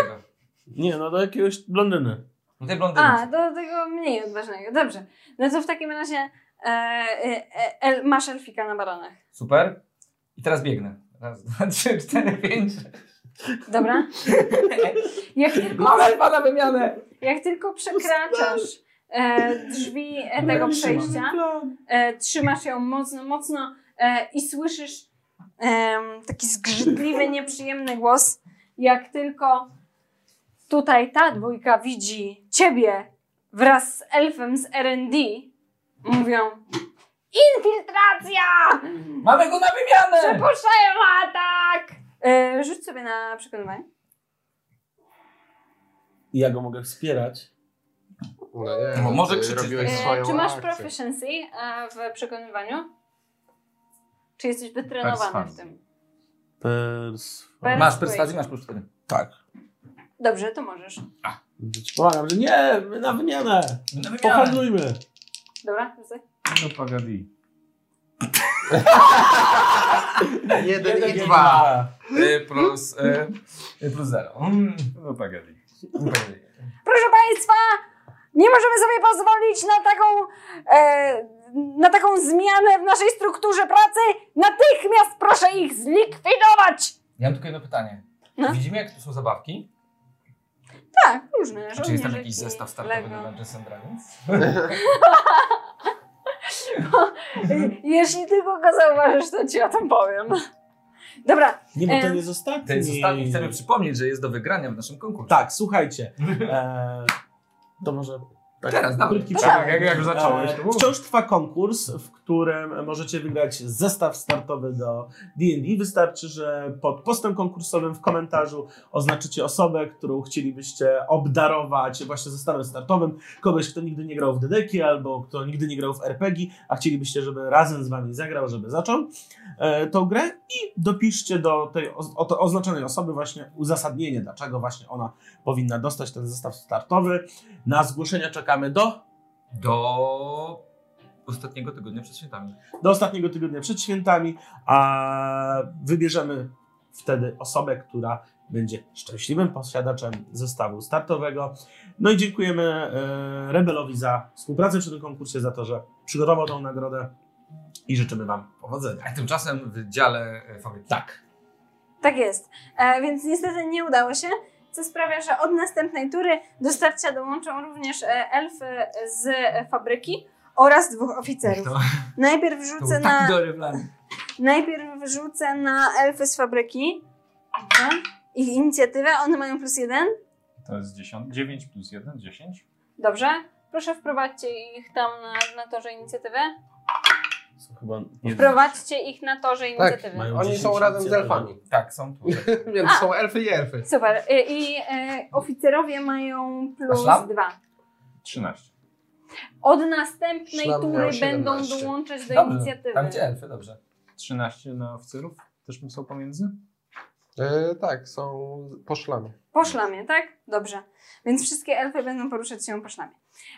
Speaker 5: Nie, no do jakiegoś blondyny.
Speaker 3: No tej blondynki.
Speaker 4: A, do tego mniej odważnego. Dobrze. No to w takim razie e, e, e, el, masz elfika na baranach.
Speaker 3: Super. I teraz biegnę.
Speaker 23: *laughs*
Speaker 3: Raz, dwa, trzy, cztery, pięć. *laughs*
Speaker 4: Dobra? Jak tylko,
Speaker 3: Mam elfa na wymianę!
Speaker 4: jak tylko przekraczasz e, drzwi e, tego przejścia, e, trzymasz ją mocno, mocno e, i słyszysz em, taki zgrzytliwy, nieprzyjemny głos, jak tylko tutaj ta dwójka widzi ciebie wraz z elfem z R&D, mówią infiltracja!
Speaker 3: Mamy go na wymianę!
Speaker 4: Przepuszczają atak! E, rzuć sobie na przekonywanie.
Speaker 5: I ja go mogę wspierać.
Speaker 2: No nie,
Speaker 3: No może
Speaker 2: ty
Speaker 3: krzyczeć.
Speaker 2: robiłeś swoją
Speaker 4: E, czy masz
Speaker 2: akcję.
Speaker 4: proficiency e, w przekonywaniu? Czy jesteś wytrenowany w
Speaker 6: Perswazji.
Speaker 4: tym?
Speaker 5: Perswa...
Speaker 3: Masz perswazję, masz plus 4.
Speaker 5: Tak.
Speaker 4: Dobrze, to możesz.
Speaker 5: Pomagam, że nie, my na wymianę.
Speaker 3: wymianę.
Speaker 5: Pohandlujmy.
Speaker 4: Dobra, rzucaj.
Speaker 6: No pagadi.
Speaker 2: Jeden, i dwa.
Speaker 3: Y, Plus, y, plus 0.
Speaker 6: No pagadi.
Speaker 4: Proszę Państwa, nie możemy sobie pozwolić na taką, e, na taką zmianę w naszej strukturze pracy. Natychmiast proszę ich zlikwidować!
Speaker 3: Ja mam tylko jedno pytanie.
Speaker 4: No.
Speaker 3: Widzimy, jak tu są zabawki?
Speaker 4: Tak, różne
Speaker 3: Czy jest tam jakiś
Speaker 4: żołnierzyki, *laughs*
Speaker 3: zestaw startowy
Speaker 4: Lego.
Speaker 3: do Dungeons and Dragons?
Speaker 4: Jeśli tylko go zauważysz, to ci o tym powiem. Dobra,
Speaker 5: Nie, bo
Speaker 4: Em.
Speaker 5: ten jest ostatni.
Speaker 3: Ten zostanie. Chcemy przypomnieć, że jest do wygrania w naszym konkursie.
Speaker 5: Tak, słuchajcie. E, to może. Tak,
Speaker 3: Teraz, dobra.
Speaker 5: krótki
Speaker 4: Tak,
Speaker 5: przerw-
Speaker 6: jak- jak zacząłeś, to mów.
Speaker 5: E, wciąż trwa konkurs, w którym możecie wygrać zestaw startowy do D&D. Wystarczy, że pod postem konkursowym w komentarzu oznaczycie osobę, którą chcielibyście obdarować właśnie zestawem startowym. Kogoś, kto nigdy nie grał w DDK albo kto nigdy nie grał w RPG, a chcielibyście, żeby razem z wami zagrał, żeby zaczął e, tą grę i dopiszcie do tej o, o, oznaczonej osoby właśnie uzasadnienie, dlaczego właśnie ona powinna dostać ten zestaw startowy. Na zgłoszenia czekamy do
Speaker 3: Do ostatniego tygodnia przed świętami.
Speaker 5: do ostatniego tygodnia przed świętami, a wybierzemy wtedy osobę, która będzie szczęśliwym posiadaczem zestawu startowego. No i dziękujemy e, Rebelowi za współpracę przy tym konkursie, za to, że przygotował tą nagrodę i życzymy Wam
Speaker 23: Tak.
Speaker 5: powodzenia.
Speaker 3: A tymczasem w dziale e, fabryki.
Speaker 5: Tak.
Speaker 4: Tak jest. E, więc niestety nie udało się, co sprawia, że od następnej tury do starcia dołączą również e, elfy z e, fabryki oraz dwóch oficerów.
Speaker 3: To,
Speaker 4: Najpierw
Speaker 3: to
Speaker 4: rzucę
Speaker 3: był
Speaker 4: na,
Speaker 3: taki dobry plan.
Speaker 4: najpierw rzucę na elfy z fabryki. Dobra. Ich inicjatywę, one mają plus jeden.
Speaker 6: To jest 10, 9 plus 1, 10.
Speaker 4: Dobrze. Proszę wprowadźcie ich tam na, na torze inicjatywy.
Speaker 5: Chyba
Speaker 4: Wprowadźcie ich na torze inicjatywy.
Speaker 5: mają
Speaker 2: Oni
Speaker 5: 10
Speaker 2: są razem z
Speaker 5: inicjatyw.
Speaker 2: elfami, *laughs*
Speaker 3: Tak, są tu.
Speaker 2: więc są elfy i elfy.
Speaker 4: Super. I, i e, oficerowie mają plus
Speaker 3: szlab?
Speaker 4: dwa.
Speaker 6: 13.
Speaker 4: Od następnej
Speaker 2: Szlam
Speaker 4: tury
Speaker 2: miał 17.
Speaker 4: będą dołączać do
Speaker 3: Dobrze.
Speaker 4: inicjatywy.
Speaker 3: Tam gdzie elfy, dobrze.
Speaker 6: 13 na oficerów też są pomiędzy?
Speaker 2: E, tak, są po szlamie.
Speaker 4: Po szlamie, tak? Dobrze. Więc wszystkie elfy będą poruszać się po szlamie.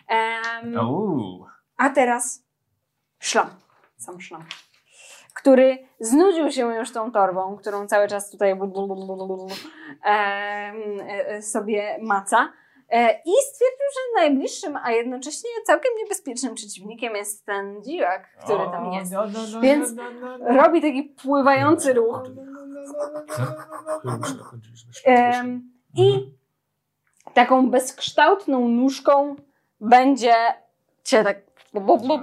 Speaker 4: Em,
Speaker 6: Uuu.
Speaker 4: a teraz szlam. Sam szlam. Który znudził się już tą torbą, którą cały czas tutaj bu- bu- bu- bu- bu- bu- em, e, e, sobie maca. E, I stwierdził, że najbliższym, a jednocześnie całkiem niebezpiecznym przeciwnikiem jest ten dziwak, który tam jest.
Speaker 6: No, no, no,
Speaker 4: Więc
Speaker 6: no, no, no.
Speaker 4: Robi taki pływający ruch. Em,
Speaker 2: Mhm.
Speaker 4: I taką bezkształtną nóżką będzie cię tak bub, bub, bub,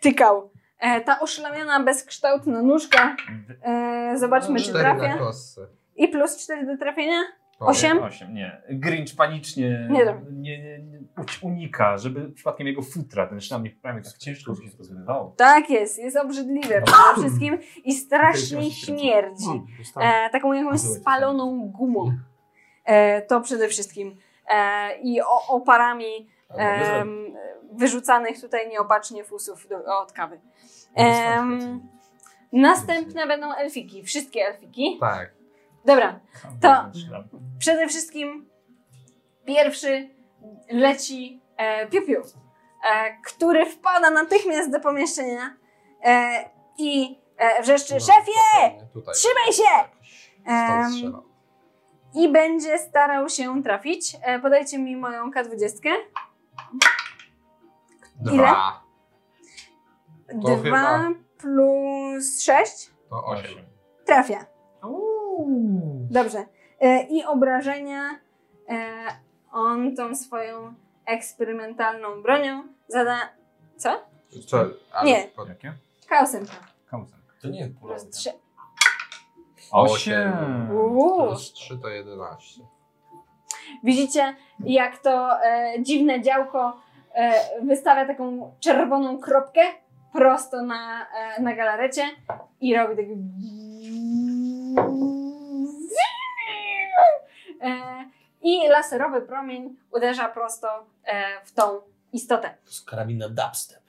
Speaker 4: tykał. E, Ta oszlamiona, bezkształtna nóżka. E, zobaczmy, czy
Speaker 2: No, Cztery na
Speaker 4: trafia.
Speaker 2: kostce.
Speaker 4: I plus 4 do trafienia.
Speaker 2: O,
Speaker 4: Osiem?
Speaker 6: Osiem, nie. Grinch panicznie
Speaker 4: Nie
Speaker 6: nie,
Speaker 4: dobra.
Speaker 6: nie, nie, uć- unika, żeby przypadkiem jego futra, ten szlam nie prawie tak ciężko by się rozgrywało.
Speaker 4: Tak jest, jest
Speaker 2: No.
Speaker 4: obrzydliwe przede wszystkim i strasznie śmierdzi. E, taką jakąś spaloną gumą. E, to przede wszystkim. E, I o, oparami em, wyrzucanych tutaj nieopatrznie fusów do, od kawy.
Speaker 2: No
Speaker 4: Em, następne będą elfiki, wszystkie elfiki.
Speaker 2: Tak.
Speaker 4: Dobra,
Speaker 6: Tam
Speaker 4: To-
Speaker 6: ten szlam.
Speaker 4: przede wszystkim pierwszy leci e, Piu Piu, e, który wpada natychmiast do pomieszczenia e, i e, wrzeszczy
Speaker 2: No,
Speaker 4: szefie
Speaker 2: dokładnie, tutaj.
Speaker 4: trzymaj się!
Speaker 2: Stąd
Speaker 4: Em,
Speaker 2: strzela.
Speaker 4: i będzie starał się trafić. E, podajcie mi moją K20. Ile?
Speaker 2: Dwa. To
Speaker 4: Dwa
Speaker 2: chyba-
Speaker 4: plus sześć
Speaker 2: To osiem.
Speaker 4: trafia. Dobrze. E, I obrażenia e, on tą swoją eksperymentalną bronią zada
Speaker 2: Co? ale
Speaker 4: Nie.
Speaker 2: pod-
Speaker 6: Jakie?
Speaker 4: chaosem.
Speaker 6: Kamusen.
Speaker 3: To nie jest
Speaker 4: Plus trzy.
Speaker 6: Osiem.
Speaker 4: Uuu.
Speaker 2: Plus trzy to jedenaście.
Speaker 4: Widzicie, jak to e, dziwne działko e, wystawia taką czerwoną kropkę prosto na, e, na galarecie i robi taki... E, I laserowy promień uderza prosto e, w tą istotę.
Speaker 32: To jest karabin na dubstep.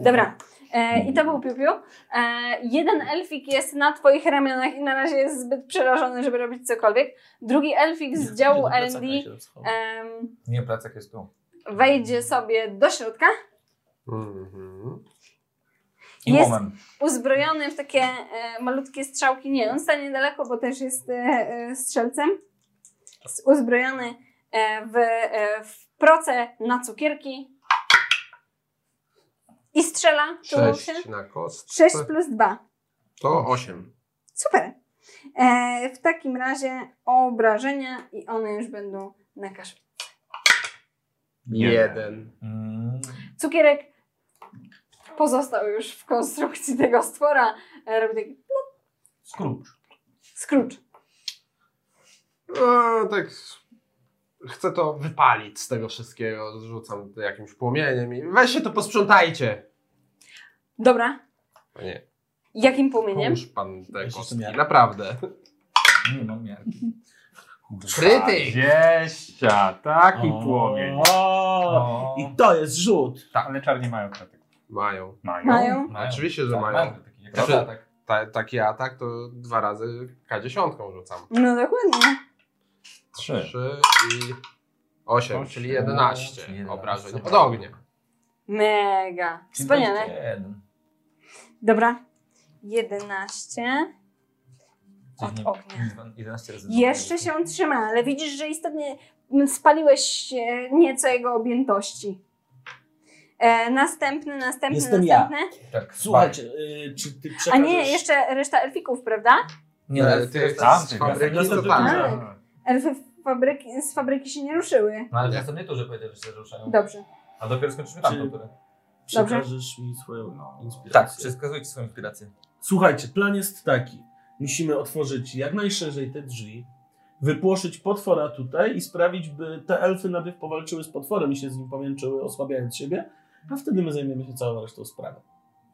Speaker 4: Dobra, E, I to był piu, piu. E, jeden elfik jest na twoich ramionach i na razie jest zbyt przerażony, żeby robić cokolwiek. Drugi elfik z działu LD em,
Speaker 23: Nie, placek jest tu.
Speaker 4: wejdzie sobie do środka,
Speaker 23: Mhm. I
Speaker 4: Jest-
Speaker 23: moment.
Speaker 4: uzbrojony w takie e, malutkie strzałki. Nie, on stanie daleko, bo też jest e, e, strzelcem. Jest uzbrojony e, w, e, w proce na cukierki. I strzela. Tu się.
Speaker 2: 6 na kost.
Speaker 4: 6 plus 2.
Speaker 2: To 8.
Speaker 4: Super. E, w takim razie obrażenia i one już będą na kaszę.
Speaker 2: Jeden.
Speaker 4: Cukierek pozostał już w konstrukcji tego stwora. E, robi taki
Speaker 2: Scrooge.
Speaker 4: skrócz.
Speaker 2: No, tak. Chcę to wypalić z tego wszystkiego. Rzucam to jakimś płomieniem i weź się to posprzątajcie.
Speaker 4: Dobra.
Speaker 2: Panie,
Speaker 4: Jakim płomieniem?
Speaker 2: pomóż pan te kostki. Naprawdę.
Speaker 23: Nie mam miarki.
Speaker 2: Krytyk!
Speaker 6: 20, taki płomień.
Speaker 5: O, I to jest rzut.
Speaker 6: Tak, ale czarni mają krytyk.
Speaker 2: Mają.
Speaker 6: Mają?
Speaker 4: Mają.
Speaker 2: Oczywiście, że
Speaker 23: Tak,
Speaker 2: mają.
Speaker 23: krytyki, jak
Speaker 2: Znaczy,
Speaker 6: tak?
Speaker 23: atak.
Speaker 2: ta, taki atak to dwa razy K10 rzucam.
Speaker 4: No dokładnie.
Speaker 6: Trzy.
Speaker 2: Trzy i 8,
Speaker 6: Osiem.
Speaker 2: czyli 11,
Speaker 23: Czyli 11.
Speaker 2: obrażeń od ognia.
Speaker 4: Mega. Wspaniale.
Speaker 23: 21.
Speaker 4: Dobra. 11.
Speaker 23: Coś nie-
Speaker 4: ognia.
Speaker 23: 11 razy
Speaker 4: Jeszcze się trzyma, ale widzisz, że istotnie spaliłeś e, nieco jego objętości. E, następny, następny,
Speaker 5: Jestem ja.
Speaker 4: następny.
Speaker 23: Tak,
Speaker 5: Słuchajcie, y, czy ty
Speaker 4: A
Speaker 5: przekażesz...
Speaker 4: nie, jeszcze reszta elfików, prawda?
Speaker 23: Nie,
Speaker 2: Ale
Speaker 23: ale
Speaker 2: ty
Speaker 23: ty
Speaker 2: jesteś
Speaker 23: tam,
Speaker 2: z fabryki, to
Speaker 5: Następny
Speaker 2: tam.
Speaker 4: Tak. Elfy w fabryki, z fabryki się nie ruszyły.
Speaker 23: No ale
Speaker 2: Nie.
Speaker 23: to są nie to, że powiedział, że się ruszają.
Speaker 4: Dobrze.
Speaker 23: A dopiero skończymy tamtą
Speaker 5: Czy-
Speaker 23: turę.
Speaker 5: Przekażesz mi swoją
Speaker 6: No.
Speaker 5: inspirację.
Speaker 23: Tak, przekazujcie swoją inspirację.
Speaker 5: Słuchajcie, plan jest taki. Musimy otworzyć jak najszerzej te drzwi, wypłoszyć potwora tutaj i sprawić, by te elfy najpierw powalczyły z potworem i się z nim pomięczyły, osłabiając siebie, a wtedy my zajmiemy się całą resztą sprawy.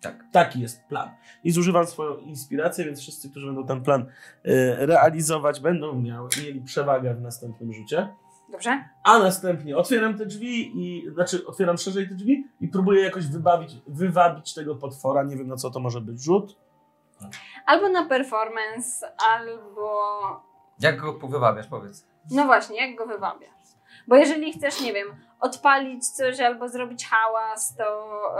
Speaker 5: Tak. Taki jest plan. I zużywam swoją inspirację, więc wszyscy, którzy będą ten plan e, realizować, będą miały, mieli przewagę w następnym rzucie.
Speaker 4: Dobrze?
Speaker 5: A następnie otwieram te drzwi i znaczy otwieram szerzej te drzwi i próbuję jakoś wybawić, wywabić tego potwora. Nie wiem na co to może być rzut.
Speaker 4: Albo na performance, albo.
Speaker 23: Jak go powywabiasz, powiedz.
Speaker 4: No właśnie, jak go wywabiasz. Bo jeżeli chcesz, nie wiem, odpalić coś albo zrobić hałas, to,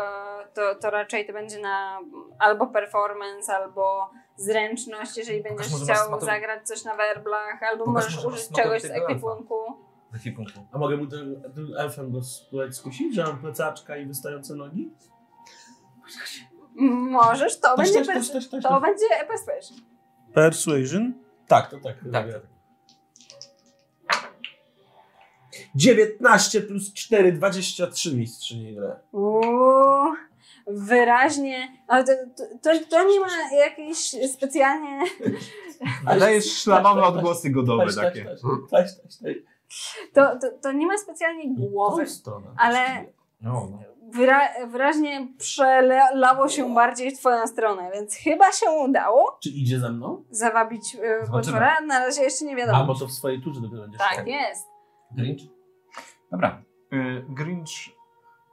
Speaker 4: e, to, to raczej to będzie na albo performance, albo zręczność, jeżeli będziesz
Speaker 23: może masz
Speaker 4: chciał
Speaker 23: smato-
Speaker 4: zagrać coś na werblach, albo
Speaker 23: Pokaż,
Speaker 4: możesz
Speaker 23: może masz
Speaker 4: użyć
Speaker 23: smato-
Speaker 4: czegoś z
Speaker 23: tego elfa.
Speaker 4: ekwipunku.
Speaker 23: W ekwipunku.
Speaker 5: A mogę mu tym, tym elfem go spróbować skusić, że mam plecaczka i wystające nogi?
Speaker 4: Możesz, to
Speaker 5: Też,
Speaker 4: będzie
Speaker 5: też,
Speaker 4: per-
Speaker 5: też, też, też,
Speaker 4: to
Speaker 5: też.
Speaker 4: będzie persuasion.
Speaker 5: Persuasion? Tak, to tak.
Speaker 23: Tak.
Speaker 5: robię. 19 plus 4, 23 mistrzyni gry.
Speaker 4: Uuu, wyraźnie, ale to, to, to, to nie ma jakiejś specjalnie tak,
Speaker 6: Dajesz szlamowe odgłosy godowe
Speaker 5: Taś, taś,
Speaker 6: takie.
Speaker 5: taś, taś, taś, taś.
Speaker 4: To, to, to nie ma specjalnie
Speaker 5: Tą
Speaker 4: głowy,
Speaker 5: stronę.
Speaker 4: ale
Speaker 23: No, no.
Speaker 4: wyra- wyraźnie przelało się bardziej w twoją stronę, więc chyba się udało
Speaker 5: Czy idzie ze mną?
Speaker 4: zawabić y, potwora. Na razie jeszcze nie wiadomo.
Speaker 5: A, bo to w swojej turze dopiero będziesz
Speaker 4: Tak jest.
Speaker 23: Grinch?
Speaker 6: Dobra. Y, Grinch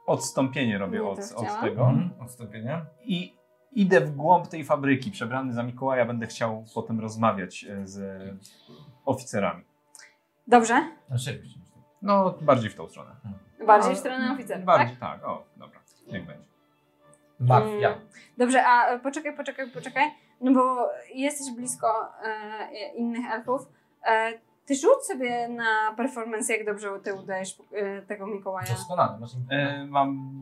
Speaker 6: odstąpienie robię
Speaker 4: Nie,
Speaker 6: od,
Speaker 4: to
Speaker 6: od
Speaker 4: chciałam.
Speaker 6: tego.
Speaker 23: Mhm. Odstąpienie.
Speaker 6: I idę w głąb tej fabryki. Przebrany za Mikołaja będę chciał potem rozmawiać e, z e, oficerami.
Speaker 4: Dobrze?
Speaker 23: Na szybciej.
Speaker 6: No, bardziej w tą stronę.
Speaker 4: Bardziej
Speaker 6: A,
Speaker 4: w stronę oficera, tak?
Speaker 6: Bardziej, tak? o, dobra. Niech będzie.
Speaker 3: Tak,
Speaker 23: Mafia.
Speaker 4: Mm. Dobrze, a e, poczekaj, poczekaj, poczekaj, no bo jesteś blisko e, innych elfów. E, ty rzuć sobie na performance, jak dobrze ty udajesz e, tego Mikołaja.
Speaker 23: Doskonale. Masz im...
Speaker 6: E, mam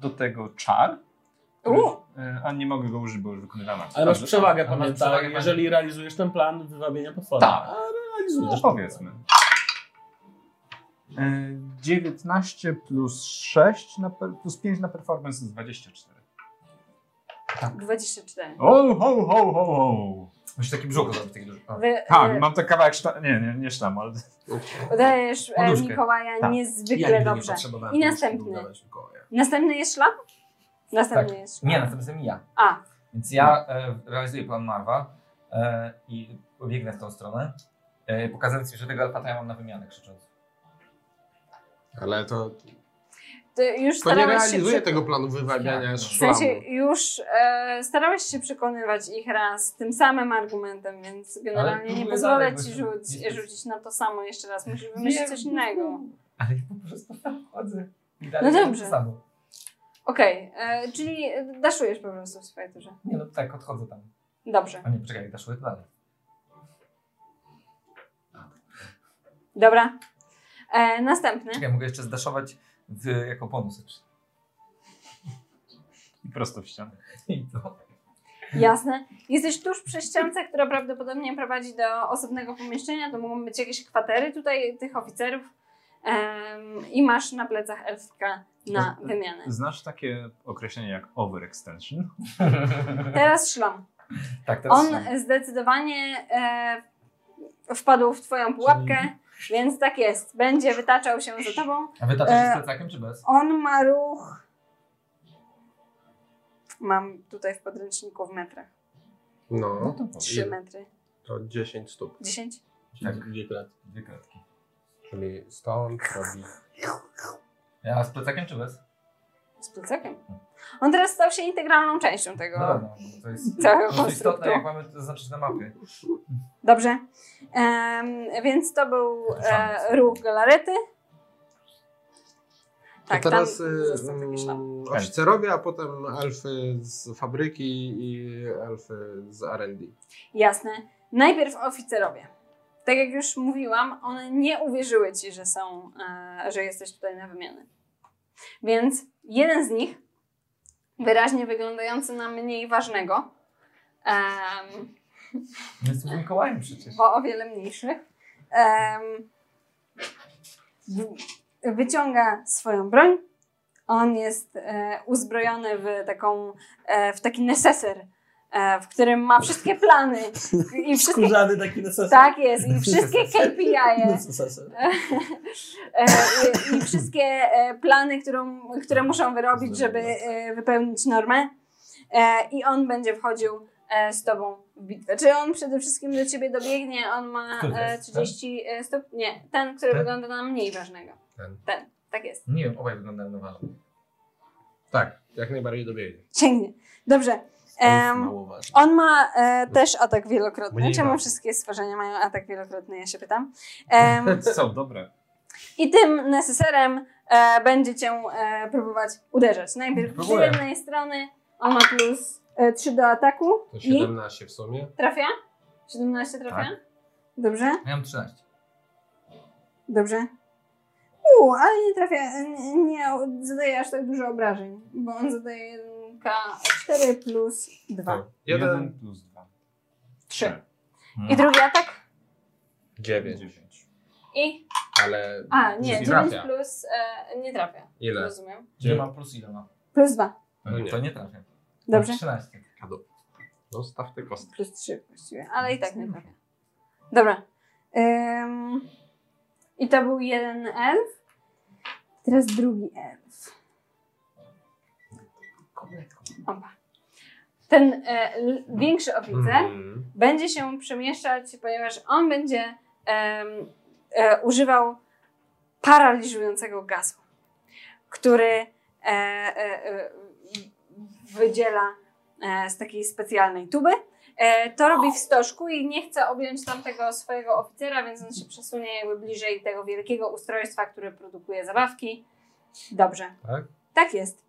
Speaker 6: do tego czar.
Speaker 4: U,
Speaker 6: E, a nie mogę go użyć, bo już wykonywałem akcję.
Speaker 5: Ale masz
Speaker 6: Dobrze.
Speaker 5: przewagę,
Speaker 23: A masz
Speaker 5: pamiętaj,
Speaker 23: przewagę,
Speaker 5: jeżeli realizujesz ten plan wywabienia potwora.
Speaker 6: Tak.
Speaker 5: A
Speaker 6: No,
Speaker 5: realizujesz.
Speaker 6: powiedzmy. E, 19 plus 6 na per, plus 5 na performance to jest 24.
Speaker 4: 24.
Speaker 6: O, ho, ho, ho, ho.
Speaker 23: Musisz taki brzuch zrobić, taki duży. O.
Speaker 4: Wy,
Speaker 6: Tak,
Speaker 4: e,
Speaker 6: mam to kawałek szta... Nie, nie, nie sztam, ale... *laughs*
Speaker 4: Udajesz e,
Speaker 23: Poduszkę.
Speaker 4: Mikołaja
Speaker 6: Tak.
Speaker 4: niezwykle
Speaker 5: nigdy nie
Speaker 4: dobrze.
Speaker 5: potrzebowałem
Speaker 4: I
Speaker 5: tego,
Speaker 4: następny.
Speaker 5: żeby udawać Mikołaja.
Speaker 4: Następny jest szlak? Następny
Speaker 23: Tak.
Speaker 4: jest szlak.
Speaker 23: Nie, następny jestem ja.
Speaker 4: A.
Speaker 23: Więc ja e, realizuję plan Marwa e, i biegnę w tą stronę. E, pokazując mi, że tego alfata ja mam na wymianę krzycząc.
Speaker 2: Ale to
Speaker 4: Ty już
Speaker 2: To nie
Speaker 4: starałeś się
Speaker 2: realizuje
Speaker 4: przekonać.
Speaker 2: tego planu wywabiania
Speaker 4: W
Speaker 2: szlamu.
Speaker 4: sensie już e, starałeś się przekonywać ich raz tym samym argumentem, więc generalnie nie
Speaker 23: próbuję
Speaker 4: pozwolę
Speaker 23: dalej,
Speaker 4: ci
Speaker 23: bo-
Speaker 4: rzuć, rzucić na to samo jeszcze raz. Musisz wymyślić coś innego.
Speaker 23: Ale ja po prostu tam chodzę. I
Speaker 4: No
Speaker 23: robię to
Speaker 4: dobrze.
Speaker 23: samo.
Speaker 4: Okej, e, czyli daszujesz po prostu w swojej turze.
Speaker 23: Nie no tak, odchodzę tam.
Speaker 4: Dobrze.
Speaker 23: A nie, poczekaj, dasz łyk dalej.
Speaker 4: Dobra. E, następny.
Speaker 23: Czekaj, mogę jeszcze zdaszować w, jako bonus. jeszcze.
Speaker 6: I prosto w ścianę.
Speaker 23: I to.
Speaker 4: Jasne. Jesteś tuż przy ściance, która prawdopodobnie prowadzi do osobnego pomieszczenia. To mogą być jakieś kwatery tutaj tych oficerów. Em, I masz na plecach elfka na
Speaker 6: Z-
Speaker 4: wymianę.
Speaker 6: Znasz takie określenie jak overextension?
Speaker 4: Teraz szlam.
Speaker 23: Tak, teraz
Speaker 4: On
Speaker 23: są.
Speaker 4: zdecydowanie e, wpadł w twoją pułapkę, więc tak jest. Będzie wytaczał się za tobą.
Speaker 23: A wy taczacie
Speaker 4: E,
Speaker 23: z plecakiem czy bez?
Speaker 4: On ma ruch. Mam tutaj w podręczniku w metrach.
Speaker 2: No,
Speaker 4: Trzy metry.
Speaker 2: to 10 stóp.
Speaker 4: 10?
Speaker 23: Tak.
Speaker 33: Dwie kratki.
Speaker 23: Dwie kratki.
Speaker 2: Czyli stąd robi...
Speaker 23: A z plecakiem czy bez?
Speaker 4: Z plecakiem. On teraz stał się integralną częścią tego.
Speaker 23: No,
Speaker 2: Tak.
Speaker 23: no, to jest
Speaker 4: Całego
Speaker 23: to
Speaker 2: No,
Speaker 23: jest
Speaker 4: konstruktu.
Speaker 23: istotne, jak mamy to zaznaczyć na mapie.
Speaker 4: Dobrze. Em, więc to był e, ruch galarety. Tak,
Speaker 2: to teraz
Speaker 4: tam
Speaker 2: y,
Speaker 4: został taki szlak.
Speaker 2: mm, oficerowie, a potem elfy z fabryki i elfy z R&D.
Speaker 4: Jasne. Najpierw oficerowie. Tak jak już mówiłam, one nie uwierzyły ci, że są, e, że jesteś tutaj na wymianę. Więc jeden z nich, wyraźnie wyglądający na mniej ważnego, em,
Speaker 23: No Jesteś Mikołajem przecież.
Speaker 4: bo o wiele mniejszych. Em, w- wyciąga swoją broń. On jest e, uzbrojony w, taką, e, w taki neseser, e, w którym ma wszystkie plany i wszystkie
Speaker 5: Skórzany taki na sesję.
Speaker 4: tak jest, i wszystkie KPI.
Speaker 5: Na
Speaker 4: *laughs* E,
Speaker 5: sesję.
Speaker 4: i, I wszystkie e, plany, którą, które muszą wyrobić, żeby e, wypełnić normę. E, I on będzie wchodził e, z tobą w bitwę. Czy on przede wszystkim do ciebie dobiegnie? On ma
Speaker 23: Który to
Speaker 4: e,
Speaker 23: jest?
Speaker 4: 30 e, stóp? Nie, ten, który
Speaker 23: Ten?
Speaker 4: wygląda na mniej ważnego.
Speaker 2: Ten.
Speaker 4: Ten, tak jest.
Speaker 23: Nie wiem, obaj wyglądają na ważne.
Speaker 2: Tak, jak najbardziej dobiegnie.
Speaker 4: Sięgnie. Dobrze.
Speaker 33: Elf
Speaker 4: Em,
Speaker 33: mało ważny.
Speaker 4: On ma e, też atak wielokrotny.
Speaker 2: Mniej
Speaker 4: Czemu
Speaker 2: ważny.
Speaker 4: wszystkie stworzenia mają atak wielokrotny, ja się pytam. Em,
Speaker 6: Są dobre.
Speaker 4: I tym neseserem e, będzie cię e, próbować uderzać. Najpierw z
Speaker 23: Próbuję.
Speaker 4: jednej strony on ma plus e, 3 do ataku
Speaker 2: To
Speaker 4: i
Speaker 2: 17 w sumie.
Speaker 4: trafia? 17 trafia?
Speaker 23: Tak.
Speaker 4: Dobrze,
Speaker 23: Ja mam 13.
Speaker 4: dobrze. Uuu, ale nie trafia, nie, nie zadaje aż tak dużo obrażeń, bo on zadaje 1K4 plus 2.
Speaker 2: To Jeden,
Speaker 6: plus dwa.
Speaker 4: 3.
Speaker 23: Mhm.
Speaker 4: I drugi atak?
Speaker 2: dziewięć.
Speaker 6: Dziewięć.
Speaker 4: I?
Speaker 2: Ale
Speaker 4: A, nie, 9
Speaker 2: trafia.
Speaker 4: plus... E, nie trafia,
Speaker 2: Ile?
Speaker 4: rozumiem.
Speaker 23: Ile ma plus ile ma?
Speaker 4: Plus 2,
Speaker 2: No nie.
Speaker 23: To nie trafię.
Speaker 4: dobrze.
Speaker 23: Mam 13.
Speaker 2: Zostaw te No, kostki.
Speaker 4: plus 3 właściwie, ale i tak nie trafia. Dobra. Ym, I to był jeden elf. Teraz drugi elf. Opa. Ten e, l- większy oficer
Speaker 2: Mhm.
Speaker 4: będzie się przemieszczać, ponieważ on będzie em, e, używał paraliżującego gazu, który e, e, e, wydziela e, z takiej specjalnej tuby. E, to robi w stożku i nie chce objąć tamtego swojego oficera, więc on się przesunie jakby bliżej tego wielkiego ustrojstwa, które produkuje zabawki. Dobrze.
Speaker 2: Tak?
Speaker 4: Tak jest.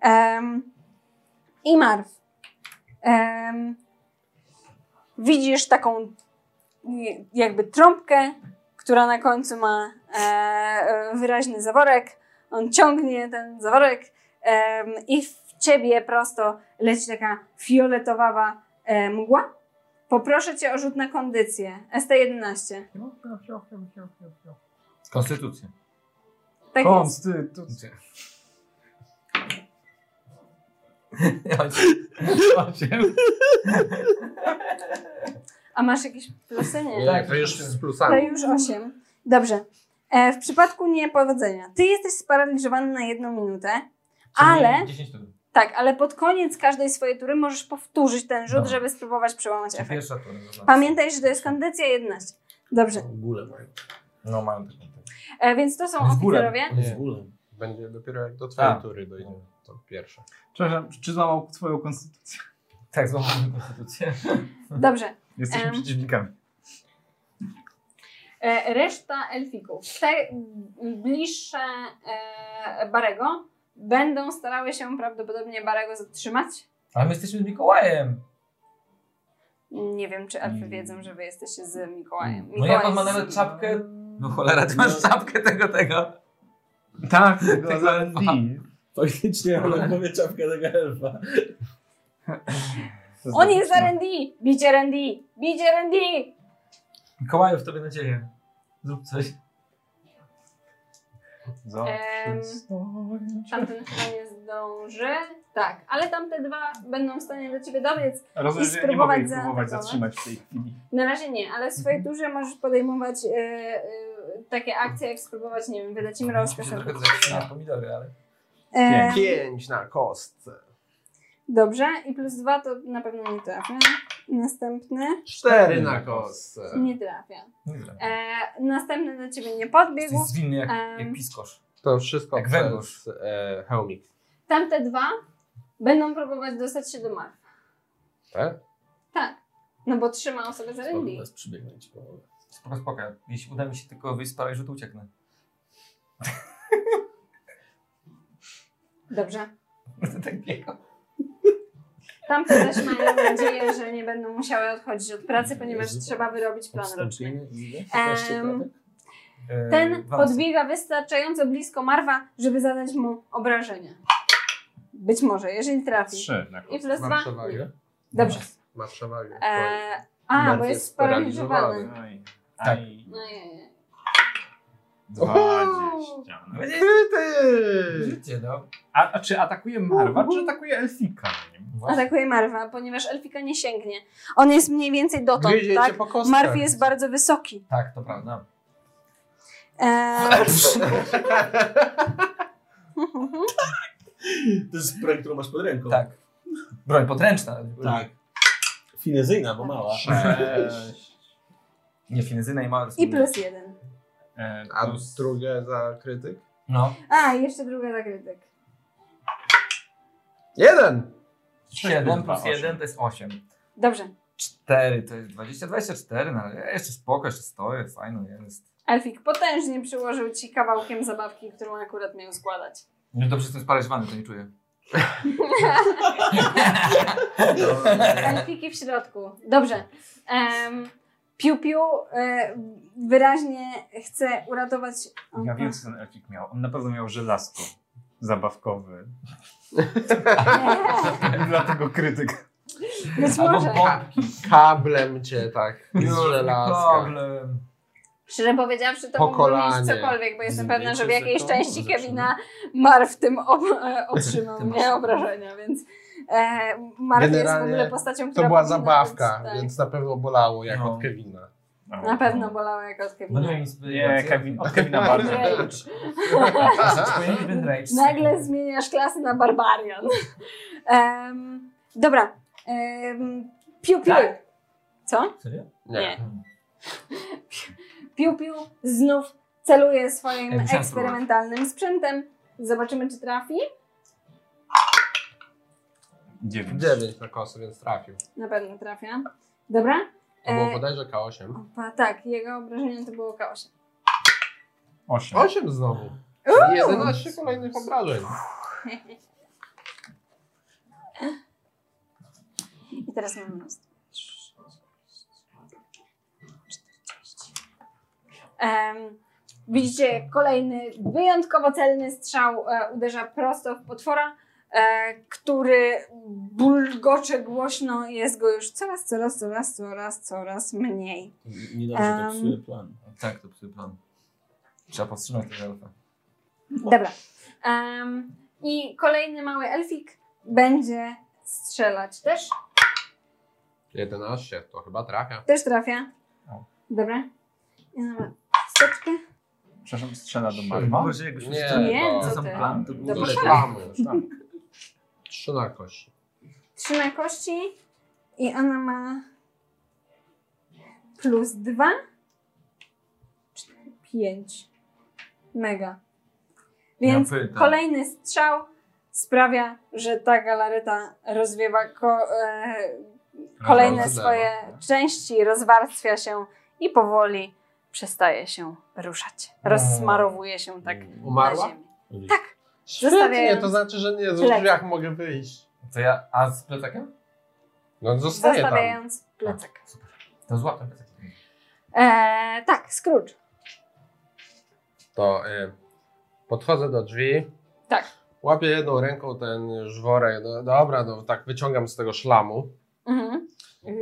Speaker 4: Em, I Marw. Em, widzisz taką nie- jakby trąbkę, która na końcu ma e, e, wyraźny zaworek. On ciągnie ten zaworek em, i w ciebie prosto leci taka fioletowawa e, mgła. Poproszę cię o rzut na kondycję. ST11.
Speaker 23: Konstytucja.
Speaker 4: Tak jest.
Speaker 23: Konstytucja. Osiem. Osiem.
Speaker 4: A masz jakieś plusy? Nie.
Speaker 2: Nie, to już z
Speaker 4: To
Speaker 2: plusami.
Speaker 4: już 8. Dobrze. E, w przypadku niepowodzenia, ty jesteś sparaliżowany na jedną minutę, ale,
Speaker 23: 10 tur.
Speaker 4: tak, ale pod koniec każdej swojej tury możesz powtórzyć ten rzut,
Speaker 23: Dobra.
Speaker 4: żeby spróbować przełamać
Speaker 23: Czy
Speaker 4: efekt.
Speaker 23: pierwsza tura. to znaczy.
Speaker 4: Pamiętaj, że to jest kondycja 11. Dobrze,
Speaker 33: W ogóle mają.
Speaker 23: No mają taką.
Speaker 4: e, więc to są
Speaker 23: Z górem.
Speaker 4: oficerowie.
Speaker 33: On jest górem.
Speaker 2: Będzie dopiero jak do twojej tury dojdzie. To pierwsze.
Speaker 6: Przepraszam, czy złamał twoją konstytucję?
Speaker 23: Tak, złamałem konstytucję.
Speaker 4: Dobrze.
Speaker 6: Jesteśmy
Speaker 4: Em.
Speaker 6: przeciwnikami.
Speaker 4: E, Reszta elfików, te m, bliższe e, Barego, będą starały się prawdopodobnie Barego zatrzymać.
Speaker 23: Ale my jesteśmy z Mikołajem.
Speaker 4: Nie wiem, czy elfy
Speaker 23: Mm.
Speaker 4: wiedzą, że wy jesteście z Mikołajem.
Speaker 23: No
Speaker 4: Mikołaj
Speaker 23: jak on ma
Speaker 4: jest-
Speaker 23: nawet czapkę... No cholera, ty masz czapkę tego, tego.
Speaker 6: *laughs* Tak,
Speaker 23: Tego
Speaker 6: z R&D.
Speaker 34: Faktycznie, ale mamy czapkę tego elfa.
Speaker 4: On jest R&D! Bicie R&D! Bicie R&D!
Speaker 23: Mikołaju, w tobie nadzieję. Zrób coś.
Speaker 4: Em, Tamten chyba nie zdąży. Tak, ale tamte dwa będą w stanie do ciebie dobiec.
Speaker 6: Rozumiem,
Speaker 4: i
Speaker 6: że ja nie mogę ich
Speaker 4: spróbować zaatakować.
Speaker 6: próbować zatrzymać w tej chwili.
Speaker 4: Na razie nie, ale w swojej turze możesz podejmować e, e, takie akcje, jak spróbować, nie wiem, wydać im
Speaker 23: Się
Speaker 4: rozkaz.
Speaker 23: trochę
Speaker 4: albo-
Speaker 23: zaczyna na pomidory, ale...
Speaker 4: E,
Speaker 2: Pięć na kostce.
Speaker 4: Dobrze, i plus dwa to na pewno nie trafię. Następny
Speaker 2: Cztery na kostce.
Speaker 4: nie trafia.
Speaker 23: Tak. Nie wiem.
Speaker 4: E, następny do ciebie nie podbiegł.
Speaker 23: Jesteś zwinny jak,
Speaker 4: Em.
Speaker 23: jak piskosz.
Speaker 2: To wszystko
Speaker 23: Jak węgorz.
Speaker 2: przez e, hełmik.
Speaker 4: Tamte dwa będą próbować dostać się do Marfa.
Speaker 2: Tak?
Speaker 4: Tak, no bo trzymał sobie za rynki.
Speaker 34: Teraz przybiegnę ci pomogę.
Speaker 23: Spoko, spoko. Jeśli uda mi się tylko wyjść z paraliżu, to ucieknę.
Speaker 4: Dobrze.
Speaker 23: tak biegam.
Speaker 4: Tamte też mają nadzieję, że nie będą musiały odchodzić od pracy, ponieważ
Speaker 34: Jezu.
Speaker 4: trzeba wyrobić plan roczny.
Speaker 34: Odstąpienie i ile?
Speaker 4: Em,
Speaker 34: 15 kratek?
Speaker 23: E,
Speaker 4: Ten
Speaker 23: wam-
Speaker 4: podbiega wystarczająco blisko Marwa, żeby zadać mu obrażenia. Być może, jeżeli trafi.
Speaker 6: Trzy na
Speaker 4: I
Speaker 6: kostce.
Speaker 4: plus
Speaker 2: Ma
Speaker 4: dwa.
Speaker 2: przewagę.
Speaker 4: Dobrze.
Speaker 2: Ma przewagę.
Speaker 4: Eee, a,
Speaker 2: Marw
Speaker 4: bo
Speaker 2: jest
Speaker 4: jest sparaliżowany. No
Speaker 2: sparaliżowany.
Speaker 6: Aj,
Speaker 23: Tak.
Speaker 6: aj.
Speaker 4: Ojej.
Speaker 6: Dwadzieścia. No.
Speaker 2: Ty!
Speaker 23: Życie, no.
Speaker 6: A, a czy atakuje Marwa, czy atakuje Elfika?
Speaker 23: Właśnie.
Speaker 4: Atakuje Marwa, ponieważ Elfika nie sięgnie. On jest mniej więcej dotąd,
Speaker 2: Gryzie
Speaker 4: tak?
Speaker 2: cię po kostce.
Speaker 4: Marw jest bardzo wysoki.
Speaker 23: Tak, to prawda.
Speaker 4: Eee,
Speaker 34: To jest broń, którą masz pod ręką.
Speaker 23: Tak. Broń podręczna.
Speaker 34: Tak. Finezyjna, bo mała.
Speaker 6: Sześć.
Speaker 34: *laughs*
Speaker 23: Nie finezyna i mała
Speaker 4: I plus jeden.
Speaker 6: E,
Speaker 2: A
Speaker 6: plus
Speaker 2: drugie za krytyk?
Speaker 23: No.
Speaker 4: A, i jeszcze druga zakrytek.
Speaker 2: Jeden!
Speaker 23: 7 plus
Speaker 6: Osiem.
Speaker 23: 1 to jest 8.
Speaker 4: Dobrze.
Speaker 23: 4 to jest 20, 24, no ale jeszcze spoko, jeszcze stoję, fajno jest.
Speaker 4: Elfik potężnie przyłożył ci kawałkiem zabawki, którą akurat miał składać.
Speaker 23: No dobrze, że jestem sparaliżowany, to nie czuję.
Speaker 4: *laughs* Elfiki w środku. Dobrze. Um, piu Piu e, wyraźnie chce uratować.
Speaker 23: *laughs*
Speaker 4: O,
Speaker 6: Ja wiem, co ten Elfik miał. On na pewno miał żelazko zabawkowe. *laughs*
Speaker 4: Nie,
Speaker 6: I Dlatego krytyk.
Speaker 4: Być
Speaker 23: Albo
Speaker 4: może.
Speaker 23: bombki.
Speaker 2: Kablem cię tak z żelazka.
Speaker 23: problem.
Speaker 4: Szczerze powiedziawszy, to
Speaker 2: Po
Speaker 4: mógłby mieć
Speaker 2: kolanie.
Speaker 4: cokolwiek, bo jestem pewna, że w
Speaker 34: Zmniejszy
Speaker 4: jakiejś
Speaker 34: zakon,
Speaker 4: części
Speaker 34: zaczyna.
Speaker 4: Kevina Mar w tym ob, e,
Speaker 2: *laughs*
Speaker 4: otrzymał
Speaker 23: Ty masz
Speaker 4: mnie
Speaker 23: rację.
Speaker 4: obrażenia, więc e, Marv jest w
Speaker 2: Generalnie
Speaker 4: ogóle postacią,
Speaker 2: To
Speaker 4: która
Speaker 2: była
Speaker 4: powinna
Speaker 2: zabawka,
Speaker 4: być- tak,
Speaker 2: więc na pewno bolało jak
Speaker 23: No.
Speaker 2: od Kevina.
Speaker 4: Na pewno bolała jak od Kevina.
Speaker 23: No nie,
Speaker 6: Nie, Kevin, od
Speaker 23: *laughs*
Speaker 6: Kevina bardziej.
Speaker 4: Rage.
Speaker 23: Kevin Rage.
Speaker 4: Nagle zmieniasz klasę na barbarian. *laughs* Em, dobra. Um, piu piu.
Speaker 23: Tak.
Speaker 4: Co?
Speaker 23: Serio?
Speaker 4: Nie. Piu piu znów celuje swoim
Speaker 23: Ja musiałem
Speaker 4: eksperymentalnym sprzętem. Zobaczymy, czy trafi.
Speaker 6: Dziewięć.
Speaker 2: Dziewięć na kosy, więc trafił.
Speaker 4: Na pewno trafia. Dobra.
Speaker 2: To było
Speaker 4: E,
Speaker 2: bodajże K8.
Speaker 4: opa, tak, jego obrażenie to było K8.
Speaker 6: Osiem.
Speaker 2: 8 znowu. 11 kolejnych obrażeń.
Speaker 4: I teraz mam minus. Em, widzicie, kolejny wyjątkowo celny strzał e, uderza prosto w potwora, e, który bulgocze głośno, jest go już coraz, coraz, coraz, coraz, coraz mniej.
Speaker 34: Niedobrze,
Speaker 4: Em.
Speaker 34: to psuje plan.
Speaker 23: Tak, to psuje plan. Trzeba powstrzymać tego elfa.
Speaker 4: Dobra. Em, I kolejny mały elfik będzie strzelać też.
Speaker 2: 11, to chyba trafia.
Speaker 4: Też trafia.
Speaker 2: No.
Speaker 23: O.
Speaker 4: Dobra. Ja mam Steczkę.
Speaker 6: Przepraszam, strzela do Marwa.
Speaker 23: Boże, jakbyś
Speaker 2: Nie,
Speaker 23: myślał,
Speaker 4: Nie,
Speaker 23: to
Speaker 4: co
Speaker 23: sam
Speaker 4: ty.
Speaker 23: plan, to
Speaker 4: To
Speaker 23: było
Speaker 4: proszę.
Speaker 2: Reklamy. 3 na kości.
Speaker 4: Trzy na kości i ona ma plus dwa, cztery, pięć. Mega. Więc
Speaker 2: Ja pytam.
Speaker 4: kolejny strzał sprawia, że ta galareta rozwiewa ko, e, kolejne
Speaker 2: Rozwarstwa.
Speaker 4: swoje części, rozwarstwia się i powoli przestaje się ruszać.
Speaker 2: No.
Speaker 4: Rozsmarowuje się tak na
Speaker 2: Umarła?
Speaker 4: ziemi.
Speaker 2: Świetnie,
Speaker 4: Zostawiając
Speaker 2: to znaczy, że nie, z
Speaker 4: plecak.
Speaker 2: drzwiach mogę wyjść.
Speaker 23: To ja, a z plecakiem?
Speaker 2: No zostaję tam.
Speaker 4: Zostawiając plecak.
Speaker 23: To złap ten plecak.
Speaker 4: E, tak, Scrooge.
Speaker 2: To y, podchodzę do drzwi.
Speaker 4: Tak.
Speaker 2: Łapię jedną ręką ten żworek. No, dobra, no tak wyciągam z tego szlamu.
Speaker 4: Mhm.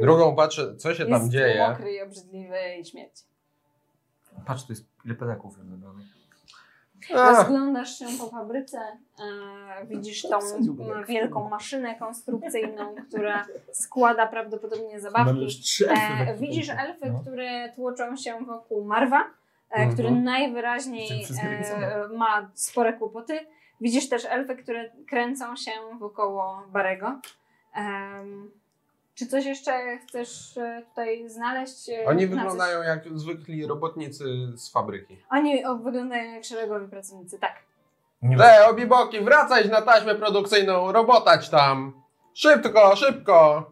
Speaker 2: Drugą patrzę, co się
Speaker 4: jest
Speaker 2: tam dzieje.
Speaker 4: mokry i obrzydliwy i śmierć.
Speaker 23: Patrz, tu jest ile plecaków wyglądanych.
Speaker 4: Rozglądasz się po fabryce, e, widzisz tą m, wielką maszynę konstrukcyjną, która składa prawdopodobnie
Speaker 34: Mamy
Speaker 4: zabawki.
Speaker 34: już trzy
Speaker 4: E, widzisz elfy, które tłoczą się wokół Marwa, e, który najwyraźniej e, ma spore kłopoty. Widzisz też elfy, które kręcą się wokoło Barego. Em, czy coś jeszcze chcesz e, tutaj znaleźć? e,
Speaker 2: Oni
Speaker 4: na coś?
Speaker 2: wyglądają jak zwykli robotnicy z fabryki.
Speaker 4: Oni o, wyglądają jak szeregowi pracownicy, tak.
Speaker 2: Le, obiboki, wracać na taśmę produkcyjną, robotać tam. Szybko, szybko.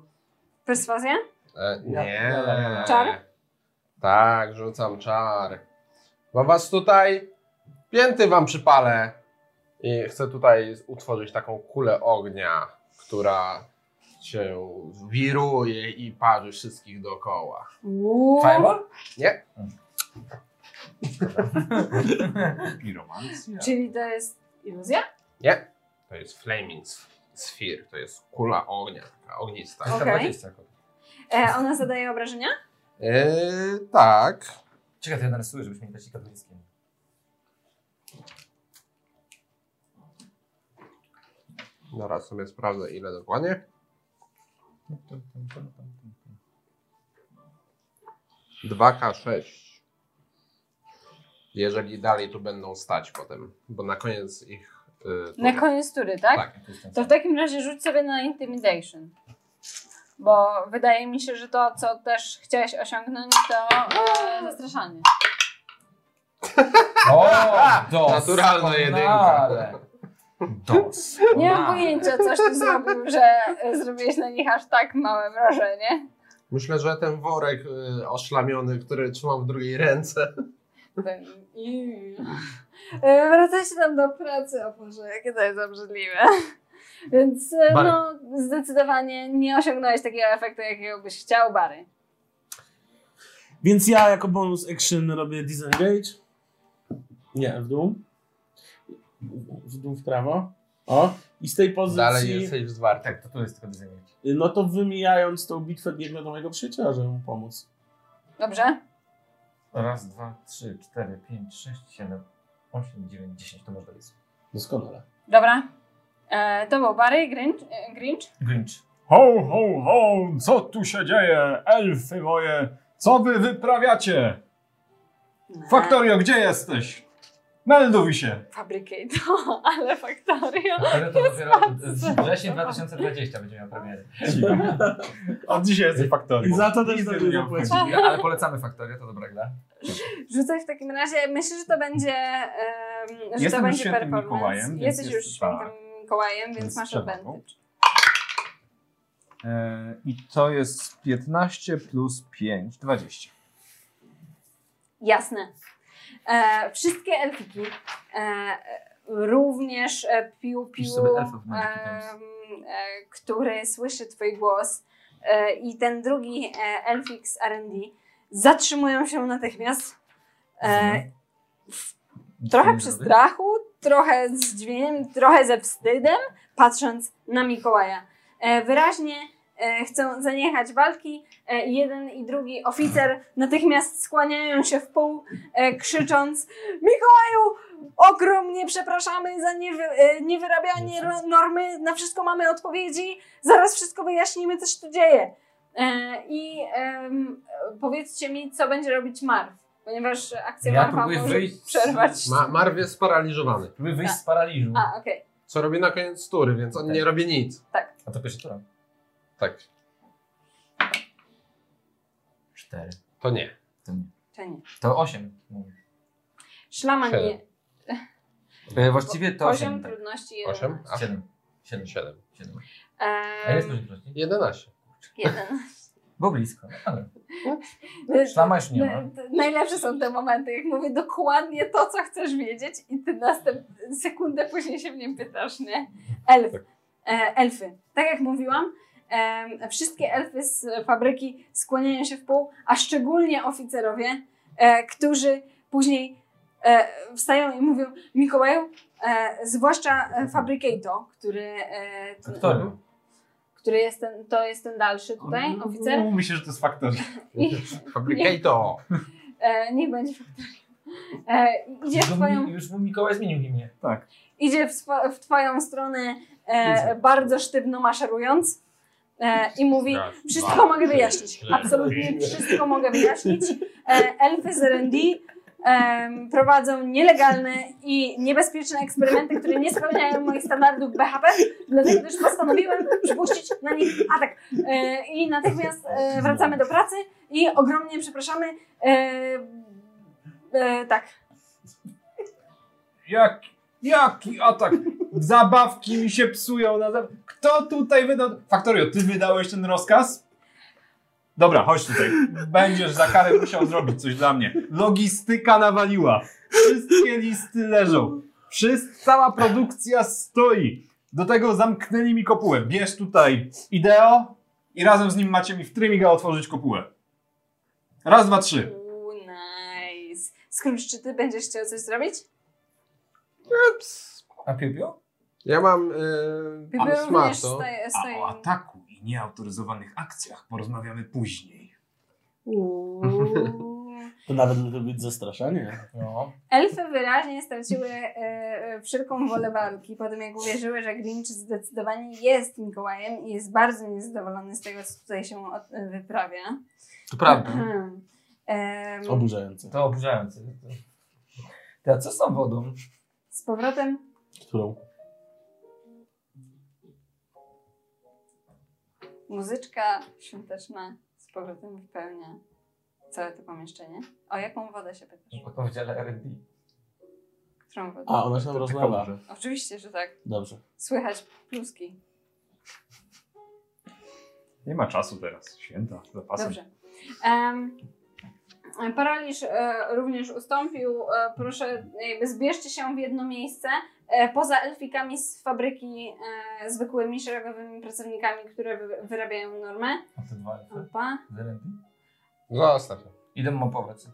Speaker 4: Perswazja?
Speaker 2: E, nie.
Speaker 4: Czar?
Speaker 2: Tak, rzucam czar. Bo was tutaj pięty wam przypalę. I chcę tutaj utworzyć taką kulę ognia, która się wiruje i parzy wszystkich dookoła.
Speaker 23: Fireball?
Speaker 2: Nie.
Speaker 6: Piromancja.
Speaker 4: Czyli to jest iluzja?
Speaker 2: Nie. To jest flaming sphere, to jest kula ognia, taka ognista.
Speaker 4: Okej. 120 E, ona zadaje obrażenia?
Speaker 2: Eee, tak.
Speaker 23: Czekaj, to ja narysuję, żebyśmy nie dać katolickim.
Speaker 2: Zaraz sobie sprawdzę ile dokładnie. Dwa k 6 Jeżeli dalej tu będą stać potem, bo na koniec ich. y,
Speaker 13: Na
Speaker 2: tury.
Speaker 13: koniec tury, tak?
Speaker 2: Tak.
Speaker 13: To w takim razie rzuć sobie na intimidation. Bo wydaje mi się, że to, co też chciałeś osiągnąć, to e, zastraszanie.
Speaker 23: O,
Speaker 2: Naturalna jedynka.
Speaker 23: Dos.
Speaker 13: Nie mam pojęcia, coś *laughs* ty zrobił, że e, zrobiłeś na nich aż tak małe wrażenie.
Speaker 2: Myślę, że ten worek y, oszlamiony, który trzymam w drugiej ręce.
Speaker 13: Ten- Iu. E, Wracajcie tam do pracy, o Boże, jakie to jest obrzydliwe. Więc e,
Speaker 23: Bary.
Speaker 13: no, zdecydowanie nie osiągnąłeś takiego efektu, jakiego byś chciał, Bary.
Speaker 34: Więc ja jako bonus action robię disengage. Nie, w dół. W dół w prawo. O, i z tej pozycji,
Speaker 2: Dalej jesteś w zwarty.
Speaker 23: Tak, to tu jest tylko design.
Speaker 34: no to wymijając tą bitwę, biegnę do mojego przyjaciela, żeby mu pomóc.
Speaker 13: Dobrze?
Speaker 23: Raz, dwa, trzy, cztery, pięć, sześć, siedem, osiem, dziewięć, dziesięć. To można jest.
Speaker 34: Doskonale.
Speaker 13: Dobra. E, to był Bary Grinch. e, Grinch.
Speaker 23: Grinch.
Speaker 6: Ho, ho, ho! Co tu się dzieje? Elfy moje! Co wy wyprawiacie? Faktorio, gdzie jesteś? Melduj się!
Speaker 4: *laughs*
Speaker 13: Fabricate, no, ale Factorio.
Speaker 23: Dopiero to dopiero wrzesień 2020 będzie miał premierę.
Speaker 6: Od dzisiaj jesteś Faktorio.
Speaker 34: I za to też
Speaker 6: Nigdy
Speaker 34: sobie
Speaker 6: nie
Speaker 34: zapłacić.
Speaker 6: obchodzi.
Speaker 23: Ale polecamy Faktorię, to dobra gra.
Speaker 13: Rzucaj w takim razie, myślę, że to będzie, em, że
Speaker 6: Jestem
Speaker 13: to
Speaker 6: już
Speaker 13: będzie
Speaker 6: świętym
Speaker 13: performance.
Speaker 6: Mikołajem, więc
Speaker 13: Jesteś
Speaker 6: jest-
Speaker 13: już świętym Mikołajem, więc
Speaker 6: Więc
Speaker 13: masz
Speaker 6: przewagą.
Speaker 13: advantage.
Speaker 6: E, I to jest 15 plus 5, 20.
Speaker 4: Jasne. E, wszystkie elfiki, e, również e, Piu
Speaker 23: Pisz
Speaker 4: Piu,
Speaker 23: sobie elfów na
Speaker 4: em,
Speaker 23: Wikipedia.
Speaker 4: e, który słyszy twój głos e, i ten drugi e, elfik z R&D zatrzymują się natychmiast.
Speaker 6: Mhm.
Speaker 4: E, trochę przy strachu, trochę z dźwiękiem, trochę ze wstydem, patrząc na Mikołaja. E, wyraźnie e, chcą zaniechać walki. E, jeden i drugi oficer natychmiast skłaniają się w pół, e, krzycząc: Mikołaju, ogromnie przepraszamy za niewy, e, niewyrabianie ro- normy, na wszystko mamy odpowiedzi, zaraz wszystko wyjaśnimy, co się tu dzieje. E, I em, powiedzcie mi, co będzie robić Marv, ponieważ akcja
Speaker 23: Ja
Speaker 4: Marva
Speaker 23: próbuję
Speaker 4: może
Speaker 23: wyjść z-
Speaker 4: przerwać.
Speaker 2: Ma Marw jest sparaliżowany.
Speaker 23: Próbuj wyjść
Speaker 35: Tak.
Speaker 23: z paraliżu.
Speaker 4: A, okej.
Speaker 2: Co robi na koniec tury, więc on
Speaker 23: Tak.
Speaker 2: nie robi nic.
Speaker 23: A to pierwszy tura.
Speaker 2: Tak.
Speaker 23: Cztery.
Speaker 2: To nie.
Speaker 23: To nie.
Speaker 4: Czy nie?
Speaker 23: To osiem. mówię.
Speaker 4: Szlama nie.
Speaker 2: Siedem.
Speaker 23: E, właściwie to
Speaker 4: Poziom
Speaker 23: osiem. tak.
Speaker 4: trudności jest.
Speaker 24: 8?
Speaker 23: Siedem. Siedem.
Speaker 24: 7.
Speaker 23: Siedem. A jest
Speaker 4: Ehm,
Speaker 23: *laughs* poziom trudności?
Speaker 24: 11.
Speaker 4: jeden.
Speaker 23: Bo blisko. Ale szlama już nie ma.
Speaker 4: Najlepsze są te momenty, jak mówię dokładnie to, co chcesz wiedzieć i ty następ... sekundę później się mnie pytasz, nie? Elf.
Speaker 23: Tak.
Speaker 4: E, elfy. Tak jak mówiłam, em, wszystkie elfy z fabryki skłaniają się w pół, a szczególnie oficerowie, e, którzy później e, wstają i mówią Mikołaju, e, zwłaszcza
Speaker 23: Mhm.
Speaker 4: e, Fabricato, który... E, t-
Speaker 23: Który?
Speaker 4: który jest ten, to jest ten dalszy tutaj,
Speaker 23: Mhm.
Speaker 4: oficer.
Speaker 6: Myślę, że to jest faktor.
Speaker 24: Fabricato!
Speaker 4: E, niech będzie faktorium. E, idzie, w
Speaker 23: Już mu,
Speaker 4: twoją,
Speaker 23: już mu Mikołaj zmienił imię.
Speaker 4: idzie w, swo- w twoją stronę e, bardzo sztywno maszerując e, i
Speaker 2: Tak.
Speaker 4: mówi
Speaker 24: Raz,
Speaker 4: wszystko
Speaker 24: dwa,
Speaker 4: mogę
Speaker 24: trzy,
Speaker 4: wyjaśnić.
Speaker 24: cztery,
Speaker 4: Absolutnie
Speaker 24: pięć.
Speaker 4: wszystko mogę wyjaśnić. E, elfy z R&D em, prowadzą nielegalne i niebezpieczne eksperymenty, które nie spełniają moich standardów BHP, dlatego też postanowiłem przypuścić na nich atak. E, I natychmiast e, wracamy do pracy i ogromnie przepraszamy. E, e, tak.
Speaker 6: Jak, jaki atak? Zabawki mi się psują. Na zab... Kto tutaj wydał? Faktorio, ty wydałeś ten rozkaz? Dobra, chodź tutaj. Będziesz za karę musiał zrobić coś dla mnie. Logistyka nawaliła. Wszystkie listy leżą. Wszyst, cała produkcja stoi. Do tego zamknęli mi kopułę. Bierz tutaj ideo i razem z nim macie mi w trymiga otworzyć kopułę. Raz, dwa, trzy.
Speaker 4: Uuu, nice. Scrooge, czy ty będziesz chciał coś zrobić?
Speaker 23: A Piopio?
Speaker 24: Ja mam
Speaker 2: y,
Speaker 4: Pipi
Speaker 24: yy,
Speaker 4: również
Speaker 24: smato.
Speaker 4: stoję.
Speaker 6: A o
Speaker 4: stoję.
Speaker 6: ataku i nieautoryzowanych akcjach porozmawiamy później.
Speaker 4: Uuu.
Speaker 34: To nawet może być zastraszanie.
Speaker 23: No.
Speaker 4: Elfy wyraźnie straciły e, e, wszelką wolę walki po tym, jak uwierzyły, że Grinch zdecydowanie jest Mikołajem i jest bardzo niezadowolony z tego, co tutaj się od, e, wyprawia.
Speaker 23: To prawda.
Speaker 4: Mhm. Em,
Speaker 34: Oburzające.
Speaker 23: To oburzające. Ty, a co z tą wodą?
Speaker 4: z powrotem
Speaker 34: Którą?
Speaker 4: muzyczka świąteczna z powrotem wypełnia całe to pomieszczenie. O jaką wodę się pytasz?
Speaker 23: O Powiedziale R&D.
Speaker 4: Którą wodę?
Speaker 34: A, ona się nam rozlewa.
Speaker 4: Oczywiście, że tak.
Speaker 34: Dobrze.
Speaker 4: Słychać pluski.
Speaker 6: Nie ma czasu teraz. Święta, zapasy.
Speaker 4: Dobrze. Em, paraliż e, również ustąpił. E, proszę, jakby zbierzcie się w jedno miejsce. E, poza elfikami z fabryki, e, zwykłymi, szeregowymi pracownikami, które wy, wyrabiają normę.
Speaker 23: A te dwa elfy
Speaker 4: Opa.
Speaker 23: z R&D?
Speaker 24: Zostaw.
Speaker 23: Ile mam powrót?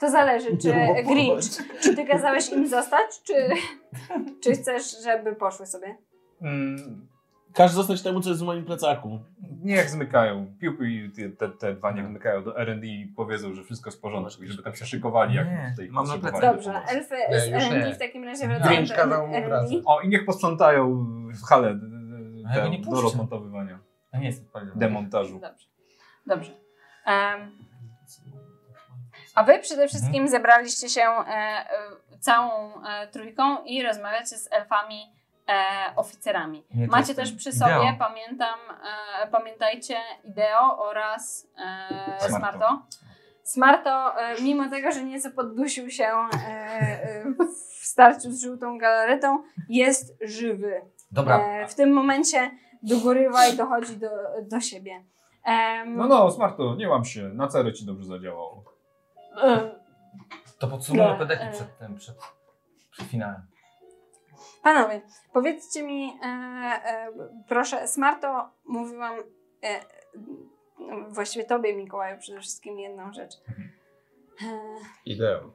Speaker 4: To zależy, czy
Speaker 34: Nie ma
Speaker 4: Grinch, czy ty kazałeś im zostać, czy, czy chcesz, żeby poszły sobie?
Speaker 6: Mm,
Speaker 34: Każ zostać temu, co jest w moim plecaku.
Speaker 6: niech zmykają. Piłki i te, te, te dwa niech zmykają do R&D i powiedzą, że wszystko jest w porządku i żeby tam się szykowali, jak
Speaker 23: Nie,
Speaker 6: tutaj
Speaker 23: mam na
Speaker 6: potrzebowali
Speaker 23: plecach.
Speaker 4: Dobrze,
Speaker 6: pomocy.
Speaker 4: elfy
Speaker 24: Nie,
Speaker 4: z
Speaker 24: już
Speaker 4: R&D
Speaker 24: nie.
Speaker 4: w takim razie wracają
Speaker 24: Grinch kazał mu
Speaker 4: R&D.
Speaker 24: wracać.
Speaker 6: O, i niech posprzątają w halę d- d-
Speaker 23: A ja go
Speaker 6: d-
Speaker 23: nie
Speaker 6: do
Speaker 23: puszczę.
Speaker 6: rozmontowywania,
Speaker 23: A nie jestem odpowiedzialny.
Speaker 6: demontażu.
Speaker 4: Dobrze. Dobrze. Em, A wy przede wszystkim zebraliście się e, e, całą e, trójką i rozmawiacie z elfami e, oficerami.
Speaker 23: Nie, to
Speaker 4: Macie
Speaker 23: jestem
Speaker 4: też przy sobie,
Speaker 23: ideał.
Speaker 4: pamiętam, e, pamiętajcie, Ideo oraz e,
Speaker 6: Smarto.
Speaker 4: Smarto. Smarto, e, mimo tego, że nieco poddusił się e, e, w starciu z żółtą galaretą, jest żywy.
Speaker 23: Dobra.
Speaker 4: E, w tym momencie dogorywa i dochodzi do, do siebie. Em,
Speaker 6: No no, Smarto, nie łam się, na cerę ci dobrze zadziałało.
Speaker 4: em,
Speaker 23: To podsumujmy
Speaker 4: Dobra,
Speaker 23: pedeki
Speaker 4: e.
Speaker 23: przed tym, przed, przed finałem.
Speaker 4: Panowie, powiedzcie mi, e, e, proszę, Smarto, mówiłam e, no, właściwie tobie, Mikołaju, przede wszystkim jedną rzecz.
Speaker 24: Ideo.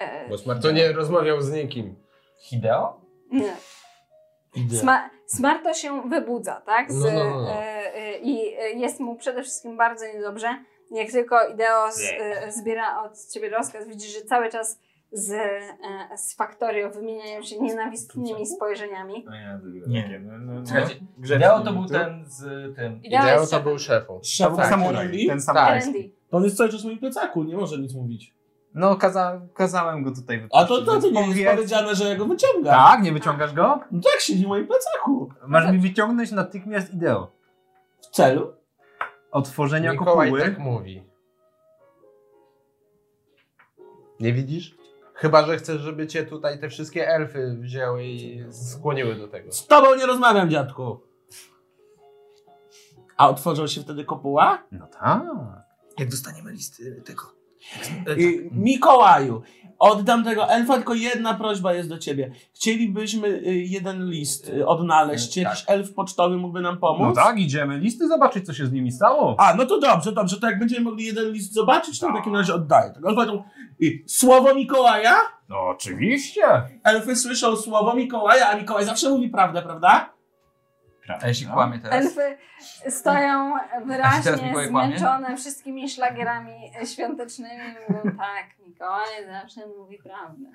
Speaker 4: E, e,
Speaker 24: Bo Smarto nie rozmawiał z nikim.
Speaker 23: Hideo?
Speaker 4: nie.
Speaker 34: Idę.
Speaker 4: Sma, smarto się wybudza, tak? Z,
Speaker 24: No, no, no, no.
Speaker 4: E, e, I e, jest mu przede wszystkim bardzo niedobrze. Jak tylko Ideo z, e, zbiera od ciebie rozkaz, widzisz, że cały czas z, e, z Factorio wymieniają się nienawistnymi spojrzeniami.
Speaker 6: No nie,
Speaker 23: Nie.
Speaker 6: takie, no, no, no.
Speaker 23: Słuchajcie,
Speaker 6: Grzeczny
Speaker 23: Hideo to był
Speaker 6: tu.
Speaker 23: ten z tym.
Speaker 24: Ideo
Speaker 4: jest
Speaker 24: to
Speaker 4: szefem.
Speaker 24: był szefą.
Speaker 6: To był
Speaker 34: Tak,
Speaker 6: samuraj,
Speaker 34: R&D?
Speaker 6: ten samuraj.
Speaker 4: R&D.
Speaker 34: To on jest cały czas w moim plecaku, nie może nic mówić.
Speaker 6: No, kaza, kazałem go tutaj
Speaker 34: A
Speaker 6: wypuścić.
Speaker 34: to, to, to nie jest
Speaker 6: Powiedz-
Speaker 34: powiedziane, że ja go wyciągam.
Speaker 6: Tak, nie wyciągasz go?
Speaker 34: No tak siedzi w moim plecaku.
Speaker 4: No
Speaker 6: Masz mi wyciągnąć natychmiast ideo.
Speaker 34: W celu.
Speaker 6: Otworzenia
Speaker 34: tak?
Speaker 24: Mikołaj
Speaker 6: kopuły.
Speaker 24: tak mówi. Nie widzisz?
Speaker 2: Chyba, że chcesz, żeby cię tutaj te wszystkie elfy wzięły i skłoniły do tego.
Speaker 34: Z tobą nie rozmawiam, dziadku. A otworzą się wtedy kopuła?
Speaker 6: No tak.
Speaker 12: Jak dostaniemy list y, tego.
Speaker 6: tak.
Speaker 34: Y, Mikołaju, oddam tego elfa, tylko jedna prośba jest do ciebie. Chcielibyśmy y, jeden list y, odnaleźć. Czy jakiś elf pocztowy mógłby nam
Speaker 6: Tak. No
Speaker 34: pomóc?
Speaker 6: tak, idziemy listy zobaczyć, co się z nimi stało.
Speaker 34: A, no to dobrze, dobrze, to jak będziemy mogli jeden list zobaczyć, to w takim razie oddaję. tego elfa. I słowo Mikołaja?
Speaker 6: No oczywiście.
Speaker 34: Elfy słyszą słowo Mikołaja, a Mikołaj zawsze mówi prawdę, prawda?
Speaker 6: Prawda.
Speaker 23: A jeśli kłamie teraz?
Speaker 4: Elfy stoją
Speaker 23: A czy teraz
Speaker 4: wyraźnie
Speaker 23: Mikołaj kłamie?
Speaker 4: zmęczone wszystkimi szlagierami świątecznymi. Mówią, tak, Mikołaj zawsze mówi prawdę.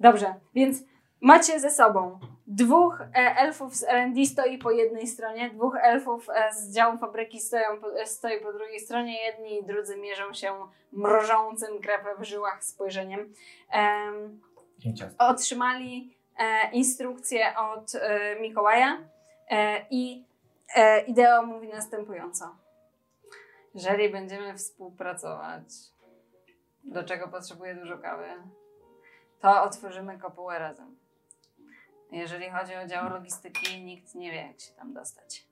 Speaker 4: Dobrze, więc macie ze sobą dwóch e, elfów z R&D stoi po jednej stronie, dwóch elfów e, z działu fabryki stoją po, e, stoi po drugiej stronie, jedni i drudzy mierzą się mrożącym krew w żyłach spojrzeniem. Em, otrzymali e, instrukcję od e, Mikołaja e, i e, Ideo mówi następująco. Jeżeli będziemy współpracować, do czego potrzebuję dużo kawy, to otworzymy kopułę razem. Jeżeli chodzi o dział logistyki, nikt nie wie, jak się tam dostać.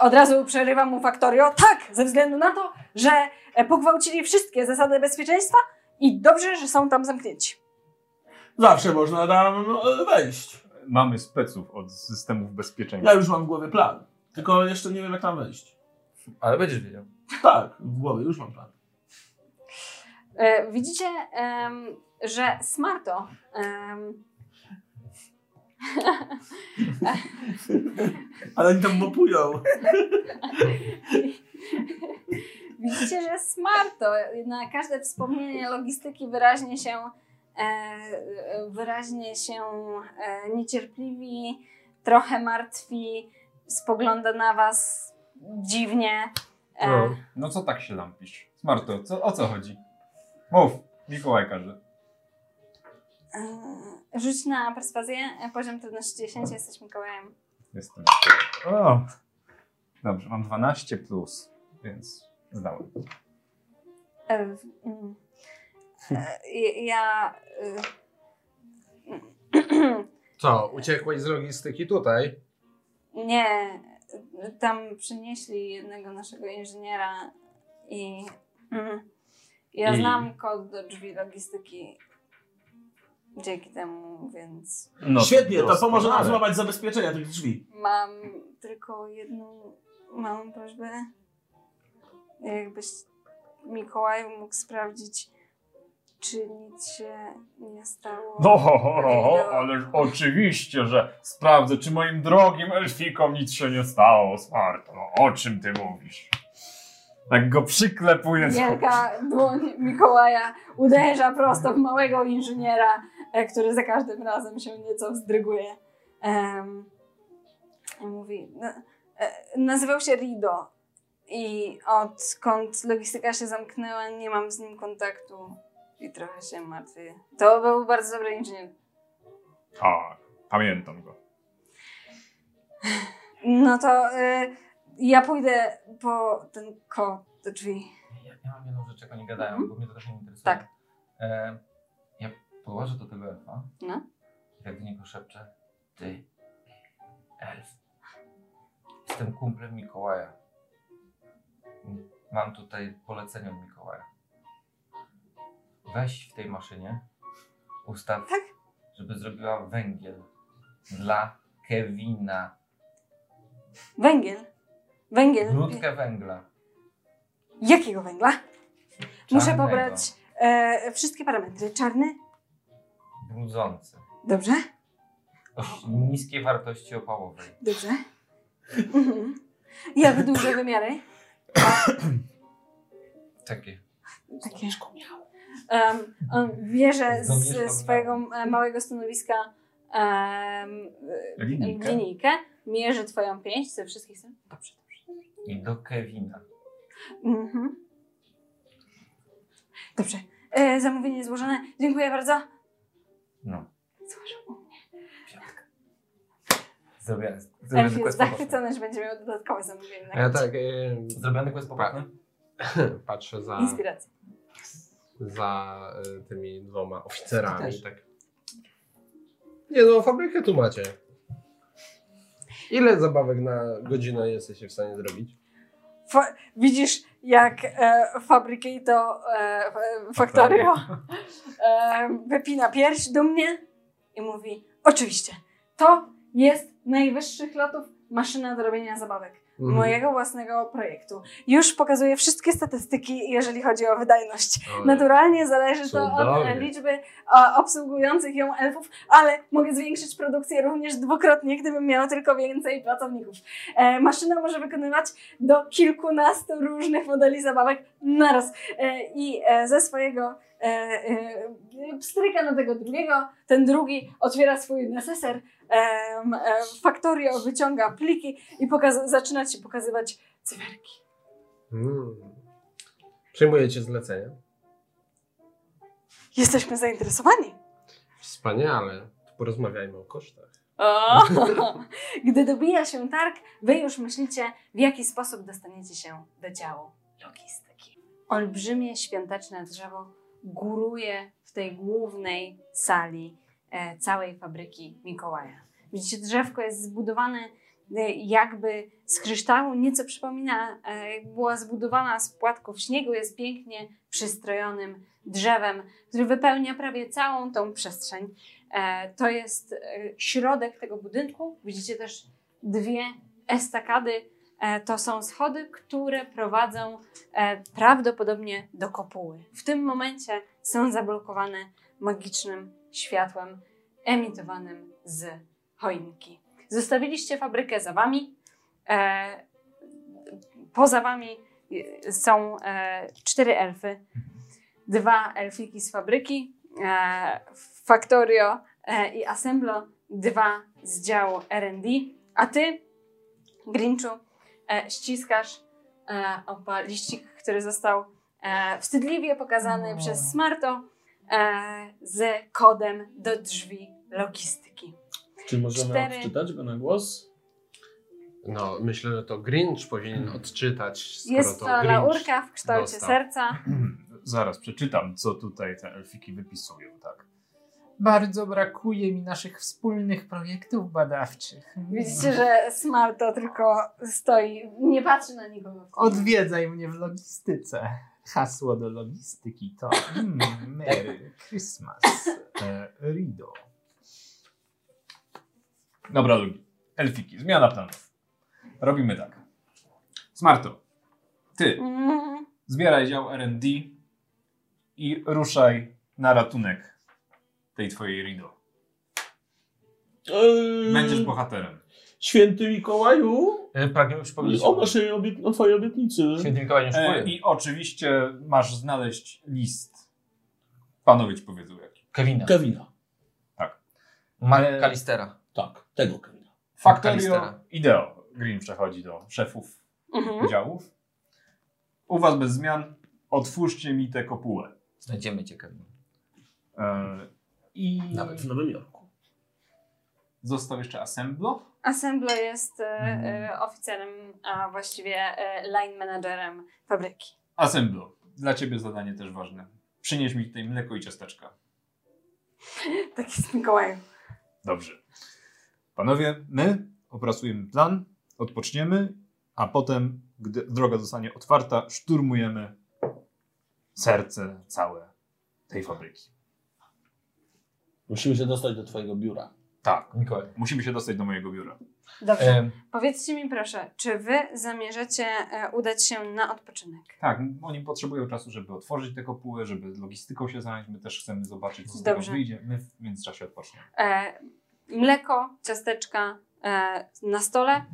Speaker 4: Od razu przerywam mu Faktorio. Tak, ze względu na to, że e, pogwałcili wszystkie zasady bezpieczeństwa i dobrze, że są tam zamknięci.
Speaker 34: Zawsze można tam e, wejść.
Speaker 6: Mamy speców od systemów bezpieczeństwa.
Speaker 34: Ja już mam w głowie plan. Tylko jeszcze nie wiem, jak tam wejść.
Speaker 23: Ale będziesz wiedział.
Speaker 34: Tak, w głowie już mam plan.
Speaker 4: E, Widzicie, em, że Smarto em,
Speaker 34: Ale oni tam mopują.
Speaker 4: widzicie, że Smarto na każde wspomnienie logistyki wyraźnie się e, wyraźnie się e, niecierpliwi, trochę martwi, spogląda na was dziwnie. E,
Speaker 6: No co tak się lampisz? Smarto, co, o co chodzi? Mów, Mikołaj każe.
Speaker 4: e, rzuć na perswazję, e, poziom trudności 10, jesteś Mikołajem.
Speaker 6: Jestem. O. Dobrze, mam 12 plus, więc zdałem.
Speaker 4: E, mm. E, i- ja... e,
Speaker 2: Co, uciekłeś z logistyki tutaj?
Speaker 4: Nie, tam przynieśli jednego naszego inżyniera i mm, ja
Speaker 6: I-
Speaker 4: znam kod do drzwi logistyki dzięki temu, więc
Speaker 6: No,
Speaker 34: Świetnie, to
Speaker 6: doskonale.
Speaker 34: pomoże nam złamać zabezpieczenia tych drzwi.
Speaker 4: mam tylko jedną małą prośbę. Jakbyś Mikołaj mógł sprawdzić, czy nic się nie stało.
Speaker 6: No, ho, ho, ho, ho, ależ oczywiście, że sprawdzę, czy moim drogim elfikom nic się nie stało, Smarto. No, o czym ty mówisz? Tak go przyklepuję.
Speaker 4: Wielka dłoń Mikołaja uderza prosto w małego inżyniera, e, który za każdym razem się nieco wzdryguje. Em, i mówi, no, e, nazywał się Rido i odkąd logistyka się zamknęła, nie mam z nim kontaktu i trochę się martwię. To był bardzo dobry inżynier.
Speaker 6: Tak, pamiętam go.
Speaker 4: No to e, ja pójdę po ten kod do drzwi.
Speaker 23: Ja, ja mam jedną rzecz, jak oni gadają, bo mnie to też nie interesuje.
Speaker 4: Mhm. Tak.
Speaker 23: E, ja podłożę do tego elfa.
Speaker 4: No.
Speaker 23: I tak do niego szepczę. Ty, elf. Jestem kumplem Mikołaja. M- Mam tutaj polecenie od Mikołaja. Weź w tej maszynie, ustaw,
Speaker 4: Tak.
Speaker 23: żeby zrobiła węgiel dla Kevina.
Speaker 4: Węgiel. Węgiel.
Speaker 23: Grudkę węgla.
Speaker 4: Jakiego węgla? Muszę
Speaker 23: Czarnego.
Speaker 4: pobrać e, wszystkie parametry. Czarny?
Speaker 23: Brudzący.
Speaker 4: Dobrze,
Speaker 23: O niskiej wartości opałowej.
Speaker 4: dobrze. Mhm. Jak duże wymiary?
Speaker 23: Takie.
Speaker 4: Takie. Em, on bierze
Speaker 23: Zamieszkał
Speaker 4: z swojego e, małego stanowiska em, e,
Speaker 6: Linijkę.
Speaker 4: linijkę, mierzy twoją pięść ze wszystkich stron. Dobrze, dobrze.
Speaker 23: I do Kevina.
Speaker 4: Mhm. Dobrze. E, zamówienie złożone. Dziękuję bardzo.
Speaker 23: No.
Speaker 4: Złożę u mnie.
Speaker 23: Zrobiony, zrobiony
Speaker 4: Elf
Speaker 23: quest
Speaker 4: Tak jest
Speaker 23: poboczny.
Speaker 4: zachwycony, że będzie miał dodatkowe zamówienie.
Speaker 2: Ja tak, e,
Speaker 24: y,
Speaker 23: Zrobiony quest poboczny?
Speaker 2: patrzę za...
Speaker 4: Inspiracja.
Speaker 6: Yes.
Speaker 24: za e, tymi dwoma oficerami. Tak. Nie no, fabrykę tu macie. Ile zabawek na godzinę jesteście w stanie zrobić?
Speaker 4: Fa- widzisz, jak e, Fabricato e, e, Factorio *laughs* e, wypina pierś do mnie i mówi: Oczywiście, to jest najwyższych lotów maszyna do robienia zabawek.
Speaker 24: Mhm.
Speaker 4: Mojego własnego projektu. Już pokazuję wszystkie statystyki, jeżeli chodzi o wydajność.
Speaker 24: Oj.
Speaker 4: Naturalnie zależy to od
Speaker 24: Cudownie.
Speaker 4: e, liczby a, obsługujących ją elfów, ale mogę zwiększyć produkcję również dwukrotnie, gdybym miała tylko więcej pracowników. E, maszyna może wykonywać do kilkunastu różnych modeli zabawek naraz. E, I e, ze swojego e, e, pstryka na tego drugiego, ten drugi otwiera swój neseser, em, e, Factorio wyciąga pliki i pokaz- zaczyna ci pokazywać cyferki.
Speaker 24: Mm. Przyjmujecie zlecenie?
Speaker 4: Jesteśmy zainteresowani.
Speaker 24: Wspaniale. To Porozmawiajmy o kosztach.
Speaker 4: O! *laughs* Gdy dobija się targ, wy już myślicie, w jaki sposób dostaniecie się do działu logistyki. Olbrzymie świąteczne drzewo góruje w tej głównej sali e, całej fabryki Mikołaja. Widzicie, drzewko jest zbudowane e, jakby z kryształu, nieco przypomina, e, jak była zbudowana z płatków śniegu, jest pięknie przystrojonym drzewem, który wypełnia prawie całą tą przestrzeń. E, To jest e, środek tego budynku. Widzicie też dwie estakady. E, To są schody, które prowadzą e, prawdopodobnie do kopuły. W tym momencie są zablokowane magicznym światłem emitowanym z choinki. Zostawiliście fabrykę za wami. E, Poza wami e, są e, cztery elfy. Dwa elfiki z fabryki, e, Factorio e, i Assemblo, dwa z działu R&D, a ty, Grinchu, e, ściskasz e, opa, liścik, który został e, wstydliwie pokazany
Speaker 24: No.
Speaker 4: przez Smarto e, z kodem do drzwi logistyki.
Speaker 34: Czy możemy
Speaker 4: Cztery.
Speaker 34: odczytać go na głos?
Speaker 24: No, myślę, że to Grinch
Speaker 2: Hmm.
Speaker 24: powinien odczytać, skoro
Speaker 4: Jest
Speaker 24: to
Speaker 4: to
Speaker 24: Grinch.
Speaker 4: laurka w kształcie
Speaker 24: dostał.
Speaker 4: serca.
Speaker 6: *clears throat* Zaraz przeczytam, co tutaj te elfiki wypisują, tak.
Speaker 35: Bardzo brakuje mi naszych wspólnych projektów badawczych.
Speaker 4: Widzicie, że Smarto tylko stoi, nie patrzy na nikogo.
Speaker 35: Odwiedzaj mnie w logistyce. Hasło do logistyki to mm,
Speaker 23: *laughs*
Speaker 35: Merry Christmas.
Speaker 6: E, Rido. Dobra, drugi. Elfiki, zmiana planów. Robimy tak. Smarto, ty
Speaker 4: Mhm.
Speaker 6: zbieraj dział R&D i ruszaj na ratunek tej twojej Rido.
Speaker 34: Eee,
Speaker 6: Będziesz bohaterem.
Speaker 34: Święty Mikołaju,
Speaker 23: E, Pragniemy przypomnieć
Speaker 34: o naszej obietni- o twojej obietnicy.
Speaker 23: Święty Mikołaj nie
Speaker 6: E,
Speaker 23: szukuje.
Speaker 6: I oczywiście masz znaleźć list. Panowie ci powiedzą jaki.
Speaker 23: Kevina.
Speaker 34: Kevina.
Speaker 6: Tak.
Speaker 35: E,
Speaker 23: Mark Kalistera.
Speaker 34: Tak, tego Kevina.
Speaker 6: Factorio
Speaker 23: Kalistera.
Speaker 6: Ideo. Green przechodzi do szefów
Speaker 4: Mhm.
Speaker 6: działów. U was bez zmian. Otwórzcie mi tę kopułę.
Speaker 23: Znajdziemy cię, Kevin.
Speaker 6: E, I
Speaker 34: Nawet w Nowym Jorku.
Speaker 6: został jeszcze Assemblo.
Speaker 4: Assemblo jest e, e, oficerem, a właściwie e, line managerem fabryki. *laughs*
Speaker 6: Assemblo. Dla ciebie zadanie też ważne. Przynieś mi tutaj mleko i ciasteczka.
Speaker 4: Tak jest Mikołaj.
Speaker 6: Dobrze. Panowie, my opracujemy plan, odpoczniemy, a potem, gdy droga zostanie otwarta, szturmujemy serce całe tej fabryki.
Speaker 34: Musimy się dostać do twojego biura.
Speaker 6: Tak.
Speaker 23: Mikołaj.
Speaker 6: Musimy się dostać do mojego biura.
Speaker 4: Dobrze.
Speaker 23: E,
Speaker 4: Powiedzcie mi proszę, czy wy zamierzacie e, udać się na odpoczynek?
Speaker 6: Tak, oni potrzebują czasu, żeby otworzyć tę kopułę, żeby logistyką się zająć. My też chcemy zobaczyć, co z tego
Speaker 4: Dobrze.
Speaker 6: wyjdzie. My w międzyczasie odpoczniemy.
Speaker 4: E, mleko, ciasteczka e, na stole. E,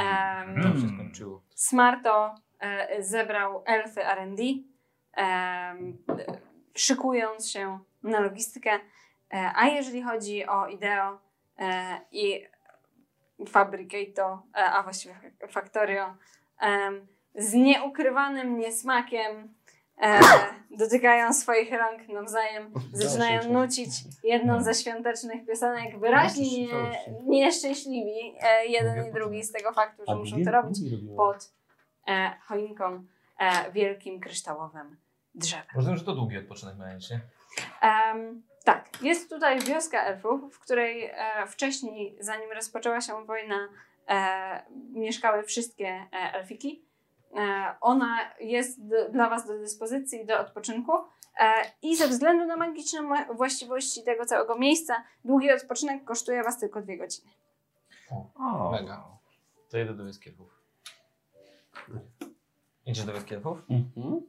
Speaker 4: Em,
Speaker 23: to się
Speaker 6: Mm.
Speaker 23: skończyło.
Speaker 4: Smarto e, zebrał elfy R&D, em, e, szykując się na logistykę. E, a jeżeli chodzi o Ideo e, i Fabricato, e, a właściwie Fa- Factorio, em, z nieukrywanym niesmakiem e, dotykają swoich rąk nawzajem, zaczynają nucić jedną ze świątecznych piosenek, wyraźnie nieszczęśliwi e, jeden i drugi z tego faktu, że muszą to robić pod e, choinką e, wielkim kryształowym drzewa.
Speaker 23: Rozumiem, że to długi odpoczynek miałeś, nie?
Speaker 4: Em, tak, jest tutaj wioska elfów, w której e, wcześniej, zanim rozpoczęła się wojna, e, mieszkały wszystkie e, elfiki. E, ona jest d- dla Was do dyspozycji do odpoczynku. E, I ze względu na magiczne mo- właściwości tego całego miejsca, długi odpoczynek kosztuje Was tylko dwie godziny.
Speaker 6: O,
Speaker 23: Mega. To jedę do Wieskierków. Idziesz do Wieskierków?
Speaker 5: Mhm.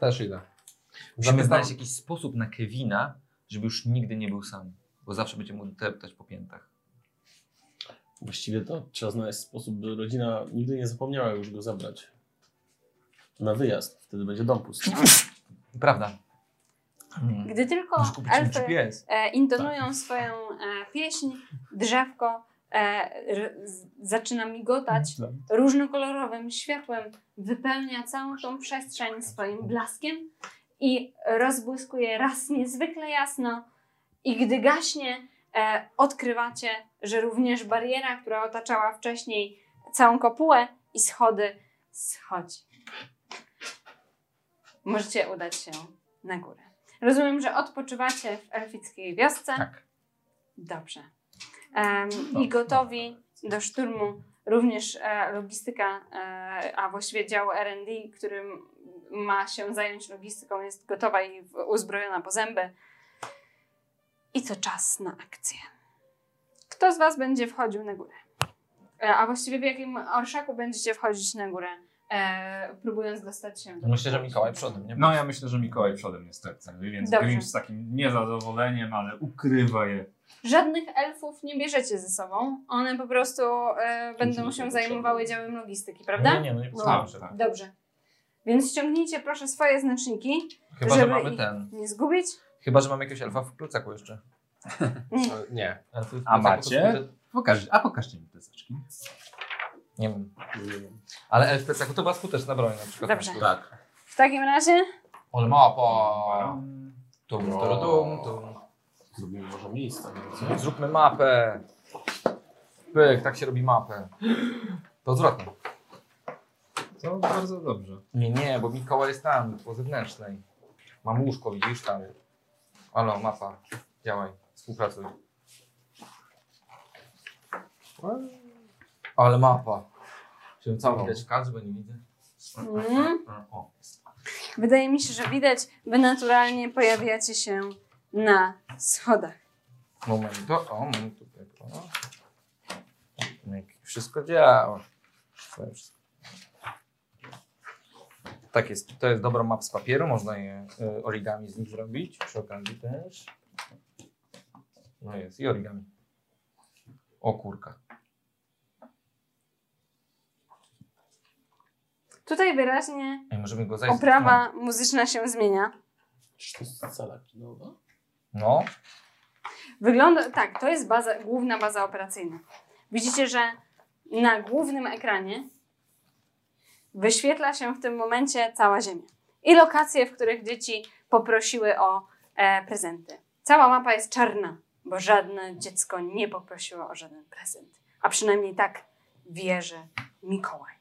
Speaker 2: Też idę.
Speaker 23: Musimy znaleźć jakiś sposób na Kevina, żeby już nigdy nie był sam. Bo zawsze będzie mu deptać po piętach.
Speaker 5: Właściwie to trzeba znaleźć sposób, by rodzina nigdy nie zapomniała już go zabrać. Na wyjazd, wtedy będzie dom pusty.
Speaker 36: No.
Speaker 23: Prawda. Hmm.
Speaker 4: Gdy tylko
Speaker 5: Możesz kupić
Speaker 4: elfy
Speaker 5: GPS.
Speaker 4: e, intonują swoją e, pieśń, drzewko e, r, z, zaczyna migotać różnokolorowym światłem, wypełnia całą tą przestrzeń swoim blaskiem i rozbłyskuje raz niezwykle jasno. I gdy gaśnie, e, odkrywacie, że również bariera, która otaczała wcześniej całą kopułę i schody, schodzi. Możecie udać się na górę. Rozumiem, że odpoczywacie w elfickiej wiosce. Tak. Dobrze. Em,
Speaker 6: No.
Speaker 4: I gotowi do szturmu również e, logistyka, e, a właściwie dział RD, którym ma się zająć logistyką, jest gotowa i w- uzbrojona po zęby. I to czas na akcję. Kto z Was będzie wchodził na górę? E, a właściwie w jakim orszaku będziecie wchodzić na górę, e, próbując dostać się do
Speaker 23: Myślę, że Mikołaj przodem, nie?
Speaker 6: No ja myślę, że Mikołaj przodem niestety, więc
Speaker 4: Dobrze.
Speaker 6: Grinch z takim niezadowoleniem, ale ukrywa je.
Speaker 4: Żadnych elfów nie bierzecie ze sobą. One po prostu e, będą
Speaker 6: Musi
Speaker 4: się
Speaker 6: być
Speaker 4: zajmowały działem logistyki, prawda?
Speaker 23: Nie, nie, no nie potrzebujemy się tak.
Speaker 4: Dobrze. Więc ściągnijcie proszę swoje znaczniki,
Speaker 23: Chyba, że
Speaker 4: żeby
Speaker 23: mamy
Speaker 4: ich
Speaker 23: ten.
Speaker 4: nie zgubić.
Speaker 23: Chyba, że mamy jakiegoś elfa w plecaku jeszcze.
Speaker 2: Nie.
Speaker 23: *laughs* Elfy w
Speaker 6: A
Speaker 23: plecaku To
Speaker 6: macie?
Speaker 23: są te-
Speaker 6: Pokaż, a pokażcie mi plecaczki.
Speaker 23: nie wiem. Ale elf w plecaku to była skuteczna broń na przykład.
Speaker 4: Dobrze.
Speaker 23: Tak.
Speaker 4: W takim razie
Speaker 23: Ale mapa. Tum, tum, tum, tum.
Speaker 36: Zrobimy może miejsce.
Speaker 5: no
Speaker 23: Zróbmy mapę. Pyk, tak się robi mapę. To odwrotnie.
Speaker 6: To bardzo dobrze.
Speaker 23: Nie, nie, bo Mikołaj jest tam, po zewnętrznej. Mam łóżko, widzisz tam. Halo, mapa. Działaj, współpracuj. Ale mapa. Chciałem całą widać kadr, bo nie widzę.
Speaker 4: Mm.
Speaker 23: O.
Speaker 4: wydaje mi się, że widać, wy naturalnie pojawiacie się na schodach.
Speaker 23: Moment, to, o, moment, tu, tak, o. Jak Wszystko działa. To wszystko. Tak jest, to jest dobra map z papieru, można je y, origami z nich zrobić, przy okazji też. No jest, i origami. O kurka.
Speaker 4: Tutaj wyraźnie
Speaker 23: Ej, możemy go zajść.
Speaker 4: oprawa muzyczna się zmienia.
Speaker 36: Sala kinowa?
Speaker 23: No,
Speaker 4: Wygląda tak, to jest baza, główna baza operacyjna. Widzicie, że na głównym ekranie wyświetla się w tym momencie cała Ziemia i lokacje, w których dzieci poprosiły o e, prezenty. Cała mapa jest czarna, bo żadne dziecko nie poprosiło o żaden prezent. A przynajmniej tak wierzy Mikołaj.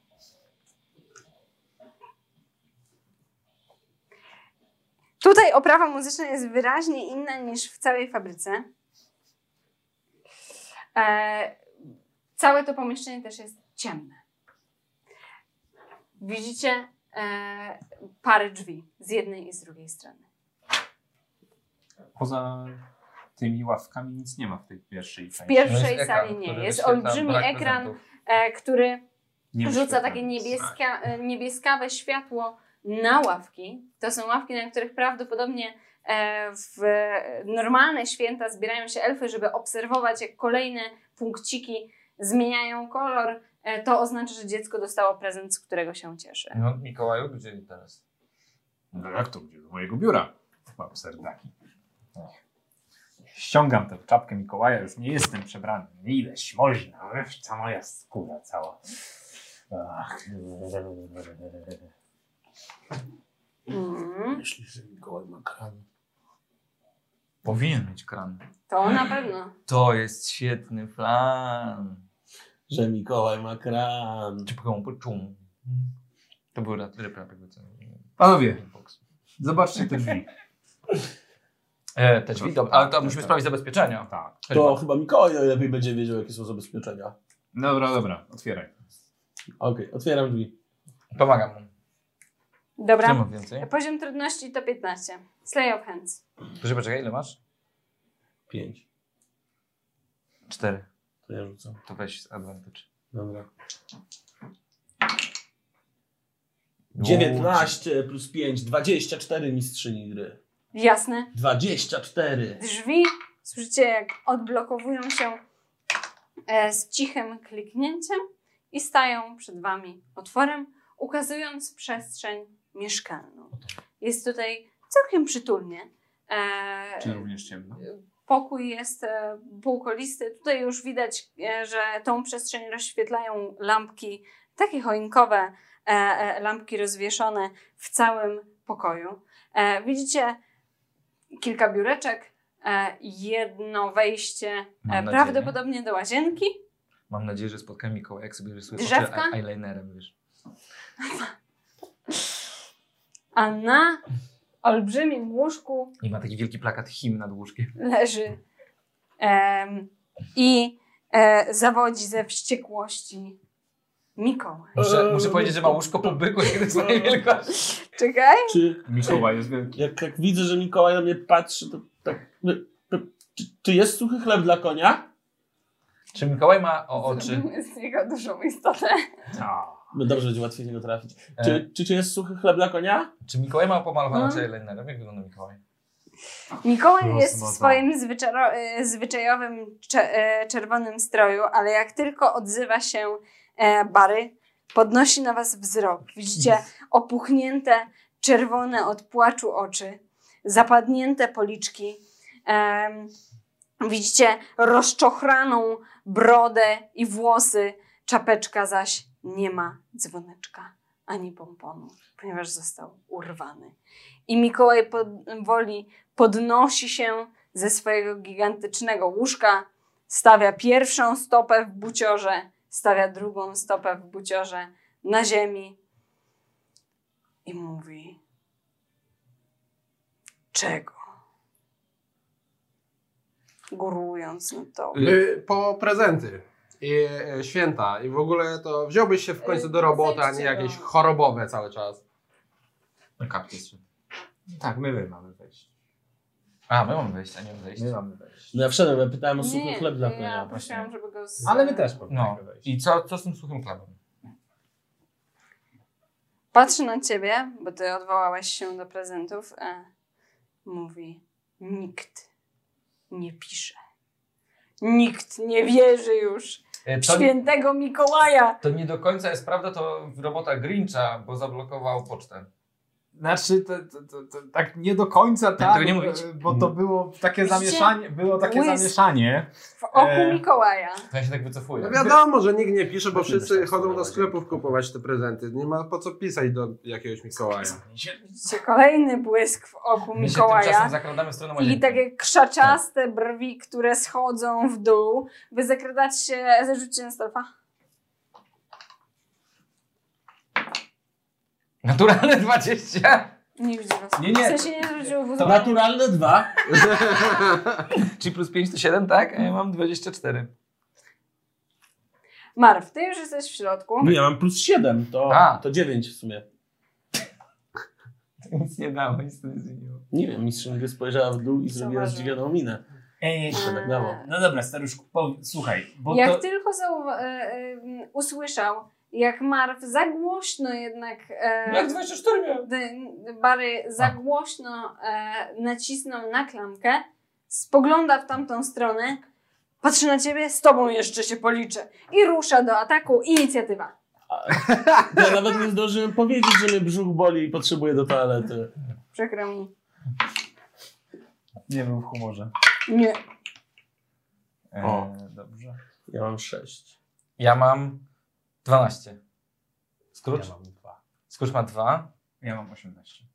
Speaker 4: Tutaj oprawa muzyczna jest wyraźnie inna niż w całej fabryce. E, całe to pomieszczenie też jest ciemne. Widzicie e, parę drzwi z jednej i z drugiej strony.
Speaker 6: Poza tymi ławkami nic nie ma w tej pierwszej części.
Speaker 4: pierwszej No jest ekran, sali nie. który Jest wyświetla olbrzymi brak ekran. prezentów. E, który
Speaker 6: Nie
Speaker 4: rzuca
Speaker 6: wyświetla
Speaker 4: takie
Speaker 6: nic.
Speaker 4: niebieska, e, niebieskawe światło na ławki. To są ławki, na których prawdopodobnie e, w e, normalne święta zbierają się elfy, żeby obserwować, jak kolejne punkciki zmieniają kolor. E, To oznacza, że dziecko dostało prezent, z którego się cieszy.
Speaker 23: no Mikołaju, gdzie teraz?
Speaker 6: No jak to gdzie? Do mojego biura. Mam serdaki. Ściągam tę czapkę Mikołaja, już nie jestem przebrany. Ileś można, ech, ta moja skóra cała. Ach.
Speaker 4: Mm,
Speaker 36: Myślisz, że Mikołaj ma kran?
Speaker 23: Powinien mieć kran.
Speaker 4: to na pewno.
Speaker 23: To jest świetny plan.
Speaker 36: Że Mikołaj ma kran.
Speaker 23: Czupką, czum. To był rat- ryb, jakby co.
Speaker 3: Panowie, zobaczcie te drzwi.
Speaker 23: E, te drzwi, dobra, ale to musimy sprawdzić zabezpieczenia.
Speaker 37: Tak.
Speaker 5: To chyba Mikołaj najlepiej będzie wiedział, jakie są zabezpieczenia.
Speaker 37: Dobra, dobra, otwieraj.
Speaker 5: Okej, otwieram drzwi.
Speaker 23: Pomagam mu.
Speaker 4: Dobra.
Speaker 23: Nie mam więcej.
Speaker 4: Poziom trudności to 15. Slay of Hands.
Speaker 23: Proszę, poczekaj, ile masz?
Speaker 5: Pięć.
Speaker 23: Cztery.
Speaker 5: To ja rzucam.
Speaker 23: To weź advantage.
Speaker 5: Dobra.
Speaker 23: No.
Speaker 5: 19 plus 5, 24 mistrzyni gry.
Speaker 4: Jasne.
Speaker 5: 24.
Speaker 4: Drzwi, słyszycie jak odblokowują się e, z cichym kliknięciem i stają przed Wami otworem, ukazując przestrzeń mieszkalną. Jest tutaj całkiem przytulnie. E,
Speaker 37: Czy również ciemno?
Speaker 4: Pokój jest e, półkolisty. Tutaj już widać, e, że tą przestrzeń rozświetlają lampki, takie choinkowe e, e, lampki rozwieszone w całym pokoju. E, Widzicie kilka biureczek, e, jedno wejście
Speaker 23: Mam
Speaker 4: e,
Speaker 23: nadzieję.
Speaker 4: prawdopodobnie do łazienki.
Speaker 23: Mam nadzieję, że spotkam Mikołaja, jak sobie rysuje
Speaker 4: Drzewka?
Speaker 23: oczy eyelinerem, wiesz.
Speaker 4: A na olbrzymim łóżku
Speaker 23: I ma taki wielki plakat him nad łóżkiem.
Speaker 4: leży em, i e, zawodzi ze wściekłości Mikołaj.
Speaker 23: Muszę,
Speaker 37: Eee,
Speaker 23: muszę powiedzieć, że ma łóżko po byku, kiedy *laughs* swojej wielkości.
Speaker 4: Czekaj.
Speaker 5: Czy,
Speaker 37: Mikołaj jest wielki.
Speaker 5: Jak, jak widzę, że Mikołaj na mnie patrzy, to tak. my- my- Czy, czy jest suchy chleb dla konia?
Speaker 23: Czy Mikołaj ma o oczy?
Speaker 4: Z niego dużą istotę.
Speaker 5: No dobrze, będzie łatwiej z niego trafić.
Speaker 23: Eee.
Speaker 5: Czy, czy, czy jest suchy chleb dla konia?
Speaker 23: Czy Mikołaj ma pomalowane
Speaker 4: No.
Speaker 23: oczy eyelinerem? Jak wygląda Mikołaj?
Speaker 4: Mikołaj
Speaker 23: Prosto
Speaker 4: jest w
Speaker 23: na to.
Speaker 4: swoim zwyczaro, e, zwyczajowym cze, e, czerwonym stroju, ale jak tylko odzywa się e, Bary, podnosi na was wzrok. Widzicie opuchnięte, czerwone od płaczu oczy, zapadnięte policzki. Em, widzicie rozczochraną brodę i włosy. Czapeczka zaś nie ma dzwoneczka ani pomponu, ponieważ został urwany. I Mikołaj powoli podnosi się ze swojego gigantycznego łóżka, stawia pierwszą stopę w buciorze, stawia drugą stopę w buciorze na ziemi i mówi: Czego? Górując na to.
Speaker 2: Y, Po prezenty. I y, święta. I w ogóle to wziąłbyś się w
Speaker 4: Y,
Speaker 2: końcu do roboty, a
Speaker 4: no.
Speaker 2: nie jakieś chorobowe cały czas.
Speaker 37: Kaktus. Tak, my, my mamy wejść.
Speaker 23: A, my mamy wejść, a nie wejść. My mamy wejść.
Speaker 5: No ja wszedłem, ja pytałem o
Speaker 4: Nie,
Speaker 5: suchy chleb dla konia.
Speaker 4: ja prosiłam, żeby go z...
Speaker 23: Ale my też
Speaker 37: powinniśmy
Speaker 23: no. I co, co z tym suchym chlebem?
Speaker 4: Patrzy na ciebie, bo ty odwołałeś się do prezentów. E, mówi: Nikt nie pisze. Nikt nie wierzy już
Speaker 23: E,
Speaker 4: w
Speaker 23: to-
Speaker 4: świętego Mikołaja.
Speaker 23: To nie do końca jest prawda, to robota Grincha, bo zablokował pocztę.
Speaker 6: Znaczy, to, to, to, to tak nie do końca tak,
Speaker 23: tego nie mówić. Mm.
Speaker 6: e, bo to było takie
Speaker 4: Widzicie?
Speaker 6: zamieszanie, było takie
Speaker 4: Błysk.
Speaker 6: zamieszanie.
Speaker 4: W oku
Speaker 6: E,
Speaker 4: Mikołaja.
Speaker 23: To ja się tak wycofuję.
Speaker 2: No wiadomo, że nikt nie pisze, bo wszyscy chodzą do sklepów kupować te prezenty. Nie ma po co pisać do jakiegoś Mikołaja.
Speaker 4: Widzicie kolejny błysk w oku
Speaker 23: My się
Speaker 4: Mikołaja.
Speaker 23: tymczasem zakradamy w stronę
Speaker 4: I
Speaker 23: łazienki.
Speaker 4: takie krzaczaste brwi, które schodzą w dół. Wy zakradacie się, zarzućcie na stolfa.
Speaker 23: Naturalne 20!
Speaker 4: Nie widzi was.
Speaker 23: Nie, nie,
Speaker 4: W sensie nie zwrócił w
Speaker 23: to
Speaker 5: naturalne dwa.
Speaker 23: Czyli plus 5 to 7, tak? A ja mam 24.
Speaker 4: Marw, ty już jesteś w środku.
Speaker 5: No ja mam plus 7, to, to 9 w sumie.
Speaker 23: *laughs* Nic nie dało, nic nie zmieniło.
Speaker 5: Nie wiem, mistrzyni gry spojrzała w dół i zrobiła zdziwioną minę.
Speaker 3: Ej,
Speaker 5: to tak dało.
Speaker 3: No dobra, staruszku, po, słuchaj, bo
Speaker 4: jak
Speaker 3: to...
Speaker 4: tylko zauwa- e, e, m, usłyszał, jak Marw za głośno jednak. E,
Speaker 3: No
Speaker 23: Jak 24 miał.
Speaker 4: d- n- Barry za
Speaker 3: Tak.
Speaker 4: głośno e, nacisnął na klamkę, spogląda w tamtą stronę, patrzy na ciebie, z tobą jeszcze się policzę. I rusza do ataku. Inicjatywa.
Speaker 5: Ja nawet nie zdążyłem powiedzieć, że mnie brzuch boli i potrzebuję do toalety.
Speaker 4: Przykro mi.
Speaker 6: Nie był w humorze.
Speaker 4: Nie.
Speaker 6: E,
Speaker 5: O.
Speaker 6: Dobrze.
Speaker 5: Ja mam 6.
Speaker 23: Ja mam 12. Scrooge? Ja mam 2. Scrooge ma 2.
Speaker 37: Ja mam 18.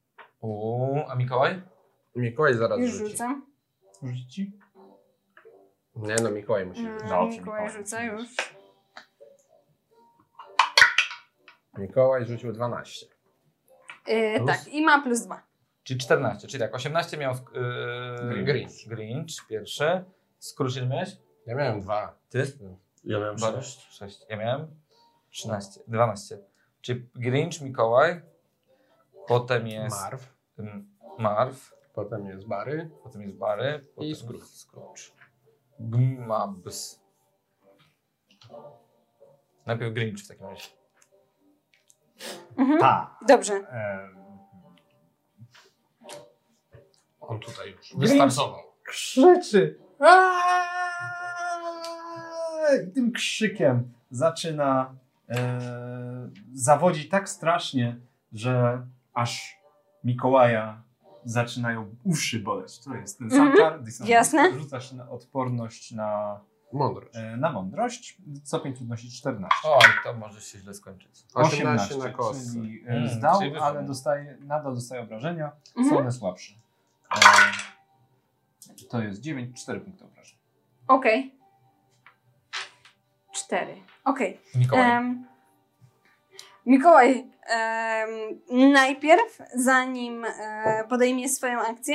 Speaker 23: Uuu, a Mikołaj?
Speaker 2: Mikołaj zaraz
Speaker 4: Już
Speaker 2: rzuci.
Speaker 4: rzucam.
Speaker 37: Rzuci?
Speaker 2: Nie no, Mikołaj musi
Speaker 4: Mm,
Speaker 2: rzucić.
Speaker 4: Mikołaj rzuca już.
Speaker 2: Mikołaj rzucił 12.
Speaker 4: E,
Speaker 23: Plus?
Speaker 4: tak, i ma plus dwa.
Speaker 23: Czyli 14, czyli tak, 18 miał yy,
Speaker 38: Grinch.
Speaker 23: Grinch. Grinch pierwszy. Skoro ile miałeś?
Speaker 38: Ja miałem dwa.
Speaker 23: Ty?
Speaker 39: Ja miałem
Speaker 23: Dwa,
Speaker 39: sześć.
Speaker 23: sześć. Ja miałem 13, 12. Czyli Grinch, Mikołaj, potem jest...
Speaker 38: Marw.
Speaker 23: Ym, Marw.
Speaker 38: Potem jest Bary.
Speaker 23: Potem jest Bary. Potem
Speaker 38: I
Speaker 23: Scrooge. Scrooge. Gmabs. Najpierw Grinch w takim razie.
Speaker 4: Mhm.
Speaker 40: Tak.
Speaker 4: Dobrze.
Speaker 2: On tutaj już
Speaker 40: Grinch.
Speaker 2: wystartował.
Speaker 6: krzyczy. Aaaa! I tym krzykiem zaczyna e, zawodzić tak strasznie, że aż Mikołaja zaczynają uszy boleć. To jest ten sam
Speaker 4: Mhm,
Speaker 6: czar. dysonans.
Speaker 4: jasne.
Speaker 6: Rzucasz na odporność na
Speaker 38: mądrość.
Speaker 6: E, na mądrość. Co 5 trudności 14.
Speaker 23: O, to może się źle skończyć. Hmm,
Speaker 6: 18,
Speaker 38: 18 na kostce.
Speaker 6: Czyli e,
Speaker 38: Mm,
Speaker 6: zdał,
Speaker 38: czyli wyszło.
Speaker 6: ale dostaje, nadal dostaje obrażenia.
Speaker 4: Mhm.
Speaker 6: Są one słabsze. E, to jest 9, 4 punkty obrażeń.
Speaker 4: Okej. Cztery. Okej.
Speaker 6: Mikołaj.
Speaker 4: Em, Mikołaj, em, najpierw, zanim e, podejmie swoją akcję,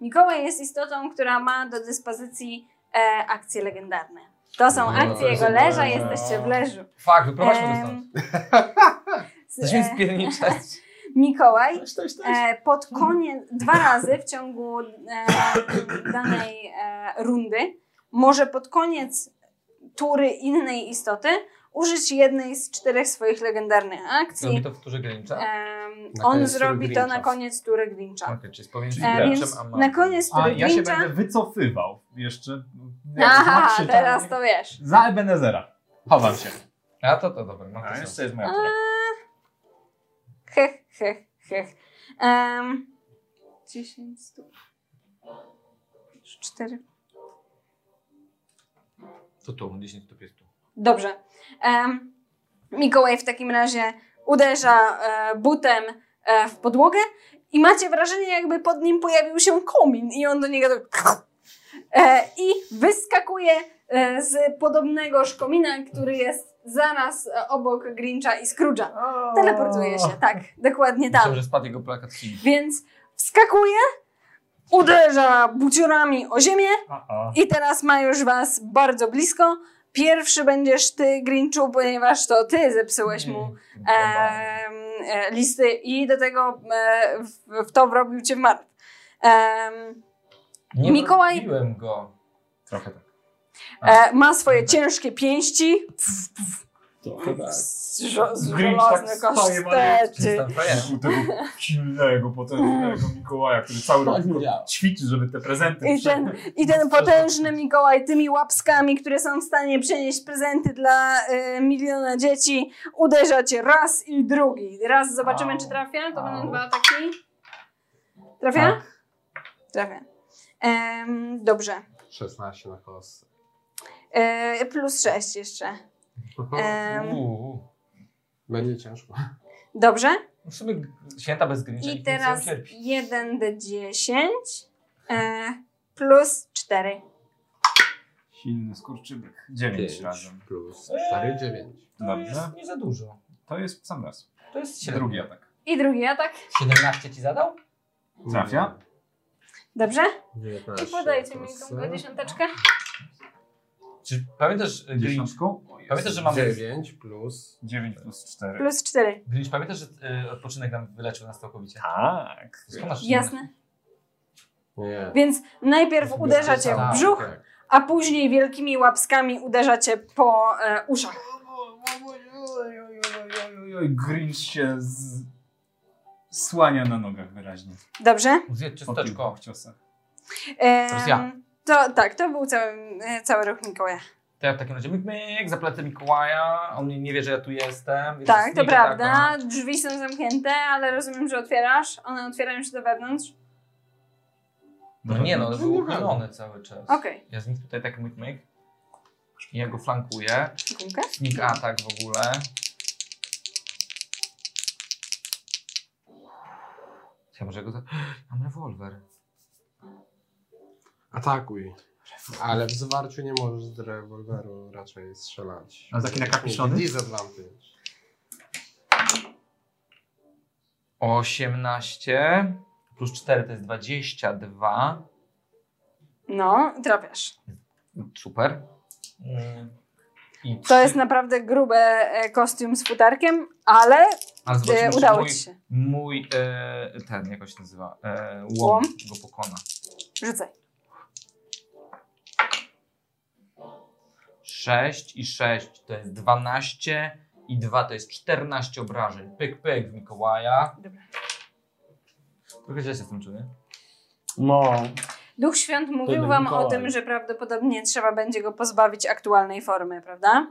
Speaker 4: Mikołaj jest istotą, która ma do dyspozycji e, akcje legendarne. To są
Speaker 23: No,
Speaker 4: akcje
Speaker 23: to
Speaker 4: jego
Speaker 23: jest-
Speaker 4: leża, jesteście w leżu.
Speaker 23: Fak, wyprowadźmy to
Speaker 4: Em,
Speaker 23: stąd.
Speaker 4: *laughs* z-
Speaker 23: Chcesz mnie
Speaker 4: e,
Speaker 23: spierniczać?
Speaker 4: Mikołaj e, pod koniec, dwa razy w ciągu e, danej e, rundy może pod koniec tury innej istoty użyć jednej z czterech swoich legendarnych akcji.
Speaker 23: Zrobi to w turze Grincha?
Speaker 4: E. Em,
Speaker 23: Na
Speaker 4: on
Speaker 23: koniec
Speaker 4: zrobi
Speaker 23: tury
Speaker 4: to
Speaker 23: Grincha.
Speaker 4: na koniec tury Grincha.
Speaker 23: Okej, czyli pomiędzy
Speaker 4: E,
Speaker 23: Grinchem
Speaker 4: więc
Speaker 23: a Marvem.
Speaker 4: na koniec
Speaker 6: Tak. A
Speaker 4: tury
Speaker 6: ja się
Speaker 4: Grincha...
Speaker 6: będę wycofywał jeszcze.
Speaker 4: Aha,
Speaker 6: zobaczy,
Speaker 4: teraz
Speaker 6: tak.
Speaker 4: to wiesz.
Speaker 6: Za Ebenezera. Chowam się.
Speaker 23: A to to dobra. No
Speaker 6: A jeszcze jest moja
Speaker 4: A,
Speaker 6: tura.
Speaker 4: hech, hech, hech. Um, 10, 100, 4,
Speaker 5: To tu, 10 to 5 tu.
Speaker 4: Dobrze. Em, Mikołaj w takim razie uderza e, butem e, w podłogę i macie wrażenie, jakby pod nim pojawił się komin i on do niego tak... *laughs* E, I wyskakuje e, z podobnegoż komina, który jest zaraz e, obok Grincha i Scrooge'a. Teleportuje się, tak, dokładnie tam.
Speaker 23: Myślałem, że spadł jego plakat Chin.
Speaker 4: Więc wskakuje, uderza buciorami o ziemię i teraz ma już was bardzo blisko. Pierwszy będziesz ty, Grinchu, ponieważ to ty zepsułeś mu
Speaker 23: Mm,
Speaker 4: em, e, listy i do tego e, w, w to wrobił cię w martw. Em,
Speaker 23: Nie
Speaker 4: Mikołaj-
Speaker 23: Mikołaj... go. Trochę tak.
Speaker 4: e, ma swoje ciężkie pięści,
Speaker 41: Trochę tak.
Speaker 4: z żo- z żelazne kasztety.
Speaker 40: Wokół tego silnego, potężnego Mikołaja, który cały
Speaker 5: tak
Speaker 40: rok tylko ćwiczy, żeby te prezenty
Speaker 4: I ten, I ten potężny Mikołaj tymi łapskami, które są w stanie przenieść prezenty dla e, miliona dzieci, uderza cię raz i drugi. Raz zobaczymy, czy trafia. To będą dwa ataki. Trafia? Trafia. Em, dobrze.
Speaker 2: 16 na kostce.
Speaker 4: E, plus sześć jeszcze. E, Em,
Speaker 23: Uuu.
Speaker 2: Będzie ciężko.
Speaker 4: dobrze.
Speaker 23: W sumie święta bez Grincha.
Speaker 4: I
Speaker 23: nikt nie
Speaker 4: teraz
Speaker 23: cierpi.
Speaker 4: 1d10 e, plus 4.
Speaker 6: *laughs* Silny skurczybyk. 9
Speaker 2: Pięć
Speaker 6: razem.
Speaker 2: Plus
Speaker 23: Eee,
Speaker 2: 4, 9.
Speaker 6: To jest
Speaker 23: nie za dużo.
Speaker 6: To jest w sam raz.
Speaker 23: To jest średnio.
Speaker 6: Drugi atak.
Speaker 4: I drugi atak.
Speaker 23: 17 ci zadał?
Speaker 6: Trafia?
Speaker 4: Dobrze?
Speaker 2: 19.
Speaker 4: I podajcie mi tą dziesiąteczkę.
Speaker 23: Czy pamiętasz, e, Grinch,
Speaker 6: Dziesiątką? O, jest.
Speaker 23: pamiętasz, że mamy...
Speaker 2: 9 plus.
Speaker 6: 9 plus 4.
Speaker 4: Plus 4.
Speaker 23: Grinch, pamiętasz, że y, odpoczynek nam wyleczył nas całkowicie?
Speaker 40: Tak.
Speaker 23: Skąd masz
Speaker 4: Jasne.
Speaker 2: Nie.
Speaker 4: Więc najpierw uderza cię w brzuch, a później wielkimi łapskami uderza cię po e, uszach.
Speaker 6: Ojoj, Grinch się z... słania na nogach wyraźnie.
Speaker 4: Dobrze?
Speaker 23: Zjedz
Speaker 6: Po tych dwóch ciosach.
Speaker 4: Em,
Speaker 23: Teraz ja.
Speaker 4: To, tak, to był cały, e, cały ruch Mikołaja.
Speaker 23: To ja w takim razie myk, myk, zaplecę Mikołaja, on nie, nie wie, że ja tu jestem. więc
Speaker 4: Tak, to
Speaker 23: snika
Speaker 4: prawda. Drzwi są zamknięte, ale rozumiem, że otwierasz. One otwierają się do wewnątrz.
Speaker 23: No nie no, był
Speaker 4: nie
Speaker 23: uchylony cały czas.
Speaker 4: Okej.
Speaker 23: Ja z nich tutaj tak myk, myk. I ja go flankuję.
Speaker 4: Dziękuję.
Speaker 23: Sneak attack w ogóle. Ja może go... za- *gasps* Mam rewolwer.
Speaker 2: Atakuj. Ale w zwarciu nie możesz z rewolweru raczej strzelać.
Speaker 6: A taki nakapiszony?
Speaker 2: Disadvantage.
Speaker 23: 18 plus 4 to jest 22.
Speaker 4: No, trafiasz.
Speaker 23: Super. Mm, I
Speaker 4: To jest naprawdę grube e, kostium z futarkiem, ale
Speaker 23: Ale zobaczymy,
Speaker 4: e,
Speaker 23: czy
Speaker 4: udało
Speaker 23: mój,
Speaker 4: ci się.
Speaker 23: Mój, e, ten, jak on się nazywa, e, łom,
Speaker 4: Łom?
Speaker 23: go pokona.
Speaker 4: Rzucaj.
Speaker 23: 6 i 6 to jest 12 i 2 to jest 14 obrażeń. Pyk, pyk w Mikołaja.
Speaker 4: Dobra.
Speaker 23: Trochę źle się z tym czuję.
Speaker 5: No.
Speaker 4: Duch Świąt mówił
Speaker 23: Wtedy
Speaker 4: wam o
Speaker 23: Mikołaj.
Speaker 4: tym, że prawdopodobnie trzeba będzie go pozbawić aktualnej formy, prawda?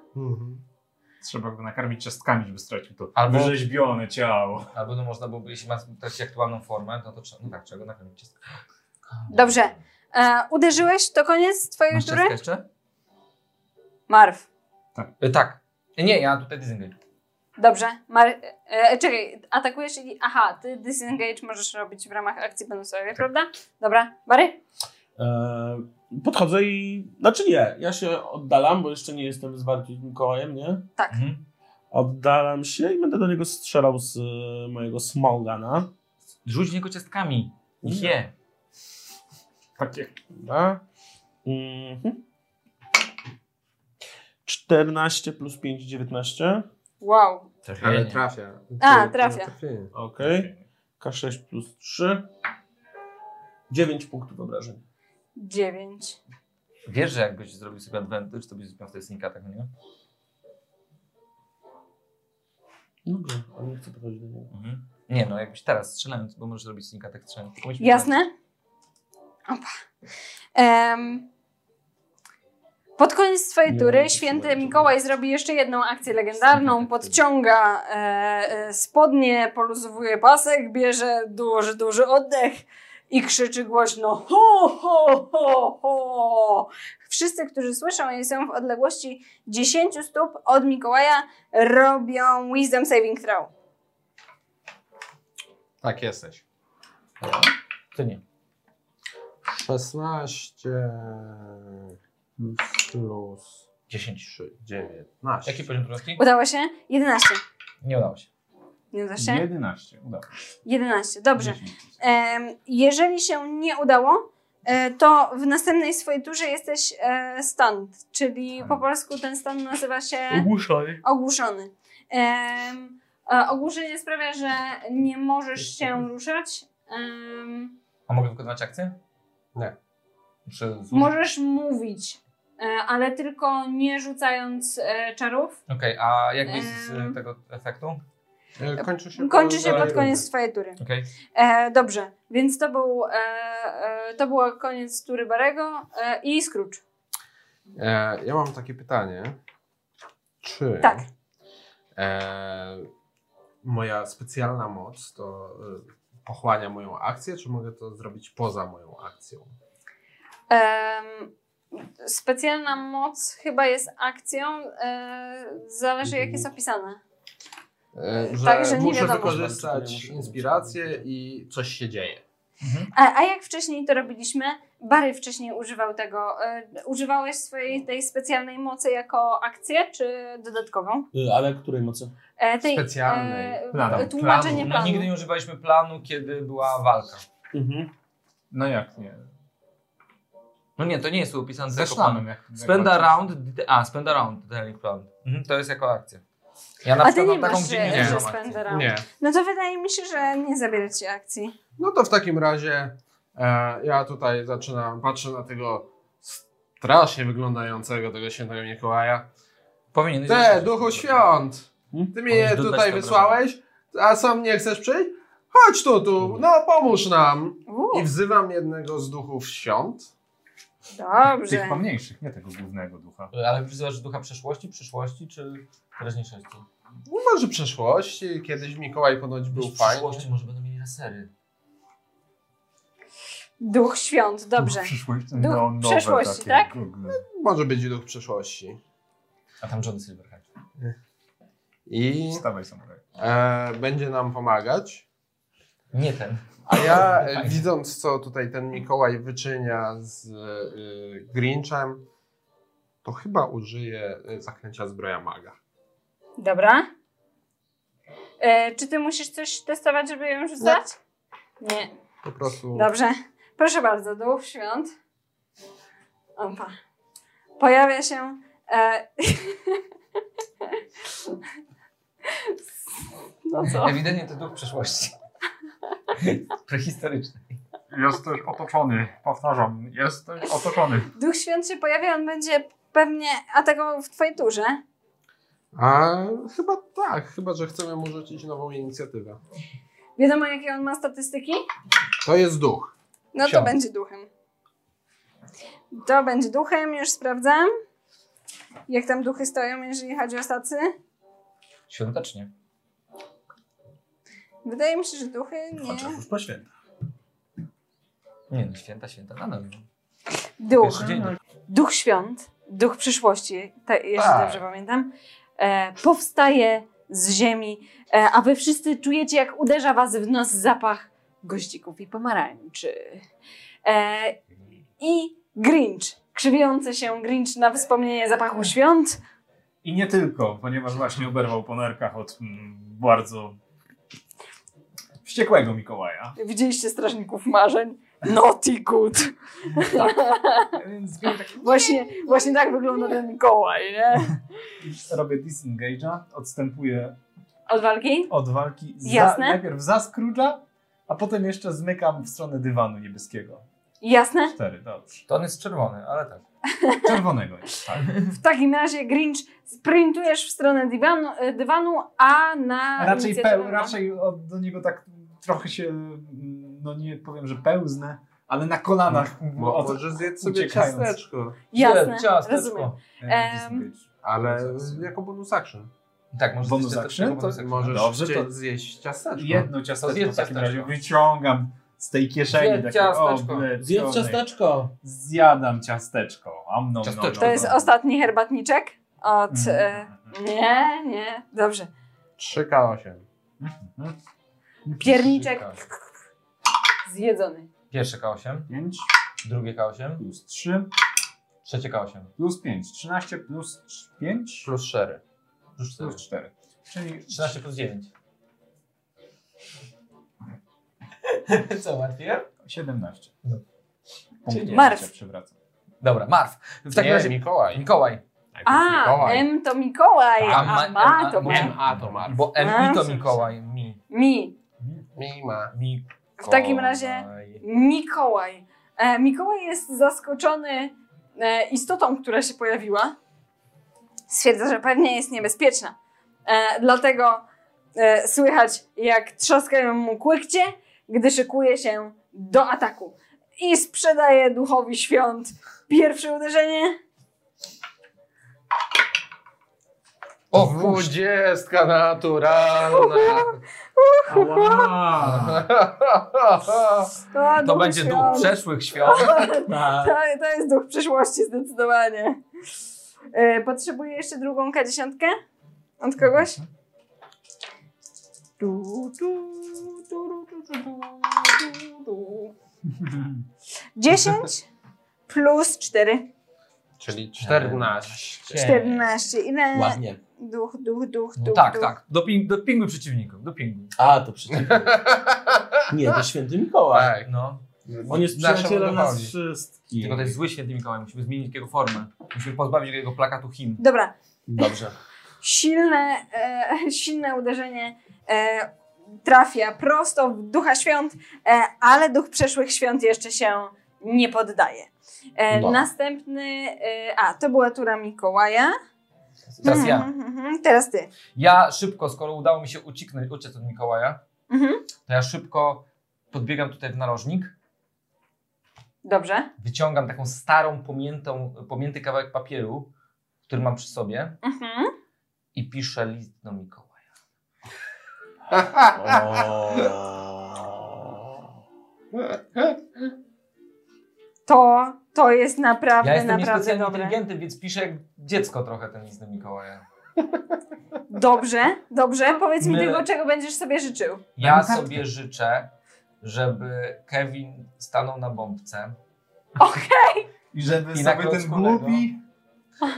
Speaker 6: Trzeba go nakarmić ciastkami, żeby stracił to
Speaker 23: Albo-
Speaker 6: albo wyrzeźbione ciało.
Speaker 23: Albo no można byłoby, jeśli ma też aktualną formę, no to trzeba, no tak, trzeba go nakarmić ciastkiem.
Speaker 4: Dobrze. E, uderzyłeś? To koniec twojej
Speaker 23: Masz
Speaker 4: tury?
Speaker 23: ciastkę jeszcze?
Speaker 4: Marw.
Speaker 23: E, tak. Nie, ja tutaj disengage.
Speaker 4: Dobrze. Mar- e, czekaj, atakujesz i... Aha, ty disengage możesz robić w ramach akcji bonusowej, prawda? Dobra. Bary?
Speaker 5: E, podchodzę i. Znaczy nie, ja się oddalam, bo jeszcze nie jestem zwarty z Mikołajem, nie?
Speaker 4: Tak.
Speaker 5: Oddalam się i będę do niego strzelał z e, mojego smolgana.
Speaker 23: Rzuć w niego ciastkami. Niech je.
Speaker 6: Takie.
Speaker 5: Dobra. Mhm. 14 plus 5, 19.
Speaker 4: Wow.
Speaker 2: Ale trafia.
Speaker 4: A, trafia.
Speaker 5: Okej. K6 plus 3. 9 punktów obrażeń.
Speaker 4: Dziewięć.
Speaker 23: Wiesz, że jakbyś zrobił sobie advantage, to byś zrobił wtedy sneak attack, no nie?
Speaker 5: Dobrze, ale nie chcę podchodzić do niego.
Speaker 23: Mhm. Nie no, jakbyś teraz strzelając, bo możesz zrobić sneak attack strzelając. Tylko musimy-
Speaker 4: Jasne? Opa. Em, pod koniec swojej tury święty Mikołaj zrobi jeszcze jedną akcję legendarną. Podciąga e, e, spodnie, poluzowuje pasek, bierze duży, duży oddech i krzyczy głośno ho, ho, ho, ho. Wszyscy, którzy słyszą i są w odległości 10 stóp od Mikołaja robią wisdom saving throw.
Speaker 2: Tak jesteś.
Speaker 23: Ty nie.
Speaker 2: 16 plus
Speaker 23: 10.
Speaker 2: 19.
Speaker 23: Jaki poziom trudności?
Speaker 4: Udało się? 11.
Speaker 23: tak. Nie udało się.
Speaker 4: Nie udało się?
Speaker 42: 11, udało.
Speaker 4: 11, dobrze. Em, jeżeli się nie udało, e, to w następnej swojej turze jesteś e, stunned, czyli po polsku ten stan nazywa się
Speaker 5: Mhm. Ogłuszaj.
Speaker 4: ogłuszony. Em, e, ogłuszenie sprawia, że nie możesz się ruszać. Em,
Speaker 23: A mogę wykonywać akcję?
Speaker 2: Nie.
Speaker 23: Muszę złożyć-
Speaker 4: możesz mówić, e, ale tylko nie rzucając e, czarów.
Speaker 23: Okej, a jak jest z e, tego efektu?
Speaker 2: E, Kończy
Speaker 4: Kończy się pod koniec twojej tury.
Speaker 23: Okej.
Speaker 4: E, dobrze, więc to był e, e, to było koniec tury Barego e, i Scrooge.
Speaker 2: E, ja mam takie pytanie. Czy
Speaker 4: Tak.
Speaker 2: e, moja specjalna moc to e, pochłania moją akcję, czy mogę to zrobić poza moją akcją?
Speaker 4: Em, specjalna moc chyba jest akcją, e, zależy jak jest opisane.
Speaker 2: E, że
Speaker 4: Także nie
Speaker 2: muszę
Speaker 4: wiadomo.
Speaker 2: wykorzystać inspirację i coś się dzieje.
Speaker 4: A, a jak wcześniej to robiliśmy, Barry wcześniej używał tego. E, używałeś swojej tej specjalnej mocy jako akcję, czy dodatkową?
Speaker 5: Y, Ale której mocy?
Speaker 4: E, tej,
Speaker 5: Specjalnej.
Speaker 4: E, tłumaczenie
Speaker 23: No,
Speaker 4: planu.
Speaker 23: nigdy nie używaliśmy planu, kiedy była walka.
Speaker 5: Mhm.
Speaker 6: No jak nie?
Speaker 23: No nie, to nie jest opisane
Speaker 6: Ze
Speaker 23: jako
Speaker 6: szlanem,
Speaker 23: plan.
Speaker 6: jak- jak
Speaker 23: Spend
Speaker 6: walczysz.
Speaker 23: around, d- a spend around, detailing plan. Mhm, to jest jako akcja. Ja na
Speaker 4: A ty
Speaker 23: przykład
Speaker 4: nie
Speaker 23: mam taką,
Speaker 4: masz,
Speaker 23: gdzie nie
Speaker 4: że,
Speaker 23: mam
Speaker 4: że
Speaker 23: akcji.
Speaker 4: spendera.
Speaker 2: Nie.
Speaker 4: No to wydaje mi się, że nie zabiera ci akcji.
Speaker 2: No to w takim razie e, ja tutaj zaczynam, patrzę na tego strasznie wyglądającego tego świętego Mikołaja.
Speaker 3: No
Speaker 23: Powinieneś
Speaker 2: Te,
Speaker 23: dostać.
Speaker 2: duchu świąt! Ty mnie
Speaker 23: Powinieneś
Speaker 2: tutaj
Speaker 23: dodać
Speaker 2: wysłałeś, a sam nie chcesz przyjść? Chodź tu, tu, no pomóż nam!
Speaker 4: U.
Speaker 2: I wzywam jednego z duchów świąt.
Speaker 4: Dobrze.
Speaker 6: pomniejszych, nie tego głównego ducha.
Speaker 23: Ale wzywasz ducha przeszłości, przyszłości czy teraźniejszości?
Speaker 2: No może przeszłości, kiedyś Mikołaj ponoć był
Speaker 23: W
Speaker 2: fajny.
Speaker 23: przyszłości może będą mieli lasery.
Speaker 4: Duch świąt, dobrze.
Speaker 6: przyszłości, No,
Speaker 4: Duch neonowe przeszłości, takie, tak?
Speaker 2: Może być duch przeszłości.
Speaker 23: A tam John Silverhand.
Speaker 2: I
Speaker 6: Wstawaj samuraj.
Speaker 2: e, będzie nam pomagać.
Speaker 23: Nie ten.
Speaker 2: A
Speaker 23: *laughs*
Speaker 2: ja, e, widząc co tutaj ten Mikołaj wyczynia z e, Grinchem, to chyba użyję e, zaklęcia zbroja maga.
Speaker 4: Dobra. E, czy ty musisz coś testować, żeby ją rzucać? Nie.
Speaker 2: Po prostu.
Speaker 4: Dobrze. Proszę bardzo, duch świąt. Opa. Pojawia się. E... No co?
Speaker 23: Ewidentnie to duch przeszłości. Prehistoryczny.
Speaker 6: Jesteś otoczony, powtarzam, jesteś otoczony.
Speaker 4: Duch świąt się pojawia, on będzie pewnie atakował w twojej turze.
Speaker 2: A chyba tak, chyba że chcemy mu rzucić nową inicjatywę.
Speaker 4: Wiadomo, jakie on ma statystyki?
Speaker 2: To jest duch.
Speaker 4: No to
Speaker 2: Siądź.
Speaker 4: będzie duchem. To będzie duchem, już sprawdzam. Jak tam duchy stoją, jeżeli chodzi o stacy?
Speaker 23: Świątecznie.
Speaker 4: Wydaje mi się, że duchy nie.
Speaker 5: Już po święta.
Speaker 23: Nie no, święta, święta, nadal.
Speaker 4: Duch.
Speaker 23: Pierwszy dzień.
Speaker 4: Duch świąt, duch przyszłości, te, jeśli
Speaker 23: Tak.
Speaker 4: dobrze pamiętam, e, powstaje z ziemi, e, a wy wszyscy czujecie, jak uderza was w nos zapach goździków i pomarańczy. E, I Grinch, krzywiący się Grinch na wspomnienie zapachu świąt.
Speaker 6: I nie tylko, ponieważ właśnie oberwał po nerkach od mm, bardzo wściekłego Mikołaja.
Speaker 4: Widzieliście strażników marzeń? Naughty
Speaker 23: *laughs*
Speaker 4: good. *laughs* właśnie, właśnie tak wygląda ten Mikołaj, nie?
Speaker 6: Robię disengage'a, odstępuję
Speaker 4: Od walki?
Speaker 6: od walki. Za,
Speaker 4: Jasne.
Speaker 6: najpierw za Scrooge'a, a potem jeszcze zmykam w stronę dywanu niebieskiego.
Speaker 4: Jasne?
Speaker 6: Cztery, dobrze.
Speaker 23: To on jest czerwony, ale tak.
Speaker 6: Czerwonego jest, tak.
Speaker 4: W takim razie Grinch sprintujesz w stronę dywanu, e, dywanu *laughs* a na.
Speaker 6: A raczej,
Speaker 4: inicjatywę
Speaker 6: peł,
Speaker 4: ma-
Speaker 6: raczej od, do niego tak trochę się, mm, no nie powiem, że pełznę, ale na kolanach.
Speaker 2: Mo-
Speaker 6: od-
Speaker 2: możesz zjedz sobie
Speaker 6: No uciekając.
Speaker 2: ciasteczko.
Speaker 4: Jasne, rozumiem. Em,
Speaker 2: Ale z- jako bonus action.
Speaker 23: Tak, możesz
Speaker 6: Bonus action?
Speaker 2: To możesz
Speaker 6: Dobrze,
Speaker 2: chcie-
Speaker 6: to-
Speaker 2: zjeść ciasteczko.
Speaker 6: Jedno
Speaker 23: To
Speaker 6: ciasteczko
Speaker 23: zjedz
Speaker 6: w takim
Speaker 23: ciasteczko.
Speaker 6: razie wyciągam z tej kieszeni.
Speaker 23: Zjedz
Speaker 6: takie,
Speaker 23: ciasteczko.
Speaker 6: o, ble,
Speaker 5: Zjedz
Speaker 6: człowiek.
Speaker 5: ciasteczko.
Speaker 6: Zjadam ciasteczko. Am, nom, nom, nom,
Speaker 4: To jest
Speaker 6: nom. Mm.
Speaker 4: ostatni herbatniczek od.
Speaker 6: Mhm.
Speaker 4: E, nie, nie, dobrze.
Speaker 2: 3K8.
Speaker 4: Pierniczek zjedzony.
Speaker 23: Pierwsze K8,
Speaker 6: Pięć
Speaker 23: drugie K8,
Speaker 6: plus trzy
Speaker 23: trzecie K8.
Speaker 6: plus pięć trzynaście plus trz- pięć
Speaker 2: Plus 4.
Speaker 23: Plus cztery.
Speaker 6: plus cztery Czyli
Speaker 23: 13 plus 9. *laughs* Co, łatwiej?
Speaker 6: 17.
Speaker 23: No.
Speaker 6: Punktów
Speaker 23: nie.
Speaker 4: Marw.
Speaker 6: życia przywracam.
Speaker 23: Dobra, Marw. W takim
Speaker 2: Nie,
Speaker 23: razie
Speaker 2: Mikołaj.
Speaker 23: Mikołaj.
Speaker 4: Tak, A,
Speaker 2: Mikołaj.
Speaker 4: M to Mikołaj, a
Speaker 23: ma-
Speaker 4: ma to
Speaker 23: ma-
Speaker 4: M.
Speaker 2: A to Mark.
Speaker 23: Bo M
Speaker 4: A,
Speaker 23: i to
Speaker 4: sorry,
Speaker 23: Mikołaj. Mi.
Speaker 4: Mi.
Speaker 2: Mima.
Speaker 23: mi.
Speaker 4: W takim razie Mikołaj. E, Mikołaj jest zaskoczony e, istotą, która się pojawiła. Stwierdza, że pewnie jest niebezpieczna. E, dlatego e, słychać, jak trzaskają mu kłykcie, gdy szykuje się do ataku. I sprzedaje duchowi świąt pierwsze uderzenie.
Speaker 2: O, dwudziestka naturalna.
Speaker 4: A,
Speaker 23: To
Speaker 4: duch
Speaker 23: będzie duch
Speaker 4: świąt.
Speaker 23: przeszłych świąt.
Speaker 4: To, to jest duch przyszłości, zdecydowanie. E, potrzebuję jeszcze drugą K10? Od kogoś? Du, du, du, du, du, du, du, du. 10 plus 4.
Speaker 2: Czyli 14.
Speaker 4: 14. Ile?
Speaker 5: Ładnie.
Speaker 4: Duch, duch, duch,
Speaker 23: No
Speaker 4: duch.
Speaker 23: tak,
Speaker 4: duch.
Speaker 23: tak. Doping, dopinguj przeciwników. Dopinguj.
Speaker 5: A, to
Speaker 23: *laughs*
Speaker 5: przecież. Nie, to święty Mikołaj.
Speaker 2: Tak.
Speaker 23: No.
Speaker 5: On jest
Speaker 2: Naszemu
Speaker 5: przyjacielem
Speaker 2: duchowi.
Speaker 5: nas wszystkich.
Speaker 23: Tylko to jest zły święty Mikołaj. Musimy zmienić jego formę. Musimy pozbawić go jego plakatu him.
Speaker 4: Dobra,
Speaker 5: Dobrze.
Speaker 4: silne, e, *laughs* silne uderzenie e, trafia prosto w ducha świąt, e, ale duch przeszłych świąt jeszcze się nie poddaje. E,
Speaker 5: No.
Speaker 4: Następny, e, a to była tura Mikołaja.
Speaker 23: Teraz ja.
Speaker 4: Mhm, mhm, teraz ty.
Speaker 23: Ja szybko, skoro udało mi się ucieknąć, uciec od Mikołaja,
Speaker 4: Mhm.
Speaker 23: to ja szybko podbiegam tutaj w narożnik,
Speaker 4: Dobrze.
Speaker 23: wyciągam taką starą, pomiętą, pomięty kawałek papieru, który mam przy sobie
Speaker 4: Mhm.
Speaker 23: i piszę list do Mikołaja.
Speaker 4: To, to jest naprawdę,
Speaker 23: Ja jestem
Speaker 4: naprawdę
Speaker 23: niespecjalnie
Speaker 4: dobre.
Speaker 23: inteligentny, więc piszę jak dziecko trochę ten list do Mikołaja.
Speaker 4: Dobrze,
Speaker 23: No,
Speaker 4: dobrze. Powiedz mi
Speaker 23: My-
Speaker 4: tylko, czego będziesz sobie życzył.
Speaker 23: Ja sobie życzę, żeby Kevin stanął na bombce
Speaker 6: I żeby
Speaker 23: I na
Speaker 6: sobie ten
Speaker 23: klocku
Speaker 6: głupi...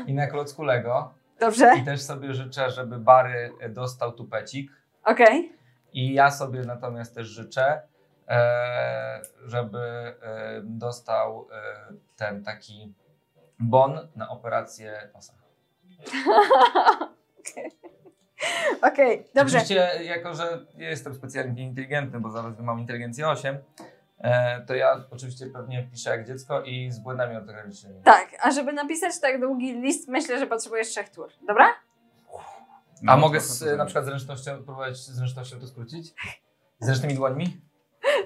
Speaker 23: i na klocku Lego
Speaker 4: Dobrze?
Speaker 23: i też sobie życzę, żeby Bary dostał tupecik
Speaker 4: Okej.
Speaker 23: I ja sobie natomiast też życzę, e, żeby e, dostał e, ten taki bon na operację nosa.
Speaker 4: Okej. Okej, dobrze.
Speaker 23: Oczywiście, jako że nie jestem specjalnie inteligentny, bo zaraz mam inteligencję 8, e, to ja oczywiście pewnie piszę jak dziecko i z błędami ortograficznymi.
Speaker 4: Tak, a żeby napisać tak długi list, myślę, że potrzebujesz trzech tur, dobra? *laughs*
Speaker 6: No,
Speaker 23: A mogę z, e, na przykład zręcznością, próbować zręcznością to skrócić? Zręcznymi dłońmi?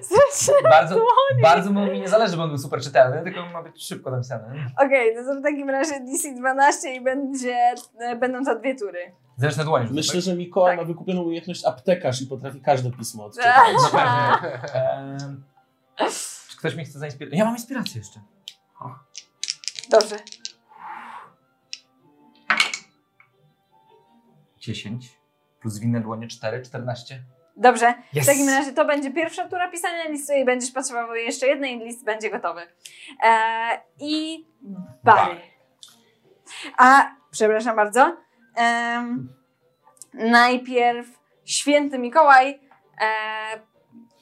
Speaker 4: Zresztą. *laughs*
Speaker 23: Bardzo, bardzo mu mi nie zależy, bo on był super czytelny, tylko ma być szybko napisany.
Speaker 4: Okej, no to w takim razie DC 12 i będzie, e, będą to dwie tury.
Speaker 23: Zresztą dłoń.
Speaker 5: Myślę, że Mikołaj ma wykupioną umiejętność aptekarz i potrafi każde pismo odczytać.
Speaker 23: tak, Em, Czy ktoś mi chce zainspirować? Ja mam inspirację jeszcze.
Speaker 4: Dobrze.
Speaker 23: 10 plus winne dłonie 4, 14.
Speaker 4: Dobrze,
Speaker 23: Yes.
Speaker 4: w takim razie to będzie pierwsza tura pisania listu i będziesz potrzebował jeszcze jednej i list będzie gotowy. E, I bary. A, przepraszam bardzo, em, najpierw święty Mikołaj e,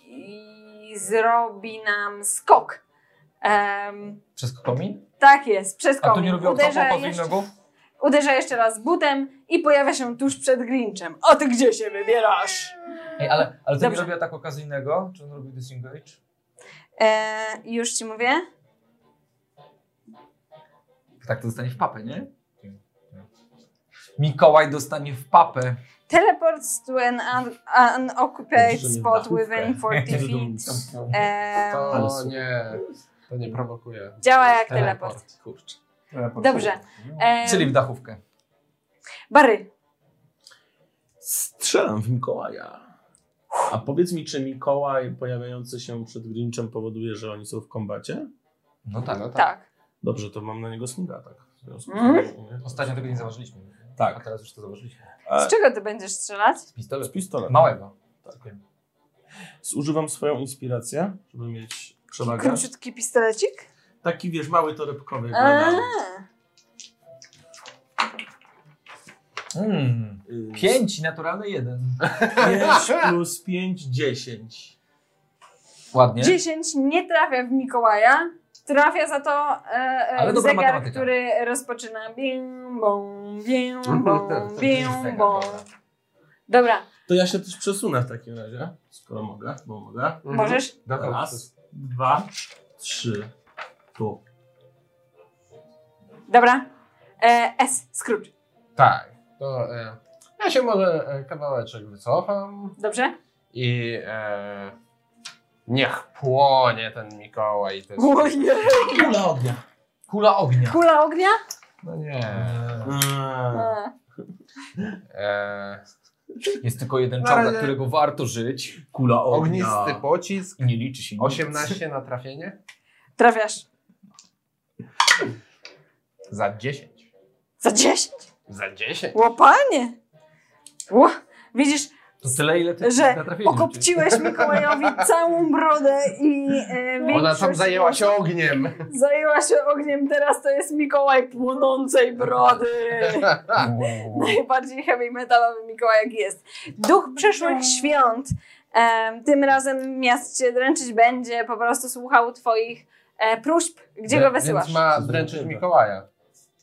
Speaker 4: i zrobi nam skok. Em,
Speaker 23: Przez komin?
Speaker 4: tak jest, przez
Speaker 23: A
Speaker 4: komin.
Speaker 23: tu nie robią tak
Speaker 4: Uderza
Speaker 23: kopa pod
Speaker 4: jeszcze-
Speaker 23: nogą?
Speaker 4: Uderza jeszcze raz butem i pojawia się tuż przed Grinchem. O, ty gdzie się wybierasz?
Speaker 23: Ej, ale, ale to nie
Speaker 4: Dobrze.
Speaker 23: robi tak okazyjnego? Czy on robi disengage?
Speaker 4: E, już ci mówię.
Speaker 23: Tak, to dostanie w papę, nie? Mikołaj dostanie w papę.
Speaker 4: Teleports to an, un- unoccupied spot within 40 feet. Em,
Speaker 2: To nie, to nie prowokuje.
Speaker 4: Działa jak
Speaker 2: teleport. Kurczę.
Speaker 4: Dobrze. E, Em,
Speaker 23: Czyli w dachówkę.
Speaker 4: Bary.
Speaker 5: Strzelam w Mikołaja. A powiedz mi, czy Mikołaj pojawiający się przed Grinchem powoduje, że oni są w kombacie?
Speaker 23: No tak.
Speaker 4: tak. Tak.
Speaker 5: Dobrze, to mam na niego smiga, tak. W związku z tym,
Speaker 4: Mhm.
Speaker 5: nie?
Speaker 23: Ostatnio tego nie zauważyliśmy.
Speaker 5: Tak.
Speaker 23: A teraz już to zauważyliśmy.
Speaker 5: A-
Speaker 4: tak. Z czego ty będziesz strzelać?
Speaker 23: Z pistoletu.
Speaker 5: Z pistoletu.
Speaker 23: Małego. Tak.
Speaker 5: Zużywam swoją inspirację, żeby mieć przewagę.
Speaker 4: Króciutki pistolecik? E,
Speaker 5: Taki, wiesz, mały torebkowy.
Speaker 4: A,
Speaker 5: granat.
Speaker 23: Mm.
Speaker 5: Y,
Speaker 23: Pięć, naturalny jeden.
Speaker 5: 5 plus 5, 10.
Speaker 23: Ładnie.
Speaker 4: 10 nie trafia w Mikołaja. Trafia za to e,
Speaker 23: Ale
Speaker 4: e,
Speaker 23: dobra
Speaker 4: zegar,
Speaker 23: matematyka.
Speaker 4: który rozpoczyna bim, bom, bim,
Speaker 2: No,
Speaker 4: bom, bim, bom. Dobra,
Speaker 5: To ja się też przesunę w takim razie, skoro mogę, bo mogę.
Speaker 2: Mhm.
Speaker 4: Możesz.
Speaker 2: Dobra.
Speaker 5: Raz, dwa, trzy, tu.
Speaker 4: dobra. E, S, Scrooge.
Speaker 2: Tak, to e, ja się może e, kawałeczek wycofam
Speaker 4: Dobrze?
Speaker 2: i e, niech płonie ten Mikołaj. Też.
Speaker 4: Ojej.
Speaker 5: Kula ognia.
Speaker 23: Kula ognia.
Speaker 4: Kula ognia?
Speaker 2: No nie. Tak.
Speaker 4: E,
Speaker 2: E,
Speaker 23: Jest tylko jeden
Speaker 2: Na
Speaker 23: czar, dla
Speaker 2: razie-
Speaker 23: którego warto żyć.
Speaker 5: Kula ognia.
Speaker 2: ognisty pocisk,
Speaker 23: I nie liczy się nic.
Speaker 2: 18 na trafienie
Speaker 4: trafiasz.
Speaker 2: za 10.
Speaker 4: Za 10?
Speaker 2: Za 10?
Speaker 4: Łopanie! Ło, widzisz,
Speaker 23: To tyle, ile ty
Speaker 4: że
Speaker 23: natrafiłeś.
Speaker 4: pokopciłeś Mikołajowi całą brodę i e,
Speaker 2: Ona tam
Speaker 4: większość-
Speaker 2: zajęła się ogniem.
Speaker 4: Zajęła się ogniem, teraz to jest Mikołaj płonącej
Speaker 2: *laughs*
Speaker 4: brody. Najbardziej heavy metalowy Mikołaj jak jest. Duch przyszłych świąt. em, tym razem miast cię dręczyć będzie, po prostu słuchał twoich e, próśb, gdzie go wysyłasz.
Speaker 2: Więc ma dręczyć Mikołaja.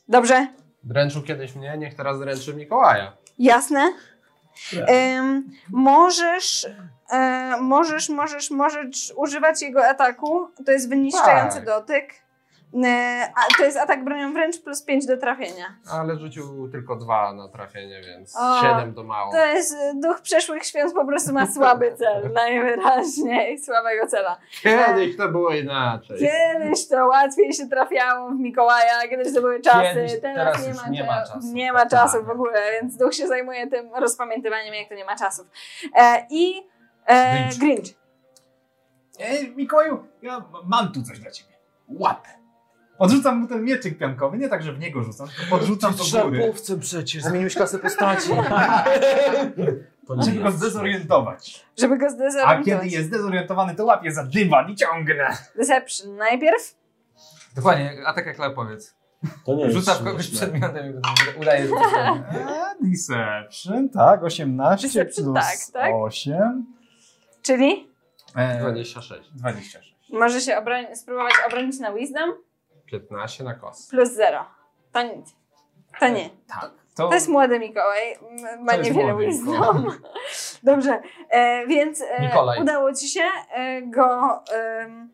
Speaker 4: Dobrze?
Speaker 2: Dręczył kiedyś mnie, niech teraz dręczy Mikołaja.
Speaker 4: Jasne?
Speaker 5: Tak.
Speaker 4: Em, możesz, e, możesz, możesz, możesz używać jego ataku. To jest wyniszczający
Speaker 2: Tak.
Speaker 4: dotyk. E, a, to jest atak bronią wręcz plus 5 do trafienia.
Speaker 2: Ale rzucił tylko dwa na trafienie, więc
Speaker 4: O,
Speaker 2: 7 to mało.
Speaker 23: No.
Speaker 4: To jest e, duch przeszłych świąt, po prostu ma słaby
Speaker 23: *laughs*
Speaker 4: cel, najwyraźniej słabego cela.
Speaker 2: Kiedyś to było inaczej.
Speaker 4: Kiedyś to łatwiej się trafiało w Mikołaja, kiedyś to były czasy,
Speaker 23: Kiedyś, teraz już nie ma czasu.
Speaker 4: Nie ma
Speaker 23: Tak.
Speaker 4: czasu w ogóle, więc duch się zajmuje tym rozpamiętywaniem, jak to nie ma czasów. E, I e,
Speaker 23: Grinch.
Speaker 4: Grinch.
Speaker 6: Ej, E, Mikołaju, ja mam tu coś dla ciebie. Łap. Odrzucam mu ten mieczyk piankowy, nie tak, że w niego rzucam, tylko podrzucam do góry.
Speaker 23: przecież, zmieniłeś
Speaker 3: *laughs*
Speaker 23: klasę postaci.
Speaker 6: Żeby go zdezorientować.
Speaker 4: żeby go
Speaker 6: A
Speaker 4: zdezorientować.
Speaker 6: kiedy jest zdezorientowany, to łapię za dywan i ciągnę.
Speaker 4: Deception najpierw.
Speaker 23: Dokładnie, a tak jak powiedz.
Speaker 5: To nie jest
Speaker 3: Rzuca w kogoś
Speaker 5: śmieszne.
Speaker 3: przedmiotem i go udaje, że to jest
Speaker 6: Deception, tak, 18
Speaker 4: Deception,
Speaker 6: plus
Speaker 4: tak, tak.
Speaker 6: 8.
Speaker 4: Czyli
Speaker 6: E,
Speaker 2: 26.
Speaker 6: 26.
Speaker 4: może się obroń- spróbować obronić na Wisdom
Speaker 2: 15 na kos.
Speaker 4: plus 0. To nic. To nie.
Speaker 2: Tak.
Speaker 4: To jest młody Mikołaj. m- Ma
Speaker 2: To jest
Speaker 4: niewiele
Speaker 2: młody
Speaker 4: Wisdom. *laughs* Dobrze, e, więc e,
Speaker 3: Mikołaj.
Speaker 4: udało ci się e, go em,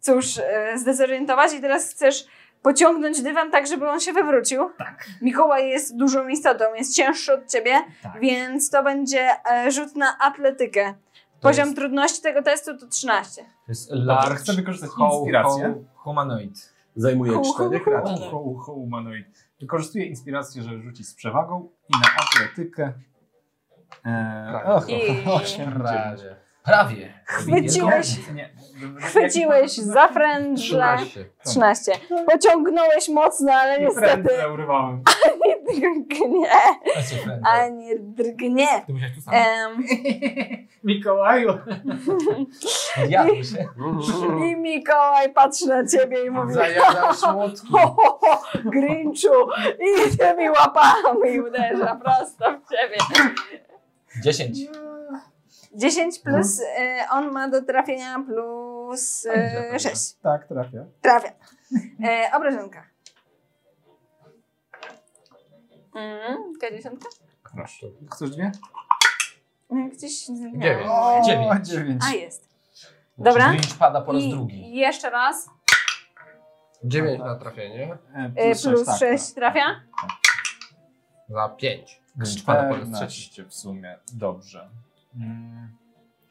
Speaker 4: cóż, e, zdezorientować i teraz chcesz pociągnąć dywan tak, żeby on się wywrócił. Tak. Mikołaj jest dużą istotą, jest cięższy od ciebie,
Speaker 2: Tak.
Speaker 4: więc to będzie e, rzut na atletykę. Poziom trudności tego testu to 13.
Speaker 3: large
Speaker 6: Chcę wykorzystać
Speaker 3: ho-
Speaker 6: inspirację.
Speaker 3: ho- Humanoid.
Speaker 5: Zajmuje
Speaker 6: Ho, ho,
Speaker 5: cztery
Speaker 6: ho,
Speaker 5: kratki.
Speaker 6: ho, ho, ho, Humanoid. Wykorzystuję inspirację, żeby rzucić z przewagą i na atletykę. Eee, och,
Speaker 4: I-
Speaker 6: osiem, dziewięć.
Speaker 3: Prawie.
Speaker 4: Chwyciłeś,
Speaker 6: Nie,
Speaker 4: chwyciłeś za frędzle.
Speaker 2: 13.
Speaker 4: 13. Pociągnąłeś mocno, ale
Speaker 6: I
Speaker 4: niestety
Speaker 6: prędzej urwałem.
Speaker 4: *laughs* ani drgnie, ani drgnie.
Speaker 3: Ty musiałeś tu sam.
Speaker 4: Em,
Speaker 6: Mikołaju.
Speaker 3: Odjadł się.
Speaker 4: I Mikołaj patrzy na ciebie i mówi *laughs*
Speaker 2: Zajadałeś młotki.
Speaker 4: ho, ho, ho, Grinchu, i tymi łapami uderza prosto w ciebie.
Speaker 3: 10.
Speaker 4: 10 plus, y, on ma do trafienia plus y, 6.
Speaker 6: Tak, trafia.
Speaker 4: Trafia. E, obrażenka. Mm, dziesiątka?
Speaker 6: Proszę. Chcesz dwie?
Speaker 4: Gdzieś
Speaker 2: Dziewięć.
Speaker 4: zniknęła.
Speaker 6: O,
Speaker 3: Dziewięć.
Speaker 6: dziewięć.
Speaker 4: A jest. Dobra.
Speaker 3: Grinch pada po raz
Speaker 4: I
Speaker 3: drugi.
Speaker 4: jeszcze raz.
Speaker 2: 9 na trafienie.
Speaker 6: E,
Speaker 4: Y,
Speaker 6: sześć,
Speaker 4: plus
Speaker 6: tak,
Speaker 4: 6 trafia.
Speaker 2: Za 5.
Speaker 43: Grinch pada po raz
Speaker 6: 14.
Speaker 43: trzeci w sumie. Dobrze.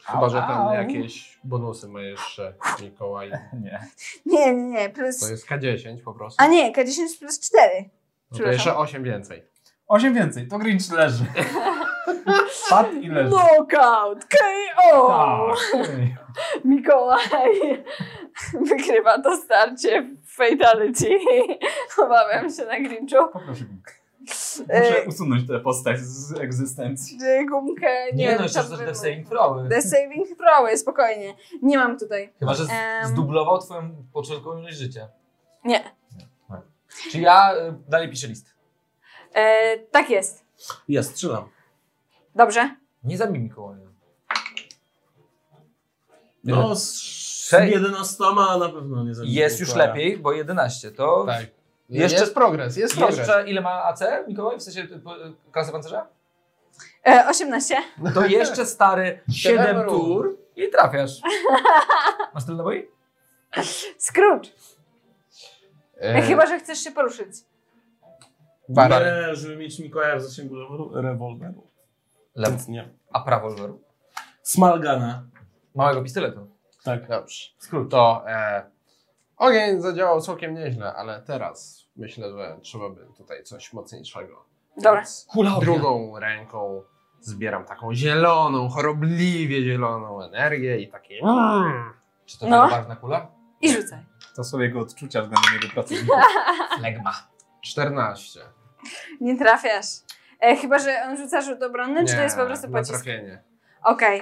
Speaker 2: Chyba, że tam
Speaker 6: Au.
Speaker 2: jakieś bonusy ma jeszcze Mikołaj.
Speaker 43: Nie.
Speaker 4: Nie, nie, nie,
Speaker 2: To
Speaker 4: plus.
Speaker 2: jest K10 po prostu.
Speaker 4: A nie, K10 plus 4.
Speaker 2: No to
Speaker 4: przepraszam.
Speaker 2: jeszcze 8 więcej.
Speaker 6: Osiem więcej, to Grinch leży. Padł i leży.
Speaker 4: Knockout! KO!
Speaker 6: Tak.
Speaker 4: Mikołaj *laughs* wygrywa to starcie w Fatality. *laughs* Obawiam się na Grinchu.
Speaker 6: Poproszę gumkę.
Speaker 4: E,
Speaker 6: Muszę usunąć tę postać z egzystencji.
Speaker 4: e, gumkę, nie,
Speaker 3: Nie,
Speaker 4: wiem,
Speaker 3: no, jeszcze
Speaker 4: co
Speaker 3: też
Speaker 4: by
Speaker 3: Death
Speaker 4: było.
Speaker 3: Saving Throwy.
Speaker 4: Death saving throwy, spokojnie. Nie mam tutaj.
Speaker 3: Chyba, że z-
Speaker 4: Em.
Speaker 3: zdublował twoją początkową ilość życia.
Speaker 4: Nie.
Speaker 3: Czy ja y, dalej piszę list?
Speaker 4: E, tak jest.
Speaker 5: Ja strzelam.
Speaker 4: Dobrze.
Speaker 3: Nie zabij Mikołaja.
Speaker 5: No, z z
Speaker 3: Sześć.
Speaker 5: 11 na pewno nie zabiję.
Speaker 3: Jest już
Speaker 5: Mikołaja.
Speaker 3: lepiej, bo 11 to...
Speaker 2: Tak.
Speaker 3: Jeszcze-
Speaker 2: Jest progres, jest progres.
Speaker 3: Jeszcze ile ma AC Mikołaj? W sensie y, y, klasy pancerza?
Speaker 4: E, 18.
Speaker 3: To jeszcze stary
Speaker 42: *laughs*
Speaker 2: Siedem
Speaker 3: 7
Speaker 2: rund.
Speaker 3: tur i
Speaker 23: *laughs*
Speaker 3: trafiasz. Masz tyle naboi?
Speaker 4: Scrooge.
Speaker 2: E,
Speaker 4: Chyba, że chcesz się poruszyć.
Speaker 2: Barry.
Speaker 5: Nie, żeby mieć Mikołaja w zasięgu rewol- rewolweru.
Speaker 3: Lew.
Speaker 5: Więc nie.
Speaker 3: A prawo lweru?
Speaker 5: Smalgana.
Speaker 3: Małego pistoletu.
Speaker 5: Tak.
Speaker 2: Dobrze. To e, ogień zadziałał całkiem nieźle, ale teraz myślę, że trzeba by tutaj coś mocniejszego.
Speaker 4: Dobra.
Speaker 2: Więc Drugą ręką zbieram taką zieloną, chorobliwie zieloną energię i takie... Mm,
Speaker 3: Czy to
Speaker 4: No.
Speaker 3: no. barwna kula?
Speaker 4: I rzucaj.
Speaker 6: To są jego odczucia względem jego pracowników.
Speaker 4: *laughs*
Speaker 3: Flegma.
Speaker 2: 14.
Speaker 4: Nie trafiasz. E, chyba, że on rzuca rzut obronny, czy to jest po prostu
Speaker 2: na
Speaker 4: pocisk?
Speaker 2: trafienie.
Speaker 4: Okej.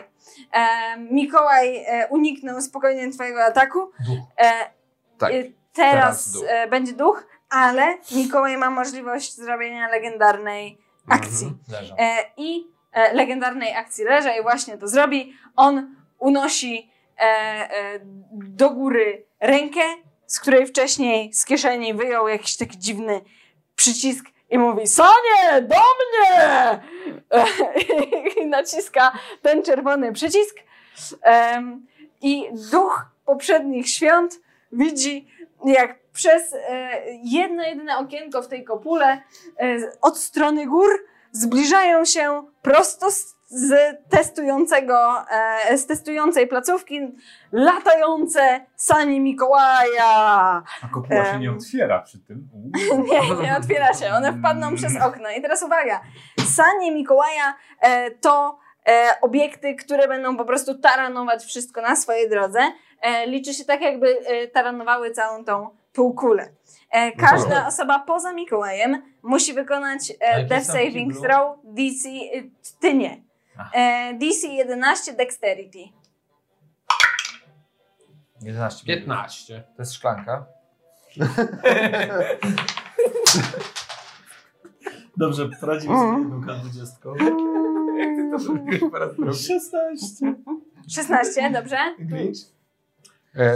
Speaker 4: E, Mikołaj e, uniknął spokojnie twojego ataku.
Speaker 3: Duch.
Speaker 4: E,
Speaker 2: Tak.
Speaker 4: e,
Speaker 2: teraz
Speaker 4: teraz
Speaker 2: duch.
Speaker 4: E, będzie duch, ale Mikołaj ma możliwość zrobienia legendarnej akcji.
Speaker 3: Leżą.
Speaker 4: E, I e, legendarnej akcji leża i właśnie to zrobi. On unosi e, e, do góry rękę, z której wcześniej z kieszeni wyjął jakiś taki dziwny przycisk i mówi Sanie, do mnie! E, *laughs* I naciska ten czerwony przycisk. Em, I duch poprzednich świąt widzi, jak przez e, jedno jedyne okienko w tej kopule e, z- od strony gór zbliżają się prosto z, z testującego, e, z testującej placówki latające sanie Mikołaja.
Speaker 6: A kopuła się
Speaker 4: Em.
Speaker 6: nie otwiera przy tym. Uuu.
Speaker 4: *laughs*
Speaker 6: Mm.
Speaker 4: Nie, nie otwiera się, one wpadną przez okno. I teraz uwaga, sanie Mikołaja e, to e, obiekty, które będą po prostu taranować wszystko na swojej drodze. E, liczy się tak, jakby e, taranowały całą tą półkulę. E, każda osoba poza Mikołajem musi wykonać e,
Speaker 3: jakie
Speaker 4: Death
Speaker 3: są
Speaker 4: Saving
Speaker 3: kiblu?
Speaker 4: Throw DC, e, ty nie, e, DC 11 Dexterity.
Speaker 3: 11.
Speaker 2: 15.
Speaker 3: To jest szklanka.
Speaker 34: Dobrze, poradzimy sobie jedną K20.
Speaker 23: Mm. *laughs* Jak ty to zrobiłeś po raz drugi?
Speaker 34: 16.
Speaker 4: 16, dobrze?
Speaker 42: Grinch?
Speaker 23: E,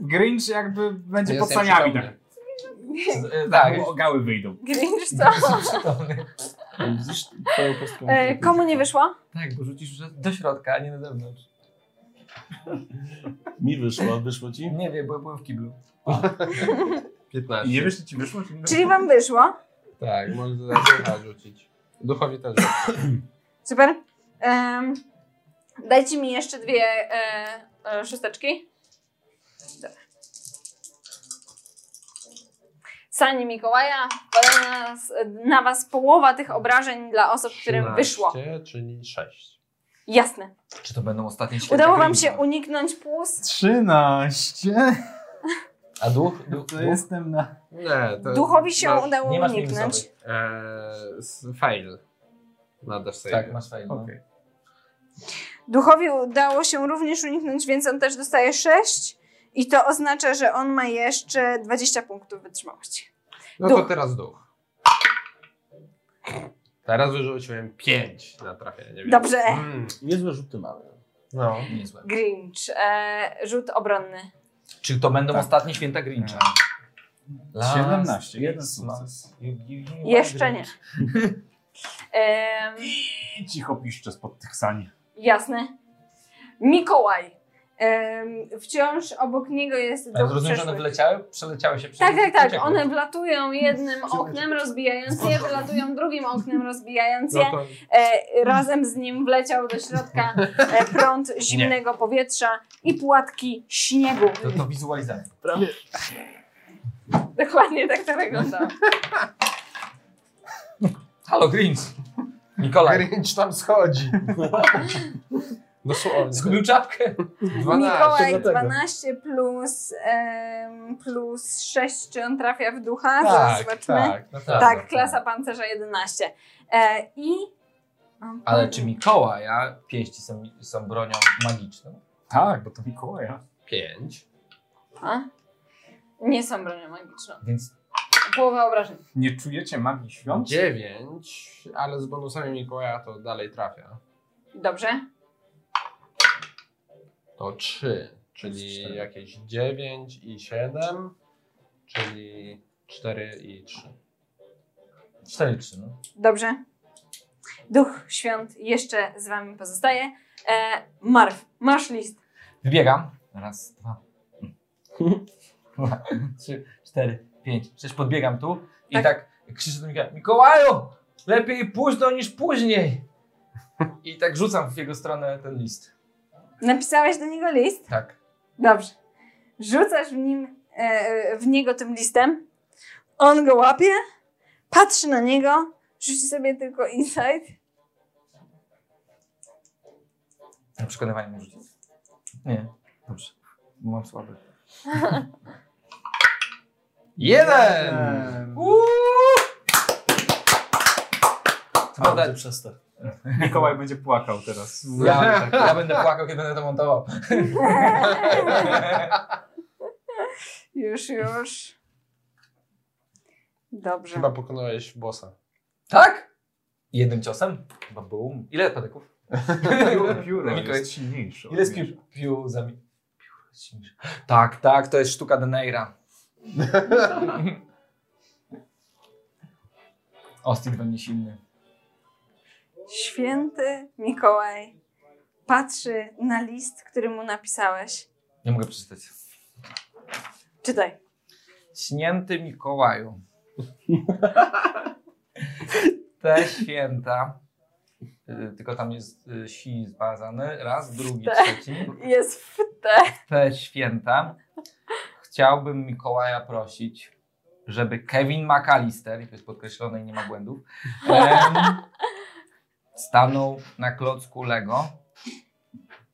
Speaker 42: Grinch jakby będzie
Speaker 23: Jest
Speaker 42: pod saniami.
Speaker 23: nieprzytomny.
Speaker 42: Tak.
Speaker 23: Tak,
Speaker 42: Bo gały wyjdą.
Speaker 4: Grinch co?
Speaker 23: No,
Speaker 4: E, komu nie wyszło?
Speaker 23: Tak, bo rzucisz do środka, a nie na zewnątrz.
Speaker 34: Mi wyszło, wyszło ci?
Speaker 23: Nie wiem, bo ja byłem w kiblu.
Speaker 2: 15.
Speaker 6: I nie wiesz, czy ci wyszło? Czy nie
Speaker 4: Czyli wam wyszło.
Speaker 2: Tak, może za ducha rzucić. Duchowi też.
Speaker 4: Super. Em, dajcie mi jeszcze dwie e, e, szósteczki. Dobra. Sanie Mikołaja, wpada na, nas- na was połowa tych obrażeń dla osób, *laughs* którym wyszło.
Speaker 2: 13, czyli 6.
Speaker 4: Jasne.
Speaker 23: Czy to będą ostatnie święta
Speaker 4: Udało wam
Speaker 23: Grincha?
Speaker 4: się uniknąć pust.
Speaker 42: 13.
Speaker 6: *laughs*
Speaker 23: A duch? duch,
Speaker 42: To
Speaker 23: duch?
Speaker 42: jestem na...
Speaker 2: Nie, to
Speaker 4: Duchowi się
Speaker 2: masz-
Speaker 4: udało
Speaker 23: nie masz
Speaker 4: uniknąć.
Speaker 2: Eee, s- fail. Nadasz sobie.
Speaker 23: Tak, masz fajne.
Speaker 2: No.
Speaker 42: Okej.
Speaker 4: Duchowi udało się również uniknąć, więc on też dostaje 6. I to oznacza, że on ma jeszcze 20 punktów wytrzymałości.
Speaker 2: No to
Speaker 4: Duch.
Speaker 2: teraz duch. Teraz wyrzuciłem 5 na trafienie. więc-
Speaker 4: Dobrze.
Speaker 2: Mm,
Speaker 34: Niezłe rzuty mamy.
Speaker 2: no.
Speaker 23: Niezłe.
Speaker 4: Grinch, e, rzut obronny.
Speaker 23: Czy to będą
Speaker 42: Tak.
Speaker 23: ostatnie święta Grincha? Last
Speaker 42: 17, jeden
Speaker 23: Christmas.
Speaker 42: sukces.
Speaker 23: You give me one
Speaker 4: Jeszcze nie.
Speaker 23: Grinch.
Speaker 42: *laughs*
Speaker 4: Em,
Speaker 42: I cicho piszcze spod tych sani.
Speaker 4: jasne. Mikołaj. Em, wciąż obok niego jest
Speaker 23: Ale
Speaker 4: duch
Speaker 23: Rozumiem, że one
Speaker 4: przeszłych.
Speaker 23: wyleciały, przeleciały się
Speaker 4: Tak,
Speaker 23: przez-
Speaker 4: tak, tak.
Speaker 23: uciekły.
Speaker 4: One wlatują jednym oknem, rozbijając je, wylatują drugim oknem,
Speaker 42: *laughs*
Speaker 4: rozbijając je.
Speaker 2: No to
Speaker 4: E, razem z nim wleciał do środka e, prąd zimnego powietrza i płatki śniegu.
Speaker 23: To, to wizualizacja.
Speaker 4: Dokładnie tak to wygląda.
Speaker 23: Halo Grinch!
Speaker 2: *laughs*
Speaker 23: Nikolaj,
Speaker 2: Grinch tam
Speaker 23: *laughs*
Speaker 2: schodzi. Dosłownie.
Speaker 23: zgubił czapkę?
Speaker 2: 12.
Speaker 4: Mikołaj 12 plus, em, plus 6, czy on trafia w ducha? Zaraz
Speaker 2: Tak,
Speaker 4: zobaczmy. Tak,
Speaker 23: no
Speaker 2: tak, naprawdę.
Speaker 4: klasa pancerza 11. E, I.
Speaker 23: Ale czy Mikołaja pięści są, są bronią magiczną?
Speaker 42: Tak, bo to Mikołaja.
Speaker 2: 5.
Speaker 4: A? Nie są bronią magiczną.
Speaker 23: Więc
Speaker 4: Połowa obrażeń.
Speaker 42: Nie czujecie magii świąt?
Speaker 2: 9, ale z bonusami Mikołaja to dalej trafia.
Speaker 4: Dobrze.
Speaker 2: To 3, czyli
Speaker 42: cztery.
Speaker 2: jakieś 9 i 7, czyli 4 i 3.
Speaker 23: 4-3, no.
Speaker 4: Dobrze. Duch świąt jeszcze z wami pozostaje. E, Marw, masz list.
Speaker 23: Wybiegam. Raz, dwa, dwa, trzy, cztery, pięć, sześć. Podbiegam tu i tak,
Speaker 4: Tak.
Speaker 23: krzyczę do Mikołaja. Mikołaju! Lepiej późno niż później! I tak rzucam w jego stronę ten list.
Speaker 4: Napisałeś do niego list?
Speaker 23: Tak.
Speaker 4: Dobrze. Rzucasz w, nim, e, e, w niego tym listem. On go łapie, patrzy na niego, rzuci sobie tylko insight.
Speaker 23: Na przekonywanie mu rzucić. Nie. Dobrze. Bo mam słaby.
Speaker 2: 1!
Speaker 23: Co prawda,
Speaker 34: przestań.
Speaker 42: Mikołaj będzie płakał teraz.
Speaker 23: ja, ja będę płakał, kiedy będę to montował.
Speaker 4: Już, już. Dobrze.
Speaker 2: Chyba pokonałeś bossa.
Speaker 23: Tak? Jednym ciosem? Chyba boom. Ile *laughs* patyków?
Speaker 6: Pióro
Speaker 23: Mikołaj-
Speaker 6: jest silniejsze.
Speaker 23: Ile jest pił? Pił za mi... pióro jest silniejsze. Tak, tak, to jest sztuka Deneira. *laughs* Ostik we mnie silny.
Speaker 4: Święty Mikołaj patrzy na list, który mu napisałeś.
Speaker 23: Nie mogę przeczytać.
Speaker 4: Czytaj.
Speaker 23: Śnięty Mikołaju. Te święta. y, Tylko tam jest y, si zbazany. Raz, drugi, trzeci.
Speaker 4: Jest w te.
Speaker 23: te święta chciałbym Mikołaja prosić, żeby Kevin McAllister, i to jest podkreślone i nie ma błędów, em, stanął na klocku Lego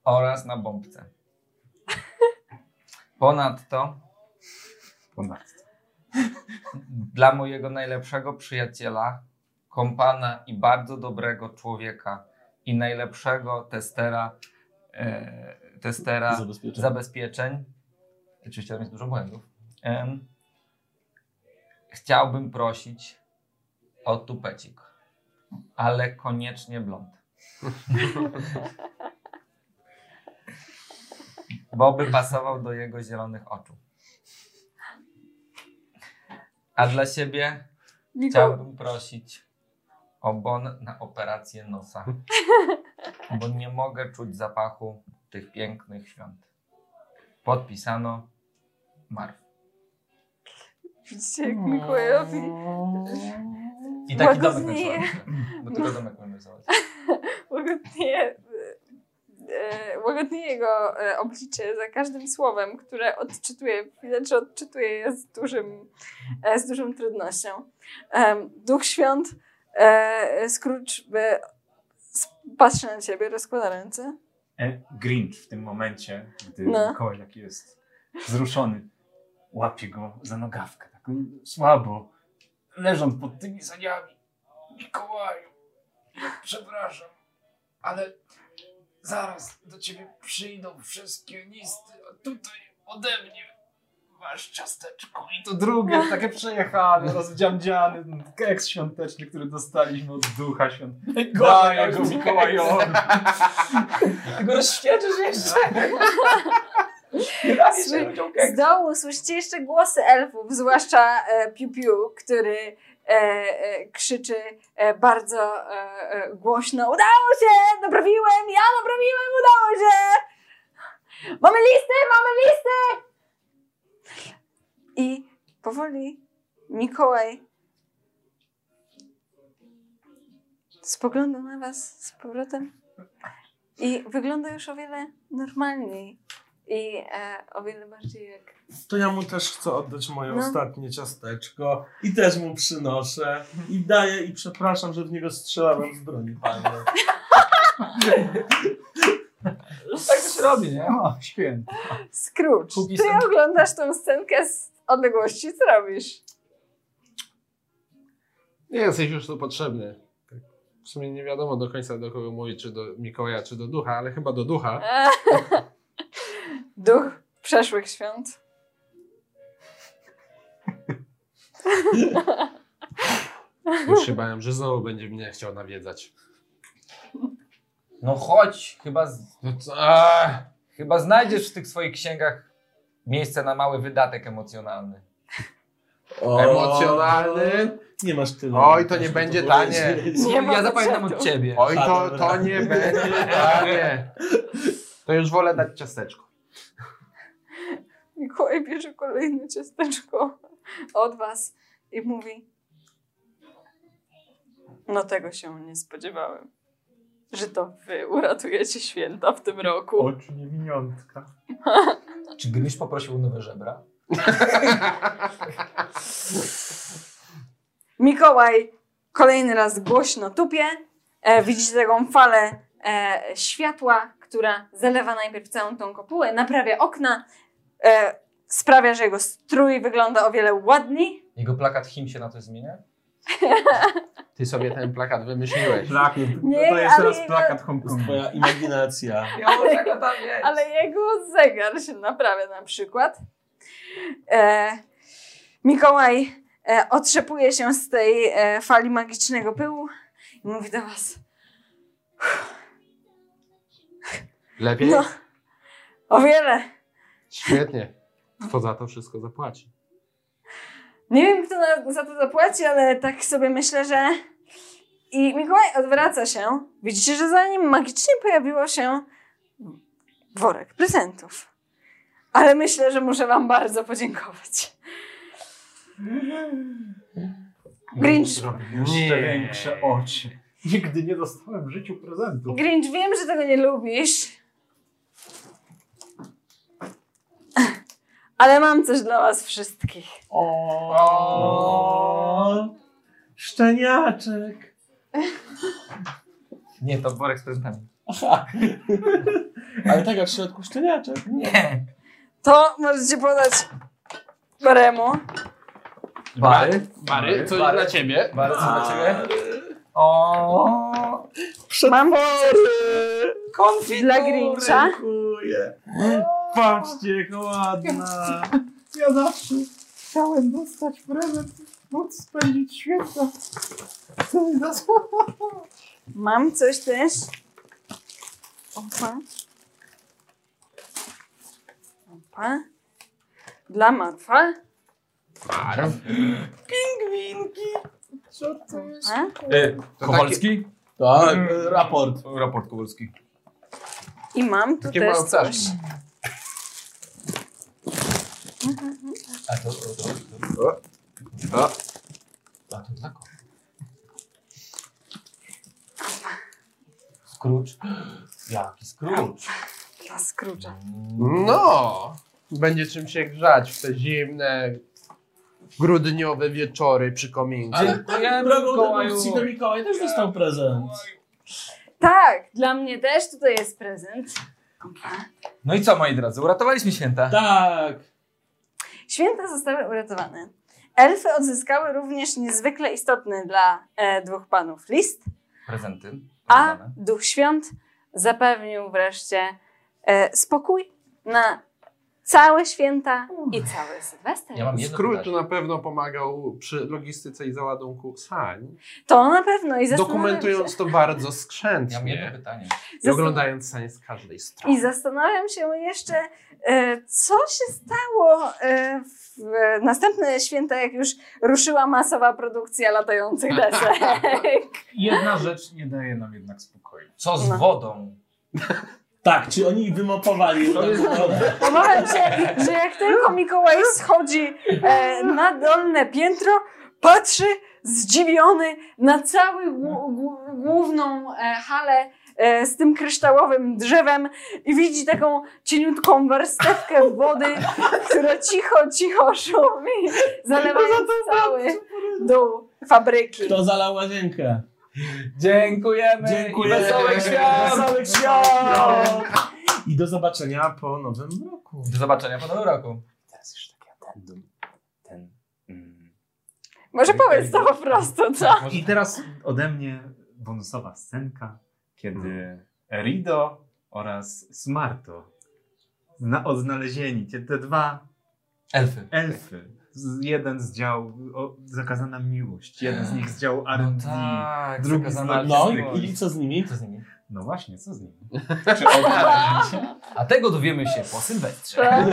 Speaker 23: oraz na bombce. Ponadto
Speaker 42: Ponadto.
Speaker 23: dla mojego najlepszego przyjaciela, kompana i bardzo dobrego człowieka i najlepszego testera, e, testera
Speaker 34: Zabezpieczenie.
Speaker 23: zabezpieczeń. Oczywiście tam jest dużo błędów. Em, Chciałbym prosić o tupecik, ale koniecznie blond. Bo by pasował do jego zielonych oczu. A dla siebie chciałbym prosić o bon na operację nosa, bo nie mogę czuć zapachu tych pięknych świąt. Podpisano Marw.
Speaker 4: Widzicie, jak Mikołajowi
Speaker 23: I taki domek
Speaker 4: Łagodnieje.
Speaker 23: narysował. Bo tylko domek mamy rysować.
Speaker 4: łagodnieje, e, łagodnieje jego e, oblicze za każdym słowem, które odczytuje, widać, że odczytuje je z, dużym, e, z dużą trudnością. Em, Duch Świąt, e, Scrooge e, s- patrzy na ciebie, rozkłada ręce.
Speaker 44: E, Grinch w tym momencie, gdy
Speaker 4: No.
Speaker 44: Mikołaj taki jest wzruszony, łapie go za nogawkę, tak słabo, leżąc pod tymi saniami.
Speaker 3: Mikołaju, ja przepraszam, ale zaraz do ciebie przyjdą wszystkie listy, a tutaj ode mnie masz ciasteczko i
Speaker 6: To drugie, takie przejechane, rozdziamdziany, ten keks świąteczny, który dostaliśmy od ducha świątecznego. Daję go Mikołajowi.
Speaker 3: Tylko rozświeżysz jeszcze.
Speaker 23: *laughs*
Speaker 3: Raz jeszcze ludziom
Speaker 4: Z dołu słyszycie jeszcze głosy elfów, zwłaszcza e, Piu Piu, który e, e, krzyczy e, bardzo e, e, głośno Udało się! Naprawiłem! Ja naprawiłem! Udało się! Mamy listy! Mamy listy! I powoli Mikołaj spogląda na was z powrotem i wygląda już o wiele normalniej i e, o wiele bardziej jak
Speaker 5: To ja mu też chcę oddać moje
Speaker 4: No.
Speaker 5: ostatnie ciasteczko i też mu przynoszę i daję i przepraszam, że w niego strzelałem z broni palnej.
Speaker 23: Tak to się robi, nie?
Speaker 6: O, święty.
Speaker 4: Scrooge,
Speaker 6: Póki
Speaker 4: ty
Speaker 6: są-
Speaker 4: oglądasz tą scenkę z odległości, co robisz?
Speaker 2: Nie jesteś już tu potrzebny. Tak. W sumie nie wiadomo do końca do kogo mówi, czy do Mikołaja, czy do ducha, ale chyba do
Speaker 4: *laughs*
Speaker 2: ducha.
Speaker 4: Duch przeszłych świąt.
Speaker 2: Już się bałem, że znowu będzie mnie chciał nawiedzać.
Speaker 23: No chodź, chyba, z...
Speaker 2: No
Speaker 23: chyba znajdziesz w tych swoich księgach miejsce na mały wydatek emocjonalny.
Speaker 2: Emocjonalny.
Speaker 5: Nie masz tyle.
Speaker 2: Oj, to nie
Speaker 5: Muszę
Speaker 2: będzie
Speaker 5: powiedzieć.
Speaker 2: tanie.
Speaker 23: Nie ma Ja zapamiętam budżetu. od ciebie.
Speaker 2: Oj,
Speaker 5: A,
Speaker 2: to,
Speaker 5: dobra.
Speaker 2: to nie będzie
Speaker 23: *laughs*
Speaker 2: tanie. To już wolę dać ciasteczko.
Speaker 4: Mikołaj bierze kolejne ciasteczko od was i mówi No tego się nie spodziewałem, że to wy uratujecie święta w tym roku.
Speaker 6: Oczy nie miniątka.
Speaker 23: Czy Gryś poprosił o nowe żebra?
Speaker 4: Mikołaj kolejny raz głośno tupie. E, widzicie taką falę e, światła, która zalewa najpierw całą tą kopułę, naprawia okna, e, sprawia, że jego strój wygląda o wiele ładniej.
Speaker 23: Jego plakat him się na to zmienia?
Speaker 2: Ty sobie ten plakat wymyśliłeś.
Speaker 5: Plakat.
Speaker 4: Nie,
Speaker 5: No to jest
Speaker 4: ale
Speaker 5: teraz
Speaker 4: jego-
Speaker 5: plakat Hongkongu. Twoja imaginacja.
Speaker 4: Ale, ale jego zegar się naprawia na przykład. E, Mikołaj e, otrzepuje się z tej e, fali magicznego pyłu i mówi do was
Speaker 2: Lepiej?
Speaker 4: No. o wiele.
Speaker 2: Świetnie. Kto za to wszystko zapłaci?
Speaker 4: Nie wiem, kto na, za to zapłaci, ale tak sobie myślę, że. I Mikołaj odwraca się. Widzicie, że za nim magicznie pojawiło się worek prezentów. Ale myślę, że muszę Wam bardzo podziękować. Grinch.
Speaker 6: Jeszcze większe oczy. Nigdy nie dostałem w życiu prezentu.
Speaker 4: Grinch, wiem, że tego nie lubisz. Ale mam coś dla Was wszystkich.
Speaker 5: O, szczeniaczek.
Speaker 23: Nie, to worek z prezentami.
Speaker 5: Aha. Ale tak, a w środku szczeniaczek. Nie.
Speaker 4: To możecie podać Baremu.
Speaker 23: Bary?
Speaker 2: Bary, coś dla ciebie.
Speaker 23: Bary, coś dla ciebie?
Speaker 4: O, Mam konfitury dla Grincha.
Speaker 5: Dziękuję. Patrzcie, jaka ładna.
Speaker 6: Ja zawsze chciałem dostać prezent.
Speaker 45: Noc spędzić świetna. Co mi da
Speaker 4: Mam coś też. Opa. Opa. Dla Marfa.
Speaker 2: Marw.
Speaker 4: Pingwinki.
Speaker 45: Co to jest?
Speaker 23: E,
Speaker 2: To
Speaker 23: Kowalski?
Speaker 5: Tak,
Speaker 23: Mm.
Speaker 5: raport.
Speaker 23: Raport Kowalski.
Speaker 4: I mam tu
Speaker 23: Takie
Speaker 4: też
Speaker 23: małe
Speaker 4: coś.
Speaker 23: ptaszki.
Speaker 4: Mhm, mhm.
Speaker 23: A to, to, to. A. A to dla kogo?
Speaker 5: *gasps*
Speaker 23: Scrooge? Jaki Scrooge?
Speaker 4: Dla Scrooge'a.
Speaker 2: No! Będzie czym się grzać w te zimne, grudniowe wieczory przy kominku.
Speaker 5: Ale tak
Speaker 23: to ja
Speaker 5: drogą
Speaker 4: Mikołaju-
Speaker 5: dedukcji to Mikołaj też dostał prezent.
Speaker 4: Tak, dla mnie też tutaj jest prezent.
Speaker 23: No i co, moi drodzy, uratowaliśmy święta.
Speaker 5: Tak.
Speaker 4: Święta zostały uratowane. Elfy odzyskały również niezwykle istotny dla e, dwóch panów list,
Speaker 23: Prezenty.
Speaker 4: a Duch Świąt zapewnił wreszcie e, spokój na całe święta i cały Sylwester.
Speaker 2: Scrooge na pewno pomagał przy logistyce i załadunku sań,
Speaker 4: To na pewno i zastanawiam
Speaker 2: dokumentując
Speaker 4: się,
Speaker 2: to bardzo skrzętnie i
Speaker 4: Zastan-
Speaker 2: oglądając sań z każdej strony.
Speaker 4: I zastanawiam się jeszcze, e, co się stało e, w e, następne święta, jak już ruszyła masowa produkcja latających desek. *laughs*
Speaker 45: Jedna rzecz nie daje nam jednak spokoju.
Speaker 23: Co z wodą?
Speaker 5: Tak, czy oni wymopowali?
Speaker 4: Obawiam się, że jak tylko Mikołaj schodzi e, na dolne piętro, patrzy zdziwiony na całą główną e, halę e, z tym kryształowym drzewem i widzi taką cieniutką warstewkę wody, która cicho, cicho szumi, zalewając cały dół fabryki.
Speaker 5: Kto zalał łazienkę?
Speaker 23: Dziękujemy.
Speaker 5: Dziękujemy.
Speaker 23: i Wesołych świąt.
Speaker 5: Wesołych świąt. I do zobaczenia po nowym roku.
Speaker 23: Do zobaczenia po nowym roku.
Speaker 4: Może powiedz to po prostu, co?
Speaker 6: I teraz ode mnie bonusowa scenka, kiedy
Speaker 23: Mhm.
Speaker 6: Rido oraz Smarto na odnalezieni, te, te dwa
Speaker 23: elfy.
Speaker 6: elfy. Z, jeden z działu o, Zakazana Miłość, jeden z nich z działu R&D,
Speaker 23: No tak,
Speaker 6: drugi z
Speaker 23: Zakazana
Speaker 5: No
Speaker 6: logistyki.
Speaker 5: i co z nimi?
Speaker 23: Co z nimi?
Speaker 6: No właśnie, co z nimi?
Speaker 23: Czy odnaleźć? A tego dowiemy się po
Speaker 4: Tak.
Speaker 23: Sylwestrze.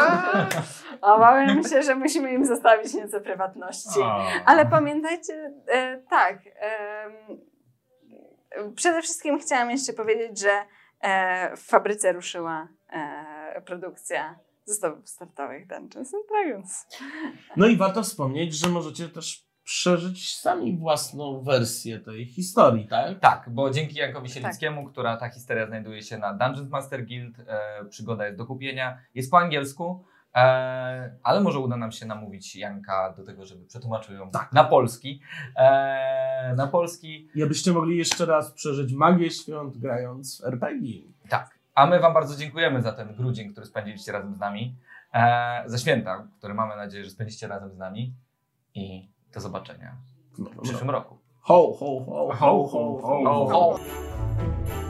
Speaker 4: *laughs* Obawiam się, że musimy im zostawić nieco prywatności.
Speaker 23: A.
Speaker 4: Znaczy, Ale pamiętajcie, e, tak. em, przede wszystkim chciałam jeszcze powiedzieć, że e, w fabryce ruszyła e, produkcja zestawów startowych Dungeons and Dragons.
Speaker 5: No i warto wspomnieć, że możecie też przeżyć sami własną wersję tej historii, tak?
Speaker 23: Tak, bo dzięki Jankowi Sielickiemu, która ta historia znajduje się na Dungeons Master Guild, e, przygoda jest do kupienia, jest po angielsku, e, ale może uda nam się namówić Janka do tego, żeby przetłumaczył ją na polski. E, na polski.
Speaker 5: I abyście mogli jeszcze raz przeżyć magię świąt grając w RPG.
Speaker 23: Tak. A my Wam bardzo dziękujemy za ten grudzień, który spędziliście razem z nami, e, za święta, które mamy nadzieję, że spędzicie razem z nami i do zobaczenia w przyszłym roku.
Speaker 5: Ho, ho, ho, ho, ho, ho.
Speaker 23: ho.